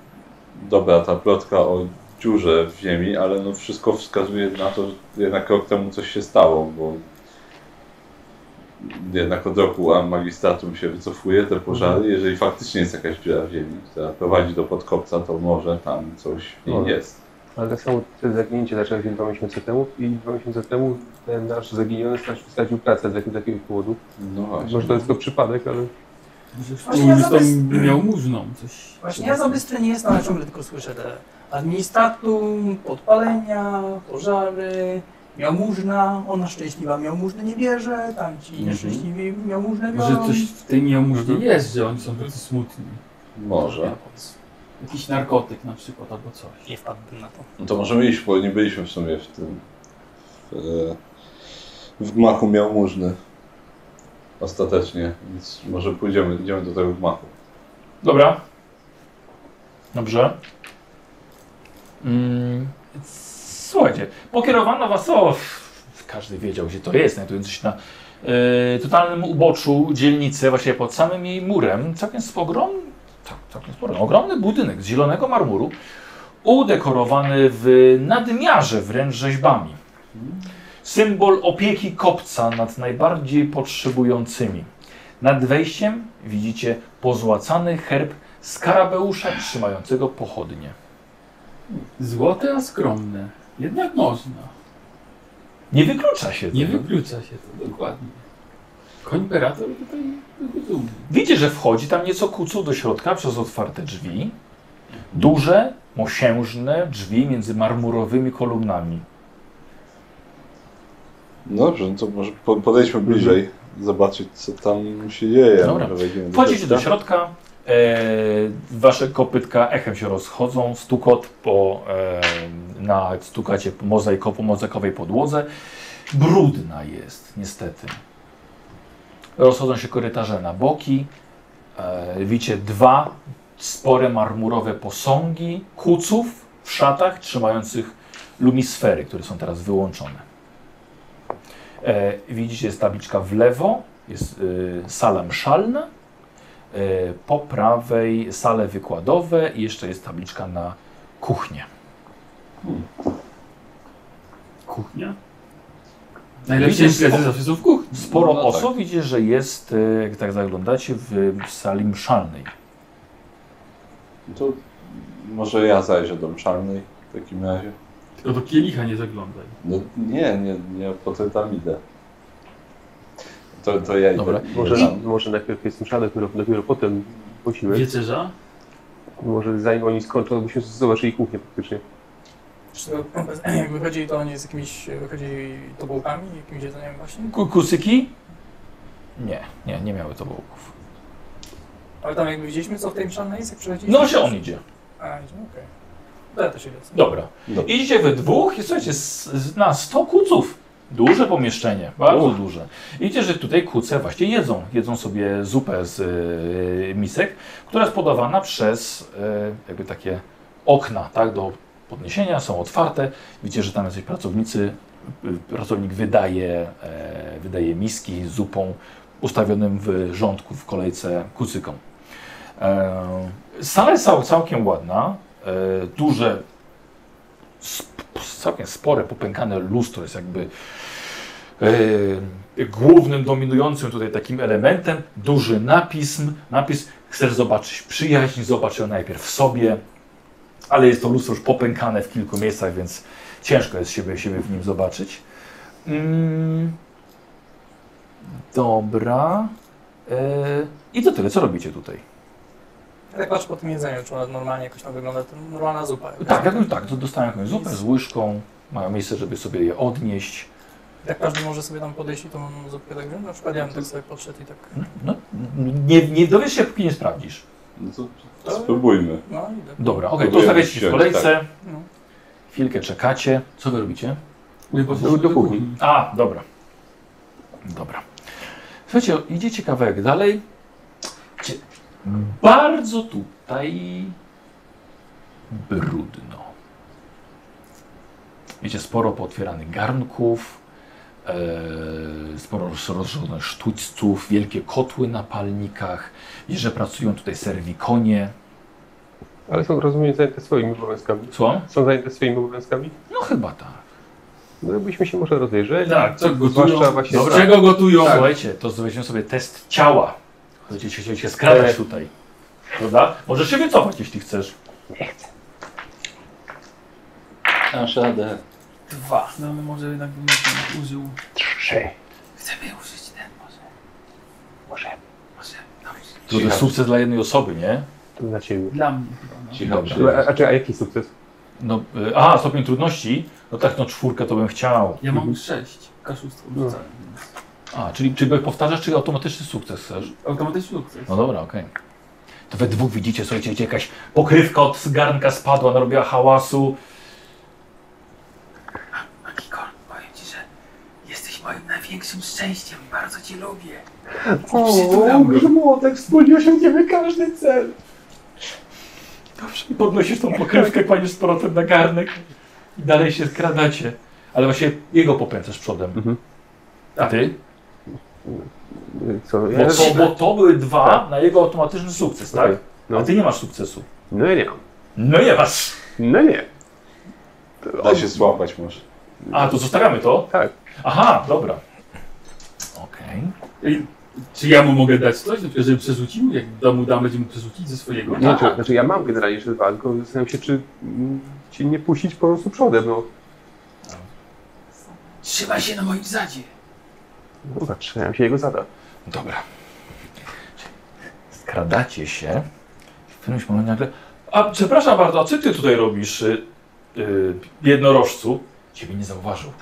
[SPEAKER 4] dobra ta plotka o dziurze w ziemi, ale no wszystko wskazuje na to, że jednak rok temu coś się stało, bo jednak od roku a magistratum się wycofuje te
[SPEAKER 5] Mhm.
[SPEAKER 4] pożary. Jeżeli faktycznie jest jakaś dziura w ziemi, która prowadzi do podkopca, to może tam coś w niej
[SPEAKER 5] Może.
[SPEAKER 4] jest.
[SPEAKER 5] Ale tak samo te zaginięcie zaczęło się dwa miesiące temu i dwa miesiące temu ten nasz zaginiony stracił- stracił pracę z jakiegoś takiego powodu.
[SPEAKER 4] No właśnie.
[SPEAKER 5] Może to jest tylko przypadek, ale
[SPEAKER 2] Może w
[SPEAKER 3] Właśnie ja
[SPEAKER 2] którymś
[SPEAKER 3] zamiast-
[SPEAKER 2] tam miał mużną coś.
[SPEAKER 3] Właśnie ja za bystry nie jestem, ale ciągle tylko słyszę te administratum, podpalenia, pożary, miałmużna, ona szczęśliwa miałmużny nie bierze,
[SPEAKER 1] Mhm.
[SPEAKER 3] tamci nieszczęśliwi miałmużnę biorą.
[SPEAKER 2] Może coś w tej nieomużnie jest, że oni są tacy smutni.
[SPEAKER 4] Może.
[SPEAKER 2] Jakiś narkotyk na przykład albo coś.
[SPEAKER 3] Nie wpadłbym na to.
[SPEAKER 4] No to możemy iść, bo nie byliśmy w sumie w tym. W, e, w gmachu miałmużny. Ostatecznie, więc może pójdziemy, idziemy do tego gmachu.
[SPEAKER 1] Dobra. Dobrze. Mm, słuchajcie, pokierowano was o. Każdy wiedział, gdzie to jest, znajdując się na e, totalnym uboczu dzielnicy, właśnie pod samym jej murem. Całkiem ogromny, tak, całkiem spory, ogromny budynek z zielonego marmuru, udekorowany w nadmiarze wręcz rzeźbami. Symbol opieki kopca nad najbardziej potrzebującymi. Nad wejściem widzicie pozłacany herb skarabeusza trzymającego pochodnie.
[SPEAKER 2] Złote, a skromne. Jednak można.
[SPEAKER 1] Nie wyklucza się
[SPEAKER 2] Nie
[SPEAKER 1] tego.
[SPEAKER 2] wyklucza się to, dokładnie. Koimperator tutaj byłby dumny.
[SPEAKER 1] Widzicie, że wchodzi tam nieco kucu do środka przez otwarte drzwi. Duże, mosiężne drzwi między marmurowymi kolumnami.
[SPEAKER 4] Dobrze, no to może po- podejdźmy bliżej, zobaczyć co tam się dzieje.
[SPEAKER 1] Dobra.
[SPEAKER 4] Może wejdziemy Mhm. do
[SPEAKER 1] Wchodzicie do
[SPEAKER 4] środka.
[SPEAKER 1] środka, e, wasze kopytka echem się rozchodzą, stukot po, e, na stukacie po mozaiko, po mozaikowej podłodze. Brudna jest, niestety. Rozchodzą się korytarze na boki. E, widzicie dwa spore marmurowe posągi kuców w szatach trzymających lumisfery, które są teraz wyłączone. E, widzicie, jest tabliczka w lewo, jest y, sala mszalna, E, po prawej sale wykładowe i jeszcze jest tabliczka na kuchnię.
[SPEAKER 2] Kuchnia? Najlepsze
[SPEAKER 1] Widzisz,
[SPEAKER 2] imprezy
[SPEAKER 1] o-
[SPEAKER 2] zawsze są w kuchni.
[SPEAKER 1] Sporo
[SPEAKER 4] No tak.
[SPEAKER 1] osób widzicie, że jest, e, jak tak zaglądacie, w sali mszalnej.
[SPEAKER 4] No To może ja zajrzę do mszalnej w takim razie.
[SPEAKER 2] Tylko do No kielicha nie zaglądaj.
[SPEAKER 4] No nie, nie, nie, potem tam idę. To, to ja idę.
[SPEAKER 1] Dobra.
[SPEAKER 4] Może
[SPEAKER 5] może,
[SPEAKER 4] tam.
[SPEAKER 5] może najpierw jest msza, dopiero, dopiero potem posiłek.
[SPEAKER 2] Wieczerza?
[SPEAKER 5] Może zanim oni skończą, to byśmy zobaczyli kuchnię praktycznie.
[SPEAKER 3] Zresztą, Jak wychodzili, to oni z jakimiś, wychodzili tobołkami, jakimś jedzeniem właśnie.
[SPEAKER 1] Ku- Kucyki? Nie, nie, nie miały to bułków.
[SPEAKER 3] Ale tam jakby widzieliśmy, co w tej mszalnej jest, jak przychodziliśmy.
[SPEAKER 1] No się on idzie.
[SPEAKER 3] A, idzie, okej. To ja też idę.
[SPEAKER 1] Dobra.
[SPEAKER 4] Dobra.
[SPEAKER 1] Idziecie we dwóch i słuchajcie, s- s- na 100 kuców. Duże pomieszczenie, bardzo duże. Idzie, że tutaj kuce właśnie jedzą. Jedzą sobie zupę z e, y, misek, która jest podawana przez y, jakby takie e, okna, tak, do podniesienia, są otwarte. Widzicie, że tam jacyś pracownicy, y, pracownik wydaje, e, wydaje miski z zupą ustawionym w rządku w kolejce kucykom. E, Sala jest cał- całkiem ładna, e, duże, sp, całkiem spore, popękane lustro jest jakby e, głównym, dominującym tutaj takim elementem. Duży napis, napis chcesz zobaczyć przyjaźń, zobacz ją najpierw w sobie, ale jest to lustro już popękane w kilku miejscach, więc ciężko jest siebie, siebie w nim zobaczyć. Mm. Dobra. E, I to tyle, co robicie tutaj?
[SPEAKER 3] Ja tak patrzę po tym jedzeniu, czy ona normalnie jakoś tam wygląda, to normalna zupa. jakaś.
[SPEAKER 1] Tak, jak, tak, to dostałem jakąś zupę z łyżką, mają miejsce, żeby sobie je odnieść.
[SPEAKER 3] Jak każdy może sobie tam podejść i tą zupkę tak wziąć, na przykład ja bym tak sobie podszedł i tak,
[SPEAKER 1] No, nie, nie dowiesz się, póki nie sprawdzisz.
[SPEAKER 4] No to spróbujmy.
[SPEAKER 3] no idę.
[SPEAKER 1] Dobra, okej, to
[SPEAKER 4] Próbujemy
[SPEAKER 1] stawiacie się w
[SPEAKER 4] wsiąść,
[SPEAKER 1] kolejce,
[SPEAKER 3] No.
[SPEAKER 1] chwilkę czekacie. Co wy robicie?
[SPEAKER 5] Do, do kuchni.
[SPEAKER 1] A, dobra. Dobra. Słuchajcie, idziecie kawałek dalej. Cie- Bardzo tutaj brudno. Wiecie, sporo pootwieranych garnków, e, sporo roz- rozrzuconych sztućców, wielkie kotły na palnikach. I że pracują tutaj serwikonie.
[SPEAKER 6] Ale są, rozumiem, zajęte swoimi obowiązkami.
[SPEAKER 1] Co?
[SPEAKER 6] Są zajęte swoimi obowiązkami?
[SPEAKER 1] No chyba tak.
[SPEAKER 6] No byśmy się może rozejrzeli.
[SPEAKER 2] Tak, co
[SPEAKER 6] Zwłaszcza
[SPEAKER 2] gotują?
[SPEAKER 6] właśnie... Tak.
[SPEAKER 1] Dobra.
[SPEAKER 2] Z czego gotują?
[SPEAKER 1] Słuchajcie, to zrobiliśmy sobie test ciała. Będziecie chcieli się
[SPEAKER 6] Tak.
[SPEAKER 1] skradać tutaj. Prawda? Możesz się wycofać, jeśli chcesz.
[SPEAKER 4] Nasz radę.
[SPEAKER 2] Dwa. No może jednak bym użył.
[SPEAKER 5] Trzy.
[SPEAKER 2] Chcemy użyć ten może. Może.
[SPEAKER 1] To jest sukces dla jednej osoby, nie?
[SPEAKER 6] To dla ciebie.
[SPEAKER 2] Może. Dla mnie chyba. No.
[SPEAKER 4] Cicho
[SPEAKER 5] A, a, czekaj, a jaki sukces?
[SPEAKER 1] No, y, a, stopień trudności? No tak, no czwórkę to bym chciał.
[SPEAKER 2] Ja mam sześć. Kaszustwo
[SPEAKER 1] No.
[SPEAKER 2] rzucałem.
[SPEAKER 1] A, czyli czy powtarzasz, czy automatyczny sukces chcesz?
[SPEAKER 2] Automatyczny sukces.
[SPEAKER 1] No dobra, okej. To we dwóch widzicie, słuchajcie, gdzie jakaś pokrywka od garnka spadła, narobiła hałasu.
[SPEAKER 2] Akikor, powiem ci, że jesteś moim największym szczęściem. Bardzo cię lubię.
[SPEAKER 5] Grzmotek, wspólnie osiągniemy każdy cel.
[SPEAKER 1] I podnosisz tą pokrywkę, kładziesz z powrotem na garnek i dalej się skradacie. Ale właśnie jego popędzasz przodem.
[SPEAKER 5] Mhm.
[SPEAKER 1] A ty?
[SPEAKER 5] Co?
[SPEAKER 1] Bo
[SPEAKER 5] Ja,
[SPEAKER 1] to, bo to były dwa na jego automatyczny sukces, tak?
[SPEAKER 5] Okej. No.
[SPEAKER 1] A ty nie masz sukcesu.
[SPEAKER 5] no nie mam.
[SPEAKER 1] No nie masz.
[SPEAKER 5] No nie.
[SPEAKER 4] Da się złapać może.
[SPEAKER 1] A, to zostawiamy to?
[SPEAKER 5] Tak.
[SPEAKER 1] Aha, dobra. Okej.
[SPEAKER 2] Ej, Czy ja mu mogę dać coś, na przykład, żeby przerzucił? Jak da mu dam, będzie mu przerzucić ze swojego?
[SPEAKER 1] No
[SPEAKER 5] Nie, czy, znaczy ja mam generalnie jeszcze dwa, tylko zastanawiam się, czy mm, ci nie puścić po prostu przodem, no.
[SPEAKER 2] Trzymaj się na moim zadzie.
[SPEAKER 5] no zatrzymałem się jego zada.
[SPEAKER 1] Dobra. Skradacie się. W którymś momencie nagle... A, przepraszam bardzo, a co ty tutaj robisz, y, y, jednorożcu? Ciebie nie zauważył.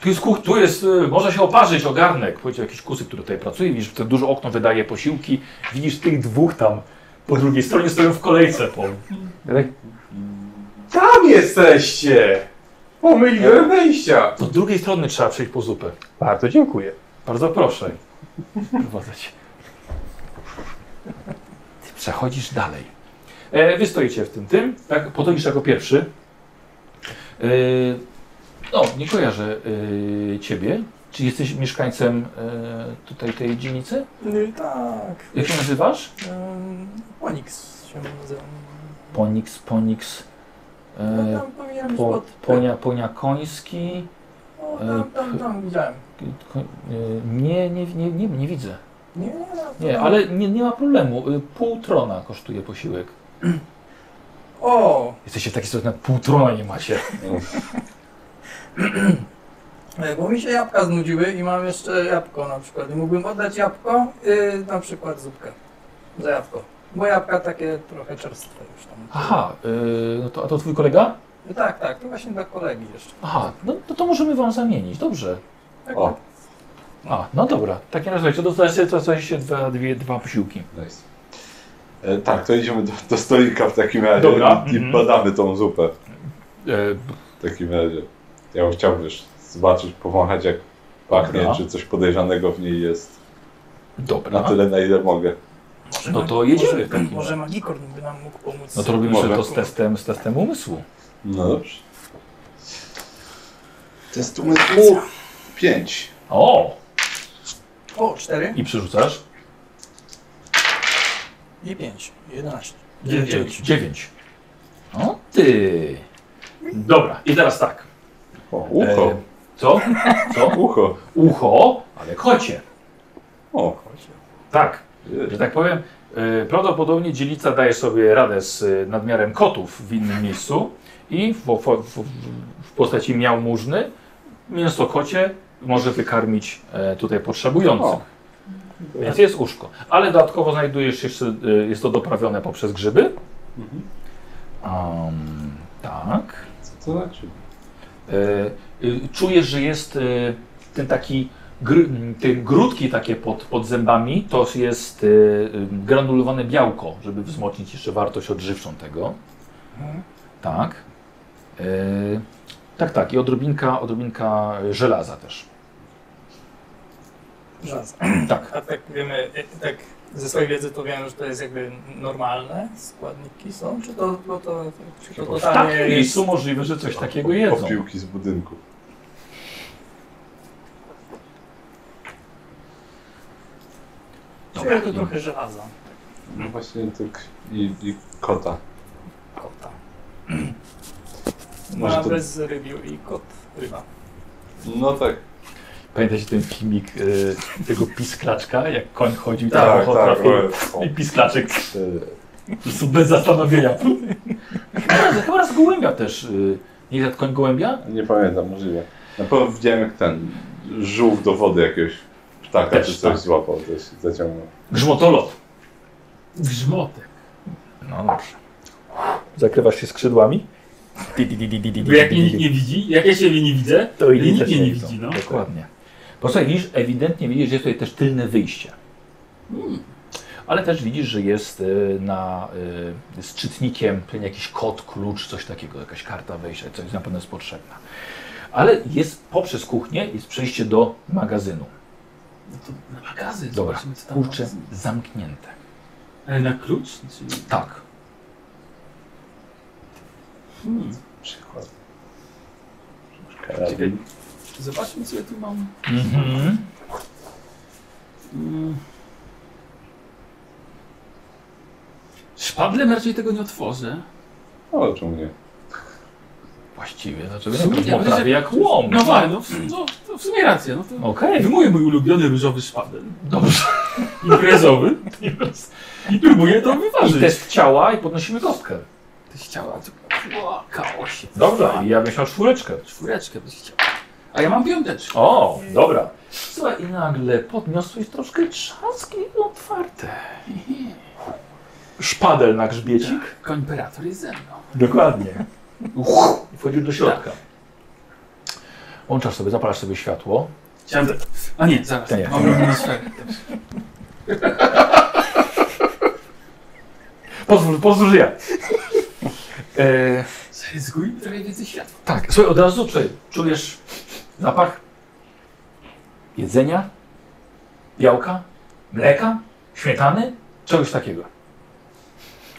[SPEAKER 1] Tu jest, kuch, tu jest, y, można się oparzyć o garnek. Powiedział jakiś kusy, który tutaj pracuje. Widzisz, to duże okno wydaje posiłki. Widzisz tych dwóch tam po drugiej stronie stoją w kolejce. Po. Tak.
[SPEAKER 5] Tam jesteście! Pomyliłem wejścia!
[SPEAKER 1] Do drugiej strony trzeba przejść po zupę.
[SPEAKER 6] Bardzo dziękuję.
[SPEAKER 1] Bardzo proszę. Prowadzę cię. Ty przechodzisz dalej. E, wy stoicie w tym tym, tak? Podchodzisz jako pierwszy. E, no, nie kojarzę e, ciebie. Czy jesteś mieszkańcem e, tutaj tej dzielnicy?
[SPEAKER 3] No, tak.
[SPEAKER 1] Jak się nazywasz?
[SPEAKER 3] Ym, Poniks się nazywa.
[SPEAKER 1] Poniks, Poniks,
[SPEAKER 3] No,
[SPEAKER 1] e,
[SPEAKER 3] tam powinienem być
[SPEAKER 1] po, e,
[SPEAKER 3] pod...
[SPEAKER 1] ponia, ponia koński.
[SPEAKER 3] O, tam, tam, tam, widziałem.
[SPEAKER 1] Ko, e, nie, nie, nie, nie, nie widzę.
[SPEAKER 3] Nie,
[SPEAKER 1] Nie,
[SPEAKER 3] tam-
[SPEAKER 1] ale nie, nie ma problemu. E, Pół trona kosztuje posiłek.
[SPEAKER 3] O,
[SPEAKER 1] Jesteście w takiej sytuacji, nawet pół trona nie macie.
[SPEAKER 3] e, bo mi się jabłka znudziły i mam jeszcze jabłko na przykład. I mógłbym oddać jabłko, y, na przykład zupkę. Za jabłko. Bo jabłka takie trochę czerstwe już tam.
[SPEAKER 1] Aha, yy, no to, a to twój kolega?
[SPEAKER 3] No tak, tak, to właśnie dla kolegi jeszcze.
[SPEAKER 1] Aha, no, no to możemy wam zamienić, dobrze.
[SPEAKER 3] Tak,
[SPEAKER 4] O.
[SPEAKER 3] tak.
[SPEAKER 1] A, no dobra. W takim razie to dostajecie, dostajecie dwa, dwie, dwa posiłki.
[SPEAKER 4] Nice. E, tak, to idziemy do, do stolika w takim razie
[SPEAKER 1] Dobra.
[SPEAKER 4] i
[SPEAKER 1] Mhm.
[SPEAKER 4] badamy tą zupę
[SPEAKER 1] E,
[SPEAKER 4] w takim razie. Ja bym chciał wiesz, zobaczyć, powąchać jak pachnie,
[SPEAKER 1] Dobra.
[SPEAKER 4] czy coś podejrzanego w niej jest.
[SPEAKER 1] dobra.
[SPEAKER 4] Na tyle, na ile mogę.
[SPEAKER 3] Może
[SPEAKER 1] No
[SPEAKER 3] ma-
[SPEAKER 1] to jedziemy
[SPEAKER 3] może-
[SPEAKER 1] w takim
[SPEAKER 3] Może
[SPEAKER 1] razie.
[SPEAKER 3] Magikorn by nam mógł pomóc.
[SPEAKER 1] No to robimy
[SPEAKER 4] Może.
[SPEAKER 1] sobie to z testem, z testem umysłu.
[SPEAKER 4] No dobrze. Test umysłu 5.
[SPEAKER 1] O!
[SPEAKER 3] O, 4
[SPEAKER 1] I przerzucasz?
[SPEAKER 3] i 5, 11.
[SPEAKER 1] Dziewięć. Dziewięć. O ty! Dobra, i teraz tak.
[SPEAKER 4] O, ucho.
[SPEAKER 1] E, co? Co?
[SPEAKER 4] Ucho.
[SPEAKER 1] Ucho, ale kocie.
[SPEAKER 4] O,
[SPEAKER 1] Tak, że tak powiem. e, Prawdopodobnie dzielnica daje sobie radę z e, nadmiarem kotów w innym miejscu i w, w, w, w postaci miałmużny mięso kocie może wykarmić e, tutaj
[SPEAKER 4] O.
[SPEAKER 1] potrzebujących. Więc jest uszko. Ale dodatkowo znajdujesz jeszcze, e, jest to doprawione poprzez grzyby.
[SPEAKER 4] Mhm.
[SPEAKER 1] Am, tak.
[SPEAKER 4] co to znaczy?
[SPEAKER 1] E, y, czujesz, że jest e, ten taki, gr, m, te grudki takie pod, pod zębami, to jest e, y, granulowane białko, żeby wzmocnić jeszcze wartość odżywczą tego.
[SPEAKER 4] Mhm.
[SPEAKER 1] Tak. E, tak, tak. I odrobinka, odrobinka żelaza też.
[SPEAKER 3] Żadne.
[SPEAKER 1] Tak.
[SPEAKER 3] A tak wiemy, e, tak ze swojej wiedzy to wiem, że to jest jakby normalne składniki są, czy to, bo to,
[SPEAKER 1] W
[SPEAKER 3] czy to
[SPEAKER 1] takim
[SPEAKER 3] totalnie jest...
[SPEAKER 1] miejscu możliwe, że coś Tak takiego jedzą.
[SPEAKER 4] Opiłki z budynku.
[SPEAKER 3] Czuję to trochę żelaza.
[SPEAKER 4] No właśnie tak. I, i kota.
[SPEAKER 3] Kota.
[SPEAKER 4] Może
[SPEAKER 3] Ma
[SPEAKER 4] to-
[SPEAKER 3] bez rybiu i kot ryba.
[SPEAKER 4] No tak.
[SPEAKER 1] Pamiętacie ten filmik e, tego pisklaczka, jak koń chodził i
[SPEAKER 4] Tak,
[SPEAKER 1] tam
[SPEAKER 4] tak.
[SPEAKER 1] trafił
[SPEAKER 4] o, o.
[SPEAKER 1] i pisklaczek
[SPEAKER 4] Y,
[SPEAKER 1] Po prostu bez zastanowienia. chyba, raz- chyba raz gołębia też. y, Nie jest koń gołębia?
[SPEAKER 4] Nie pamiętam, możliwe. Na pewno widziałem jak ten żółw do wody jakiegoś ptaka
[SPEAKER 1] Też
[SPEAKER 4] czy coś
[SPEAKER 1] tak.
[SPEAKER 4] złapał, też zaciągnął.
[SPEAKER 1] Grzmotolot.
[SPEAKER 2] Grzmotek.
[SPEAKER 1] No dobrze. Zakrywasz się skrzydłami?
[SPEAKER 2] Bo jak mnie nikt nie widzi, jak ja siebie nie widzę,
[SPEAKER 1] To
[SPEAKER 2] nikt
[SPEAKER 1] też
[SPEAKER 2] mnie nie
[SPEAKER 1] widzą.
[SPEAKER 2] widzi, no.
[SPEAKER 1] Dokładnie. Posłuchaj, widzisz, ewidentnie widzisz, że jest tutaj też tylne wyjście. Hmm. Ale też widzisz, że jest y, na y, z czytnikiem pewnie jakiś kod, klucz, coś takiego, jakaś karta wejścia, coś na pewno jest potrzebna. Ale jest poprzez kuchnię jest przejście do magazynu.
[SPEAKER 2] No to na magazyn,
[SPEAKER 1] Dobra.
[SPEAKER 2] zobaczymy co tam
[SPEAKER 1] Kurczę,
[SPEAKER 2] ma.
[SPEAKER 1] zamknięte.
[SPEAKER 2] Ale na klucz? Czyli...
[SPEAKER 1] Tak.
[SPEAKER 2] Hmm.
[SPEAKER 4] Przykład.
[SPEAKER 2] Czekaj. Zobaczmy co ja tu mam.
[SPEAKER 1] Mhm.
[SPEAKER 2] Mm. Szpadlem raczej tego nie otworzę.
[SPEAKER 4] O, No, czemu nie?
[SPEAKER 1] Właściwie,
[SPEAKER 2] W
[SPEAKER 1] dlaczego
[SPEAKER 2] sumie
[SPEAKER 1] nie?
[SPEAKER 2] ja
[SPEAKER 1] Bo prawie
[SPEAKER 2] myślę,
[SPEAKER 1] jak łom.
[SPEAKER 2] No właśnie, no, w- no to w sumie racja. No to...
[SPEAKER 1] Okej,
[SPEAKER 2] Wyjmuję mój ulubiony różowy szpadel.
[SPEAKER 1] dobrze.
[SPEAKER 2] Imprezowy. I próbuję to
[SPEAKER 1] I
[SPEAKER 2] wyważyć.
[SPEAKER 1] test ciała i podnosimy kostkę.
[SPEAKER 2] Tyś chciała. O, kaosie.
[SPEAKER 1] Dobra, i ja bym miał czwóreczkę.
[SPEAKER 2] Czwóreczkę byś chciała. A ja mam piąteczkę.
[SPEAKER 1] O, dobra. Słuchaj, i nagle podniosłeś troszkę trzaski otwarte. Szpadel na grzbiecik.
[SPEAKER 2] Koimperator jest ze mną.
[SPEAKER 1] Dokładnie. I wchodził do środka. Łączasz Tak. sobie, zapalasz sobie światło.
[SPEAKER 2] Chciałem... A nie, zaraz.
[SPEAKER 1] To nie.
[SPEAKER 2] Mam równą sferę.
[SPEAKER 1] Pozwól, pozwól, że ja. E,
[SPEAKER 2] Zaryzykujmy trochę więcej światła.
[SPEAKER 1] Tak, słuchaj, od razu słuchaj, czujesz zapach jedzenia, białka, mleka, śmietany, czegoś takiego.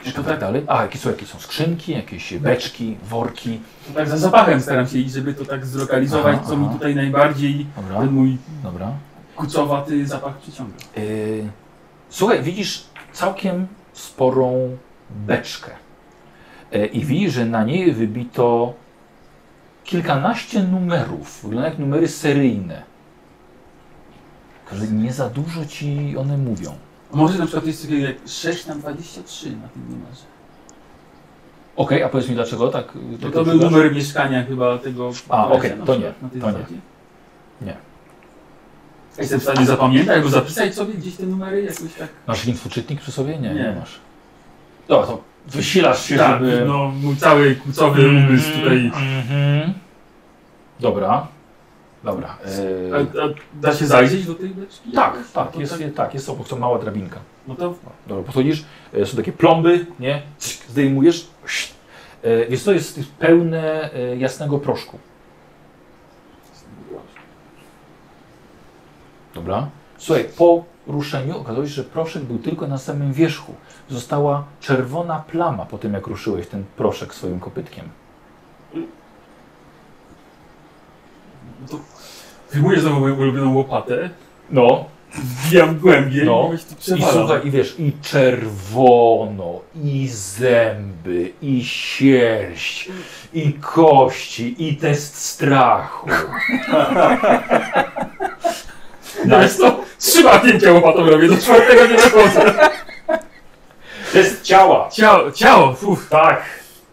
[SPEAKER 1] I to tak dalej. Tak. A, jakie są, jakie są skrzynki, jakieś beczki, worki.
[SPEAKER 2] To tak za zapachem staram się iść, żeby to tak zlokalizować,
[SPEAKER 1] Aha,
[SPEAKER 2] co mi
[SPEAKER 1] aha.
[SPEAKER 2] tutaj najbardziej
[SPEAKER 1] Dobra,
[SPEAKER 2] ten mój
[SPEAKER 1] dobra.
[SPEAKER 2] kucowaty zapach przyciąga.
[SPEAKER 1] Yy, słuchaj, widzisz całkiem sporą beczkę. Yy, I widzisz, że na niej wybito kilkanaście numerów. Wygląda jak numery seryjne. Tylko, że nie za dużo ci one mówią.
[SPEAKER 2] Może na przykład jest takie jak 6 na 23 na tym numerze.
[SPEAKER 1] Okej, a powiedz mi dlaczego tak? yy,
[SPEAKER 2] To,
[SPEAKER 1] tak
[SPEAKER 2] to był
[SPEAKER 1] odczuwasz?
[SPEAKER 2] numer mieszkania chyba tego...
[SPEAKER 1] A,
[SPEAKER 2] kolesia
[SPEAKER 1] okej,
[SPEAKER 2] na
[SPEAKER 1] to nie,
[SPEAKER 2] przykład, na tej
[SPEAKER 1] to nie.
[SPEAKER 2] zasadzie.
[SPEAKER 1] Nie.
[SPEAKER 2] Jestem w stanie zapamiętać albo zapisać sobie gdzieś te numery jakoś tak.
[SPEAKER 1] Masz infoczytnik przy sobie? Nie, nie,
[SPEAKER 2] Nie.
[SPEAKER 1] masz. Dobra, to wysilasz się,
[SPEAKER 2] tak,
[SPEAKER 1] żeby...
[SPEAKER 2] no mój cały kucowy umysł tutaj.
[SPEAKER 1] Mhm. Dobra. Dobra.
[SPEAKER 2] A,
[SPEAKER 5] Eee.
[SPEAKER 1] Yy,
[SPEAKER 2] a da się zajrzeć do tej beczki?
[SPEAKER 1] Tak,
[SPEAKER 2] jakoś?
[SPEAKER 1] tak,
[SPEAKER 2] No
[SPEAKER 1] jest,
[SPEAKER 2] tak,
[SPEAKER 1] jest, tak, jest obok, to mała drabinka.
[SPEAKER 2] No to
[SPEAKER 1] Dobra, podchodzisz, e, są takie plomby, nie? Cyk, Zdejmujesz. Szt. E, Więc to jest pełne e, jasnego proszku. Dobra. Słuchaj, po ruszeniu okazało się, że proszek był tylko na samym wierzchu. Została czerwona plama po tym, jak ruszyłeś ten proszek swoim kopytkiem.
[SPEAKER 2] Wyjmuję znowu moją ulubioną łopatę,
[SPEAKER 1] No,
[SPEAKER 2] wbijam głębiej
[SPEAKER 1] No.
[SPEAKER 2] i właśnie tu
[SPEAKER 1] I
[SPEAKER 2] przewalam.
[SPEAKER 1] słuchaj, i wiesz, i czerwono, i zęby, i sierść, i kości, i test strachu. No
[SPEAKER 2] Wiesz co? Trzyma zdjęcia łopatą robię, do czwartego nie dochodzę.
[SPEAKER 1] Test ciała.
[SPEAKER 2] Ciało, ciało, uff.
[SPEAKER 1] Tak.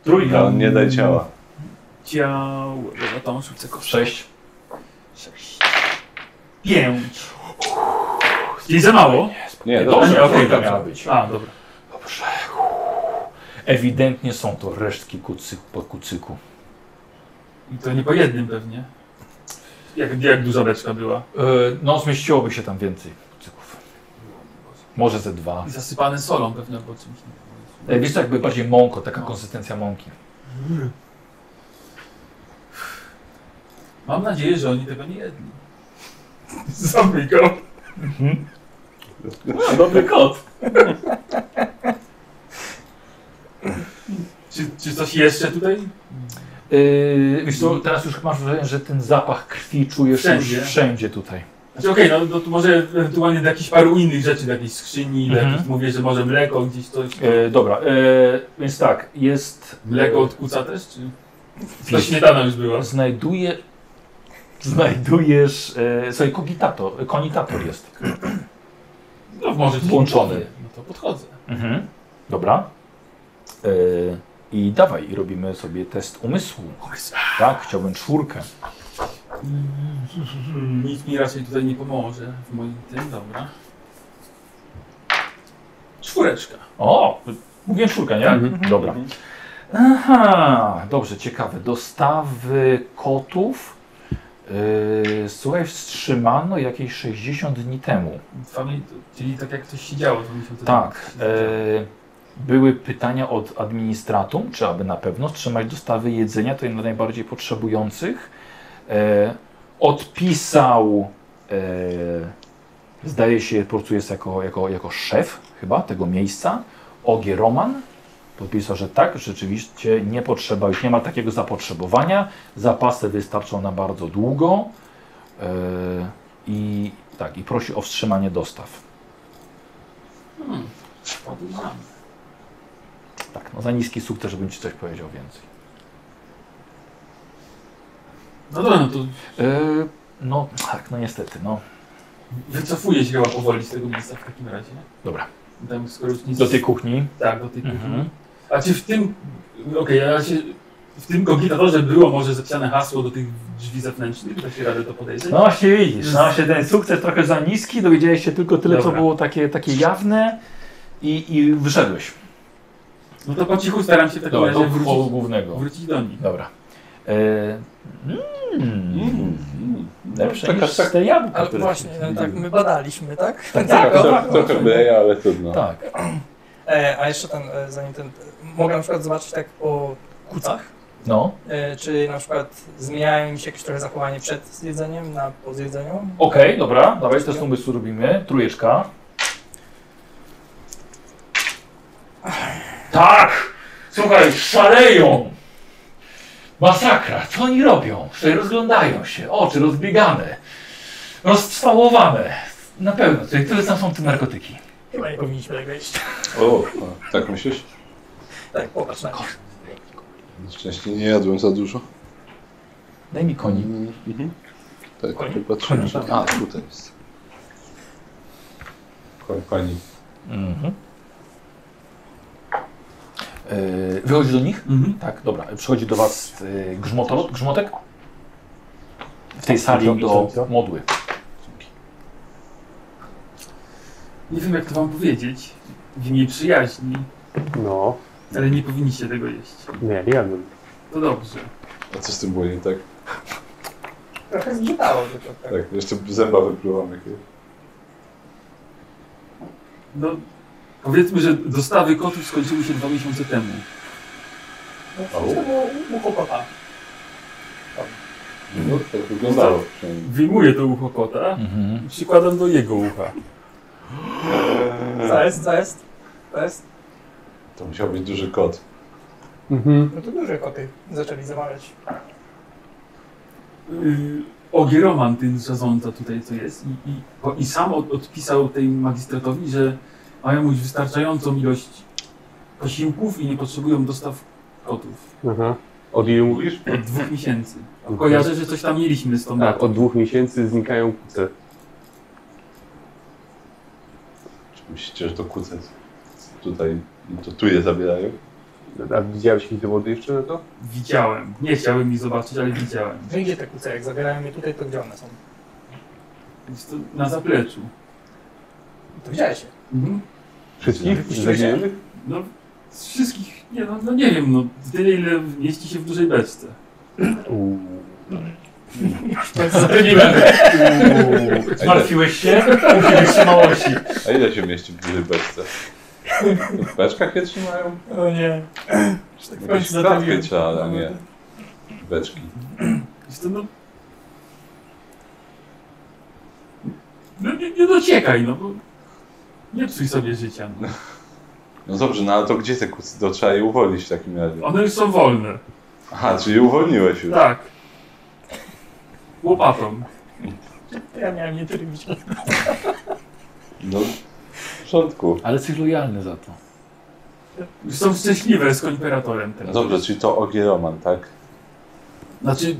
[SPEAKER 4] No,
[SPEAKER 1] Trójka.
[SPEAKER 4] nie daj ciała.
[SPEAKER 2] Ciało, dobra, to mam sukces koszt.
[SPEAKER 1] Sześć.
[SPEAKER 2] Pięć. Czyli za mało?
[SPEAKER 4] Nie,
[SPEAKER 1] Dobrze,
[SPEAKER 4] dobrze.
[SPEAKER 2] okej,
[SPEAKER 1] trójka
[SPEAKER 2] dobrze.
[SPEAKER 1] miała być.
[SPEAKER 2] A, dobra.
[SPEAKER 1] Ewidentnie są to resztki kucyku, po kucyku.
[SPEAKER 2] I to nie po jednym pewnie. Jak, jak duża beczka była.
[SPEAKER 1] E, No, zmieściłoby się tam więcej kucyków. Może ze dwa.
[SPEAKER 2] I zasypane solą pewnie albo czymś.
[SPEAKER 1] E, Wiesz, to jakby bardziej mąko, taka konsystencja mąki.
[SPEAKER 2] Mam nadzieję, że oni tego nie jedli. Zabij go.
[SPEAKER 4] No,
[SPEAKER 1] Dobry kot.
[SPEAKER 2] Czy, czy coś jeszcze tutaj?
[SPEAKER 1] E, wiesz co, teraz już masz wrażenie, że ten zapach krwi czujesz
[SPEAKER 2] Wszędzie.
[SPEAKER 1] już wszędzie tutaj.
[SPEAKER 2] Znaczy okej, no to tu może ewentualnie do jakichś paru innych rzeczy, do jakiejś skrzyni, do
[SPEAKER 1] Mhm.
[SPEAKER 2] jakichś, mówię, że może mleko gdzieś coś.
[SPEAKER 1] E, dobra, e, więc tak, jest. e,
[SPEAKER 2] Mleko od kuca też, czy? To śmietana już była.
[SPEAKER 1] Znajduje, znajdujesz. E, słuchaj, kogitator, konitator jest.
[SPEAKER 2] No może coś
[SPEAKER 1] Włączony.
[SPEAKER 2] kupowy. No to podchodzę.
[SPEAKER 1] Mhm. Dobra. E, I dawaj, i robimy sobie test umysłu. Tak, chciałbym czwórkę.
[SPEAKER 2] Mm, Nic mi raczej tutaj nie pomoże w moim tym, dobra. Czwóreczka.
[SPEAKER 1] O! Mówiłem czwórka, nie? Mhm. Dobra. Aha, dobrze, ciekawe. Dostawy kotów. Yy, słuchaj, wstrzymano jakieś 60 dni temu.
[SPEAKER 2] Family, czyli tak jak coś się działo, to mi się to
[SPEAKER 1] Tak. Yy, były pytania od administratum, czy aby na pewno wstrzymać dostawy jedzenia, to dla najbardziej potrzebujących. Yy, odpisał, yy, zdaje się, po prostu jest jako, jako, jako szef chyba tego miejsca, Ogie Roman. Podpisał, że tak, rzeczywiście nie potrzeba, już nie ma takiego zapotrzebowania. Zapasy wystarczą na bardzo długo. Yy, I tak, i prosi o wstrzymanie dostaw.
[SPEAKER 2] Hmm, Podejrzane.
[SPEAKER 1] Tak, no za niski sukces, żebym ci coś powiedział więcej.
[SPEAKER 2] No dobra, no to
[SPEAKER 1] Yy, no tak, no niestety, no.
[SPEAKER 2] wycofuję się chyba powoli z tego miejsca w takim razie.
[SPEAKER 1] Dobra.
[SPEAKER 2] Tam skoro już nic...
[SPEAKER 1] Do tej kuchni.
[SPEAKER 2] Tak, do tej kuchni.
[SPEAKER 1] Mhm.
[SPEAKER 2] A czy w tym... Okej, a się... W tym kogitatorze było może zapisane hasło do tych drzwi zewnętrznych? Da się radę to podejrzeć?
[SPEAKER 1] No właśnie widzisz, no właśnie ten sukces trochę za niski, dowiedziałeś się tylko tyle, co
[SPEAKER 2] Dobra.
[SPEAKER 1] było takie, takie jawne i, i wyszedłeś.
[SPEAKER 2] No to po cichu staram się w takim
[SPEAKER 1] Dobra, do
[SPEAKER 2] razie
[SPEAKER 1] połowu
[SPEAKER 2] wrócić,
[SPEAKER 1] głównego.
[SPEAKER 2] wrócić do nich.
[SPEAKER 1] Dobra. Yy, mm,
[SPEAKER 4] Mm.
[SPEAKER 1] lepsze
[SPEAKER 4] Taka-
[SPEAKER 1] niż te jabłka.
[SPEAKER 10] Ale
[SPEAKER 1] które-
[SPEAKER 10] właśnie, no, tak my badaliśmy, tak?
[SPEAKER 4] Taka- trochę- Trochę mniej, ale trudno.
[SPEAKER 1] Tak.
[SPEAKER 10] E, a jeszcze ten, e, zanim ten, mogę na przykład zobaczyć tak po kucach,
[SPEAKER 1] No,
[SPEAKER 10] e, czy na przykład zmieniają mi się jakieś trochę zachowanie przed zjedzeniem, na po zjedzeniu.
[SPEAKER 1] okej, dobra, dawaj, test umysłu robimy. Trójeczka. Tak! Słuchaj, szaleją! Masakra, co oni robią? Tutaj rozglądają się, oczy rozbiegane, roztrwałowane. Na pewno, tutaj tyle tam są te narkotyki.
[SPEAKER 10] Chyba nie powinniśmy tak wejść.
[SPEAKER 4] O, a, tak myślisz?
[SPEAKER 10] Tak, popatrz na
[SPEAKER 4] Szczęście nie jadłem za dużo.
[SPEAKER 1] Daj mi koni.
[SPEAKER 4] Mhm. Tak, tu patrzyłem. A, tutaj jest.
[SPEAKER 6] Koń, koni.
[SPEAKER 1] Mhm. Yy, wychodzi do nich?
[SPEAKER 2] Mhm.
[SPEAKER 1] Tak, dobra. Przychodzi do Was yy, grzmotolot, grzmotek? W tej sali
[SPEAKER 6] Co,
[SPEAKER 1] do
[SPEAKER 6] co, co?
[SPEAKER 1] modły.
[SPEAKER 2] Nie wiem jak to wam powiedzieć w imię przyjaźni,
[SPEAKER 5] No,
[SPEAKER 2] ale nie powinniście tego jeść.
[SPEAKER 5] nie, nie jadłem.
[SPEAKER 2] To dobrze.
[SPEAKER 4] A co z tym było nie tak?
[SPEAKER 10] Trochę zgrzytało tylko tak.
[SPEAKER 4] Tak, jeszcze zęba wypluwam jakiegoś.
[SPEAKER 2] No, powiedzmy, że dostawy kotów skończyły się dwa miesiące temu.
[SPEAKER 10] No, to było ucho kota.
[SPEAKER 4] No, tak wyglądało przynajmniej.
[SPEAKER 2] Wyjmuję to ucho kota
[SPEAKER 1] Mhm.
[SPEAKER 2] i przykładam do jego ucha.
[SPEAKER 3] Co jest, co jest? To jest?
[SPEAKER 4] To musiał być duży kot.
[SPEAKER 5] Mhm.
[SPEAKER 10] No to duże koty zaczęli zamawiać.
[SPEAKER 2] Yy, Ogieroman tym zarządza tutaj, co jest. I, i, bo- i sam od, odpisał tej magistratowi, że mają już wystarczającą ilość posiłków i nie potrzebują dostaw kotów.
[SPEAKER 5] Aha. Od ilu mówisz?
[SPEAKER 2] Od dwóch miesięcy.
[SPEAKER 5] Mhm.
[SPEAKER 2] Kojarzę, że coś tam mieliśmy z tą
[SPEAKER 5] Tak,
[SPEAKER 2] datą.
[SPEAKER 5] od dwóch miesięcy znikają kuce.
[SPEAKER 4] Czy myślicie, że to kucec tutaj, to tu je zabierają?
[SPEAKER 5] A widziałeś jakieś dowody jeszcze na to?
[SPEAKER 2] Widziałem. Nie chciałem ich zobaczyć, ale widziałem.
[SPEAKER 10] Że gdzie te kuce? Jak zabierają je tutaj, to gdzie one są?
[SPEAKER 2] Jest to na zapleczu.
[SPEAKER 10] To widziałeś je.
[SPEAKER 2] Mhm.
[SPEAKER 5] Wszystkich?
[SPEAKER 10] Wypuściłeś je?
[SPEAKER 5] Zaginionych?
[SPEAKER 2] No, z wszystkich, nie, no, no nie wiem, no, tyle ile mieści się w dużej beczce.
[SPEAKER 5] Uuu.
[SPEAKER 1] Zapyliłem. Zmartwiłeś się? Mówiłeś się małości.
[SPEAKER 4] A ile się mieści w dużej beczce? W beczkach je trzymają?
[SPEAKER 10] O nie. Już tak w końcu
[SPEAKER 4] Jakieś klatkę
[SPEAKER 10] zatrafiłem.
[SPEAKER 4] trzeba, a nie beczki.
[SPEAKER 2] Jest to, no... No nie, nie dociekaj, no bo... Nie psuj sobie życia. No.
[SPEAKER 4] No dobrze, no ale to gdzie te kucy? To trzeba je uwolnić w takim razie.
[SPEAKER 2] One już są wolne.
[SPEAKER 4] Aha, czyli uwolniłeś już.
[SPEAKER 2] Tak. Łopatą.
[SPEAKER 10] To Ja miałem nie trybić.
[SPEAKER 4] No, w porządku.
[SPEAKER 1] Ale jesteś lojalny za to.
[SPEAKER 2] Już są szczęśliwe z koimperatorem
[SPEAKER 4] No
[SPEAKER 2] teraz.
[SPEAKER 4] dobrze, czyli to Ogieroman, tak?
[SPEAKER 2] Znaczy,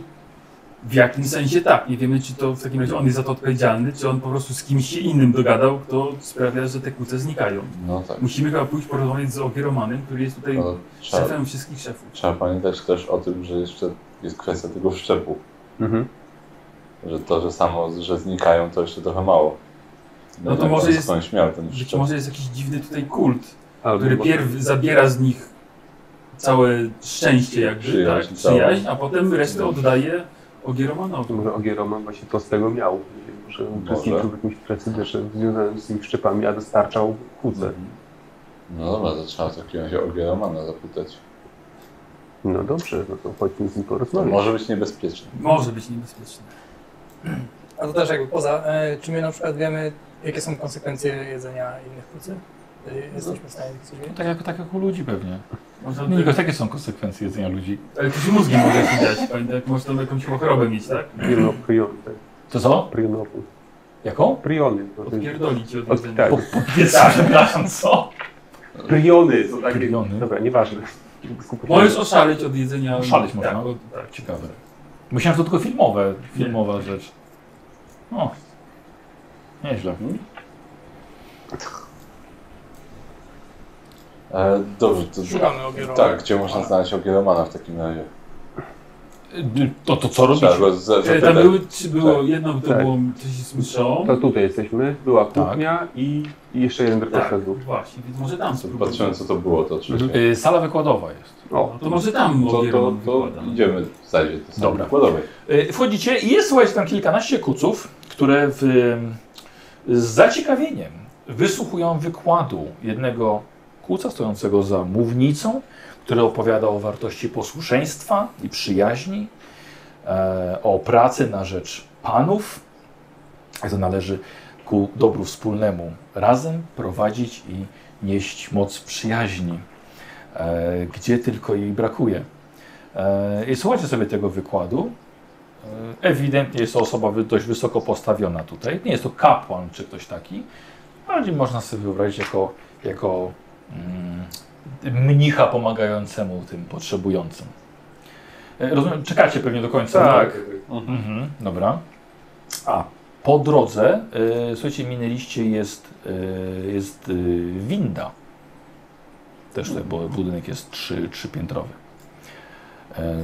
[SPEAKER 2] w jakim sensie tak. Nie wiemy, czy to w takim razie on jest za to odpowiedzialny, czy on po prostu z kimś się innym dogadał, kto sprawia, że te kłóce znikają.
[SPEAKER 4] No tak.
[SPEAKER 2] Musimy chyba pójść porozmawiać z Ogieromanem, który jest tutaj
[SPEAKER 4] No, trzeba,
[SPEAKER 2] szefem wszystkich szefów.
[SPEAKER 4] trzeba pamiętać też o tym, że jeszcze jest kwestia tego szczepu.
[SPEAKER 5] Mhm.
[SPEAKER 4] Że to, że samo, że znikają, to jeszcze trochę mało.
[SPEAKER 2] No to
[SPEAKER 4] jak
[SPEAKER 2] może
[SPEAKER 4] on
[SPEAKER 2] jest-
[SPEAKER 4] skądś miał ten
[SPEAKER 2] Być
[SPEAKER 4] szczep.
[SPEAKER 2] może jest jakiś dziwny tutaj kult,
[SPEAKER 5] Albo
[SPEAKER 2] który pierw zabiera z nich całe szczęście jakby,
[SPEAKER 4] Przyjaźń
[SPEAKER 2] tak,
[SPEAKER 4] całą.
[SPEAKER 2] przyjaźń, a potem resztę oddaje Ogieromanowi.
[SPEAKER 5] Może Ogieroma właśnie to z tego miał. Że uczestniczył w jakimś precedensie związanym z ich szczepami, a dostarczał kuce.
[SPEAKER 4] No dobra, to trzeba w takim razie Ogieromana zapytać.
[SPEAKER 5] No dobrze, no to chodźmy z nim
[SPEAKER 4] To
[SPEAKER 2] No
[SPEAKER 5] porozmawiać.
[SPEAKER 4] może być niebezpieczne.
[SPEAKER 2] Może być niebezpieczny.
[SPEAKER 10] A to też jakby poza, e, czy my na przykład wiemy, jakie są konsekwencje jedzenia innych kucy? E, Jesteśmy w stanie coś wiedzieć?
[SPEAKER 1] Tak jak, tak jak u ludzi pewnie.
[SPEAKER 2] Można
[SPEAKER 1] Nie, Nikos,
[SPEAKER 2] tutaj,
[SPEAKER 1] jakie są konsekwencje jedzenia ludzi?
[SPEAKER 2] ale ktoś mózgiem może się dziać, pamiętaj, jak można jakąś chorobę mieć, tak?
[SPEAKER 5] Priono, prion, tak.
[SPEAKER 1] To co?
[SPEAKER 5] Prionowy.
[SPEAKER 1] Jaką?
[SPEAKER 5] Priony. to-
[SPEAKER 2] Odpierdolić od
[SPEAKER 5] Od,
[SPEAKER 2] jedzenia.
[SPEAKER 5] tak,
[SPEAKER 1] Pizza, przepraszam, co?
[SPEAKER 5] priony są takie.
[SPEAKER 1] Priony.
[SPEAKER 5] Dobra, nieważne.
[SPEAKER 2] Możesz oszaleć od jedzenia.
[SPEAKER 1] Szaleć można.
[SPEAKER 2] Tak.
[SPEAKER 1] no, Ciekawe. Myślałem, że to tylko filmowe, filmowa rzecz. O. Nieźle.
[SPEAKER 4] E, dobrze, to...
[SPEAKER 10] Szukamy ogierowego.
[SPEAKER 4] Tak, gdzie można znaleźć Ogieromana w takim razie?
[SPEAKER 1] Y, To, to co robisz?
[SPEAKER 4] Trzeba go za-
[SPEAKER 2] E, Tam
[SPEAKER 4] zapytać.
[SPEAKER 2] były, czy było, jedno to
[SPEAKER 5] Tak.
[SPEAKER 2] było coś z mszą.
[SPEAKER 5] To tutaj jesteśmy, była kuchnia i i jeszcze jeden
[SPEAKER 2] Tak,
[SPEAKER 5] drogowskaz był.
[SPEAKER 2] właśnie, więc może tam spróbujmy.
[SPEAKER 4] Patrzyłem co to było, to oczywiście.
[SPEAKER 1] Y, Sala wykładowa jest.
[SPEAKER 2] No to może tam
[SPEAKER 4] To, to,
[SPEAKER 2] Ogieroman
[SPEAKER 4] to
[SPEAKER 2] wykłada.
[SPEAKER 4] idziemy w zasadzie to samo. No
[SPEAKER 1] Dobra.
[SPEAKER 4] Wykładowej.
[SPEAKER 1] Y, Wchodzicie i jest, słuchajcie, tam kilkanaście kuców, które w, z zaciekawieniem wysłuchują wykładu jednego kuca stojącego za mównicą, który opowiada o wartości posłuszeństwa i przyjaźni, e, o pracy na rzecz panów, jak to należy ku dobru wspólnemu razem prowadzić i nieść moc przyjaźni, e, gdzie tylko jej brakuje. E, I słuchajcie sobie tego wykładu. E, Ewidentnie jest to osoba wy- dość wysoko postawiona tutaj. Nie jest to kapłan czy ktoś taki, bardziej można sobie wyobrazić jako, jako mm, mnicha pomagającemu tym potrzebującym. E, Rozumiem, czekacie pewnie do końca.
[SPEAKER 5] Tak.
[SPEAKER 1] Mhm, dobra. A po drodze, e, słuchajcie, minęliście, jest, e, jest e, winda. Też tutaj, bo budynek jest trzy, trzypiętrowy. E,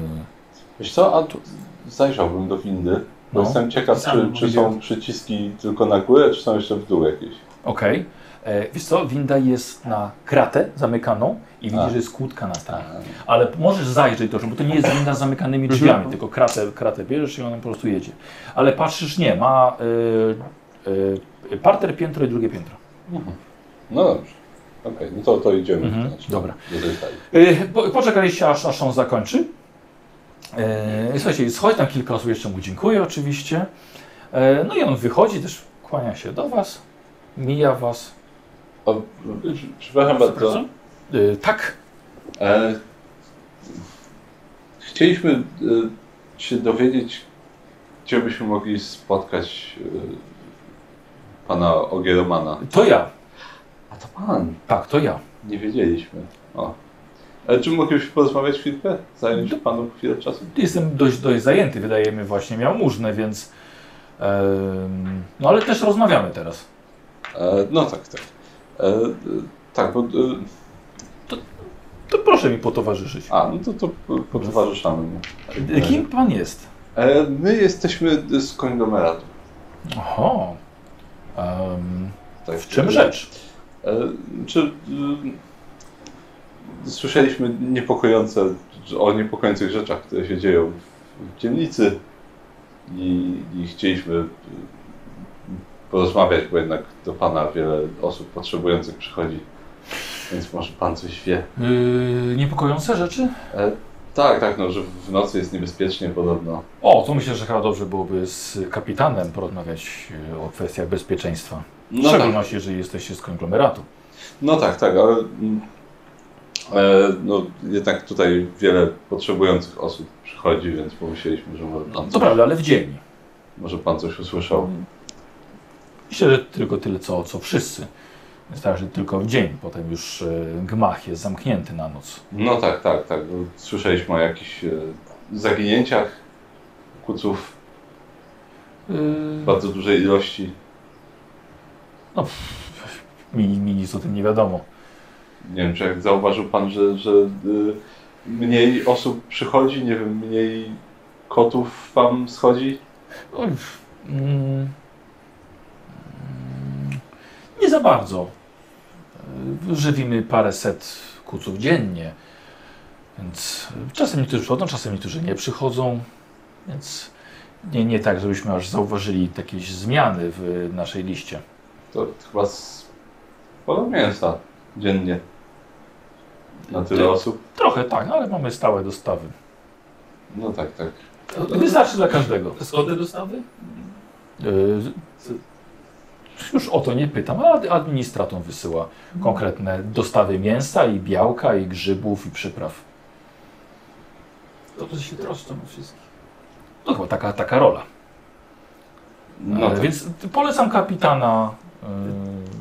[SPEAKER 4] Wiesz co, a tu zajrzałbym do windy, bo
[SPEAKER 1] No.
[SPEAKER 4] jestem ciekaw, czy, czy są przyciski tylko na górę, czy są jeszcze w dół jakieś.
[SPEAKER 1] Okej. Okay. Wiesz co, winda jest na kratę zamykaną i widzisz,
[SPEAKER 4] A.
[SPEAKER 1] że jest kłódka na stanie. Ale możesz zajrzeć do bo to nie jest winda z zamykanymi drzwiami, tylko kratę, kratę bierzesz i ona po prostu jedzie. Ale patrzysz, nie, ma y, y, parter, piętro i drugie piętro.
[SPEAKER 4] No dobrze. Okej, no to, to idziemy.
[SPEAKER 1] Mhm,
[SPEAKER 4] znaczy,
[SPEAKER 1] dobra.
[SPEAKER 4] Do tej sali.
[SPEAKER 1] Y, po, poczekaliście, aż, aż on zakończy. Y, słuchajcie, schodzi tam kilka E, osób, jeszcze mu dziękuję oczywiście. Y, no i on wychodzi, też kłania się do Was.
[SPEAKER 8] Mija was.
[SPEAKER 4] O, przepraszam bardzo.
[SPEAKER 1] Y, tak,
[SPEAKER 4] E, chcieliśmy e, się dowiedzieć, gdzie byśmy mogli spotkać e, pana Ogieromana.
[SPEAKER 1] to ja.
[SPEAKER 4] A to pan.
[SPEAKER 1] Tak, to ja.
[SPEAKER 4] Nie wiedzieliśmy. O. Ale czy moglibyśmy porozmawiać chwilkę? Zająć panu chwilę czasu?
[SPEAKER 1] Jestem dość, dość zajęty, wydaje mi właśnie jałmużnę, więc... em, no ale też rozmawiamy teraz.
[SPEAKER 4] E, no tak, tak. E, e, tak, bo... E,
[SPEAKER 1] To proszę mi potowarzyszyć.
[SPEAKER 4] a, no to, to po- potowarzyszamy mu.
[SPEAKER 1] Y, Kim pan jest?
[SPEAKER 4] E, my jesteśmy z konglomeratu.
[SPEAKER 1] Oho. Em,
[SPEAKER 4] Tak.
[SPEAKER 1] w czym rzecz?
[SPEAKER 4] E, Czy y, słyszeliśmy niepokojące, o niepokojących rzeczach, które się dzieją w dzielnicy i, i chcieliśmy y, porozmawiać, bo jednak do Pana wiele osób potrzebujących przychodzi, więc może Pan coś wie.
[SPEAKER 1] Yy, niepokojące rzeczy?
[SPEAKER 4] E, Tak, tak, no, że w nocy jest niebezpiecznie podobno.
[SPEAKER 1] O, to myślę, że chyba dobrze byłoby z kapitanem porozmawiać yy, o kwestiach bezpieczeństwa. W
[SPEAKER 4] No tak,
[SPEAKER 1] szczególności, jeżeli jesteście z konglomeratu.
[SPEAKER 4] no tak, tak, ale mm, e, no, jednak tutaj wiele potrzebujących osób przychodzi, więc pomyśleliśmy, że może Pan
[SPEAKER 1] To
[SPEAKER 4] coś
[SPEAKER 1] prawda, ale w dzień.
[SPEAKER 4] Może pan coś usłyszał.
[SPEAKER 1] Myślę, że tylko tyle, co, co wszyscy. Wystarczy tylko w dzień, potem już yy, gmach jest zamknięty na noc.
[SPEAKER 4] No tak, tak, tak. bo Słyszeliśmy o jakichś e, zaginięciach kuców
[SPEAKER 1] E,
[SPEAKER 4] w bardzo dużej ilości.
[SPEAKER 1] Mi, mi nic o tym nie wiadomo.
[SPEAKER 4] Nie wiem, czy jak zauważył pan, że, że e, mniej osób przychodzi, nie wiem, mniej kotów wam schodzi?
[SPEAKER 1] Oj, mm, mm, Nie za bardzo. Y, Żywimy parę set kuców dziennie. Więc y, czasem niektórzy przychodzą, czasem niektórzy nie przychodzą. Więc nie, nie tak, żebyśmy aż zauważyli jakieś zmiany w naszej liście.
[SPEAKER 4] To chyba sporo mięsa tak, dziennie. Na tyle
[SPEAKER 1] Tak.
[SPEAKER 4] osób?
[SPEAKER 1] Trochę tak, no ale mamy stałe dostawy.
[SPEAKER 4] No tak, tak.
[SPEAKER 1] Wystarczy dla każdego.
[SPEAKER 2] Zgodę dostawy?
[SPEAKER 1] Y, Już o to nie pytam, ale ad- administratom wysyła konkretne dostawy mięsa i białka i grzybów i przypraw.
[SPEAKER 2] To, że się troszczą o wszystkich.
[SPEAKER 1] No chyba taka, taka rola.
[SPEAKER 4] No
[SPEAKER 1] E,
[SPEAKER 4] tak.
[SPEAKER 1] Więc polecam kapitana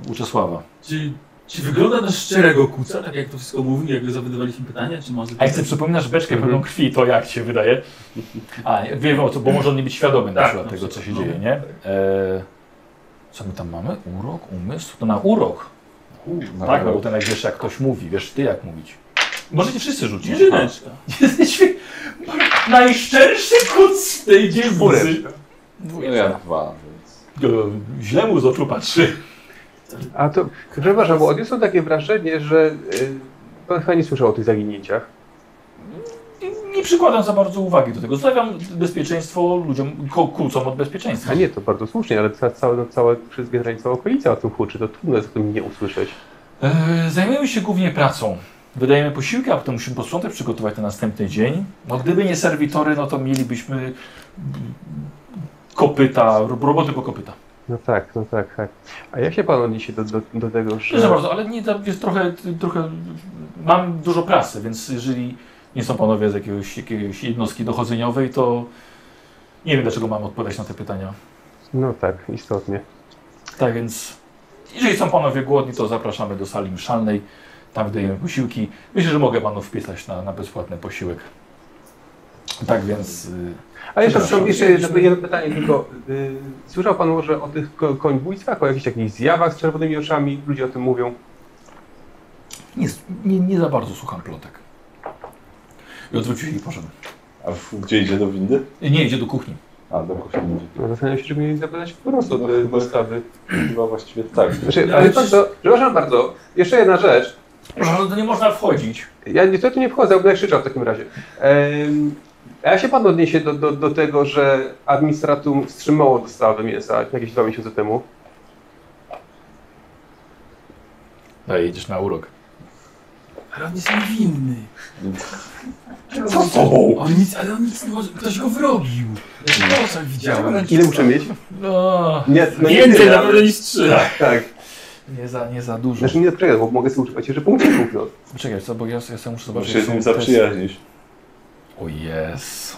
[SPEAKER 1] y, Uczesława.
[SPEAKER 2] Czy, czy wygląda na szczerego kuca, tak jak to wszystko mówił, jak zadawaliśmy pytania, czy może...
[SPEAKER 1] A jak sobie przypominasz beczkę pełną
[SPEAKER 4] Mhm.
[SPEAKER 1] krwi, to jak ci się wydaje? A, wiem o co, bo może on nie być świadomy na
[SPEAKER 2] Tak,
[SPEAKER 1] przykład
[SPEAKER 2] na
[SPEAKER 1] tego, co się
[SPEAKER 2] przykład, no.
[SPEAKER 1] dzieje, nie? E, co my tam mamy? Urok, umysł? To na urok.
[SPEAKER 4] Na
[SPEAKER 1] tak, no bo
[SPEAKER 4] pewno.
[SPEAKER 1] ten jak wiesz, jak ktoś mówi, wiesz ty jak mówić. Możecie wszyscy rzucić.
[SPEAKER 2] Jedyneczka.
[SPEAKER 1] Jesteśmy najszczerszy kuc w tej dzielnicy.
[SPEAKER 4] No ja dwa, więc...
[SPEAKER 1] E, Źle mu z oczu patrzy.
[SPEAKER 5] A to,
[SPEAKER 2] Tak.
[SPEAKER 5] przepraszam, bo odniosłem takie wrażenie, że y, pan chyba nie słyszał o tych zaginięciach.
[SPEAKER 1] Nie przykładam za bardzo uwagi do tego. Zostawiam bezpieczeństwo ludziom, ko- kucom od bezpieczeństwa.
[SPEAKER 5] A nie, to bardzo słusznie, ale ca, całe, całe, przez Biedroń, cała okolica o tym huczy, to trudno jest o tym nie usłyszeć.
[SPEAKER 1] E, Zajmujemy się głównie pracą. Wydajemy posiłki, a potem musimy posprzątać, przygotować na następny dzień. No gdyby nie serwitory, no to mielibyśmy mm, kopyta, ro- roboty po kopyta.
[SPEAKER 5] No tak, no tak, tak. A jak się pan odniesie do, do, do tego,
[SPEAKER 1] Proszę
[SPEAKER 5] że...
[SPEAKER 1] bardzo, ale nie, tam jest trochę, trochę, mam dużo prasy, więc jeżeli nie są panowie z jakiegoś, jakiejś jednostki dochodzeniowej, to nie wiem dlaczego mam odpowiadać na te pytania.
[SPEAKER 5] No tak, istotnie.
[SPEAKER 1] Tak więc, jeżeli są panowie głodni, to zapraszamy do sali mszalnej. Tam wydajemy posiłki. Myślę, że mogę panów wpisać na, na bezpłatny posiłek. Tak więc. y,
[SPEAKER 5] A jeszcze,
[SPEAKER 1] Przepraszam.
[SPEAKER 5] przepraszam, jeszcze jedno, jedno pytanie tylko. Y, słyszał pan może o tych ko- końbójcach, o jakichś takich zjawach z czerwonymi oczami? Ludzie o tym mówią.
[SPEAKER 1] Nie, nie, nie za bardzo słucham plotek. I odwrócił się i poszedł.
[SPEAKER 4] A w, gdzie idzie do windy?
[SPEAKER 1] Nie, idzie do kuchni.
[SPEAKER 4] A, do kuchni.
[SPEAKER 5] No, zastanawiam się, czy mnie zapytać po prostu
[SPEAKER 4] No,
[SPEAKER 5] do
[SPEAKER 4] chyba-
[SPEAKER 5] dostawy.
[SPEAKER 4] Chyba właściwie tak.
[SPEAKER 5] Znaczy, ale pan to, przepraszam bardzo, jeszcze jedna rzecz.
[SPEAKER 1] Proszę, no to nie można wchodzić.
[SPEAKER 5] Ja niestety nie wchodzę, będę krzyczał w takim razie. Em, A jak się pan odniesie do, do, do tego, że administratum wstrzymało dostawę mięsa jakieś dwa miesiące temu?
[SPEAKER 1] No jedziesz na urok.
[SPEAKER 2] Ale on jest niewinny.
[SPEAKER 1] Co z tobą?
[SPEAKER 2] On nic, ale on nic nie może... Ktoś go wyrobił. Ja to oczach widziałem.
[SPEAKER 5] Ile muszę mieć?
[SPEAKER 1] No,
[SPEAKER 5] Nie, no
[SPEAKER 2] Więcej
[SPEAKER 5] tyle,
[SPEAKER 2] nawet niż trzy.
[SPEAKER 5] Tak.
[SPEAKER 1] Nie za, nie za dużo.
[SPEAKER 5] Znaczy nie zaprzyjaźń, bo mogę sobie używać jeszcze punkcików, no.
[SPEAKER 1] Czekaj, co, bo ja, ja sobie muszę
[SPEAKER 4] Muszę
[SPEAKER 1] zobaczyć.
[SPEAKER 4] się
[SPEAKER 1] jak
[SPEAKER 4] z
[SPEAKER 1] są
[SPEAKER 4] nim
[SPEAKER 1] testy.
[SPEAKER 4] zaprzyjaźnić.
[SPEAKER 11] O jest.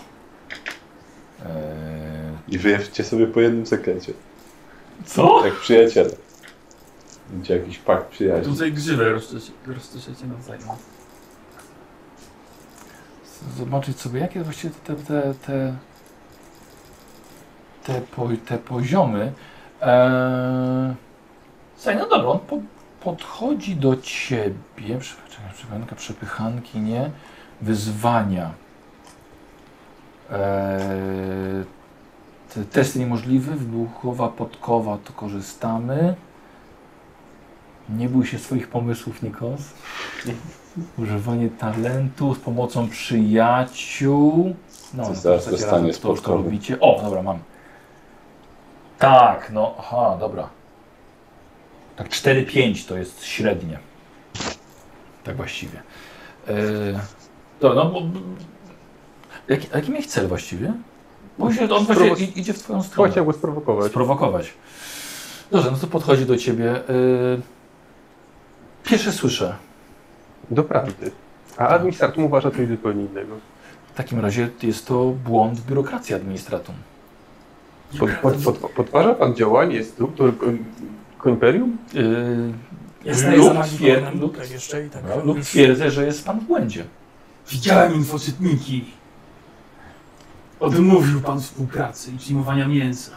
[SPEAKER 11] Eee,
[SPEAKER 4] I wyjawcie sobie po jednym sekrecie.
[SPEAKER 11] co?
[SPEAKER 4] Jak przyjaciele. Będzie jakiś pakt przyjaźni.
[SPEAKER 2] Tutaj grzywę rozczesz- rozczeszecie nawzajem.
[SPEAKER 1] Zobaczyć sobie, jakie właściwie te, te, te, te, po, te poziomy. Eee, Słuchaj, no dobra, on po, podchodzi do ciebie. Czekaj, przepychanka, przepychanki, nie. Wyzwania. Eee, E, te, testy niemożliwe, wybuchowa podkowa, to korzystamy. Nie bój się swoich pomysłów, Nikos. Używanie talentu z pomocą przyjaciół. No,
[SPEAKER 4] Coś
[SPEAKER 1] no,
[SPEAKER 4] zaraz
[SPEAKER 1] to,
[SPEAKER 4] dostanie
[SPEAKER 1] razem, to już to
[SPEAKER 4] spodkowy.
[SPEAKER 1] robicie. O, dobra, mam. Tak, no, aha, dobra. Tak 4-5 to jest średnie. Tak właściwie. Yy, to, no, bo, jaki, jaki miałeś cel właściwie? Bo się, on właśnie
[SPEAKER 5] Sprowok-
[SPEAKER 1] i- idzie w twoją stronę.
[SPEAKER 5] Chciałem go sprowokować.
[SPEAKER 1] Sprowokować. Dobrze, no to podchodzi do ciebie. Yy, pierwsze słyszę.
[SPEAKER 5] Doprawdy. A administratum uważa coś zupełnie innego.
[SPEAKER 1] W takim razie jest to błąd w biurokracji administratum.
[SPEAKER 5] Pod, pod, pod, podważa pan działanie struktur kon- Koimperium?
[SPEAKER 1] Yy,
[SPEAKER 3] Jestem
[SPEAKER 1] Lub
[SPEAKER 3] za nami
[SPEAKER 1] twierd-
[SPEAKER 3] klonem,
[SPEAKER 1] lub- No,
[SPEAKER 3] tak jeszcze i tak.
[SPEAKER 1] lub twierdzę, że jest pan w błędzie.
[SPEAKER 2] Widziałem infoczytniki. Odmówił pan współpracy i przyjmowania mięsa.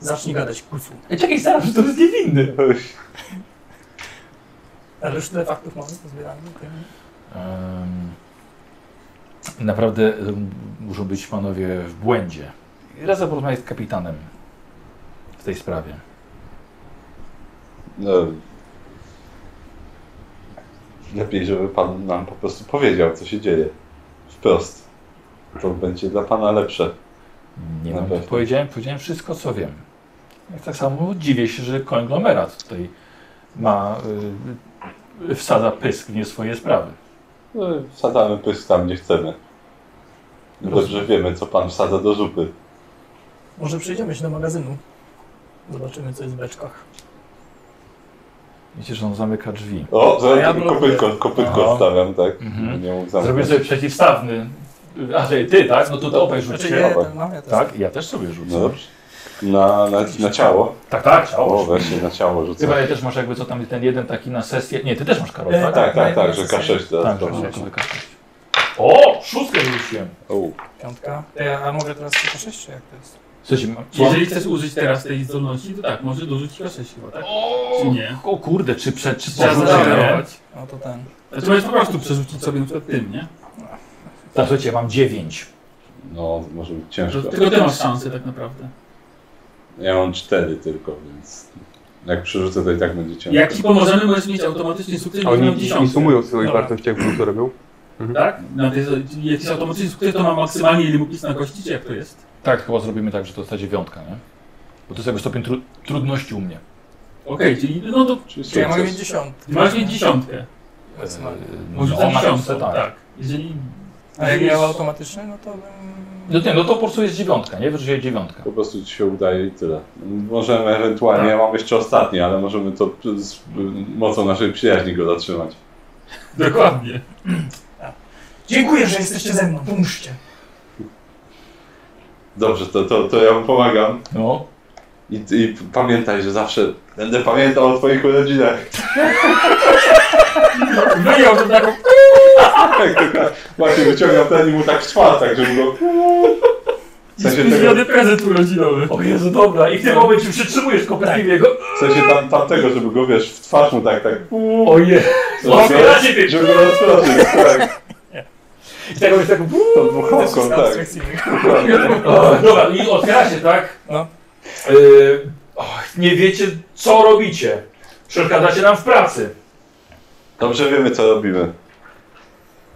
[SPEAKER 3] Zacznij gadać, kurfu.
[SPEAKER 1] Ej, E, Czekaj, zaraz, że to jest niewinny.
[SPEAKER 3] Ale już tyle faktów mamy pozbierane. okej.
[SPEAKER 1] Ym, Naprawdę ym, muszą być panowie w błędzie. Razem porozmawiać z kapitanem w tej sprawie.
[SPEAKER 4] No, lepiej, żeby pan nam po prostu powiedział, co się dzieje. Wprost. To będzie dla pana lepsze.
[SPEAKER 1] Nie
[SPEAKER 4] Na
[SPEAKER 1] mam,
[SPEAKER 4] pewno.
[SPEAKER 1] powiedziałem, powiedziałem wszystko, co wiem. Ja Tak samo dziwię się, że konglomerat tutaj ma, y, wsadza pysk w nie swoje sprawy.
[SPEAKER 4] No, wsadzamy pysk tam, gdzie chcemy. Dobrze wiemy, co pan wsadza do zupy.
[SPEAKER 3] Może przejdziemy się do magazynu. Zobaczymy, co jest w beczkach.
[SPEAKER 1] Widzicie, że on zamyka drzwi.
[SPEAKER 4] O, zaraz
[SPEAKER 3] ja
[SPEAKER 4] tylko
[SPEAKER 3] blokuję.
[SPEAKER 4] kopytko, kopytko
[SPEAKER 1] Aha.
[SPEAKER 4] stawiam, tak?
[SPEAKER 1] Mhm.
[SPEAKER 4] Nie mógł zamknąć.
[SPEAKER 11] Zrobię sobie przeciwstawny. A, że ty, tak? No to, to obaj rzuć
[SPEAKER 3] Znaczy,
[SPEAKER 11] się.
[SPEAKER 3] ja,
[SPEAKER 4] Dobra.
[SPEAKER 3] ten, no, ja też.
[SPEAKER 11] Tak, ja też sobie rzucę.
[SPEAKER 4] No dobrze. Na, na, na ciało.
[SPEAKER 11] Tak, tak,
[SPEAKER 4] O,
[SPEAKER 11] ciało.
[SPEAKER 4] właśnie na ciało
[SPEAKER 11] Ty
[SPEAKER 4] rzucę.
[SPEAKER 11] Baja, też masz jakby co tam ten jeden taki na sesję. Nie, ty też masz Karol,
[SPEAKER 3] E,
[SPEAKER 11] tak?
[SPEAKER 4] Tak, tak, tak,
[SPEAKER 3] Tak,
[SPEAKER 4] że K6
[SPEAKER 11] Tak,
[SPEAKER 4] teraz.
[SPEAKER 11] że
[SPEAKER 4] dobrze.
[SPEAKER 11] K6. O, szóstkę rzuciłem.
[SPEAKER 4] O,
[SPEAKER 3] Piątka. To ja, a mogę teraz tylko sześć, czy jak to jest?
[SPEAKER 11] Słuchajcie, mam...
[SPEAKER 2] Jeżeli chcesz użyć teraz tej zdolności, to tak, może dorzucić K6 chyba, tak? Czy nie?
[SPEAKER 11] O kurde, czy przed, czy po
[SPEAKER 2] Trzeba
[SPEAKER 11] rzuceniu?
[SPEAKER 2] zareagować.
[SPEAKER 3] No to ten.
[SPEAKER 2] Znaczy możesz po prostu przerzucić sobie na przykład tym, nie?
[SPEAKER 11] Tak, Słuchajcie, mam dziewięć.
[SPEAKER 4] No, może być
[SPEAKER 2] To,
[SPEAKER 4] ciężko.
[SPEAKER 2] tylko ty masz szansę tak naprawdę.
[SPEAKER 4] Ja mam cztery tylko, więc jak przerzucę, to i tak będzie ciężko.
[SPEAKER 2] Jak ci pomożemy, możesz mieć automatycznie sukces,
[SPEAKER 5] A
[SPEAKER 2] bo
[SPEAKER 5] oni
[SPEAKER 2] mam
[SPEAKER 5] nie
[SPEAKER 2] dziesiątkę.
[SPEAKER 5] sumują swoich
[SPEAKER 3] Dobra.
[SPEAKER 5] wartości, jak to robią?
[SPEAKER 2] Tak? Na tej, czyli jakiś automatyczny sukces to ma maksymalnie ile mu pis na kości, czy jak to jest?
[SPEAKER 11] Tak, chyba zrobimy tak, że to ta dziewiątka, nie? Bo to jest jakby stopień tru trudności u mnie.
[SPEAKER 2] Okej, czyli no to
[SPEAKER 4] Czyli
[SPEAKER 3] Czy ja mogę mieć
[SPEAKER 4] sukces.
[SPEAKER 3] dziesiątkę?
[SPEAKER 2] masz mieć dziesiątkę.
[SPEAKER 11] Tak.
[SPEAKER 3] Maksymalnie.
[SPEAKER 2] Może
[SPEAKER 11] on
[SPEAKER 2] za
[SPEAKER 11] ma
[SPEAKER 2] dziesiątkę,
[SPEAKER 11] Yy, No, tak.
[SPEAKER 2] tak. Jeżeli...
[SPEAKER 3] A jak
[SPEAKER 2] Już-
[SPEAKER 3] miał automatyczny, no to bym...
[SPEAKER 11] No nie, no to po prostu jest dziewiątka, nie? Wyrzuciłem dziewiątka.
[SPEAKER 4] Po prostu ci się udaje i tyle. Możemy ewentualnie,
[SPEAKER 3] Tak.
[SPEAKER 4] ja mam jeszcze ostatni, ale możemy to z mocą naszej przyjaźni go zatrzymać.
[SPEAKER 2] Dokładnie.
[SPEAKER 3] Dziękuję, że jesteście ze mną, pomóżcie.
[SPEAKER 4] Dobrze, to, to, to ja mu pomagam.
[SPEAKER 11] No.
[SPEAKER 4] I, I pamiętaj, że zawsze będę pamiętał o twoich urodzinach.
[SPEAKER 2] Wyjął to taką...
[SPEAKER 4] Tak, tak. Właśnie wyciągam ten i mu tak w czwartek, żeby go... W sensie, tego,
[SPEAKER 2] Zmiany prezent urodzinowy.
[SPEAKER 11] Tak
[SPEAKER 2] No. Tak.
[SPEAKER 11] O Jezu, dobra, i w tym momencie przytrzymujesz kompletnie go.
[SPEAKER 4] w sensie tam, tamtego, żeby go, wiesz, w twarz mu tak, tak...
[SPEAKER 11] O Jezu.
[SPEAKER 4] Żeby,
[SPEAKER 11] Otwieracie mnie.
[SPEAKER 4] żeby go rozproszyć, tak.
[SPEAKER 11] I tak robisz taką...
[SPEAKER 4] Tą dwuchowką, tak.
[SPEAKER 11] Dobra, i otwieracie, tak?
[SPEAKER 3] No.
[SPEAKER 11] Yy, och, nie wiecie, co robicie. Przeszkadzacie nam w pracy.
[SPEAKER 4] Dobrze wiemy, co robimy.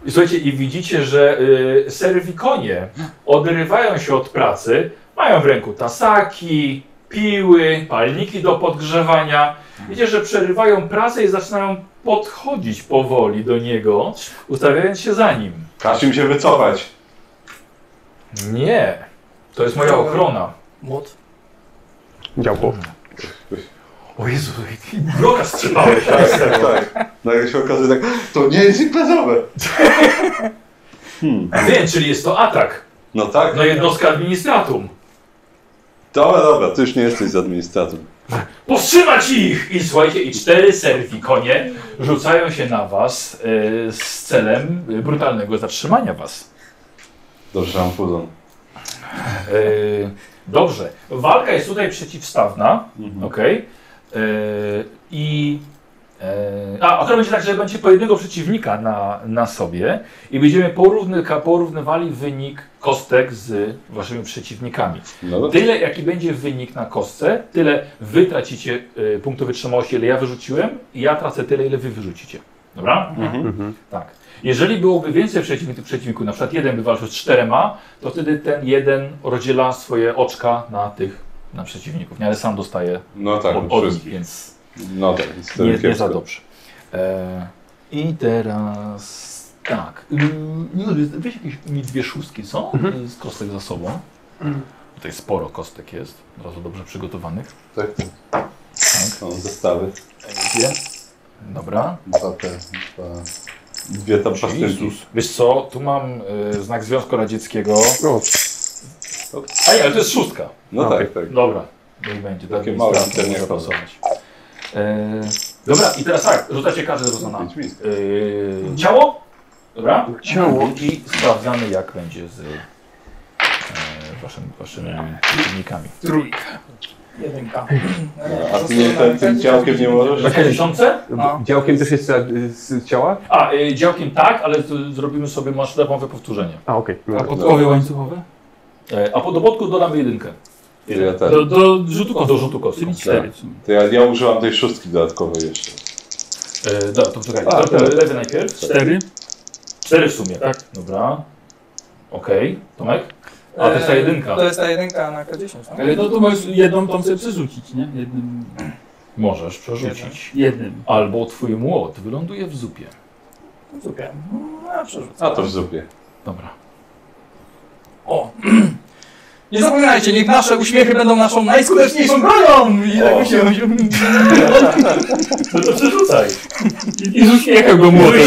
[SPEAKER 11] I słuchajcie, i widzicie, że yy, serwikonie odrywają się od pracy, mają w ręku tasaki, piły, palniki do podgrzewania. Widzicie, że przerywają pracę i zaczynają podchodzić powoli do niego, ustawiając się za nim.
[SPEAKER 4] Każ im się wycofać.
[SPEAKER 11] Nie, to jest moja ochrona.
[SPEAKER 3] Młot.
[SPEAKER 5] Mhm. Działko.
[SPEAKER 1] O Jezu, i bloka strzelałeś.
[SPEAKER 4] Tak, tak, tak. Nagle się okazuje tak, to nie jest imprezowe. Hmm.
[SPEAKER 1] Wiem, czyli jest to atak
[SPEAKER 4] No tak?
[SPEAKER 1] na jednostkę administratum.
[SPEAKER 4] Dobra, dobra, ty już nie jesteś z administratorem.
[SPEAKER 1] Powstrzymać ich! I słuchajcie, i cztery serwikonie rzucają się na was e, z celem e, brutalnego zatrzymania was.
[SPEAKER 4] Dobrze, mam puzon.
[SPEAKER 1] E, dobrze, walka jest tutaj przeciwstawna, okej. E, I... E, a, akurat będzie tak, że będzie po jednego przeciwnika na, na sobie i będziemy porówny, porównywali wynik kostek z waszymi przeciwnikami.
[SPEAKER 4] No dobra.
[SPEAKER 1] Tyle, jaki będzie wynik na kostce, tyle wy tracicie y, punktów wytrzymałości, ile ja wyrzuciłem, i ja tracę tyle, ile wy wyrzucicie. Dobra?
[SPEAKER 4] Mhm.
[SPEAKER 1] Tak. Jeżeli byłoby więcej przeciwników, przeciwników, na przykład jeden by walczył z czterema, to wtedy ten jeden rozdziela swoje oczka na tych, na przeciwników, nie? ale sam dostaje
[SPEAKER 4] No tak,
[SPEAKER 1] od, od nich,
[SPEAKER 4] wszystkich.
[SPEAKER 1] więc
[SPEAKER 4] No tak, jest to
[SPEAKER 1] nie, nie
[SPEAKER 4] kiepsko.
[SPEAKER 1] za dobrze. E, I teraz tak. Ym, Nie wiem, weź jakieś mi dwie szóstki, co? Z kostek za sobą. Tutaj sporo kostek jest, od razu dobrze przygotowanych.
[SPEAKER 4] Tak,
[SPEAKER 1] Tak,
[SPEAKER 4] są zestawy.
[SPEAKER 1] dwie. Dobra.
[SPEAKER 4] Dwa te, dwa... Dwie tam pasztynki.
[SPEAKER 1] Wiesz co, tu mam y, znak Związku Radzieckiego.
[SPEAKER 5] No,
[SPEAKER 1] A nie, ale to jest szóstka.
[SPEAKER 4] No tak, tak.
[SPEAKER 1] Dobra, niech będzie.
[SPEAKER 4] Takie
[SPEAKER 1] tak,
[SPEAKER 4] małe,
[SPEAKER 1] więc
[SPEAKER 4] to nie
[SPEAKER 1] można
[SPEAKER 4] problem.
[SPEAKER 1] pasować. E, dobra, i teraz tak, rzucacie każdy rozona.
[SPEAKER 4] Pięć miejsc.
[SPEAKER 1] Yy, ciało? Dobra? Ciało. I sprawdzamy, jak będzie z yy, waszymi, waszymi silnikami.
[SPEAKER 10] Jedynka.
[SPEAKER 4] A ty nie, tym, tym ciałkiem nie możesz?
[SPEAKER 1] Takie tysiące?
[SPEAKER 10] No.
[SPEAKER 5] Działkiem też jest z, z ciała?
[SPEAKER 1] A, yy, działkiem tak, ale tu zrobimy sobie maszynową powtórzenie.
[SPEAKER 5] A, okej.
[SPEAKER 2] A
[SPEAKER 5] No,
[SPEAKER 2] podkowie łańcuchowe?
[SPEAKER 1] Yy, a po dogodku dodamy jedynkę.
[SPEAKER 4] Ile ten?
[SPEAKER 2] Do, do rzutu
[SPEAKER 1] Tylko
[SPEAKER 2] kostką.
[SPEAKER 1] do rzutu kostką.
[SPEAKER 2] Czyli cztery. w sumie.
[SPEAKER 4] To ja, ja użyłam tej szóstki dodatkowej jeszcze.
[SPEAKER 11] E,
[SPEAKER 1] Yy, dobra, to czekaj.
[SPEAKER 4] A,
[SPEAKER 1] A,
[SPEAKER 4] tak.
[SPEAKER 1] lewy najpierw.
[SPEAKER 2] Cztery.
[SPEAKER 1] Cztery w sumie. Tak. Dobra. Okej. Tomek? A, to jest ta
[SPEAKER 10] E,
[SPEAKER 1] jedynka.
[SPEAKER 10] To jest ta jedynka na K10, no?
[SPEAKER 2] Ale no to możesz jedną tą sobie przerzucić, nie? Jednym.
[SPEAKER 1] Możesz przerzucić.
[SPEAKER 2] Jednym.
[SPEAKER 1] Albo twój młot wyląduje w zupie.
[SPEAKER 10] Super. No, ja przerzucę.
[SPEAKER 4] A to w zupie.
[SPEAKER 1] Dobra.
[SPEAKER 10] O! Nie zapominajcie, niech nasze uśmiechy będą naszą najskuteczniejszą bronią! I tak
[SPEAKER 4] O.
[SPEAKER 10] musimy...
[SPEAKER 1] No to przerzucaj.
[SPEAKER 2] I z uśmiechem go młotem.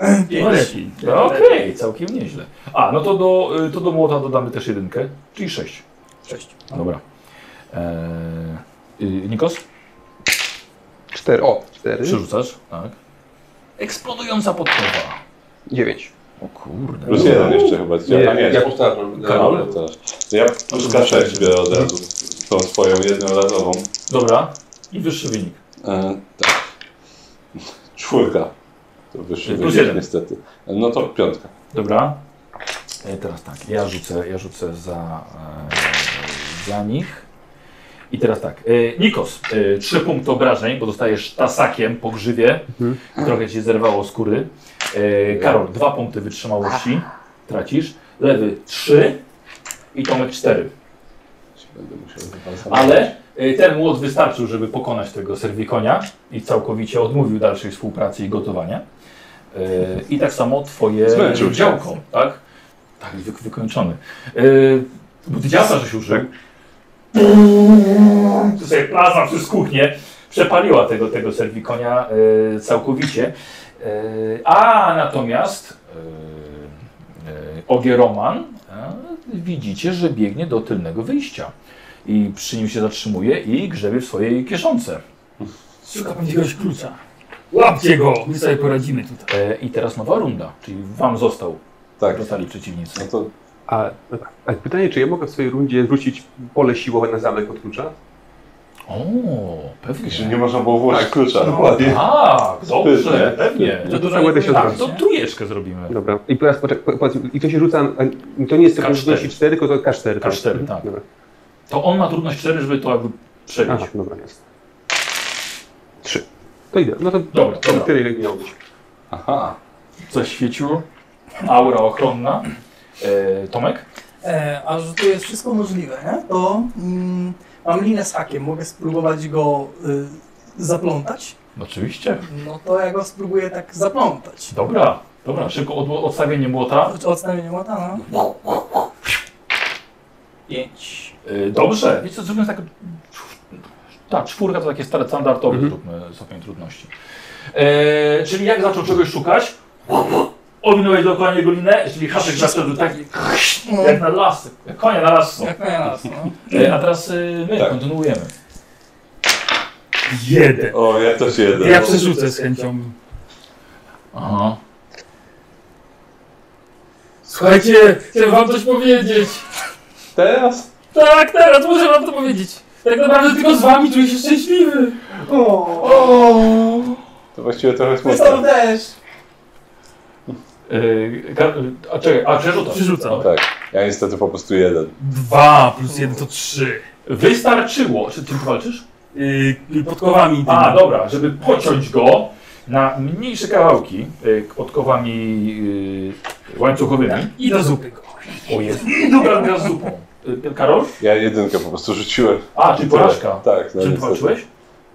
[SPEAKER 2] No
[SPEAKER 10] Pięć.
[SPEAKER 2] lepiej.
[SPEAKER 1] No Okej, całkiem nieźle. A, no to do, y, to do młota dodamy też jedynkę, czyli sześć.
[SPEAKER 10] Sześć.
[SPEAKER 1] Dobra. Eee, y, Nikos,
[SPEAKER 5] Cztery. O, cztery.
[SPEAKER 1] przerzucasz, tak. Eksplodująca podkowa.
[SPEAKER 5] Dziewięć.
[SPEAKER 1] O kurde.
[SPEAKER 4] Plus jeden jeszcze chyba. Ja, tam jest.
[SPEAKER 5] ja powtarzam.
[SPEAKER 4] Karol też. To ja plus K6 biorę od razu. Tą swoją jednorazową.
[SPEAKER 1] Dobra. I wyższy wynik.
[SPEAKER 4] E, tak. Czwórka. To wyższy
[SPEAKER 1] Plus
[SPEAKER 4] wynik
[SPEAKER 1] jeden.
[SPEAKER 4] niestety. No to piątka.
[SPEAKER 1] Dobra. E, teraz tak, ja rzucę, ja rzucę za, e, za nich. I teraz tak, e, Nikos, e, trzy punkty obrażeń, bo dostajesz tasakiem po grzywie,
[SPEAKER 4] Mhm.
[SPEAKER 1] trochę ci zerwało skóry. E, Karol, dwa punkty wytrzymałości, tracisz. Lewy trzy i Tomek cztery.
[SPEAKER 4] Będę musiał wybalsować.
[SPEAKER 1] Ale e, ten młot wystarczył, żeby pokonać tego serwikonia i całkowicie odmówił dalszej współpracy i gotowania. E, I tak samo twoje
[SPEAKER 4] Zmęczył się.
[SPEAKER 1] działko, tak? Tak, wy, wykończony. E, Bo ty działka, że się użył. Tu sobie plazma przez kuchnię przepaliła tego, tego serwikonia e, całkowicie. E, a natomiast e, e, Ogieroman e, widzicie, że biegnie do tylnego wyjścia i przy nim się zatrzymuje i grzebie w swojej kieszonce.
[SPEAKER 2] Szukam jakiegoś klucza. Łapcie go! My sobie poradzimy tutaj.
[SPEAKER 1] E, I teraz nowa runda, czyli wam został,
[SPEAKER 4] Tak.
[SPEAKER 1] zostali
[SPEAKER 4] No
[SPEAKER 1] przeciwnicy.
[SPEAKER 4] to
[SPEAKER 5] A, no tak. a pytanie, czy ja mogę w swojej rundzie rzucić pole siłowe na zamek od klucza?
[SPEAKER 1] O, pewnie.
[SPEAKER 4] że nie można było włożyć klucza. Dokładnie.
[SPEAKER 1] Tak, dobrze,
[SPEAKER 4] Sprytnie.
[SPEAKER 1] pewnie.
[SPEAKER 5] To dużo ładne się
[SPEAKER 1] Tak,
[SPEAKER 5] odwróci.
[SPEAKER 1] to trójeczkę zrobimy.
[SPEAKER 5] Dobra. I teraz poczek- po- powiedz mi, i to się rzuca, a to nie jest tylko
[SPEAKER 1] K4.
[SPEAKER 5] wynosi 4, tylko to K4. tak?
[SPEAKER 1] K4, tak.
[SPEAKER 5] Dobra.
[SPEAKER 1] To on ma trudność 4, żeby to jakby przebić.
[SPEAKER 5] Aha, dobra, jest. 3. To idę. No to
[SPEAKER 1] Dobra,
[SPEAKER 5] to
[SPEAKER 1] dobra.
[SPEAKER 5] tyle, ile miało być.
[SPEAKER 4] Aha.
[SPEAKER 1] Zaświeciło. Aura ochronna. E, Tomek?
[SPEAKER 10] E, a że tu jest wszystko możliwe, nie? to mm, mam linę z hakiem, mogę spróbować go y, zaplątać.
[SPEAKER 1] Oczywiście.
[SPEAKER 10] No to ja go spróbuję tak zaplątać.
[SPEAKER 1] Dobra, dobra, szybko od, odstawienie młota.
[SPEAKER 10] Odstawienie młota, no. Pięć.
[SPEAKER 1] Y, Dobrze, wiecie co, zrobimy tak... Ta czwórka to takie stare standardowe, zróbmy stopień trudności. E, czyli jak zaczął czegoś szukać, ominąłeś dokładnie golinę, czyli tak- haczyk zaszedł taki jak na lasy, jak konie na lasy są.
[SPEAKER 10] No, Jak na nas, no.
[SPEAKER 1] E, a teraz y, my
[SPEAKER 4] Tak.
[SPEAKER 1] kontynuujemy.
[SPEAKER 2] Jeden.
[SPEAKER 4] O, ja też jeden.
[SPEAKER 2] Ja przerzucę z chęcią.
[SPEAKER 1] Aha.
[SPEAKER 2] Słuchajcie, chcę wam coś powiedzieć.
[SPEAKER 4] Teraz?
[SPEAKER 2] Tak, teraz muszę wam to powiedzieć. Tak naprawdę tylko z wami czuję się szczęśliwy.
[SPEAKER 4] To właściwie trochę smutne.
[SPEAKER 1] Y, ka- a czekaj, a przerzucasz.
[SPEAKER 2] Przerzucam.
[SPEAKER 1] Dobra.
[SPEAKER 4] Tak, ja niestety po prostu jeden.
[SPEAKER 2] Dwa plus jeden to trzy.
[SPEAKER 1] Wystarczyło. Czy ty walczysz? Mhm.
[SPEAKER 2] Yy, podkowami.
[SPEAKER 1] A,
[SPEAKER 2] tymi.
[SPEAKER 1] dobra, żeby pociąć go na mniejsze kawałki y, odkowami y, łańcuchowymi.
[SPEAKER 2] I do zupy go.
[SPEAKER 1] O jest. I dobra, gra z zupą. Y, Karol?
[SPEAKER 4] Ja jedynkę po prostu rzuciłem.
[SPEAKER 1] A, czyli porażka.
[SPEAKER 4] Tak,
[SPEAKER 1] Czym ty
[SPEAKER 4] no niestety.
[SPEAKER 1] walczyłeś?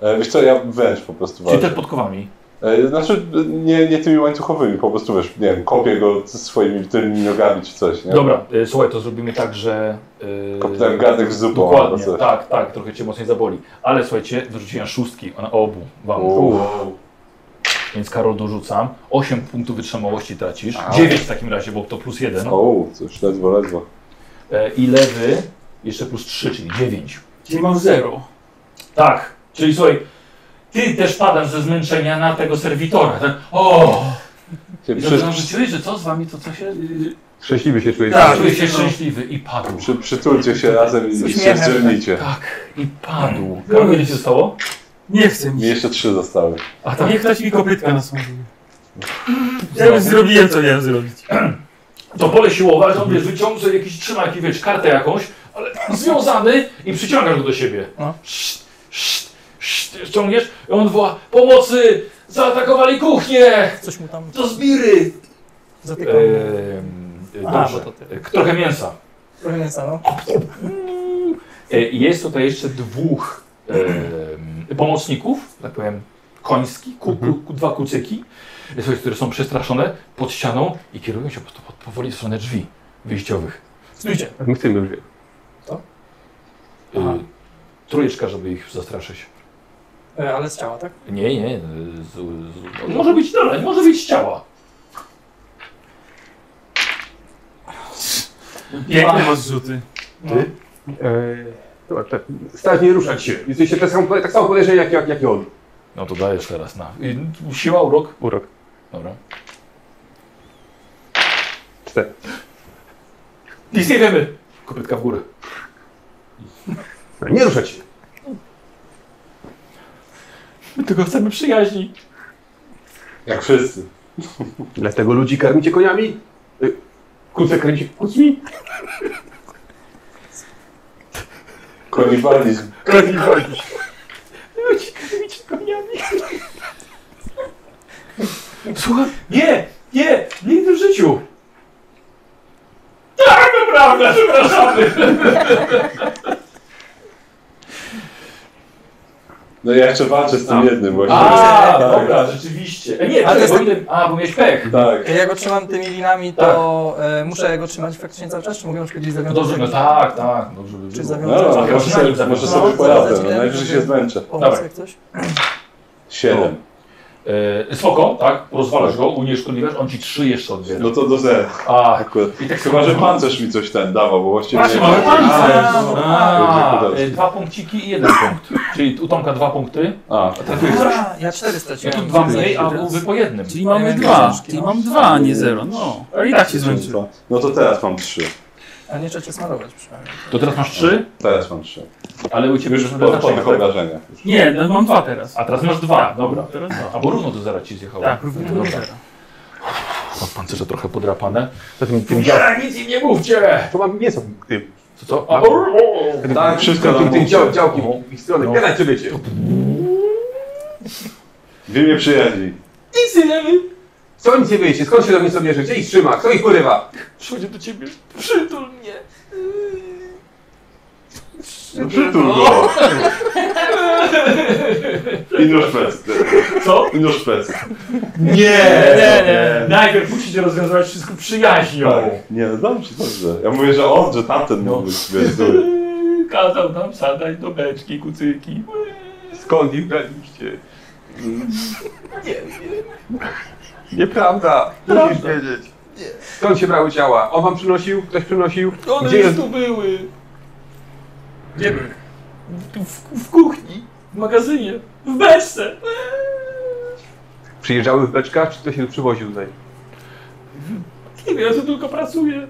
[SPEAKER 4] E, Wiesz co, ja wręcz po prostu
[SPEAKER 1] Czyli tak-
[SPEAKER 4] walczę.
[SPEAKER 1] też podkowami.
[SPEAKER 4] E, Znaczy, nie, nie tymi łańcuchowymi, po prostu wiesz, nie wiem, kopię go ze swoimi tylnymi nogami czy coś, nie?
[SPEAKER 1] Dobra, y, słuchaj, to zrobimy tak, że... y,
[SPEAKER 4] Kopnąłem garnek z zupą albo
[SPEAKER 1] Dokładnie,
[SPEAKER 4] coś.
[SPEAKER 1] tak, tak, trochę cię mocniej zaboli. Ale słuchajcie, wyrzuciłem szóstki na obu wam.
[SPEAKER 4] Uuu.
[SPEAKER 1] Więc Karol dorzucam. 8 punktów wytrzymałości tracisz.
[SPEAKER 4] Au.
[SPEAKER 1] 9 w takim razie, bo to plus 1.
[SPEAKER 4] O, coś ledwo, ledwo.
[SPEAKER 1] I lewy jeszcze plus 3, czyli 9.
[SPEAKER 2] Czyli mam zero.
[SPEAKER 1] Tak, czyli słuchaj, ty też padasz ze zmęczenia na tego serwitora. Tak? O!
[SPEAKER 4] Się
[SPEAKER 1] I
[SPEAKER 4] przy,
[SPEAKER 1] zaczynasz że czujesz, że co z wami, to co się...
[SPEAKER 6] Szczęśliwy się czujesz.
[SPEAKER 1] Tak, czujesz się szczęśliwy i padł.
[SPEAKER 4] przy, przytulcie się razem i się
[SPEAKER 10] uśmiechem, tak.
[SPEAKER 4] zdzielnicie.
[SPEAKER 1] Tak, i padł.
[SPEAKER 10] No,
[SPEAKER 1] Karol, ile się stało?
[SPEAKER 2] Nie chcę
[SPEAKER 4] Mi
[SPEAKER 2] mi.
[SPEAKER 4] jeszcze trzy zostały.
[SPEAKER 1] A tak,
[SPEAKER 2] Niech ktoś mi kopytka nasmówił. Ja już zrobiłem, co miałem zrobić.
[SPEAKER 1] to pole siłowe, ale to wiesz, wyciągnął sobie jakiś, trzyma jakiś, wiesz, kartę jakąś, ale związany i przyciągasz go do siebie.
[SPEAKER 10] No.
[SPEAKER 1] Szt, szt, szt, ciągniesz i on woła, pomocy, zaatakowali kuchnię,
[SPEAKER 10] Coś mu tam
[SPEAKER 1] do zbiry.
[SPEAKER 10] zatykał.
[SPEAKER 1] Ehm,
[SPEAKER 10] A,
[SPEAKER 1] dobrze,
[SPEAKER 10] bo to ty.
[SPEAKER 1] trochę mięsa.
[SPEAKER 10] Trochę mięsa, no.
[SPEAKER 1] E, Jest tutaj jeszcze dwóch e, pomocników, tak powiem, koński, ku, ku, ku, dwa kucyki, e, słuchaj, które są przestraszone pod ścianą i kierują się po, po, powoli w stronę drzwi wyjściowych.
[SPEAKER 10] Stójcie.
[SPEAKER 5] My chcemy już.
[SPEAKER 1] E, trójeczka, żeby ich zastraszyć.
[SPEAKER 10] E, Ale z ciała, tak?
[SPEAKER 1] Nie, nie. e, Z, z, no może być dalej, może być z ciała.
[SPEAKER 2] Piękne masz rzuty.
[SPEAKER 5] Eee, dobra, tak. Stać nie ruszać się. Jesteście tak samo, tak samo podejrzeni jak, jak, jak i on.
[SPEAKER 1] No to dajesz teraz na. e, Siła, urok.
[SPEAKER 5] Urok.
[SPEAKER 1] Dobra.
[SPEAKER 5] Cztery.
[SPEAKER 1] Nic nie wiemy. Kopytka w górę.
[SPEAKER 5] No, Nie ruszać się.
[SPEAKER 1] My tylko chcemy przyjaźni.
[SPEAKER 4] Jak wszyscy.
[SPEAKER 5] Dlatego ludzi karmicie koniami? Y, Kuce kręci kucmi?
[SPEAKER 4] Konibalizm.
[SPEAKER 5] Karmiwali.
[SPEAKER 1] Słuchaj, nie, nie, nigdy w życiu. Tak, naprawdę, przepraszamy.
[SPEAKER 4] No ja jeszcze walczę z tym jednym właśnie.
[SPEAKER 1] A,
[SPEAKER 4] Tak.
[SPEAKER 1] dobra, rzeczywiście. E, nie,
[SPEAKER 10] Ale
[SPEAKER 1] ale
[SPEAKER 10] to
[SPEAKER 1] bo, ile- a, bo miałeś pech.
[SPEAKER 4] Tak.
[SPEAKER 10] E, Jak go trzymam tymi linami, to e, muszę go trzymać faktycznie cały czas, czy mogę na przykład gdzieś
[SPEAKER 1] No
[SPEAKER 10] zawiązać?
[SPEAKER 1] Tak. dobrze, no tak, tak, dobrze by
[SPEAKER 10] Czy
[SPEAKER 1] było.
[SPEAKER 10] zawiązać?
[SPEAKER 4] No,
[SPEAKER 1] Zawiązać.
[SPEAKER 4] może sobie, może sobie poradzę, no, najwyżej się zmęczę.
[SPEAKER 10] Pomóc
[SPEAKER 1] Dobra.
[SPEAKER 10] jak coś?
[SPEAKER 4] Siedem.
[SPEAKER 1] E, spoko, tak, rozwalasz go, unieszkodliwiasz, on ci trzy jeszcze odbiera.
[SPEAKER 4] No to do zera.
[SPEAKER 1] A,
[SPEAKER 4] Akurat.
[SPEAKER 1] i tak
[SPEAKER 4] Chyba, że pancerz mi coś ten dawał, bo właściwie...
[SPEAKER 1] Właśnie, mamy
[SPEAKER 4] A,
[SPEAKER 1] pancerz!
[SPEAKER 4] no.
[SPEAKER 1] A,
[SPEAKER 4] Dobrze,
[SPEAKER 1] e, Dwa punkciki i jeden punkt. Czyli u Tomka dwa punkty,
[SPEAKER 4] A,
[SPEAKER 10] Tak A, ja cztery
[SPEAKER 1] ja tu
[SPEAKER 10] straciłem.
[SPEAKER 1] dwa mniej, a u wy po jednym.
[SPEAKER 2] Czyli mamy
[SPEAKER 10] Ja
[SPEAKER 2] dwa.
[SPEAKER 10] miałem
[SPEAKER 2] Czyli mam dwa, a nie zero. No. Ale i tak się zmęczyłem.
[SPEAKER 4] No to teraz mam trzy.
[SPEAKER 10] A nie trzeba cię smarować przynajmniej.
[SPEAKER 1] To teraz masz trzy,
[SPEAKER 4] Teraz mam trzy.
[SPEAKER 1] ale u ciebie
[SPEAKER 4] Już
[SPEAKER 1] już
[SPEAKER 4] po tych
[SPEAKER 1] tak?
[SPEAKER 4] obrażeniach.
[SPEAKER 2] Nie, no, mam dwa teraz.
[SPEAKER 1] A teraz masz dwa, dobra.
[SPEAKER 2] Tak, Teraz dwa.
[SPEAKER 1] A bo równo do zera ci zjechało.
[SPEAKER 2] Tak, równo do
[SPEAKER 1] Dobra.
[SPEAKER 2] zera.
[SPEAKER 1] Mam pancerze trochę podrapane.
[SPEAKER 5] Zatem tym działem.
[SPEAKER 1] Ja, nic im nie mówcie!
[SPEAKER 5] To mam mięso tym.
[SPEAKER 1] Co to? A, o, o.
[SPEAKER 4] Tak, wszystko
[SPEAKER 5] Tym,
[SPEAKER 4] nam
[SPEAKER 5] tym dział,
[SPEAKER 4] dział,
[SPEAKER 5] działki w ich stronę. Gadać czy wiecie.
[SPEAKER 4] W imię przyjaźni.
[SPEAKER 5] Nic nie wiemy. Co nic nie wiecie? Skąd się do mnie sobie Gdzie ich trzyma? Kto ich urywa?
[SPEAKER 1] Przychodzę do ciebie, przytul mnie.
[SPEAKER 4] No Przytul go. I nóż pesty.
[SPEAKER 1] Co?
[SPEAKER 4] I nóż pesty.
[SPEAKER 1] Nie, nie, nie. Najpierw musicie rozwiązywać wszystko przyjaźnią.
[SPEAKER 4] Tak. Nie, no dobrze, dobrze. Ja mówię, że on, że tamten mógł być wiesz, zły.
[SPEAKER 1] Yy, Kazał nam sadać do beczki kucyki.
[SPEAKER 4] Skąd ich braliście? Nie Nieprawda, musisz wiedzieć.
[SPEAKER 5] Skąd się brały ciała? On wam przynosił? Ktoś przynosił?
[SPEAKER 1] One
[SPEAKER 5] Gdzie
[SPEAKER 1] już
[SPEAKER 5] jest?
[SPEAKER 1] tu były.
[SPEAKER 10] Gdzie były?
[SPEAKER 1] Tu w, w kuchni, w magazynie, w beczce.
[SPEAKER 5] Przyjeżdżały w beczkach, czy ktoś się tu przywoził tutaj?
[SPEAKER 1] Nie wiem, ja tu tylko pracuję.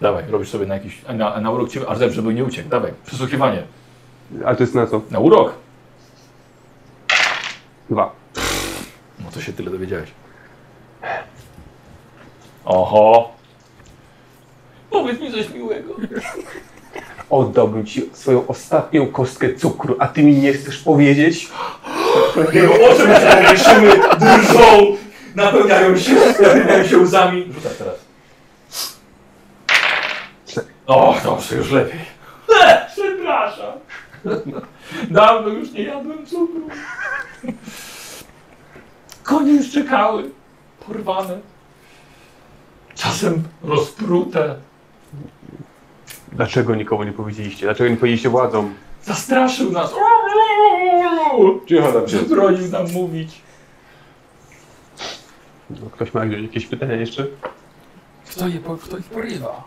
[SPEAKER 1] Dawaj, robisz sobie na jakiś. Na, na urok ciebie, aż lepiej, żeby nie uciekł. Dawaj, przesłuchiwanie.
[SPEAKER 5] Ale to jest na co?
[SPEAKER 1] Na urok.
[SPEAKER 5] Dwa.
[SPEAKER 1] No to się tyle dowiedziałeś. Oho. Powiedz mi coś miłego.
[SPEAKER 5] Oddałbym ci swoją ostatnią kostkę cukru, a ty mi nie chcesz powiedzieć?
[SPEAKER 1] Jego oczy powieszymy, drżą, napełniają się, napełniają się łzami. Rzucaj teraz. O, dobrze, już lepiej. E, przepraszam. Dawno już nie jadłem cukru. Konie już czekały, porwane. Czasem rozprute,
[SPEAKER 5] Dlaczego nikomu nie powiedzieliście? Dlaczego nie powiedzieliście władzom?
[SPEAKER 1] zastraszył nas.
[SPEAKER 4] Cicho tam się.
[SPEAKER 1] Bronił nam mówić.
[SPEAKER 5] No, ktoś ma jakieś pytania jeszcze?
[SPEAKER 2] Kto, je, po- kto ich porywa?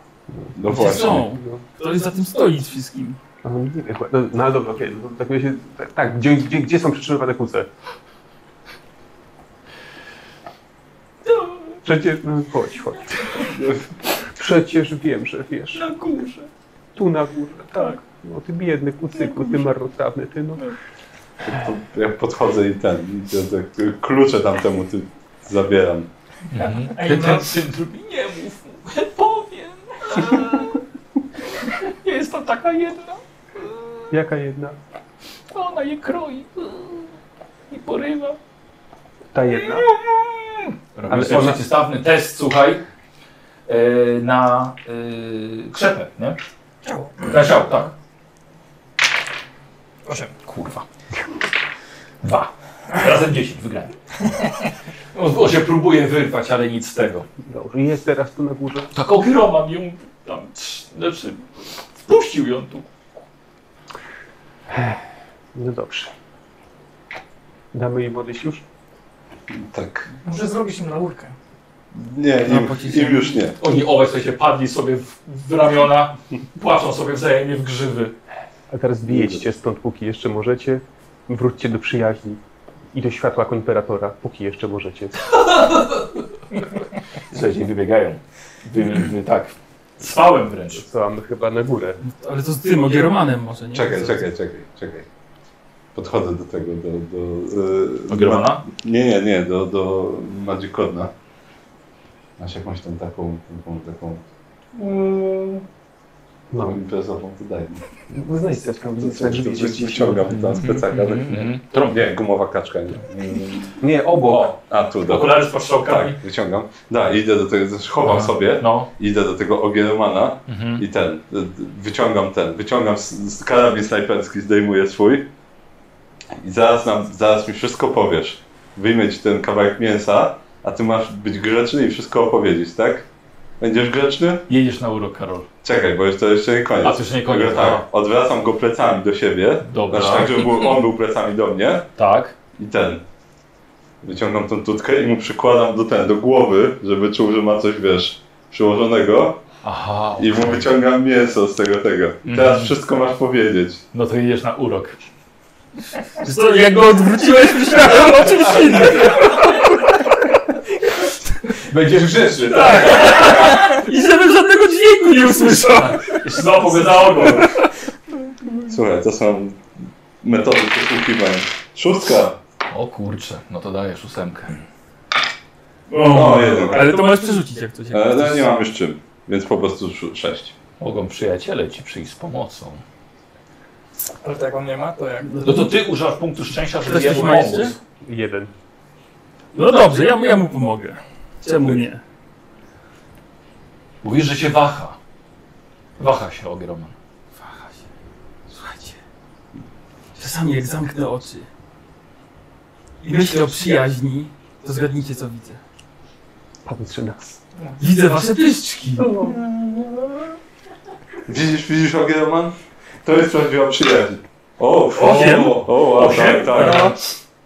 [SPEAKER 4] No
[SPEAKER 2] Gdzie
[SPEAKER 4] właśnie.
[SPEAKER 2] są? Kto za tym stoi z wszystkim?
[SPEAKER 5] No, nie wiem, no, no ale dobra, okej. no, tak, mi się- tak, tak gdzie, gdzie, gdzie są przytrzymywane kłóce? Przecież, no, chodź, chodź. Przecież wiem, że wiesz.
[SPEAKER 1] Na górze.
[SPEAKER 5] Tu na górze, tak. No ty biedny kucyku, ty marnotrawny, ty no.
[SPEAKER 4] To Ja podchodzę i ten, i te, te klucze tamtemu ty zabieram.
[SPEAKER 1] Ten, ten syndrom i nie mów, mu, powiem. Nie jest tam taka jedna,
[SPEAKER 5] Jaka jedna?
[SPEAKER 1] ona je kroi i porywa.
[SPEAKER 5] Ta jedna?
[SPEAKER 1] Ale
[SPEAKER 5] Ale
[SPEAKER 1] sobie
[SPEAKER 5] ona-
[SPEAKER 1] przeciwstawny test, słuchaj, e, na e, krzepę, nie?
[SPEAKER 10] Ciało.
[SPEAKER 1] Na ciało, tak.
[SPEAKER 10] Osiem.
[SPEAKER 1] Kurwa. Dwa. Razem dziesięć, wygrałem. On, on się próbuje wyrwać, ale nic z tego.
[SPEAKER 5] Dobrze, jest teraz tu na górze.
[SPEAKER 1] Tak ogromam ją tam, trz- znaczy, wpuścił ją tu.
[SPEAKER 5] No dobrze. Damy im odejść już?
[SPEAKER 4] Tak.
[SPEAKER 10] Może zrobić im laurkę.
[SPEAKER 4] Nie,
[SPEAKER 2] No,
[SPEAKER 4] im,
[SPEAKER 2] pocisnę.
[SPEAKER 4] im już nie.
[SPEAKER 1] Oni obaj sobie padli sobie w, w ramiona, płaczą sobie wzajemnie w grzywy.
[SPEAKER 5] A teraz wyjedźcie stąd, póki jeszcze możecie. Wróćcie do przyjaźni i do światła jako imperatora, póki jeszcze możecie.
[SPEAKER 1] Słuchajcie, wybiegają. Wy, wy, tak, cwałem wręcz.
[SPEAKER 5] Wysyłamy chyba na górę.
[SPEAKER 2] Ale to z tym ogieromanem może, nie?
[SPEAKER 4] Czekaj, czekaj, czekaj, czekaj. Podchodzę do tego, do... do yy,
[SPEAKER 1] Ogromna?
[SPEAKER 4] Nie, nie, nie, do, do Magicodna. Masz jakąś tam taką, taką, taką no.
[SPEAKER 5] No,
[SPEAKER 4] imprezową, to daj mi.
[SPEAKER 5] znajdź coś tam,
[SPEAKER 4] To,
[SPEAKER 5] tak, żeby
[SPEAKER 4] to, to wyciągam tam z plecaka.
[SPEAKER 1] Mhm.
[SPEAKER 4] tak. Nie, gumowa kaczka. Nie. Mm.
[SPEAKER 5] Nie, obok.
[SPEAKER 4] A, tu, dobra.
[SPEAKER 1] Okulary z patrzałkami.
[SPEAKER 4] no, Tak, wyciągam. Da, idę do tego, chowam sobie,
[SPEAKER 1] No.
[SPEAKER 4] idę do tego Ogiermana
[SPEAKER 1] Mhm.
[SPEAKER 4] i ten, y, y, wyciągam ten, wyciągam s- s- karabin snajperski, zdejmuję swój i zaraz, nam, zaraz mi wszystko powiesz. Wyjmę ci ten kawałek mięsa, a ty masz być grzeczny i wszystko opowiedzieć, tak? Będziesz grzeczny?
[SPEAKER 1] Jedziesz na urok, Karol.
[SPEAKER 4] Czekaj, bo jeszcze, jeszcze nie koniec.
[SPEAKER 1] A, to jeszcze nie koniec, no.
[SPEAKER 4] Tylko Tak, odwracam go plecami do siebie,
[SPEAKER 1] Dobra.
[SPEAKER 4] znaczy tak, żeby był- on był plecami do mnie.
[SPEAKER 1] Tak.
[SPEAKER 4] I ten. Wyciągam tą tutkę i mu przykładam do ten, do głowy, żeby czuł, że ma coś, wiesz, przyłożonego.
[SPEAKER 1] Aha.
[SPEAKER 4] I mu wyciągam mięso z tego tego. I teraz wszystko masz powiedzieć.
[SPEAKER 1] No to jedziesz na urok.
[SPEAKER 2] Co, jak go odwróciłeś, myślałem o czymś innym.
[SPEAKER 5] Będziesz grzeczny, tak?
[SPEAKER 2] Tak. I żebym żadnego dźwięku nie usłyszał.
[SPEAKER 1] No, pogadał go.
[SPEAKER 4] Słuchaj, to są metody poszukiwań. Szóstka!
[SPEAKER 1] O kurczę, no to dajesz ósemkę.
[SPEAKER 4] O, jeden.
[SPEAKER 2] Ale to możesz przerzucić jak coś.
[SPEAKER 4] Ale no, nie mam już czym, więc po prostu sz- sześć.
[SPEAKER 1] Mogą przyjaciele ci przyjść z pomocą.
[SPEAKER 10] Ale tak on nie ma, to jak?
[SPEAKER 1] No to ty używasz punktu szczęścia, żeby
[SPEAKER 2] Ktoś
[SPEAKER 1] jemu
[SPEAKER 2] ma jeszcze?
[SPEAKER 1] pomóc.
[SPEAKER 5] Jeden.
[SPEAKER 2] No dobrze, ja, mu- ja mu pomogę. Czemu nie?
[SPEAKER 1] Mówisz, że się waha. Waha się ogromnie.
[SPEAKER 2] Waha się. Słuchajcie. Czasami jak zamknę oczy i myślę o przyjaźni, to zgadnijcie co widzę.
[SPEAKER 5] Patrzy nas.
[SPEAKER 2] Widzę wasze pyszczki.
[SPEAKER 4] Widzisz, widzisz Ogierman? To jest prawdziwa przyjaźń. O,
[SPEAKER 7] Osiem.
[SPEAKER 4] O, o, o tak,
[SPEAKER 7] Osiem. No.
[SPEAKER 4] tak.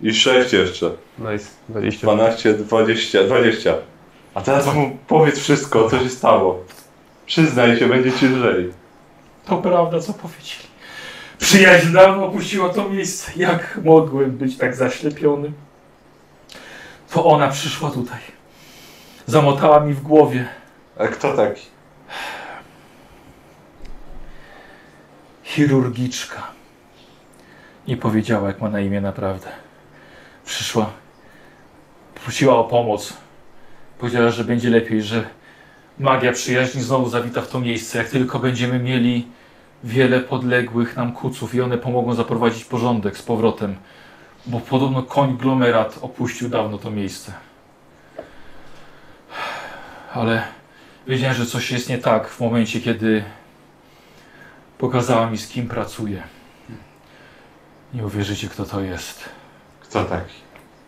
[SPEAKER 4] I sześć jeszcze.
[SPEAKER 5] Nice. 20.
[SPEAKER 4] 12, 20, 20. A teraz mu powiedz wszystko, co się stało. Przyznaj się, będzie ci lżej.
[SPEAKER 1] To prawda, co powiedzieli. Przyjaźń dawno opuściła to miejsce. Jak mogłem być tak zaślepiony? To ona przyszła tutaj. Zamotała mi w głowie.
[SPEAKER 4] A kto taki?
[SPEAKER 1] chirurgiczka. Nie powiedziała, jak ma na imię naprawdę. Przyszła, prosiła o pomoc. Powiedziała, że będzie lepiej, że magia przyjaźni znowu zawita w to miejsce. Jak tylko będziemy mieli wiele podległych nam kuców i one pomogą zaprowadzić porządek z powrotem, bo podobno konglomerat opuścił dawno to miejsce. Ale wiedziałem, że coś jest nie tak w momencie, kiedy Pokazała mi, z kim pracuje. Nie uwierzycie, kto to jest.
[SPEAKER 4] Kto taki?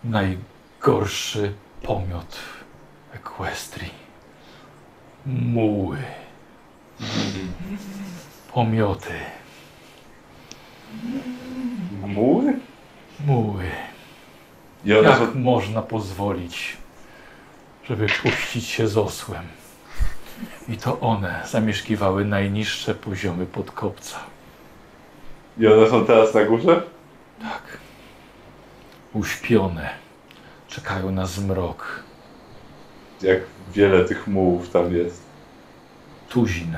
[SPEAKER 1] Najgorszy pomiot Equestrii. Muły. Pomioty.
[SPEAKER 4] Muły?
[SPEAKER 1] Muły.
[SPEAKER 4] I od razu
[SPEAKER 1] Jak można pozwolić, żeby puścić się z osłem? I to one zamieszkiwały najniższe poziomy podkopca.
[SPEAKER 4] I one są teraz na górze?
[SPEAKER 1] Tak. Uśpione. Czekają na zmrok.
[SPEAKER 4] Jak wiele tych mułów tam jest.
[SPEAKER 1] Tuzin.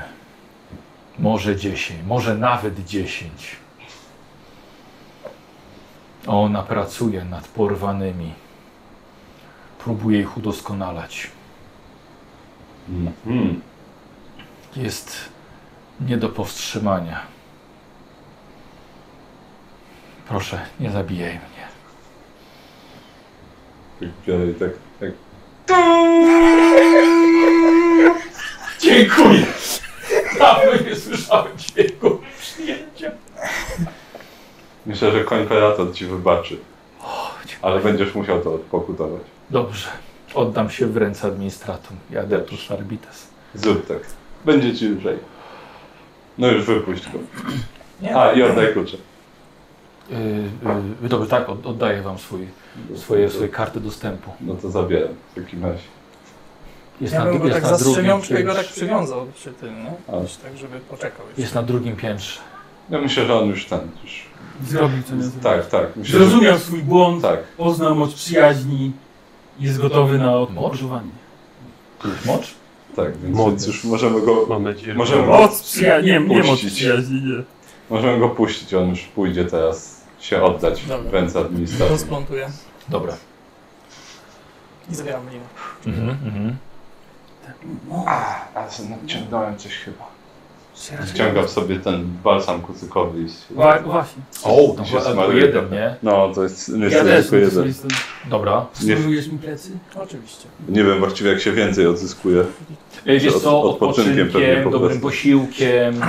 [SPEAKER 1] Może dziesięć, może nawet dziesięć. A Ona pracuje nad porwanymi. Próbuje ich udoskonalać.
[SPEAKER 4] Mhm.
[SPEAKER 1] Jest nie do powstrzymania. Proszę, nie zabijaj mnie.
[SPEAKER 4] I tak, tak.
[SPEAKER 1] Dziękuję! Dawno nie słyszałem dźwięku przyjęcia.
[SPEAKER 4] Myślę, że konferator ci wybaczy.
[SPEAKER 1] dziękuję.
[SPEAKER 4] Ale będziesz musiał to odpokutować.
[SPEAKER 1] Dobrze. Oddam się w ręce administratum i adeptus arbites.
[SPEAKER 4] Zrób tak. Będzie ci lżej. No już wypuść go. A, i oddaj klucze.
[SPEAKER 1] Yy, yy, dobrze, tak, od, oddaję wam swój, swoje, swoje karty dostępu.
[SPEAKER 4] No to zabieram w takim razie.
[SPEAKER 1] Jest
[SPEAKER 10] Ja bym go
[SPEAKER 1] jest
[SPEAKER 10] tak zastrzemiał,
[SPEAKER 1] drugim
[SPEAKER 10] czy go tak
[SPEAKER 1] piętrze.
[SPEAKER 10] przywiązał przy tym, nie?
[SPEAKER 4] A.
[SPEAKER 10] Gdzieś Tak, żeby poczekał jeszcze.
[SPEAKER 1] Jest na drugim piętrze.
[SPEAKER 4] Ja No myślę, że on już ten, już...
[SPEAKER 2] Zrobił co nie zrobił.
[SPEAKER 4] Tak, tak. Myślę, że-
[SPEAKER 2] Zrozumiał swój błąd,
[SPEAKER 4] Tak.
[SPEAKER 2] poznał moc przyjaźni i jest gotowy na odmorzowanie.
[SPEAKER 1] Mocz?
[SPEAKER 4] Tak, więc,
[SPEAKER 5] Moc
[SPEAKER 4] więc już
[SPEAKER 5] jest.
[SPEAKER 4] możemy go,
[SPEAKER 5] Mam nadzieję, że...
[SPEAKER 4] Możemy-
[SPEAKER 2] Moc przyjaźni, nie, nie moc
[SPEAKER 4] Puścić.
[SPEAKER 2] przyjaźni, nie.
[SPEAKER 4] możemy go puścić. On już pójdzie teraz się oddać w
[SPEAKER 10] Dobra.
[SPEAKER 4] ręce administracji.
[SPEAKER 10] Rozplątuję
[SPEAKER 1] Dobra.
[SPEAKER 10] i zabieram linę.
[SPEAKER 1] Mhm, mhm.
[SPEAKER 4] A, nadciągnąłem coś chyba. Wciągam sobie ten balsam kucykowy i... się-
[SPEAKER 2] Wa- Właśnie.
[SPEAKER 1] O, tam
[SPEAKER 4] Się
[SPEAKER 1] chyba tylko
[SPEAKER 4] smaruje
[SPEAKER 1] jeden,
[SPEAKER 4] trochę.
[SPEAKER 1] nie?
[SPEAKER 4] No, to jest
[SPEAKER 2] Ja
[SPEAKER 4] niestety
[SPEAKER 2] też,
[SPEAKER 4] tylko
[SPEAKER 2] jestem.
[SPEAKER 4] jeden.
[SPEAKER 2] jestem.
[SPEAKER 1] Dobra.
[SPEAKER 4] Nie-
[SPEAKER 2] Smarujesz mi plecy?
[SPEAKER 10] No, Oczywiście.
[SPEAKER 4] Nie wiem właściwie jak się więcej odzyskuje.
[SPEAKER 1] Ej, Wiesz
[SPEAKER 4] Od-
[SPEAKER 1] co,
[SPEAKER 4] odpoczynkiem pewnie po
[SPEAKER 1] odpoczynkiem, dobrym
[SPEAKER 4] prostu.
[SPEAKER 1] posiłkiem.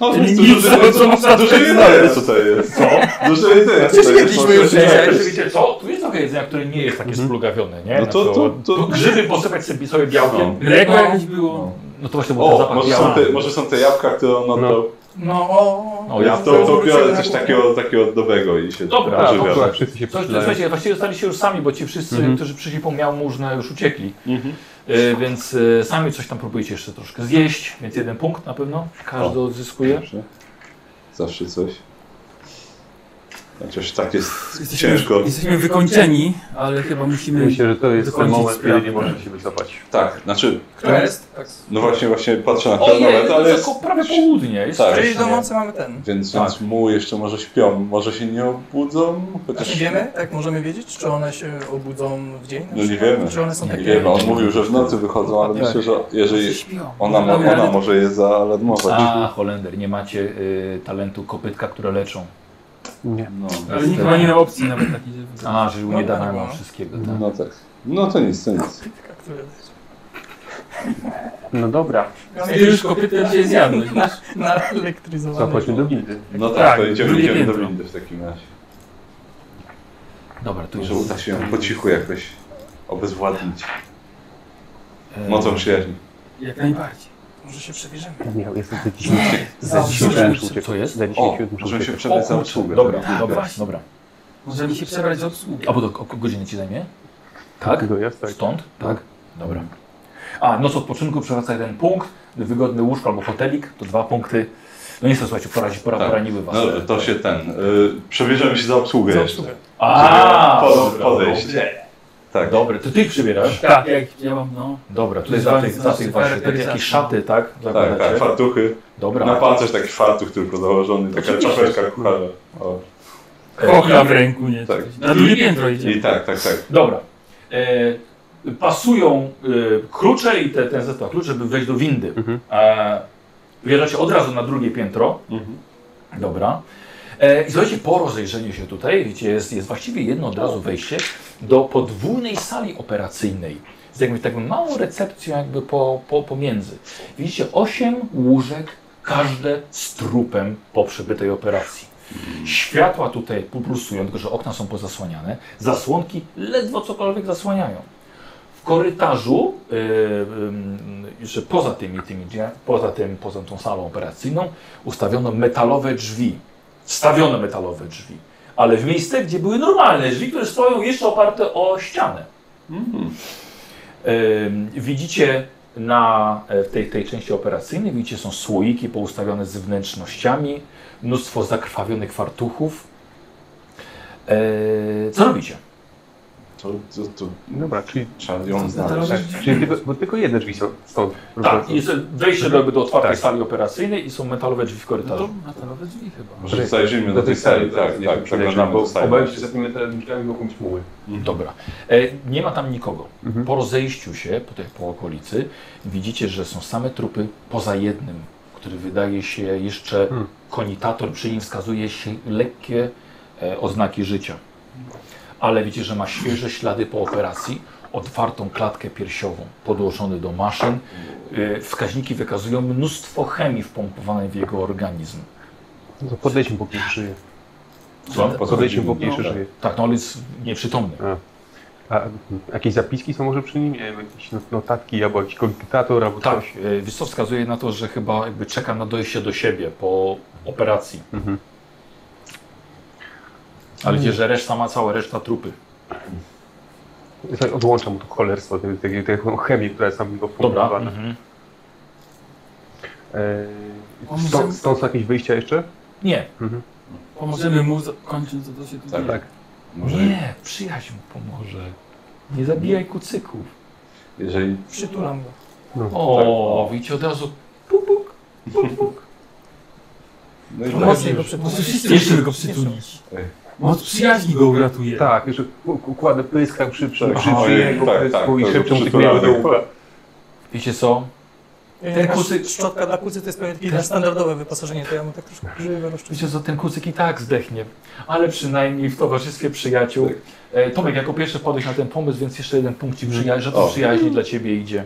[SPEAKER 4] No,
[SPEAKER 2] Nic, co- co można
[SPEAKER 4] dużo
[SPEAKER 2] tutaj
[SPEAKER 4] jedzenia
[SPEAKER 2] znaleźć.
[SPEAKER 4] co to jest. Co? Dużo jedzenia
[SPEAKER 10] Przecież
[SPEAKER 4] tutaj
[SPEAKER 10] jedliśmy
[SPEAKER 4] można
[SPEAKER 10] już
[SPEAKER 4] się
[SPEAKER 10] dzisiaj.
[SPEAKER 4] najeść.
[SPEAKER 1] Wiecie co, tu jest trochę jedzenia, które nie jest takie splugawione, nie?
[SPEAKER 4] No to-
[SPEAKER 1] Na
[SPEAKER 4] to- to-
[SPEAKER 1] Grzyby posypać sobie, sobie
[SPEAKER 4] No.
[SPEAKER 1] białkiem.
[SPEAKER 2] Mleko jakieś było?
[SPEAKER 1] No to właśnie był ten
[SPEAKER 4] O,
[SPEAKER 1] zapach
[SPEAKER 4] może
[SPEAKER 1] biała.
[SPEAKER 4] są, te, może są te jabłka, które on oddał.
[SPEAKER 10] No, o,
[SPEAKER 1] O,
[SPEAKER 4] ja
[SPEAKER 1] ja
[SPEAKER 4] to, to
[SPEAKER 10] wrócę
[SPEAKER 4] biorę
[SPEAKER 10] na
[SPEAKER 4] coś
[SPEAKER 10] głowę.
[SPEAKER 4] takiego, takiego nowego i się
[SPEAKER 1] Dobra,
[SPEAKER 4] tak
[SPEAKER 1] dobra.
[SPEAKER 4] odżywiam.
[SPEAKER 5] Wszyscy się
[SPEAKER 1] Coś,
[SPEAKER 5] przytulają.
[SPEAKER 1] słuchajcie, właściwie zostaliście już sami, bo ci wszyscy,
[SPEAKER 4] Mhm.
[SPEAKER 1] którzy przyszli po jałmużnę, już uciekli.
[SPEAKER 2] Mhm.
[SPEAKER 1] E, więc e, sami coś tam próbujecie jeszcze troszkę zjeść, więc jeden punkt na pewno każdy odzyskuje.
[SPEAKER 4] Dobrze. Zawsze coś. Chociaż tak jest
[SPEAKER 2] Jesteśmy,
[SPEAKER 4] ciężko.
[SPEAKER 2] jesteśmy wykończeni, ale chyba musimy...
[SPEAKER 5] Myślę, że to jest ten
[SPEAKER 2] Dokończyć
[SPEAKER 5] moment,
[SPEAKER 2] sprawę.
[SPEAKER 5] kiedy nie można się wycofać.
[SPEAKER 4] Tak, znaczy,
[SPEAKER 10] Kto jest? Tak.
[SPEAKER 4] no właśnie, właśnie patrzę na
[SPEAKER 1] Ojej,
[SPEAKER 4] chronometr,
[SPEAKER 1] to
[SPEAKER 4] ale jest...
[SPEAKER 1] jest prawie południe. Jest
[SPEAKER 4] Tak.
[SPEAKER 1] wcześnie.
[SPEAKER 10] Czyli do nocy mamy ten.
[SPEAKER 4] Więc,
[SPEAKER 2] Tak.
[SPEAKER 4] więc muły jeszcze może śpią, może się nie obudzą,
[SPEAKER 10] A czy
[SPEAKER 4] chociaż...
[SPEAKER 10] wiemy, tak możemy wiedzieć, czy one się obudzą w dzień? na
[SPEAKER 4] No nie
[SPEAKER 10] przykład?
[SPEAKER 4] wiemy.
[SPEAKER 10] Czy one są
[SPEAKER 4] Nie
[SPEAKER 10] takie...
[SPEAKER 4] wiem, on mówił, że w nocy wychodzą,
[SPEAKER 2] Tak.
[SPEAKER 4] ale myślę, że jeżeli
[SPEAKER 2] Śpią.
[SPEAKER 4] ona, ma,
[SPEAKER 2] Dobra,
[SPEAKER 4] ona
[SPEAKER 2] ale-
[SPEAKER 4] może je
[SPEAKER 2] Tak.
[SPEAKER 4] zaalarmować.
[SPEAKER 1] A, Holender, nie macie y, talentu kopytka, które leczą.
[SPEAKER 4] No,
[SPEAKER 2] Ale nikt chyba nie miał opcji nawet takiej, żeby...
[SPEAKER 1] A, że
[SPEAKER 10] No,
[SPEAKER 1] nie
[SPEAKER 10] tak
[SPEAKER 1] dano
[SPEAKER 10] było.
[SPEAKER 1] wam wszystkiego. Tak.
[SPEAKER 4] no tak. No to nic, to nic.
[SPEAKER 10] Kopytka, które...
[SPEAKER 5] No dobra,
[SPEAKER 10] Mamy
[SPEAKER 2] Ty już kopytę dzisiaj zjadłeś.
[SPEAKER 5] co,
[SPEAKER 10] naelektryzowane.
[SPEAKER 5] chodźmy do windy.
[SPEAKER 4] No tak,
[SPEAKER 2] Tak,
[SPEAKER 4] to idziemy,
[SPEAKER 2] drugie
[SPEAKER 4] idziemy do
[SPEAKER 2] piętro.
[SPEAKER 4] windy w takim razie.
[SPEAKER 1] Dobra, tu
[SPEAKER 4] Może
[SPEAKER 1] jest.
[SPEAKER 4] uda się ją po cichu jakoś obezwładnić.
[SPEAKER 1] E,
[SPEAKER 4] Mocą przyjaźni.
[SPEAKER 2] Jak najbardziej.
[SPEAKER 10] Może się przebierzemy.
[SPEAKER 5] Michał, jestem za 10 Za
[SPEAKER 2] O,
[SPEAKER 5] 10
[SPEAKER 2] super.
[SPEAKER 5] minut muszę uciec.
[SPEAKER 1] Co jest?
[SPEAKER 5] Za
[SPEAKER 4] O,
[SPEAKER 5] 10 minut muszę
[SPEAKER 4] możemy się
[SPEAKER 5] uciec.
[SPEAKER 4] przebrać za
[SPEAKER 1] kurczę,
[SPEAKER 4] obsługę. Tak.
[SPEAKER 1] Dobra,
[SPEAKER 4] teraz.
[SPEAKER 1] dobra,
[SPEAKER 2] właśnie.
[SPEAKER 1] dobra.
[SPEAKER 2] Możemy się przebrać za obsługę.
[SPEAKER 1] A bo to o godzinę ci zajmie? Tak?
[SPEAKER 5] No, jasne.
[SPEAKER 1] Stąd? Tak. Dobra. A, noc odpoczynku przewraca jeden punkt, wygodny łóżko albo hotelik, to dwa punkty. No nie chcę, słuchajcie, porazi, pora,
[SPEAKER 4] Tak.
[SPEAKER 1] poraniły was.
[SPEAKER 4] No to się ten. Y, przebierzemy się za obsługę
[SPEAKER 10] Za
[SPEAKER 4] jeszcze.
[SPEAKER 10] obsługę.
[SPEAKER 1] A,
[SPEAKER 4] Pod-
[SPEAKER 1] dobra,
[SPEAKER 4] podejść. Tak.
[SPEAKER 1] Dobry, to ty przybierasz?
[SPEAKER 2] Tak, jak ja mam, no.
[SPEAKER 1] Dobra, tutaj za tych, za tych
[SPEAKER 2] Super,
[SPEAKER 1] waszych, takie jakieś
[SPEAKER 2] tak.
[SPEAKER 1] szaty, tak?
[SPEAKER 4] Tak, tak,
[SPEAKER 1] Zakładacie?
[SPEAKER 4] fartuchy.
[SPEAKER 1] Dobra.
[SPEAKER 4] Na pancerz taki fartuch tylko założony, taka czapeczka kucharza. O.
[SPEAKER 2] Kochla w ręku, nie?
[SPEAKER 4] Tak.
[SPEAKER 2] Coś. Na drugie piętro idzie.
[SPEAKER 4] I tak, tak, tak.
[SPEAKER 1] Dobra. E, pasują e, klucze i te, ten zestaw kluczy, żeby wejść do windy. E, wjeżdżacie od razu na drugie piętro. Dobra. E, I słuchajcie, po rozejrzeniu się tutaj, wiecie, jest, jest właściwie jedno od razu wejście do podwójnej sali operacyjnej. Z jakby taką małą recepcją jakby po, po, pomiędzy. Widzicie, osiem łóżek, każde z trupem po przebytej operacji. Światła tutaj pulsują, tylko że okna są pozasłaniane. Zasłonki ledwo cokolwiek zasłaniają. W korytarzu, yy, yy, jeszcze poza tymi, tymi drzwiami, poza, tym, poza tą salą operacyjną, ustawiono metalowe drzwi. Wstawiono metalowe drzwi. Ale w miejsce, gdzie były normalne drzwi, które stoją jeszcze oparte o ścianę. Ym, Widzicie na e, w tej, tej części operacyjnej, widzicie, są słoiki poustawione z wnętrznościami, mnóstwo zakrwawionych fartuchów. E, Co robicie?
[SPEAKER 4] To, to, to
[SPEAKER 5] Dobra, czyli,
[SPEAKER 4] trzeba ją
[SPEAKER 2] To
[SPEAKER 4] znaleźć.
[SPEAKER 5] tak, czyli tylko, bo tylko jedne drzwi są stąd.
[SPEAKER 1] Tak,
[SPEAKER 5] prowadzące.
[SPEAKER 1] jest wejście do, do otwartej
[SPEAKER 5] Tak.
[SPEAKER 1] sali operacyjnej i są metalowe drzwi w
[SPEAKER 2] No to
[SPEAKER 1] korytarzu.
[SPEAKER 2] metalowe drzwi chyba.
[SPEAKER 4] Może zajrzyjmy do tej sali, tak, tak, przeglądamy
[SPEAKER 5] bo
[SPEAKER 4] do sali.
[SPEAKER 5] obawiam się, że za tymi metalami mogą być muły.
[SPEAKER 1] No, Dobra. E, nie ma tam nikogo.
[SPEAKER 5] Mhm.
[SPEAKER 1] Po rozejściu się po, tej, po okolicy widzicie, że są same trupy poza jednym, który wydaje się jeszcze
[SPEAKER 5] Hmm.
[SPEAKER 1] konitator, przy nim wskazuje się lekkie e, oznaki życia. Ale widzicie, że ma świeże ślady po operacji, otwartą klatkę piersiową, podłożony do maszyn. E, wskaźniki wykazują mnóstwo chemii wpompowanej w jego organizm.
[SPEAKER 5] No to podejdźmy, póki żyje.
[SPEAKER 1] No,
[SPEAKER 4] Co?
[SPEAKER 5] Podejdźmy, póki jeszcze żyje.
[SPEAKER 1] Tak, no on jest nieprzytomny.
[SPEAKER 5] A jakieś zapiski są może przy nim? Nie wiem, jakieś not- notatki, albo jakiś komentator, albo
[SPEAKER 1] Tak,
[SPEAKER 5] coś.
[SPEAKER 1] e, wiesz co wskazuje na to, że chyba jakby czeka na dojście do siebie po operacji.
[SPEAKER 5] Mhm.
[SPEAKER 1] Ale wiecie, że reszta ma cała reszta trupy.
[SPEAKER 5] Słuchaj, Odłączam to cholerstwo, tę- tę- tę chemię, która jest tam
[SPEAKER 1] Dobra.
[SPEAKER 5] wpompowana.
[SPEAKER 4] Mhm.
[SPEAKER 5] E,
[SPEAKER 2] Pomysł-
[SPEAKER 5] Stąd, stąd są jakieś wyjścia jeszcze?
[SPEAKER 1] Nie,
[SPEAKER 2] Pomożemy mu za- kończąc, co to się tu
[SPEAKER 4] Tak.
[SPEAKER 2] dzieje.
[SPEAKER 4] Może
[SPEAKER 1] nie, przyjaźń mu pomoże. Nie zabijaj kucyków.
[SPEAKER 4] jeżeli
[SPEAKER 10] Przytulam go.
[SPEAKER 5] No.
[SPEAKER 1] O,
[SPEAKER 4] Tak,
[SPEAKER 1] o.
[SPEAKER 4] o.
[SPEAKER 1] widzicie od razu puk, puk, puk, puk.
[SPEAKER 4] No i tak.
[SPEAKER 10] Mocniej go przytulić.
[SPEAKER 2] Możesz jeszcze go przytulić. Moc przyjaźni go uratuje.
[SPEAKER 5] Tak, już u- układę pysk tam przy, przy, przy,
[SPEAKER 4] Aha,
[SPEAKER 5] przy jego
[SPEAKER 4] tak, tak,
[SPEAKER 5] pysku i
[SPEAKER 4] to
[SPEAKER 5] szybcią
[SPEAKER 4] przy
[SPEAKER 5] tych miał do
[SPEAKER 4] tulanych.
[SPEAKER 5] ucha.
[SPEAKER 1] Wiecie co?
[SPEAKER 10] Ten kucy... Szczotka dla kucy to jest pewnie takie standardowe wyposażenie, to ja mu tak troszkę grzywę
[SPEAKER 1] Wiecie
[SPEAKER 10] rozczuję.
[SPEAKER 1] co, ten kucyk i tak zdechnie. Ale przynajmniej w towarzystwie przyjaciół.
[SPEAKER 4] Tak.
[SPEAKER 1] E, Tomek, jako pierwszy wpadłeś na ten pomysł, więc jeszcze jeden punkt ci przyjaźni, że to
[SPEAKER 4] Mhm. O.
[SPEAKER 1] przyjaźni dla ciebie idzie.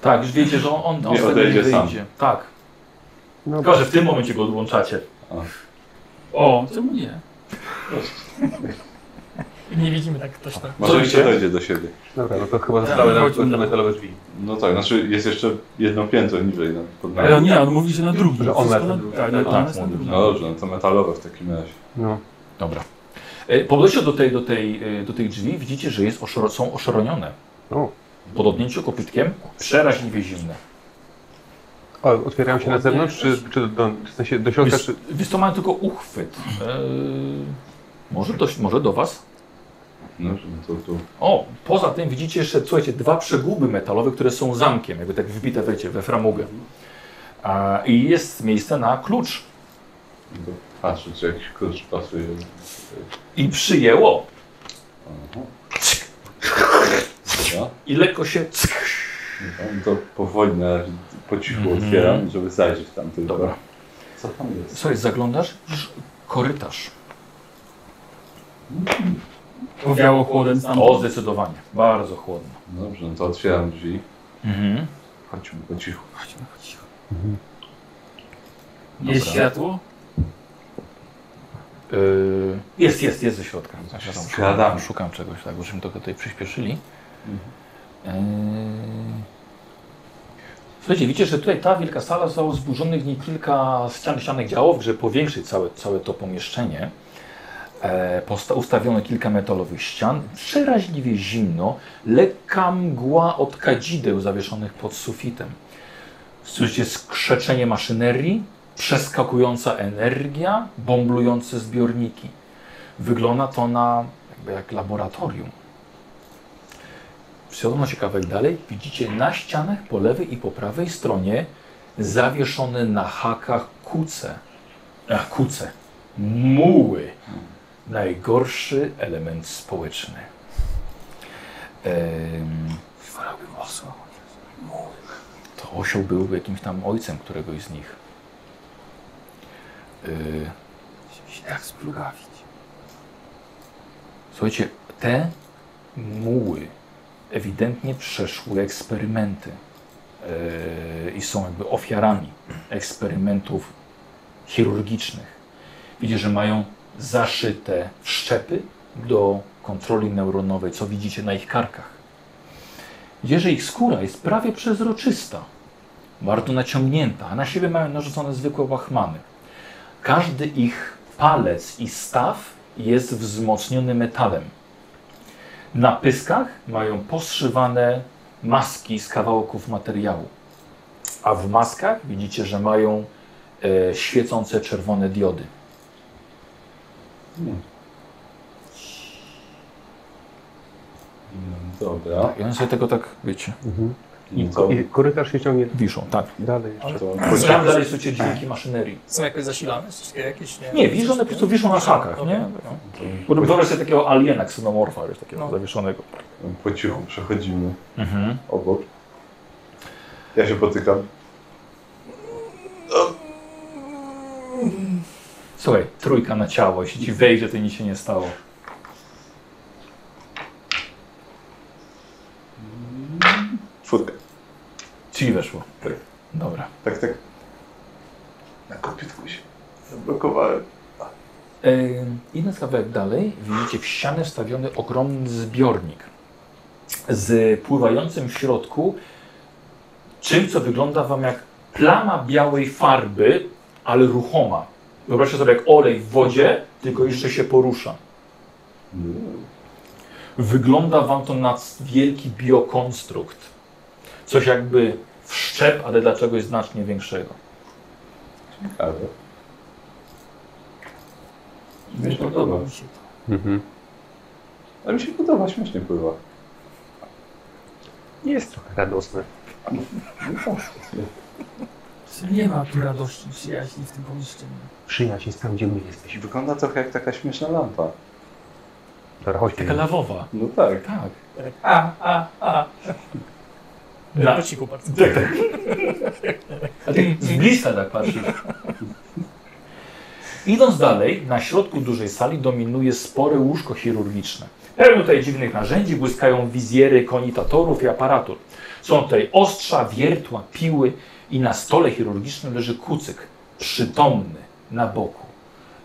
[SPEAKER 1] Tak, już wiecie, że on, on, on
[SPEAKER 4] Nie
[SPEAKER 1] wtedy
[SPEAKER 4] odejdzie sam.
[SPEAKER 1] Tak.
[SPEAKER 5] No,
[SPEAKER 1] Tylko, że w tym momencie go odłączacie.
[SPEAKER 2] O, czemu nie?
[SPEAKER 10] I nie widzimy tak ktoś tak.
[SPEAKER 4] Może jeszcze
[SPEAKER 1] robicie?
[SPEAKER 4] dojdzie do siebie.
[SPEAKER 5] dobra, no to chyba zostały nam
[SPEAKER 2] chodźmy
[SPEAKER 5] te
[SPEAKER 2] na-
[SPEAKER 5] metalowe drzwi.
[SPEAKER 4] No tak, znaczy jest jeszcze jedno piętro niżej. No, pod nami.
[SPEAKER 2] Ale on nie, on mówi, że na drugim.
[SPEAKER 5] Że on na
[SPEAKER 2] Wszystko
[SPEAKER 5] drugim.
[SPEAKER 2] Tak, tak,
[SPEAKER 1] Tak,
[SPEAKER 2] on jest na
[SPEAKER 1] mówił,
[SPEAKER 2] drugim.
[SPEAKER 4] no dobrze, no to metalowe w takim razie.
[SPEAKER 5] No.
[SPEAKER 1] Dobra. E, Po dojściu do, tej, do, tej, e, do tych drzwi widzicie, że jest oszoro, są oszronione.
[SPEAKER 5] O.
[SPEAKER 1] Po dotknięciu kopytkiem przeraźliwie zimne.
[SPEAKER 5] O, otwierają się na zewnątrz, czy, czy do, w sensie do środka, czy...
[SPEAKER 1] Wiesz to mają tylko uchwyt. E, może, do, może do was?
[SPEAKER 4] No, no to tu.
[SPEAKER 1] O, poza tym widzicie jeszcze, słuchajcie, dwa przeguby metalowe, które są zamkiem, jakby tak wbite, wiecie, we framugę. A, I jest miejsce na klucz.
[SPEAKER 4] to Patrzę, czy jakiś klucz pasuje.
[SPEAKER 1] I przyjęło.
[SPEAKER 4] Aha.
[SPEAKER 1] Cyk.
[SPEAKER 4] Dobra.
[SPEAKER 1] I lekko się... Cyk.
[SPEAKER 4] No to powoli na razie po cichu
[SPEAKER 1] Mhm.
[SPEAKER 4] otwieram, żeby zajrzeć tam tylko.
[SPEAKER 1] Dobra.
[SPEAKER 4] Co tam jest?
[SPEAKER 1] Słuchaj, zaglądasz? Widzisz Korytarz.
[SPEAKER 2] Powiało chłodem tam.
[SPEAKER 1] O, zdecydowanie. Bardzo chłodno.
[SPEAKER 4] Dobrze, no to otwieram drzwi.
[SPEAKER 1] Mhm.
[SPEAKER 4] Chodźmy po cichu.
[SPEAKER 2] Chodźmy, chodźmy. Jest
[SPEAKER 1] Dobra.
[SPEAKER 2] światło?
[SPEAKER 1] Y, Jest, jest, jest ze środka. Ja tam szukam,
[SPEAKER 4] Skradamy.
[SPEAKER 1] szukam czegoś, tak, żeśmy trochę tutaj przyspieszyli. Eee... Słuchajcie, widzicie, że tutaj ta wielka sala zostało zburzonych nie kilka ścian ścianek działów, żeby powiększyć całe, całe to pomieszczenie. Eee, posta- ustawiono kilka metalowych ścian, przeraźliwie zimno, lekka mgła od kadzideł zawieszonych pod sufitem. Słyszycie skrzeczenie maszynerii, przeskakująca energia, bomblujące zbiorniki. Wygląda to na jakby jak laboratorium. Przechodząc się kawałek dalej, widzicie na ścianach po lewej i po prawej stronie zawieszone na hakach kuce. Ach, kuce. Muły. Najgorszy element społeczny. Ehm, wolałbym osła. To osioł byłby jakimś tam ojcem któregoś z nich. Yy,
[SPEAKER 2] Jak splugawić.
[SPEAKER 1] słuchajcie, te muły ewidentnie przeszły eksperymenty yy, i są jakby ofiarami eksperymentów chirurgicznych. Widzicie, że mają zaszyte wszczepy do kontroli neuronowej, co widzicie na ich karkach. Widzicie, że ich skóra jest prawie przezroczysta, bardzo naciągnięta, a na siebie mają narzucone zwykłe łachmany. Każdy ich palec i staw jest wzmocniony metalem. Na pyskach mają poszywane maski z kawałków materiału. A w maskach widzicie, że mają e, świecące czerwone diody.
[SPEAKER 4] No, Dobra.
[SPEAKER 1] I one sobie tego tak, wiecie,
[SPEAKER 4] I co?
[SPEAKER 5] I korytarz się ciągnie
[SPEAKER 1] wiszą. Tak.
[SPEAKER 5] dalej jeszcze.
[SPEAKER 4] To-
[SPEAKER 1] Tam dalej słyszycie dźwięki maszynerii.
[SPEAKER 10] Są jakoś zasilane? Wszystkie jakieś? Nie,
[SPEAKER 1] Nie, wiszą, one po prostu wiszą na hakach, nie? Wyobraź sobie takiego aliena ksenomorfa, wiesz, takiego
[SPEAKER 10] No.
[SPEAKER 1] zawieszonego.
[SPEAKER 4] Po cichu przechodzimy
[SPEAKER 1] Mhm.
[SPEAKER 4] obok. Ja się potykam.
[SPEAKER 1] Słuchaj, trójka na ciało, jeśli ci wejdzie, to nic się nie stało.
[SPEAKER 4] Czwórkę.
[SPEAKER 1] Czyli weszło.
[SPEAKER 4] Tak.
[SPEAKER 1] Dobra.
[SPEAKER 4] Tak, tak. Na kopytku się zablokowałem.
[SPEAKER 1] Yy, Idąc kawałek dalej, widzicie w ścianę wstawiony ogromny zbiornik z pływającym w środku czymś, co wygląda Wam jak plama białej farby, ale ruchoma. Wyobraźcie sobie jak olej w wodzie, tylko jeszcze się porusza. Wygląda Wam to na wielki biokonstrukt. Coś jakby wszczep, ale dla czegoś znacznie większego.
[SPEAKER 4] Ale... Mi się podoba.
[SPEAKER 5] Mhm.
[SPEAKER 4] A mi się podoba, śmiesznie pływa.
[SPEAKER 5] Jest trochę radosne.
[SPEAKER 2] Nie ma tu radości, przyjaźni w tym pomieszczeniu.
[SPEAKER 5] Przyjaźń jest tam, gdzie my jesteśmy.
[SPEAKER 4] Wygląda trochę jak taka śmieszna lampa.
[SPEAKER 5] Dobra, chodźmy.
[SPEAKER 1] Taka lawowa.
[SPEAKER 4] No tak.
[SPEAKER 1] Tak.
[SPEAKER 10] A, a, a. Tak.
[SPEAKER 1] Na-
[SPEAKER 10] Na pocichu bardzo.
[SPEAKER 1] A ty z bliska tak patrzysz. Idąc dalej, na środku dużej sali dominuje spore łóżko chirurgiczne. Pełno tutaj dziwnych narzędzi, błyskają wizjery konitatorów i aparatur. Są tutaj ostrza, wiertła, piły i na stole chirurgicznym leży kucyk, przytomny, na boku,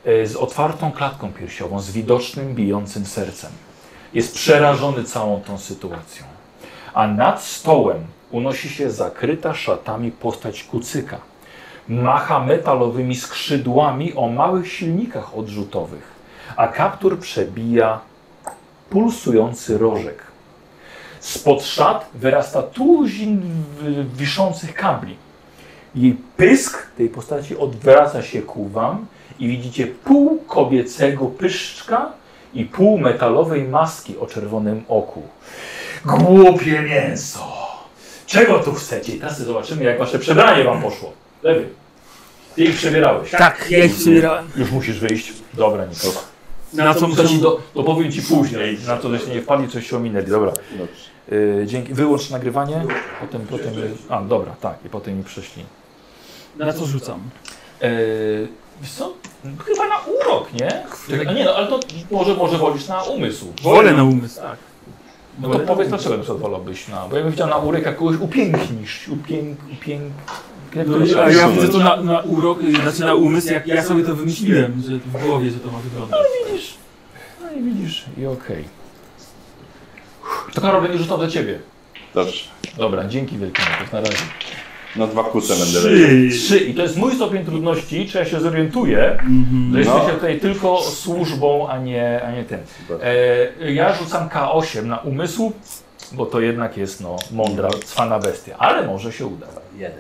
[SPEAKER 1] e, z otwartą klatką piersiową, z widocznym, bijącym sercem. Jest przerażony całą tą sytuacją a nad stołem unosi się zakryta szatami postać kucyka. Macha metalowymi skrzydłami o małych silnikach odrzutowych, a kaptur przebija pulsujący rożek. Spod szat wyrasta tuzin w- wiszących kabli. Jej pysk tej postaci odwraca się ku wam i widzicie pół kobiecego pyszczka i pół metalowej maski o czerwonym oku. Głupie mięso! Czego tu chcecie? I teraz zobaczymy, jak wasze przebranie wam poszło. Lewy. Ty ich przebierałeś.
[SPEAKER 2] Tak, ja ich przybierałem.
[SPEAKER 1] Już musisz wyjść. Dobra, Nikola.
[SPEAKER 2] Na co
[SPEAKER 1] To, ci
[SPEAKER 2] muszę...
[SPEAKER 1] do, to powiem ci później, na to, żeście nie wpadli, coś się ominęli. Dobra.
[SPEAKER 4] Dobrze.
[SPEAKER 1] Yy, dzięki. Wyłącz nagrywanie. Potem, potem... A, dobra, tak. I potem mi przyszli.
[SPEAKER 2] Na co rzucam?
[SPEAKER 1] Yy, wiesz co? Chyba na urok, nie? A nie, no, ale to może, może wolisz na umysł.
[SPEAKER 2] Tak. Wolę na umysł. Tak.
[SPEAKER 1] No to powiedz, dlaczego na przykład wolałbyś na... Bo ja bym chciał na urok, jak kogoś upięknisz. Upięk... upięk... jak to się-
[SPEAKER 2] No, a ja widzę to na, na urok, y, znaczy na umysł, jak ja sobie to wymyśliłem, że w głowie, że to ma wyglądać.
[SPEAKER 1] Widzisz. No i widzisz, i okej. To Karol, będzie rzucał do ciebie.
[SPEAKER 4] Dobrze.
[SPEAKER 1] Dobra, dzięki wielkie. Na razie.
[SPEAKER 4] No dwa kuce będę leczył.
[SPEAKER 1] Trzy. Yy, I to jest mój stopień trudności, czy ja się zorientuję,
[SPEAKER 2] No.
[SPEAKER 1] że
[SPEAKER 2] Mhm.
[SPEAKER 1] jesteście tutaj tylko służbą, a nie, a nie tym. E, ja rzucam K8 na umysł, bo to jednak jest no, mądra,
[SPEAKER 2] Mhm.
[SPEAKER 1] cwana bestia. Ale może się uda. Jeden.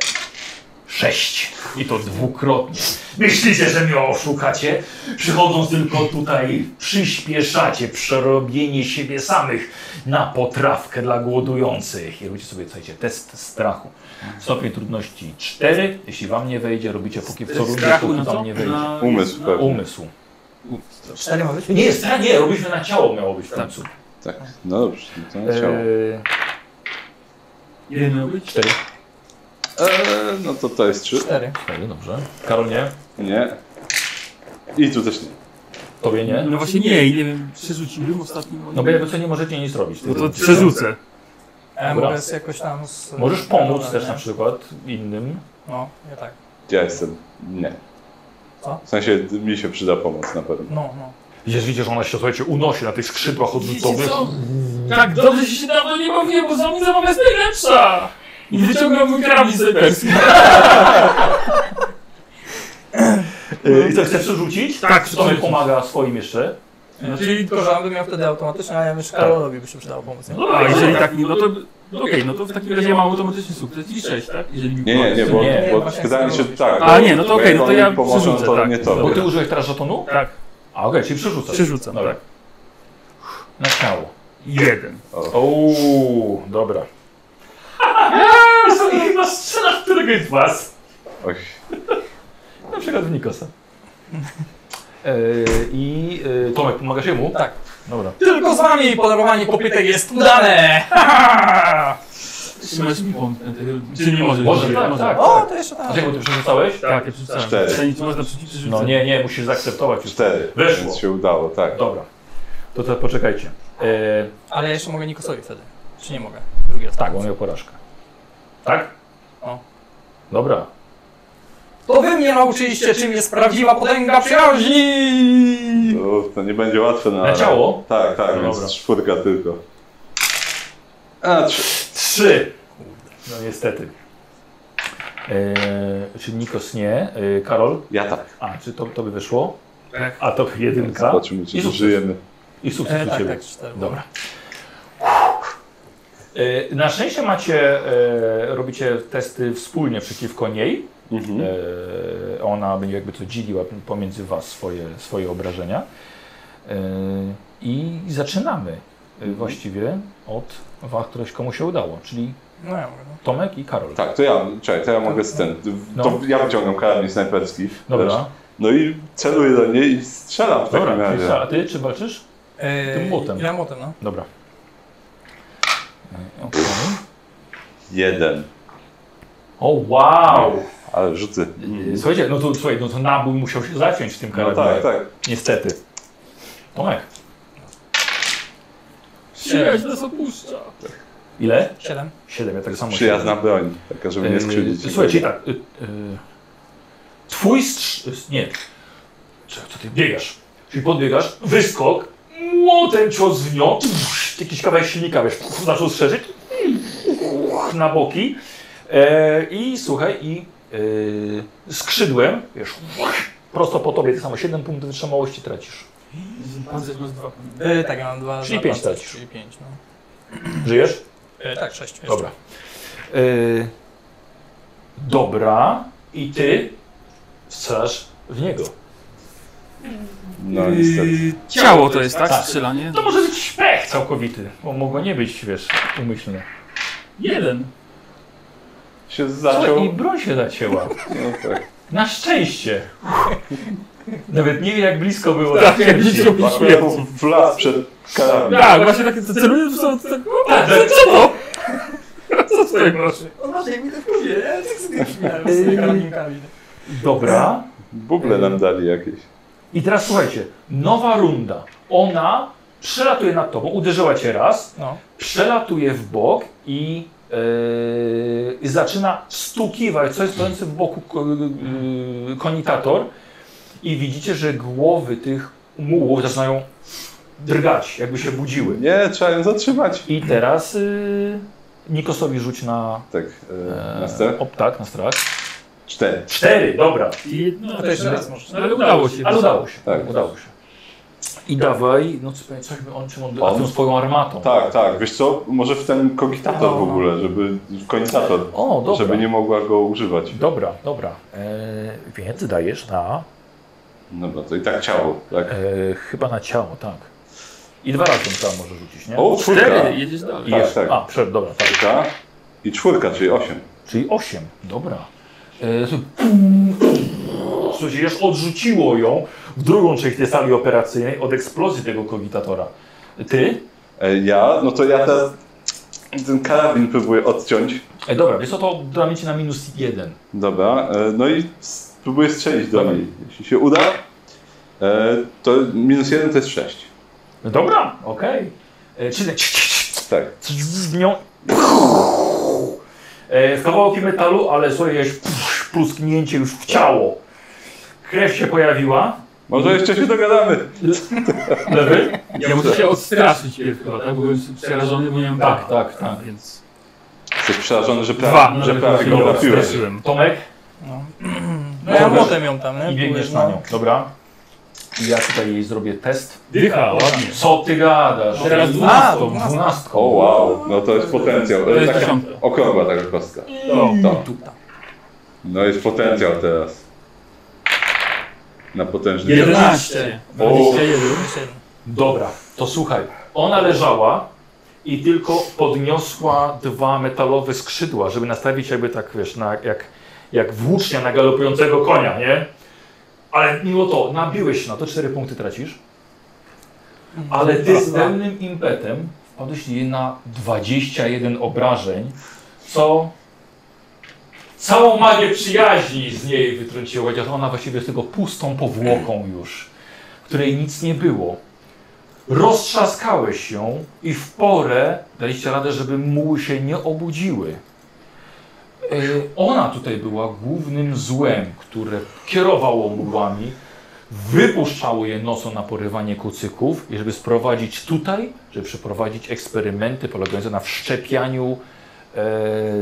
[SPEAKER 1] Sześć. I to dwukrotnie. Myślicie, że mnie oszukacie? Przychodząc tylko tutaj, przyspieszacie przerobienie siebie samych na potrawkę dla głodujących. I robicie sobie, słuchajcie, test strachu. Stopień trudności 4. Jeśli wam nie wejdzie, robicie póki co rundę,
[SPEAKER 2] Strachu
[SPEAKER 1] póki
[SPEAKER 2] na co? No.
[SPEAKER 1] wam nie wejdzie.
[SPEAKER 2] Na...
[SPEAKER 4] Umysł
[SPEAKER 2] na-
[SPEAKER 4] pewnie.
[SPEAKER 1] Umysł.
[SPEAKER 10] Cztery ma być?
[SPEAKER 1] Nie, stra- nie, robiliśmy na ciało miało być w końcu.
[SPEAKER 4] Tak. No dobrze, no to na ciało.
[SPEAKER 1] Eee,
[SPEAKER 2] Jeden miał być?
[SPEAKER 1] cztery.
[SPEAKER 4] Eee, no to to jest trzy.
[SPEAKER 10] Cztery.
[SPEAKER 1] Cztery, dobrze. Karol nie?
[SPEAKER 4] Nie. I tu też nie.
[SPEAKER 1] Tobie nie?
[SPEAKER 2] No właśnie nie, ile wiem, przerzuciłem ostatnim.
[SPEAKER 1] No bo jakby co nie możecie nic robić.
[SPEAKER 2] No to
[SPEAKER 1] Tylko-
[SPEAKER 2] przerzucę.
[SPEAKER 10] Ja
[SPEAKER 1] Dobra.
[SPEAKER 10] E, mogę z- jakoś tam z...
[SPEAKER 1] Możesz pomóc też
[SPEAKER 10] nie?
[SPEAKER 1] na przykład innym.
[SPEAKER 10] No, ja tak.
[SPEAKER 4] Ja jestem. Nie.
[SPEAKER 10] Co?
[SPEAKER 4] W sensie mi się przyda pomoc na pewno.
[SPEAKER 10] No, no.
[SPEAKER 1] Widzisz, widzisz, ona się słuchajcie, unosi na tych skrzydłach odrzutowych.
[SPEAKER 3] Tak, dobrze że się dawno nie bawiłem, bo samica mam jest najlepsza! I wyciągam mój karabin syberski.
[SPEAKER 1] Yy, I co, chcesz przerzucić?
[SPEAKER 3] Tak,
[SPEAKER 1] Czy to mi pomaga swoim jeszcze?
[SPEAKER 2] Znaczy,
[SPEAKER 10] Czyli tylko, że on by miał wtedy automatycznie, a ja
[SPEAKER 1] Tak.
[SPEAKER 10] myślę, Karolowi by się przydało pomóc. nie?
[SPEAKER 2] A jeżeli tak, no to. no Okej, no to w takim razie ja mam automatyczny sukces i 6, tak? Jeżeli mi
[SPEAKER 4] Nie, nie, nie, bo,
[SPEAKER 1] Nie,
[SPEAKER 4] bo
[SPEAKER 10] właśnie
[SPEAKER 4] wydaje mi się,
[SPEAKER 10] chcę
[SPEAKER 4] tak.
[SPEAKER 2] A, nie, no to
[SPEAKER 4] bo
[SPEAKER 2] okej,
[SPEAKER 4] jak
[SPEAKER 2] no to
[SPEAKER 4] oni
[SPEAKER 2] ja
[SPEAKER 4] pomogą,
[SPEAKER 2] przerzucę,
[SPEAKER 4] to
[SPEAKER 2] tak.
[SPEAKER 4] nie to.
[SPEAKER 1] Bo ty użyłeś teraz żetonu?
[SPEAKER 2] Tak.
[SPEAKER 1] A okej, czyli przerzucasz.
[SPEAKER 2] Przerzucam,
[SPEAKER 1] Dobra.
[SPEAKER 2] tak.
[SPEAKER 1] Na ciało.
[SPEAKER 2] Jeden.
[SPEAKER 1] Ouu, dobra. Eee, chyba strzelasz któregoś z was.
[SPEAKER 4] Oj,
[SPEAKER 1] Na przykład w Nikosa. E, I yy, Tomek, pomagasz jemu?
[SPEAKER 10] Tak.
[SPEAKER 1] Dobra.
[SPEAKER 10] Tylko z wami podarowanie kopytek jest udane!
[SPEAKER 2] Trzymasz mi pomp. Czy nie możesz?
[SPEAKER 1] Może,
[SPEAKER 2] Nie,
[SPEAKER 1] tak,
[SPEAKER 2] można.
[SPEAKER 1] tak.
[SPEAKER 10] O, to jeszcze
[SPEAKER 1] A
[SPEAKER 10] tak.
[SPEAKER 1] czego ty przerzucałeś?
[SPEAKER 2] Tak, ja przerzucałem.
[SPEAKER 4] Cztery.
[SPEAKER 2] Przerzucić można przerzucić, przerzucę.
[SPEAKER 1] No nie, nie, musisz zaakceptować już.
[SPEAKER 4] cztery.
[SPEAKER 1] Weszło.
[SPEAKER 4] Więc się udało, tak.
[SPEAKER 1] Dobra. To teraz poczekajcie. E,
[SPEAKER 10] Ale ja jeszcze mogę Nikosowi wtedy. Czy nie mogę? Drugi raz.
[SPEAKER 1] tak, bo miał porażkę. Tak?
[SPEAKER 10] O.
[SPEAKER 1] Dobra.
[SPEAKER 10] To wy mnie nauczyliście, czym jest prawdziwa potęga przyjaźni!
[SPEAKER 4] Uf, to nie będzie łatwe na.
[SPEAKER 1] Na ciało?
[SPEAKER 4] Tak, tak,
[SPEAKER 1] No
[SPEAKER 4] więc
[SPEAKER 1] dobra.
[SPEAKER 4] czwórka tylko. A, trzy.
[SPEAKER 1] Trzy! No niestety. E, czy Nikos nie? E, Karol?
[SPEAKER 4] Ja tak.
[SPEAKER 1] A, czy to, to by wyszło?
[SPEAKER 2] Tak.
[SPEAKER 1] A to jedynka.
[SPEAKER 4] Zobaczymy, czy
[SPEAKER 1] I sukces.
[SPEAKER 4] żyjemy.
[SPEAKER 1] I sukces
[SPEAKER 10] E,
[SPEAKER 1] u
[SPEAKER 10] tak,
[SPEAKER 1] ciebie.
[SPEAKER 10] tak, cztery.
[SPEAKER 1] Dobra. E, Na szczęście macie, e, robicie testy wspólnie przeciwko niej.
[SPEAKER 4] Mhm.
[SPEAKER 1] E, Ona będzie jakby to dzieliła pomiędzy was swoje, swoje obrażenia. E, I zaczynamy e,
[SPEAKER 4] Mhm.
[SPEAKER 1] właściwie od was, któreś komu się udało, czyli
[SPEAKER 10] No ja mogę. No.
[SPEAKER 1] Tomek i Karol.
[SPEAKER 4] Tak, to ja, czekaj, to ja mogę z tym.
[SPEAKER 1] No.
[SPEAKER 4] To ja wyciągam karabin snajperski.
[SPEAKER 1] Dobra,
[SPEAKER 4] No i celuję do niej i strzelam w takim
[SPEAKER 1] dobra.
[SPEAKER 4] razie.
[SPEAKER 1] Krzysztof, A ty czy walczysz?
[SPEAKER 10] E,
[SPEAKER 1] Tym młotem.
[SPEAKER 10] Ja młotem, no.
[SPEAKER 1] Dobra. E, okej.
[SPEAKER 4] Jeden.
[SPEAKER 1] O wow!
[SPEAKER 4] Ale rzuty.
[SPEAKER 1] E, Słuchajcie, no to, słuchaj, no to nabój musiał się zaciąć w tym
[SPEAKER 4] Mhm. No
[SPEAKER 1] karabinem.
[SPEAKER 4] tak, tak.
[SPEAKER 1] Niestety. Tak. Tomek,
[SPEAKER 2] Przyjaźń nas opuszcza.
[SPEAKER 1] ile?
[SPEAKER 10] Siedem.
[SPEAKER 1] Siedem, ja tak samo
[SPEAKER 4] Przyjazna broń, taka, żeby nie
[SPEAKER 1] Yy,
[SPEAKER 4] skrzywdzić.
[SPEAKER 1] Słuchajcie, tak. y, y, twój strz... y, Nie. Co, co ty biegasz? Czyli podbiegasz, wyskok, młotem cios w nią, pff, jakiś kawałek silnika, wiesz, pff, zaczął strzeżyć, pff, na boki e, i słuchaj, i e, skrzydłem, wiesz, pff, prosto po tobie, ty samo 7 punktów wytrzymałości tracisz.
[SPEAKER 2] Pancerz masz dwa.
[SPEAKER 10] E, tak, ja mam dwa.
[SPEAKER 1] Czyli
[SPEAKER 10] dwa
[SPEAKER 1] pięć
[SPEAKER 10] pancerz,
[SPEAKER 1] tracisz.
[SPEAKER 10] Czyli pięć, no.
[SPEAKER 1] Żyjesz?
[SPEAKER 10] E, tak, sześć. jeszcze.
[SPEAKER 1] Dobra. Y, dobra, i ty strzelasz w niego.
[SPEAKER 4] No niestety.
[SPEAKER 2] Yy, Ciało to jest,
[SPEAKER 1] Tak.
[SPEAKER 2] tak? Strzelanie?
[SPEAKER 1] To może być szpech całkowity, bo mogło nie być, wiesz, umyślne.
[SPEAKER 2] Jeden.
[SPEAKER 4] Się
[SPEAKER 1] Słuchaj,
[SPEAKER 4] zaczął.
[SPEAKER 1] i broń się zacięła.
[SPEAKER 4] No tak.
[SPEAKER 1] Na szczęście. Nawet nie wiem, jak blisko było.
[SPEAKER 2] Tak,
[SPEAKER 1] Na
[SPEAKER 2] jak
[SPEAKER 1] szczęście.
[SPEAKER 2] blisko było.
[SPEAKER 4] Akurat W las przed karabin.
[SPEAKER 2] Tak, właśnie takie to celuję, to są tak. o,
[SPEAKER 1] Ale
[SPEAKER 2] Co to? Co tutaj masz?
[SPEAKER 10] O, Boże, jak mi to wpływie, ja tak sobie śmiałem z tymi karabinkami.
[SPEAKER 1] Dobra.
[SPEAKER 4] Buble nam dali jakieś.
[SPEAKER 1] I teraz słuchajcie, nowa runda. Ona przelatuje nad tobą, uderzyła cię raz,
[SPEAKER 10] No.
[SPEAKER 1] przelatuje w bok i yy, i zaczyna stukiwać, co jest stojący w boku ko- yy, konitator i widzicie, że głowy tych mułów zaczynają drgać, jakby się budziły.
[SPEAKER 4] Nie, trzeba ją zatrzymać.
[SPEAKER 1] I teraz y, Nikosowi rzuć na...
[SPEAKER 4] Tak, e, na strach?
[SPEAKER 1] Op, tak, na strach.
[SPEAKER 4] Cztery.
[SPEAKER 1] Cztery, dobra. I, no,
[SPEAKER 10] To jeszcze raz może.
[SPEAKER 1] ale udało się. Ale udało się.
[SPEAKER 4] Tak.
[SPEAKER 1] udało się. I dawaj, no co, coś mi on czym on, a tą swoją armatą.
[SPEAKER 4] Tak, tak, wiesz co, może w ten kogitator w ogóle, żeby, konitator,
[SPEAKER 1] O, dobra.
[SPEAKER 4] żeby nie mogła go używać.
[SPEAKER 1] Dobra, dobra. E, więc dajesz na...
[SPEAKER 4] Dobra, to i tak ciało, tak.
[SPEAKER 1] E, chyba na ciało, tak. I dwa razy trzeba może rzucić, nie?
[SPEAKER 4] O, czwórka,
[SPEAKER 12] Cztery, jedziesz dalej.
[SPEAKER 1] I
[SPEAKER 4] tak,
[SPEAKER 1] jeszcze-
[SPEAKER 4] tak.
[SPEAKER 1] A, prze, dobra, tak.
[SPEAKER 4] czwórka i czwórka, czyli osiem.
[SPEAKER 1] Czyli 8, dobra. E, tu- pum. Słuchajcie, już odrzuciło ją w drugą część tej sali operacyjnej od eksplozji tego kogitatora. Ty?
[SPEAKER 4] E, Ja, no to ja teraz ten karabin próbuję odciąć,
[SPEAKER 1] E, dobra, wiesz co, to dla cię na minus 1.
[SPEAKER 4] dobra, e, no i spróbuję strzelić do niej. Jeśli się uda, e, to minus jeden to jest sześć.
[SPEAKER 1] Dobra, okej. E, Okay. Czyli
[SPEAKER 4] Tak,
[SPEAKER 1] z nią. E, kawałki metalu, ale słuchaj, jakieś plusknięcie już w ciało. Krew się pojawiła.
[SPEAKER 4] może jeszcze się dogadamy.
[SPEAKER 1] Lewy?
[SPEAKER 2] Ja muszę się odstraszyć tylko, tak? Bo byłem przerażony, bo nie miałem
[SPEAKER 1] Tak, tak, tak.
[SPEAKER 2] Więc
[SPEAKER 4] Jesteś przerażony, że
[SPEAKER 12] Dwa.
[SPEAKER 4] prawie, że prawie go
[SPEAKER 1] Dobra,
[SPEAKER 4] trafiłeś.
[SPEAKER 12] Straszyłem.
[SPEAKER 1] Tomek
[SPEAKER 10] No, no ja młotem ją tam, nie? no.
[SPEAKER 1] i biegniesz na
[SPEAKER 3] no.
[SPEAKER 1] nią. Dobra. I ja tutaj jej zrobię test.
[SPEAKER 12] Dycha, ładnie.
[SPEAKER 1] Co ty gadasz?
[SPEAKER 12] Teraz
[SPEAKER 1] A,
[SPEAKER 12] dwunastą.
[SPEAKER 1] dwunastką.
[SPEAKER 4] O wow, no to jest potencjał.
[SPEAKER 12] To jest
[SPEAKER 4] Taka
[SPEAKER 12] dziesiąta.
[SPEAKER 4] okrągła taka kostka. To. No jest potencjał teraz. Na potężny.
[SPEAKER 12] Jedenaście.
[SPEAKER 4] O,
[SPEAKER 1] Dobra, to słuchaj. Ona leżała i tylko podniosła dwa metalowe skrzydła, żeby nastawić jakby tak, wiesz, na, jak, jak włócznia na galopującego konia, nie? Ale mimo to nabiłeś się na to, cztery punkty tracisz. Ale ty z pełnym impetem wpadłeś jej na 21 obrażeń, co całą magię przyjaźni z niej wytrąciło, chociaż ona właściwie jest tylko pustą powłoką już, której nic nie było. Roztrzaskałeś ją i w porę daliście radę, żeby muły się nie obudziły. Yy, Ona tutaj była głównym złem, które kierowało mułami, wypuszczało je nocą na porywanie kucyków i żeby sprowadzić tutaj, żeby przeprowadzić eksperymenty polegające na wszczepianiu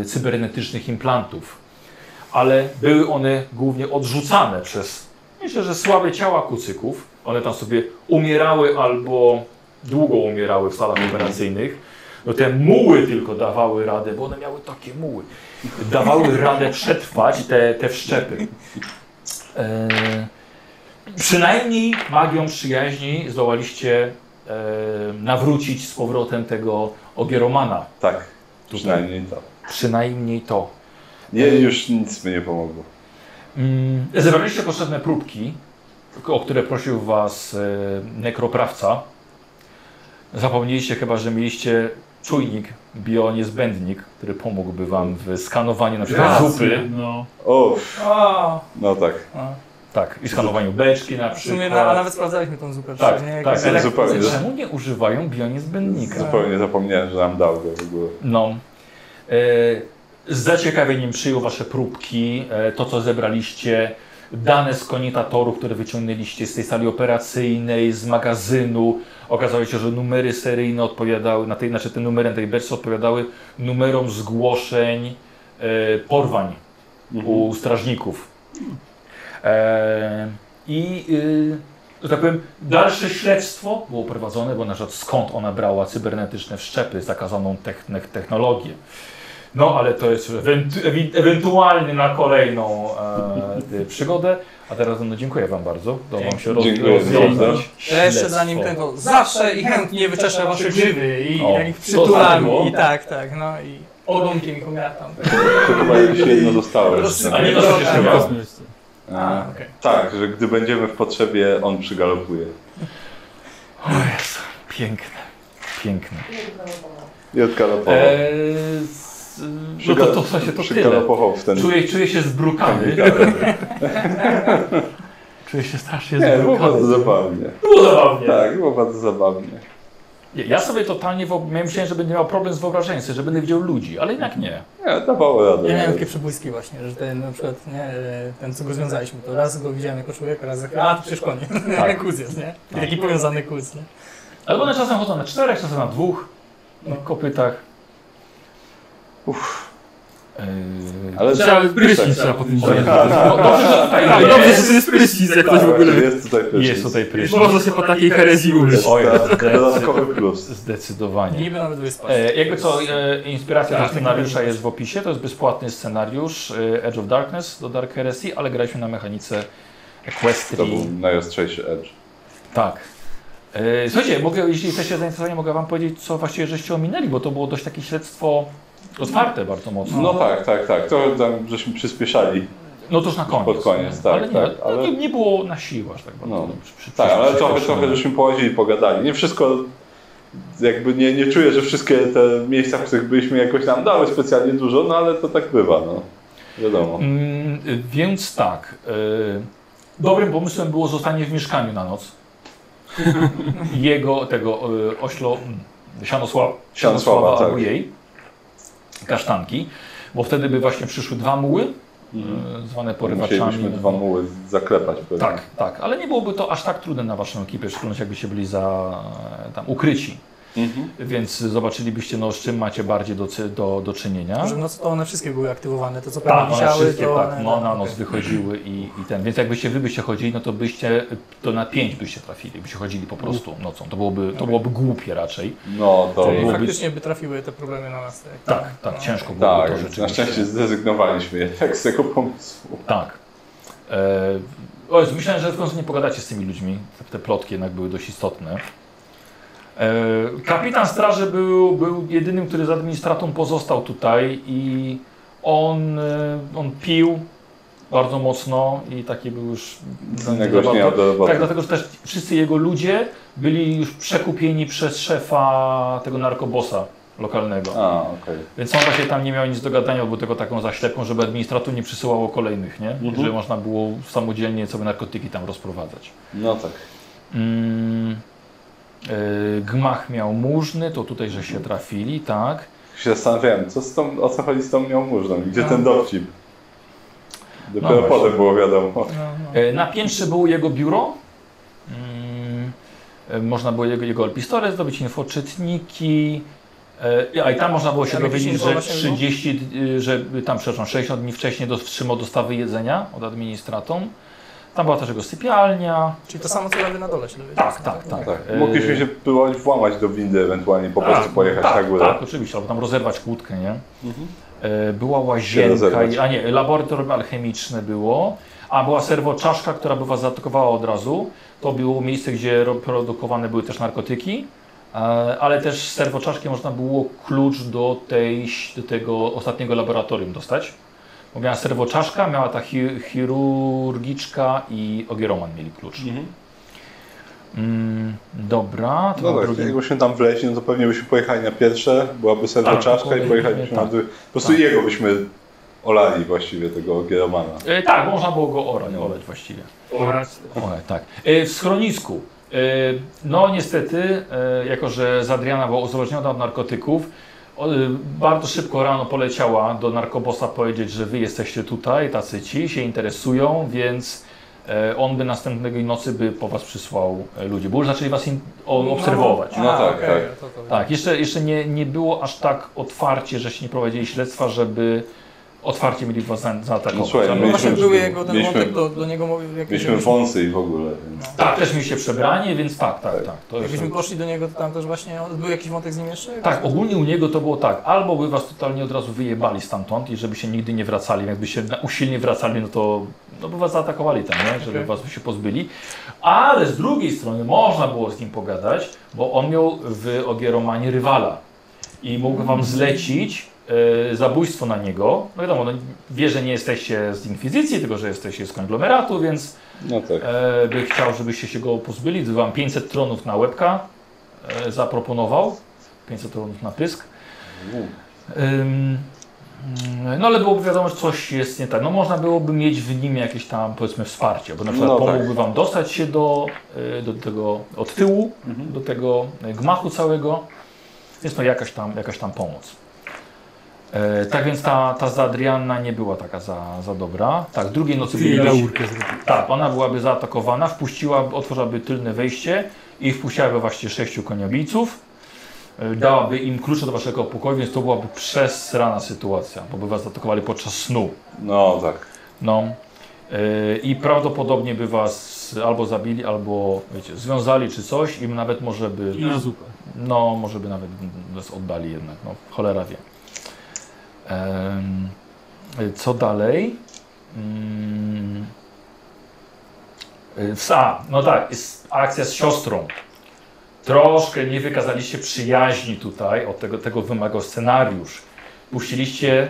[SPEAKER 1] e, cybernetycznych implantów. Ale były one głównie odrzucane przez, myślę, że słabe ciała kucyków. One tam sobie umierały albo długo umierały w salach operacyjnych. No te muły tylko dawały radę, bo one miały takie muły. Dawały radę przetrwać te, te wszczepy. E, przynajmniej magią przyjaźni zdołaliście e, nawrócić z powrotem tego Ogieromana.
[SPEAKER 4] tak, przynajmniej to.
[SPEAKER 1] Przynajmniej to.
[SPEAKER 4] Nie, już nic mi nie pomogło.
[SPEAKER 1] Mm, zebraliście potrzebne próbki, o które prosił was e, nekroprawca. Zapomnieliście chyba, że mieliście czujnik bioniezbędnik, który pomógłby wam w skanowaniu na przykład zupy.
[SPEAKER 12] No.
[SPEAKER 4] O,
[SPEAKER 10] A,
[SPEAKER 4] no tak.
[SPEAKER 1] Tak, i skanowaniu beczki na
[SPEAKER 10] w sumie na, a
[SPEAKER 1] przykład.
[SPEAKER 10] nawet sprawdzaliśmy tą zupę.
[SPEAKER 1] Tak,
[SPEAKER 10] przecież,
[SPEAKER 1] tak,
[SPEAKER 10] Jak- jak-
[SPEAKER 4] zupełnie.
[SPEAKER 1] Czemu nie używają bioniezbędnika?
[SPEAKER 4] Zupełnie zapomniałem, że nam dał go w ogóle.
[SPEAKER 1] No. E, z zaciekawieniem przyjął wasze próbki, e, to co zebraliście, dane z konitatorów, które wyciągnęliście z tej sali operacyjnej, z magazynu. Okazało się, że numery seryjne odpowiadały, na tej, znaczy te numery na tej beczce odpowiadały numerom zgłoszeń e, porwań u strażników. E, I, y, że tak powiem, dalsze śledztwo było prowadzone, bo na przykład skąd ona brała cybernetyczne wszczepy, zakazaną techn- technologię. No, ale to jest ewentu- ewi- ewentualnie na kolejną e, y, przygodę. A teraz no, dziękuję Wam bardzo. Udało Wam się roz-
[SPEAKER 4] Dziękuję.
[SPEAKER 1] rozwiązać.
[SPEAKER 10] Ja jeszcze za nim
[SPEAKER 1] śledztwo.
[SPEAKER 10] tego zawsze i chętnie wyczeszę wasze
[SPEAKER 2] Znaczy,
[SPEAKER 10] grzywy i
[SPEAKER 1] O,
[SPEAKER 10] ja ich
[SPEAKER 1] co
[SPEAKER 10] przytulam
[SPEAKER 1] zabiło?
[SPEAKER 10] i tak, tak, no i ogonkiem ich omiatam.
[SPEAKER 4] To chyba jakieś jedno zostało jeszcze.
[SPEAKER 1] A nie to się
[SPEAKER 10] Dobra.
[SPEAKER 1] chyba.
[SPEAKER 10] A,
[SPEAKER 4] A,
[SPEAKER 10] okej.
[SPEAKER 4] Tak, że gdy będziemy w potrzebie, on przygalopuje.
[SPEAKER 1] O Jezu, piękne, piękne.
[SPEAKER 4] I odgalopował.
[SPEAKER 1] Eee, z- no to, to, w sensie to tyle.
[SPEAKER 4] Przygalopował w ten...
[SPEAKER 1] Czuję, czuję się zbrukany. Czuję się strasznie
[SPEAKER 4] Nie, było bardzo
[SPEAKER 1] zbrukany.
[SPEAKER 4] zabawnie.
[SPEAKER 1] Było zabawnie.
[SPEAKER 4] Tak, było bardzo zabawnie.
[SPEAKER 1] Nie, Ja sobie totalnie wyob- miałem myślenie, że będę miał problem z wyobrażeniem sobie, że będę widział ludzi, ale jednak nie.
[SPEAKER 4] Nie, dawało radę.
[SPEAKER 10] Ja miałem takie przebłyski właśnie, że ten na przykład, nie, e, ten co go związaliśmy, to raz go widziałem jako człowieka, raz jako, a to przecież koniec,
[SPEAKER 1] Tak.
[SPEAKER 10] kuz jest, nie? Taki powiązany kuz, nie?
[SPEAKER 1] Ale one czasem chodzą na czterech, czasem na dwóch no, kopytach. E,
[SPEAKER 4] Ale
[SPEAKER 2] Trzeba prysznic trzeba potem wziąć. Tak, Dobrze, tak. że to jest prysznic, jak ktoś w
[SPEAKER 4] tak,
[SPEAKER 2] ogóle...
[SPEAKER 4] jest tutaj prysznic.
[SPEAKER 1] Jest tutaj prysznic.
[SPEAKER 2] Można się po takiej herezji użyć.
[SPEAKER 1] Oj,
[SPEAKER 4] Dodatkowy plus.
[SPEAKER 1] zdecydowanie.
[SPEAKER 10] Niby nawet wyspać.
[SPEAKER 1] E, jakby co, e, inspiracja
[SPEAKER 4] Tak.
[SPEAKER 1] do scenariusza jest w opisie, to jest bezpłatny scenariusz e, Edge of Darkness do Dark Heresy, ale graliśmy na mechanice
[SPEAKER 4] To
[SPEAKER 1] Equestrii.
[SPEAKER 4] był najostrzejszy edge.
[SPEAKER 1] Tak. E, Słuchajcie, mogę, jeśli jesteście zainteresowani, mogę wam powiedzieć, co właściwie żeście ominęli, bo to było dość takie śledztwo otwarte bardzo mocno.
[SPEAKER 4] No tak, tak, tak. To tam żeśmy przyspieszali.
[SPEAKER 1] No to już na koniec.
[SPEAKER 4] Pod koniec, tak,
[SPEAKER 1] ale nie,
[SPEAKER 4] tak, ale-
[SPEAKER 1] no nie, nie było na siłę aż tak bardzo.
[SPEAKER 4] No.
[SPEAKER 1] dobrze, przy-
[SPEAKER 4] Tak,
[SPEAKER 1] przy-
[SPEAKER 4] ale
[SPEAKER 1] przy-
[SPEAKER 4] trochę,
[SPEAKER 1] przy-
[SPEAKER 4] trochę żeśmy połazili i pogadali. Nie wszystko, jakby nie, nie czuję, że wszystkie te miejsca, w których byliśmy jakoś nam dały specjalnie dużo, no ale to tak bywa, no. Wiadomo.
[SPEAKER 1] Mm, y, więc tak. y, dobrym pomysłem było zostanie w mieszkaniu na noc. Jego, tego y, oślo. mm, Sianosław,
[SPEAKER 4] Sianosława, tak.
[SPEAKER 1] albo jej. Kasztanki. Bo wtedy by właśnie przyszły dwa muły, y, zwane porywaczami.
[SPEAKER 4] Mhm. Musielibyśmy dwa muły zaklepać pewnie.
[SPEAKER 1] Tak, tak, ale nie byłoby to aż tak trudne na waszą ekipę, w szczególności jakbyście byli za e, tam ukryci.
[SPEAKER 4] Mhm.
[SPEAKER 1] Więc zobaczylibyście, no, z czym macie bardziej do, cy- do, do czynienia.
[SPEAKER 10] Może w nocy No? to one wszystkie były aktywowane, to co
[SPEAKER 1] Tak,
[SPEAKER 10] prawda
[SPEAKER 1] one
[SPEAKER 10] wisiały,
[SPEAKER 1] wszystkie
[SPEAKER 10] to
[SPEAKER 1] tak,
[SPEAKER 10] one...
[SPEAKER 1] no, na noc wychodziły i, i ten. Więc jakbyście wy byście chodzili, no to byście to na pięć byście trafili, byście chodzili po prostu nocą. To byłoby, to byłoby głupie raczej.
[SPEAKER 4] No to...
[SPEAKER 1] Czyli-
[SPEAKER 10] I
[SPEAKER 1] Byłoby-
[SPEAKER 10] faktycznie by trafiły te problemy na nas. no. jak-
[SPEAKER 1] Tak, tak, ciężko byłoby to
[SPEAKER 4] Tak,
[SPEAKER 1] rzeczywiście.
[SPEAKER 4] na szczęście zrezygnowaliśmy jednak z tego pomysłu.
[SPEAKER 1] Tak. E, o Jezu, myślałem, że w końcu nie pogadacie z tymi ludźmi. Te, te plotki jednak były dość istotne. E, kapitan straży był, był jedynym, który z administratą pozostał tutaj i on, e, on pił bardzo mocno i takie był już...
[SPEAKER 4] Innego dnia do roboty.
[SPEAKER 1] Tak, dlatego że też wszyscy jego ludzie byli już przekupieni przez szefa tego narkobosa lokalnego.
[SPEAKER 4] A, okej.
[SPEAKER 1] Więc on właśnie tam nie miał nic do gadania, bo tego taką zaślepką, żeby administratu nie przysyłało kolejnych, nie? Żeby można było samodzielnie sobie narkotyki tam rozprowadzać.
[SPEAKER 4] No tak.
[SPEAKER 1] Mm, y, gmach miał mużny, to tutaj, że się trafili, tak?
[SPEAKER 4] Się zastanawiałem, co z tą, o co chodzi z tą miałmużną i gdzie
[SPEAKER 10] No.
[SPEAKER 4] ten dowcip? Dopiero
[SPEAKER 1] No właśnie.
[SPEAKER 4] potem było wiadomo.
[SPEAKER 10] No, no.
[SPEAKER 1] Y, na piętrze było jego biuro. Mm, y, można było jego, jego pistolet zdobyć, infoczytniki. Y, A i tam można było się
[SPEAKER 10] Tam jakieś
[SPEAKER 1] dowiedzieć, że
[SPEAKER 10] informacje było?
[SPEAKER 1] 30, y, że y, tam przepraszam, 60 dni wcześniej dos- wstrzymał dostawy jedzenia od administratom. Tam była też jego sypialnia,
[SPEAKER 10] Czyli to samo, co lewy na dole się dowiedzieć.
[SPEAKER 1] Tak, tak, tak.
[SPEAKER 4] Tak.
[SPEAKER 1] E,
[SPEAKER 4] Mogliśmy się próbować włamać do windy, ewentualnie po prostu pojechać
[SPEAKER 1] tak,
[SPEAKER 4] na górę.
[SPEAKER 1] Tak, oczywiście, albo tam rozerwać kłódkę, nie? E, Była
[SPEAKER 4] Się
[SPEAKER 1] łazienka,
[SPEAKER 4] rozerwać.
[SPEAKER 1] i- a nie, laboratorium alchemiczne było, a była serwoczaszka, która by was zaatakowała od razu. To było miejsce, gdzie ro- produkowane były też narkotyki, e, ale też z serwoczaszki można było klucz do, tej, do tego ostatniego laboratorium dostać. Bo miała serwoczaszka, miała ta chi- chirurgiczka i ogieroman mieli klucz. Mm, dobra, to
[SPEAKER 4] No
[SPEAKER 1] było
[SPEAKER 4] tak,
[SPEAKER 1] drugie
[SPEAKER 4] jakbyśmy tam wleźli, no to pewnie byśmy pojechali na pierwsze, byłaby serwa
[SPEAKER 1] Tak,
[SPEAKER 4] czaszka i
[SPEAKER 1] dokładnie,
[SPEAKER 4] pojechalibyśmy
[SPEAKER 1] tak.
[SPEAKER 4] na drugie. Po prostu jego byśmy olali właściwie, tego Gieromana.
[SPEAKER 1] E, tak, można było go orać,
[SPEAKER 4] No.
[SPEAKER 1] orać właściwie.
[SPEAKER 2] Oraz
[SPEAKER 1] Orać, tak. E, w schronisku. E, no niestety, e, jako że Zadriana była uzależniona od narkotyków, o, e, bardzo szybko rano poleciała do narkobosa powiedzieć, że wy jesteście tutaj, tacy ci się interesują, więc e, on by następnego nocy by po was przysłał e, ludzi, bo już zaczęli was in, o, obserwować.
[SPEAKER 4] No tak,
[SPEAKER 10] okej,
[SPEAKER 4] tak.
[SPEAKER 10] to- to-
[SPEAKER 1] Tak, jeszcze, jeszcze nie, nie było aż tak otwarcie, że się nie prowadzili śledztwa, żeby otwarcie mieli was za-
[SPEAKER 4] No
[SPEAKER 1] zaatakować.
[SPEAKER 4] słuchaj,
[SPEAKER 1] Ale-
[SPEAKER 10] No właśnie
[SPEAKER 4] Mieliśmy-
[SPEAKER 10] były jego ten
[SPEAKER 4] mieliśmy-
[SPEAKER 10] wątek, do, do niego mówił, jak
[SPEAKER 4] Mieliśmy wąsy i w ogóle. Więc...
[SPEAKER 1] Tak, też mieliście przebranie, więc tak, tak, tak. To jest...
[SPEAKER 10] Jakbyśmy poszli do niego, to tam też właśnie on- był jakiś wątek z nim jeszcze?
[SPEAKER 1] Tak, ogólnie u niego to było tak, albo by was totalnie od razu wyjebali stamtąd i żeby się nigdy nie wracali, jakby się na- usilnie wracali, no to no by was zaatakowali tam, nie? żeby
[SPEAKER 10] Okej.
[SPEAKER 1] was by się pozbyli. Ale z drugiej strony można było z nim pogadać, bo on miał w Ogieromanie rywala i mógł
[SPEAKER 10] Mhm.
[SPEAKER 1] wam zlecić e, zabójstwo na niego. No wiadomo, no, wie, że nie jesteście z Inkwizycji, tylko że jesteście z konglomeratu, więc
[SPEAKER 4] No tak.
[SPEAKER 1] E, by chciał, żebyście się go pozbyli. Wam 500 tronów na łebka e, zaproponował. 500 tronów na pysk. Ym, mm, no ale byłoby wiadomo, że coś jest nie tak. No można byłoby mieć w nim jakieś tam powiedzmy wsparcie, bo na przykład
[SPEAKER 4] No tak.
[SPEAKER 1] pomógłby wam dostać się do, e, do tego od tyłu,
[SPEAKER 4] Mhm.
[SPEAKER 1] do tego e, gmachu całego. Więc no jakaś tam, jakaś tam pomoc. E, tak więc ta, ta za Adrianna nie była taka za, za dobra. Tak, drugiej nocy
[SPEAKER 2] ty
[SPEAKER 1] byli
[SPEAKER 2] laurkę zrobił.
[SPEAKER 1] tak, ona byłaby zaatakowana, wpuściła, otworzyłaby tylne wejście i wpuściłaby właśnie sześciu koniobijców. e, dałaby im klucze do waszego pokoju, więc to byłaby przesrana sytuacja, bo by was atakowali podczas snu.
[SPEAKER 4] No tak.
[SPEAKER 1] No. E, I prawdopodobnie by was albo zabili, albo wiecie, związali czy coś, im nawet może by.
[SPEAKER 2] I na zupę.
[SPEAKER 1] No, może by nawet nas oddali jednak, no cholera wie. Em, co dalej? Mm. Y, s- A, no tak, jest akcja z siostrą. Troszkę nie wykazaliście przyjaźni tutaj, od tego, tego wymagał scenariusz. Puściliście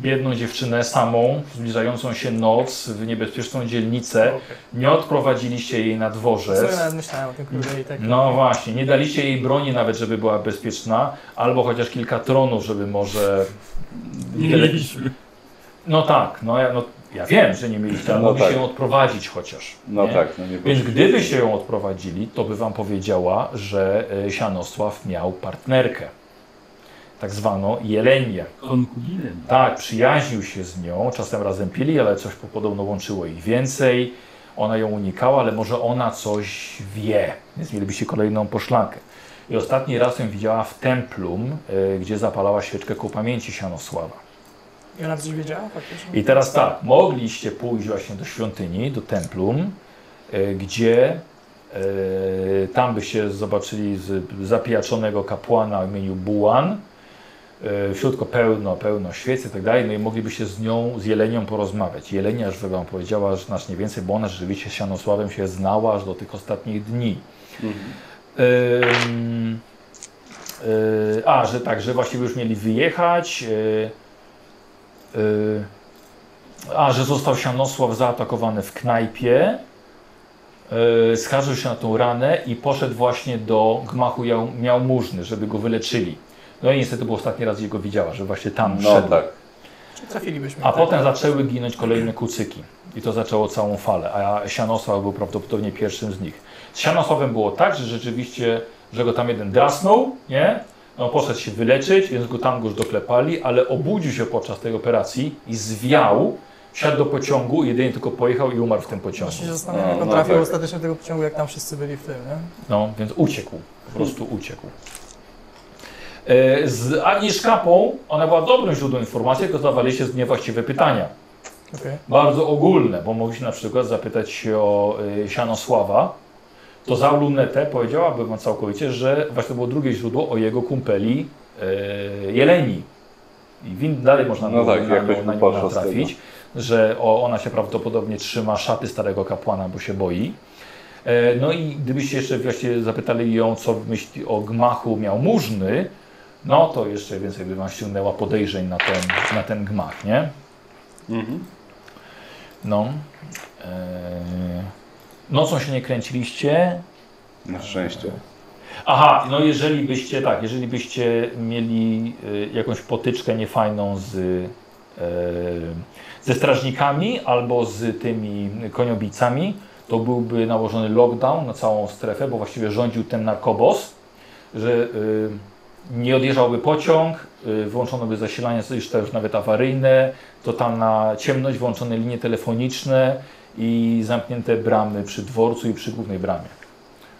[SPEAKER 1] biedną dziewczynę samą, w zbliżającą się noc w niebezpieczną dzielnicę. Nie odprowadziliście jej na
[SPEAKER 10] W sumie
[SPEAKER 1] dworzec.
[SPEAKER 10] nawet myślałem o tym króle i tak.
[SPEAKER 1] No właśnie, nie daliście jej broni nawet, żeby była bezpieczna, albo chociaż kilka tronów, żeby może...
[SPEAKER 2] Nie mieliśmy.
[SPEAKER 1] No tak, no ja, no, ja wiem, że nie mieliście, ale
[SPEAKER 4] No
[SPEAKER 1] mogliście
[SPEAKER 4] tak.
[SPEAKER 1] ją odprowadzić chociaż.
[SPEAKER 4] No
[SPEAKER 1] nie?
[SPEAKER 4] tak, no nie
[SPEAKER 1] Więc
[SPEAKER 4] poszli.
[SPEAKER 1] gdybyście ją odprowadzili, to by wam powiedziała, że y, Sianosław miał partnerkę. Tak zwaną jelenię.
[SPEAKER 2] Konkubinem.
[SPEAKER 1] Tak, przyjaźnił się z nią, czasem razem pili, ale coś podobno łączyło ich więcej. Ona ją unikała, ale może ona coś wie, więc mielibyście kolejną poszlakę. I ostatni raz ją widziała w templum, y, gdzie zapalała świeczkę ku pamięci Sianosława.
[SPEAKER 10] I ona coś wiedziała faktycznie.
[SPEAKER 1] I teraz tak, mogliście pójść właśnie do świątyni, do templum, e, gdzie e, tam byście zobaczyli z, zapijaczonego kapłana o imieniu Bułan. E, Wśród go pełno, pełno świec i tak dalej, no i moglibyście z nią, z Jelenią porozmawiać. Jelenia już wam powiedziała znacznie więcej, bo ona rzeczywiście z Sianosławem się znała aż do tych ostatnich dni. Ym, y, a, że tak, że właściwie już mieli wyjechać. y, Y, A, że został Sianosław zaatakowany w knajpie. y, Skarżył się na tą ranę i poszedł właśnie do gmachu jał- Miałmużny, żeby go wyleczyli. No i niestety był ostatni raz, gdzie go widziała, że właśnie tam
[SPEAKER 4] No
[SPEAKER 1] szedł.
[SPEAKER 4] tak.
[SPEAKER 10] Czy trafilibyśmy?
[SPEAKER 1] A
[SPEAKER 10] tak?
[SPEAKER 1] potem zaczęły ginąć kolejne kucyki. I to zaczęło całą falę. A Sianosław był prawdopodobnie pierwszym z nich. Z Sianosławem było tak, że rzeczywiście, że go tam jeden drasnął, nie? On poszedł się wyleczyć, więc go tam już doklepali, ale obudził się podczas tej operacji i zwiał, wsiadł do pociągu, jedynie tylko pojechał i umarł w tym pociągu.
[SPEAKER 10] Właśnie się zastanawiam, jak
[SPEAKER 4] No,
[SPEAKER 10] on
[SPEAKER 4] no
[SPEAKER 10] trafił
[SPEAKER 4] tak.
[SPEAKER 10] ostatecznie do tego pociągu, jak tam wszyscy byli w tym, nie?
[SPEAKER 1] No, więc uciekł. Po prostu uciekł. E, Z Agnieszkapą, ona była dobrym źródłem informacji, tylko zadawaliście z niewłaściwe pytania.
[SPEAKER 10] Okej.
[SPEAKER 1] bardzo ogólne, bo mogliście na przykład zapytać się o y, Sianosława, to za lunetę powiedziałabym wam całkowicie, że właśnie to było drugie źródło o jego kumpeli y, Jeleni. I win, dalej można
[SPEAKER 4] No
[SPEAKER 1] było
[SPEAKER 4] tak,
[SPEAKER 1] na,
[SPEAKER 4] jakoś
[SPEAKER 1] na,
[SPEAKER 4] bym
[SPEAKER 1] na nią
[SPEAKER 4] poszedł z
[SPEAKER 1] natrafić, że o, ona się prawdopodobnie trzyma szaty starego kapłana, bo się boi. E, No i gdybyście jeszcze właśnie zapytali ją, co myśli o gmachu miał mużny, no to jeszcze więcej by wam ściągnęła podejrzeń na ten, na ten gmach, nie?
[SPEAKER 4] Mhm.
[SPEAKER 1] No. Eee, nocą się nie kręciliście.
[SPEAKER 4] Na szczęście.
[SPEAKER 1] Aha, no jeżeli byście, tak, jeżeli byście mieli y, jakąś potyczkę niefajną z, y, ze strażnikami albo z tymi koniobicami, to byłby nałożony lockdown na całą strefę, bo właściwie rządził ten narkobos, że y, nie odjeżdżałby pociąg, y, wyłączono by zasilanie, co już te już nawet awaryjne, totalna ciemność, wyłączone linie telefoniczne i zamknięte bramy przy dworcu i przy głównej bramie,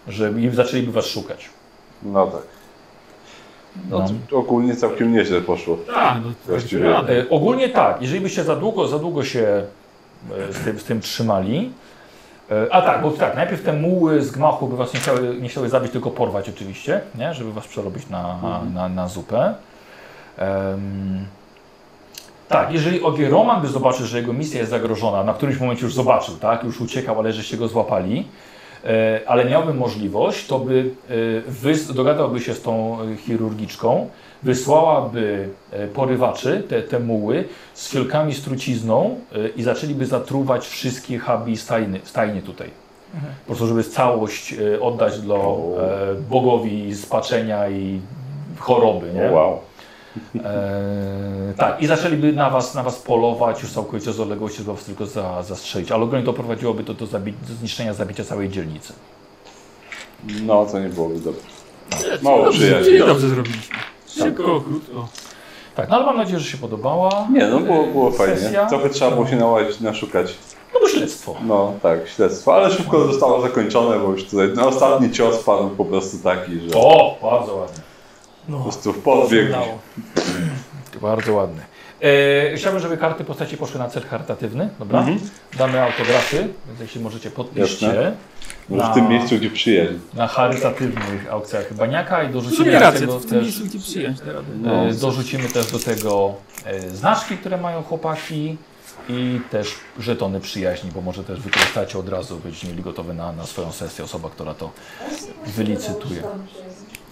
[SPEAKER 1] że i zaczęliby was szukać.
[SPEAKER 4] No tak. No,
[SPEAKER 1] No.
[SPEAKER 4] to Ogólnie całkiem nieźle poszło.
[SPEAKER 2] Tak, no to
[SPEAKER 4] Właściwie.
[SPEAKER 2] radę.
[SPEAKER 1] E, ogólnie tak, jeżeli byście za długo, za długo się e, z tym, z tym trzymali. E, a tak, bo tak, najpierw te muły z gmachu by was nie chciały, nie chciały zabić, tylko porwać oczywiście, nie? żeby was przerobić na, na, na zupę. Em, tak, jeżeli Ogieroman by zobaczył, że jego misja jest zagrożona, na którymś momencie już zobaczył, tak, już uciekał, ale żeście go złapali, e, ale miałby możliwość, to by e, wys- dogadałby się z tą e, chirurgiczką, wysłałaby e, porywaczy, te, te muły, z fiolkami z trucizną e, i zaczęliby zatruwać wszystkie hubi i stajny, stajnie tutaj. Po prostu, żeby całość e, oddać dla e, bogowi spaczenia i choroby, nie?
[SPEAKER 4] Wow.
[SPEAKER 1] Eee, tak, i zaczęliby na was, na was polować, już całkowicie z odległości, żeby was tylko za, zastrzelić. Ale ogólnie doprowadziłoby to do, zabi- do zniszczenia, zabicia całej dzielnicy.
[SPEAKER 4] No to nie byłoby dobre. Mało
[SPEAKER 2] Czyli
[SPEAKER 4] przyjaźni.
[SPEAKER 2] dobrze zrobiliśmy. Szybko, krótko.
[SPEAKER 1] Tak, no ale mam nadzieję, że się podobała.
[SPEAKER 4] Nie, no było, było
[SPEAKER 1] Sesja.
[SPEAKER 4] fajnie. Trochę trzeba było się nałazić, naszukać.
[SPEAKER 1] No bo śledztwo.
[SPEAKER 4] No tak, śledztwo, ale szybko zostało zakończone, bo już tutaj no, ostatni cios padł po prostu taki, że
[SPEAKER 1] O, bardzo ładnie.
[SPEAKER 4] Po prostu podbiegł.
[SPEAKER 3] udało.
[SPEAKER 1] Bardzo ładny. E, chciałbym, żeby karty postaci poszły na cel charytatywny, dobra?
[SPEAKER 2] Mhm.
[SPEAKER 1] Damy autografy, więc jeśli możecie podpiszcie
[SPEAKER 4] Jasne. Może w tym miejscu, gdzie przyjedzie.
[SPEAKER 1] na charytatywnych aukcjach Baniaka i
[SPEAKER 2] W sumie
[SPEAKER 1] dorzucimy do
[SPEAKER 2] rację, to
[SPEAKER 1] tego
[SPEAKER 2] w tym
[SPEAKER 1] też,
[SPEAKER 2] miejscu No. gdzie przyjąć te rady.
[SPEAKER 1] e, dorzucimy też do tego e, znaczki, które mają chłopaki i też żetony przyjaźni, bo może też wykorzystacie od razu, będziecie mieli gotowe na, na swoją sesję osoba, która to wylicytuje.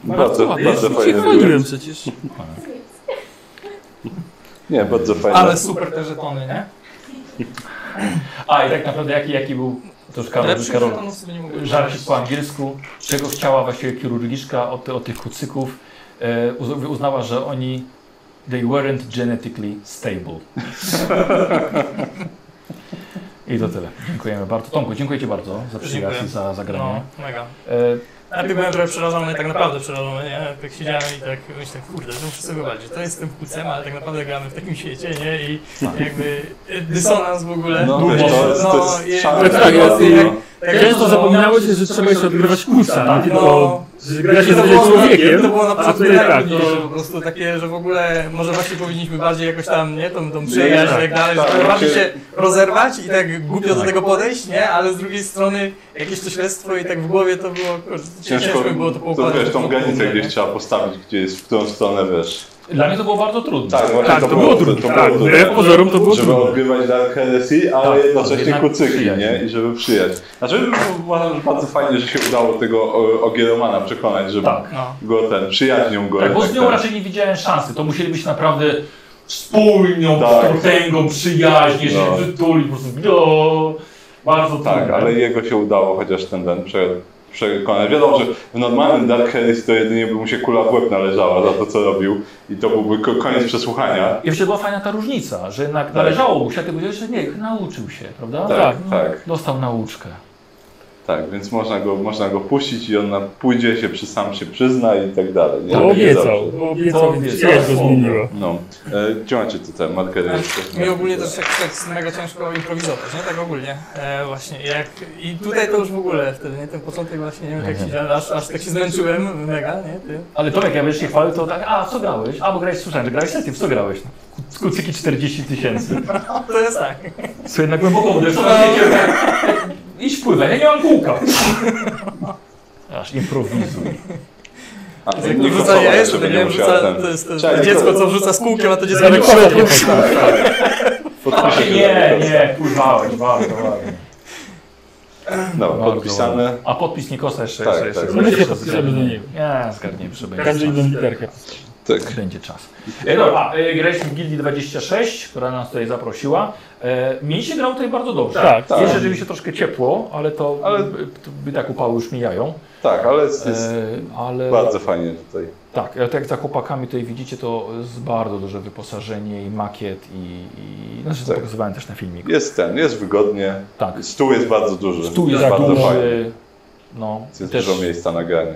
[SPEAKER 4] Bardzo,
[SPEAKER 2] No, Ładnie,
[SPEAKER 4] bardzo
[SPEAKER 2] ja
[SPEAKER 4] fajny
[SPEAKER 2] się
[SPEAKER 4] duet.
[SPEAKER 2] chwaliłem przecież.
[SPEAKER 4] Nie, bardzo fajny.
[SPEAKER 3] Ale super te żetony, nie?
[SPEAKER 1] A i tak naprawdę jaki, jaki był, to już Karol, już
[SPEAKER 3] Lepszych
[SPEAKER 1] Karol
[SPEAKER 3] żetonów sobie nie mogłem
[SPEAKER 1] żarcik po angielsku, czego chciała właściwie chirurgiczka od, ty- od tych kucyków. E, uz- uznała, że oni they weren't genetically stable. I to tyle. Dziękujemy bardzo. Tomku, dziękuję Ci bardzo za przyjazd i
[SPEAKER 3] Dziękuję.
[SPEAKER 1] za zagranie.
[SPEAKER 3] No, mega.
[SPEAKER 1] E,
[SPEAKER 3] Najpierw byłem trochę przerażony, tak naprawdę przerażony, nie? Jak siedziałem i tak myślę, kurde, to muszę sobie wyobrazić, to jest tym kucem, ale tak naprawdę gramy w takim świecie, nie? I jakby
[SPEAKER 10] e,
[SPEAKER 3] y, dysonans w ogóle.
[SPEAKER 4] No,
[SPEAKER 1] No,
[SPEAKER 4] wiesz, to jest, to
[SPEAKER 3] no, i-
[SPEAKER 4] jest szalone.
[SPEAKER 2] tak, jest i-
[SPEAKER 4] No.
[SPEAKER 3] tak
[SPEAKER 2] Często
[SPEAKER 3] no,
[SPEAKER 2] zapominało się, że trzeba jeszcze odgrywać kuca, nie tylko
[SPEAKER 3] No.
[SPEAKER 2] że gra się
[SPEAKER 3] to
[SPEAKER 2] z
[SPEAKER 3] było,
[SPEAKER 2] człowiekiem,
[SPEAKER 3] to było na
[SPEAKER 2] a
[SPEAKER 3] początku
[SPEAKER 2] tutaj tak,
[SPEAKER 3] najtrudniejsze,
[SPEAKER 2] to
[SPEAKER 3] po prostu takie, że w ogóle może właśnie powinniśmy bardziej jakoś tam, nie, tą, tą przyjaźń i tak dalej,
[SPEAKER 4] tak,
[SPEAKER 3] żeby
[SPEAKER 4] tak.
[SPEAKER 3] bardziej się rozerwać i tak głupio do tego podejść, nie, ale z drugiej strony jakieś to śledztwo i tak w głowie to było, kurczę, ciężko,
[SPEAKER 4] Ciężko,
[SPEAKER 3] było to
[SPEAKER 4] to
[SPEAKER 3] poukładać.
[SPEAKER 4] wiesz, tą granicę
[SPEAKER 3] nie?
[SPEAKER 4] gdzieś trzeba postawić, gdzie jest, w którą stronę, wiesz.
[SPEAKER 1] dla mnie to było bardzo trudne.
[SPEAKER 4] właśnie
[SPEAKER 2] tak, to było trudne, tak, wbrew pozorom to było
[SPEAKER 4] Żeby
[SPEAKER 2] trudne.
[SPEAKER 4] odgrywać Dark Heresy, ale
[SPEAKER 1] Tak,
[SPEAKER 4] jednocześnie
[SPEAKER 1] jednak
[SPEAKER 4] kucyki,
[SPEAKER 1] przyjaźń.
[SPEAKER 4] nie? I żeby przyjać. Znaczy, uważam, że bardzo fajnie, że się udało tego e, Ogieromana przekonać, żeby
[SPEAKER 1] Tak.
[SPEAKER 3] No.
[SPEAKER 4] go ten, przyjaźnią go.
[SPEAKER 1] Tak, bo z
[SPEAKER 4] jednak
[SPEAKER 1] nią
[SPEAKER 4] ten-
[SPEAKER 1] raczej nie widziałem szansy. To musieli być naprawdę spójną,
[SPEAKER 4] Tak.
[SPEAKER 1] potęgą, przyjaźnie, się
[SPEAKER 4] No.
[SPEAKER 1] przytuli, po prostu no, bardzo
[SPEAKER 4] Tak,
[SPEAKER 1] trudne.
[SPEAKER 4] ale jego się udało chociaż ten ten prze- przekonać. Wiadomo, że w normalnym Dark Heresy to jedynie by mu się kula w łeb należała za to, co robił i to byłby ko- koniec przesłuchania.
[SPEAKER 1] I jeszcze była fajna ta różnica, że jednak należało mu się, a ty powiedziałeś, że nie, nauczył się, prawda?
[SPEAKER 4] Tak,
[SPEAKER 1] No,
[SPEAKER 4] tak.
[SPEAKER 1] Dostał nauczkę.
[SPEAKER 4] Tak, więc można go, można go puścić i on na- pójdzie, się przy, sam się przyzna i tak dalej. nie?
[SPEAKER 2] to
[SPEAKER 4] Ale nie
[SPEAKER 2] obiecał,
[SPEAKER 4] zawsze.
[SPEAKER 2] to obiecał,
[SPEAKER 1] Obiecał.
[SPEAKER 2] więc przyjaźń go zmieniła.
[SPEAKER 4] No. E, gdzie macie tutaj markery?
[SPEAKER 3] Mi ogólnie też tak, tak jest mega ciężko improwizować, nie? Tak ogólnie. E, właśnie. Jak, I tutaj to już w ogóle wtedy, nie? Ten początek właśnie, nie wiem,
[SPEAKER 4] Mhm.
[SPEAKER 3] jak się, aż, aż tak się zmęczyłem mega, nie? Ty.
[SPEAKER 1] Ale Tomek, jak będziesz się chwalił, to tak, a co grałeś? A, bo grałeś, słyszałem, że grałeś sesję, w co grałeś? No, Ku- Kucyki 40 tysięcy.
[SPEAKER 3] To jest tak.
[SPEAKER 1] Co jednak głęboko uderzyło, tak, idź wpływaj, ja nie mam kółka. Aż improwizuj.
[SPEAKER 4] A,
[SPEAKER 3] Jak
[SPEAKER 4] nie
[SPEAKER 3] nie wrzuca
[SPEAKER 4] kosować,
[SPEAKER 3] jajesz, to
[SPEAKER 4] żeby
[SPEAKER 3] nie
[SPEAKER 4] musiała
[SPEAKER 3] wrzuca,
[SPEAKER 4] ten-
[SPEAKER 3] to jest to,
[SPEAKER 4] Trzeba
[SPEAKER 3] to
[SPEAKER 4] nie
[SPEAKER 3] dziecko,
[SPEAKER 4] kosować.
[SPEAKER 3] co wrzuca z kółkiem, a to dziecko tak
[SPEAKER 4] Podpiszę się
[SPEAKER 1] Nie,
[SPEAKER 4] do tego.
[SPEAKER 1] nie, Tak, pływałeś, bardzo ładnie.
[SPEAKER 4] Dobra, podpisane.
[SPEAKER 1] A podpis Nikosa jeszcze,
[SPEAKER 4] Tak,
[SPEAKER 1] jeszcze, jeszcze.
[SPEAKER 4] tak.
[SPEAKER 1] jeszcze,
[SPEAKER 2] My się
[SPEAKER 1] jeszcze
[SPEAKER 2] podpisujemy do niego.
[SPEAKER 1] Nie, zgadniemy, że będzie
[SPEAKER 2] Każdy
[SPEAKER 1] czas.
[SPEAKER 2] inną literkę.
[SPEAKER 4] Tak.
[SPEAKER 1] Będzie czas. E, dobra, e, graliśmy w Gildii 26, która nas tutaj zaprosiła. E, mi się grało tutaj bardzo dobrze.
[SPEAKER 2] Tak,
[SPEAKER 4] tak.
[SPEAKER 1] Jest rzeczywiście troszkę ciepło, ale to, ale...
[SPEAKER 4] Ale-
[SPEAKER 1] to by tak upały już mijają.
[SPEAKER 4] Tak, ale jest,
[SPEAKER 1] E,
[SPEAKER 4] jest
[SPEAKER 1] ale
[SPEAKER 4] bardzo fajnie tutaj.
[SPEAKER 1] tak, ale tak jak za chłopakami tutaj widzicie, to jest bardzo duże wyposażenie i makiet i, i znaczy to
[SPEAKER 4] Tak.
[SPEAKER 1] pokazywałem też na filmiku.
[SPEAKER 4] Jest ten, jest wygodnie.
[SPEAKER 1] Tak,
[SPEAKER 4] Stół jest bardzo duży.
[SPEAKER 1] stół jest
[SPEAKER 4] Tak, bardzo fajny.
[SPEAKER 1] duży, no
[SPEAKER 4] Jest
[SPEAKER 1] też
[SPEAKER 4] dużo miejsca na granie.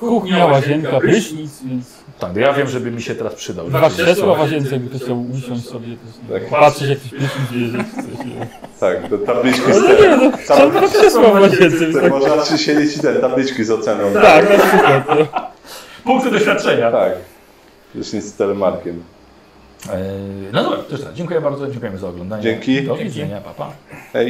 [SPEAKER 2] Kuchnia, łazienka, prysznic, więc
[SPEAKER 1] tak, ja wiem, żeby mi się teraz przydał.
[SPEAKER 2] dwa krzesła w łazience, jakby ktoś chciał usiąść sobie, też,
[SPEAKER 4] Tak.
[SPEAKER 2] nie, patrzeć jak ktoś prysznic bierze, czy coś, nie wiem.
[SPEAKER 4] Tak, te tabliczki z
[SPEAKER 2] No nie,
[SPEAKER 4] ten,
[SPEAKER 2] no, są dwa krzesła w łazience, więc
[SPEAKER 4] te,
[SPEAKER 2] tak,
[SPEAKER 4] można przysiedzieć i te tabliczki z oceną.
[SPEAKER 2] tak, na przykład, no.
[SPEAKER 1] Punkty doświadczenia.
[SPEAKER 4] Tak. Już nic z telemarkiem.
[SPEAKER 1] E, Eee, No dobra, to już tak. Dziękuję bardzo, dziękujemy za oglądanie.
[SPEAKER 4] Dzięki.
[SPEAKER 1] Do widzenia, papa. Pa.
[SPEAKER 4] Hej.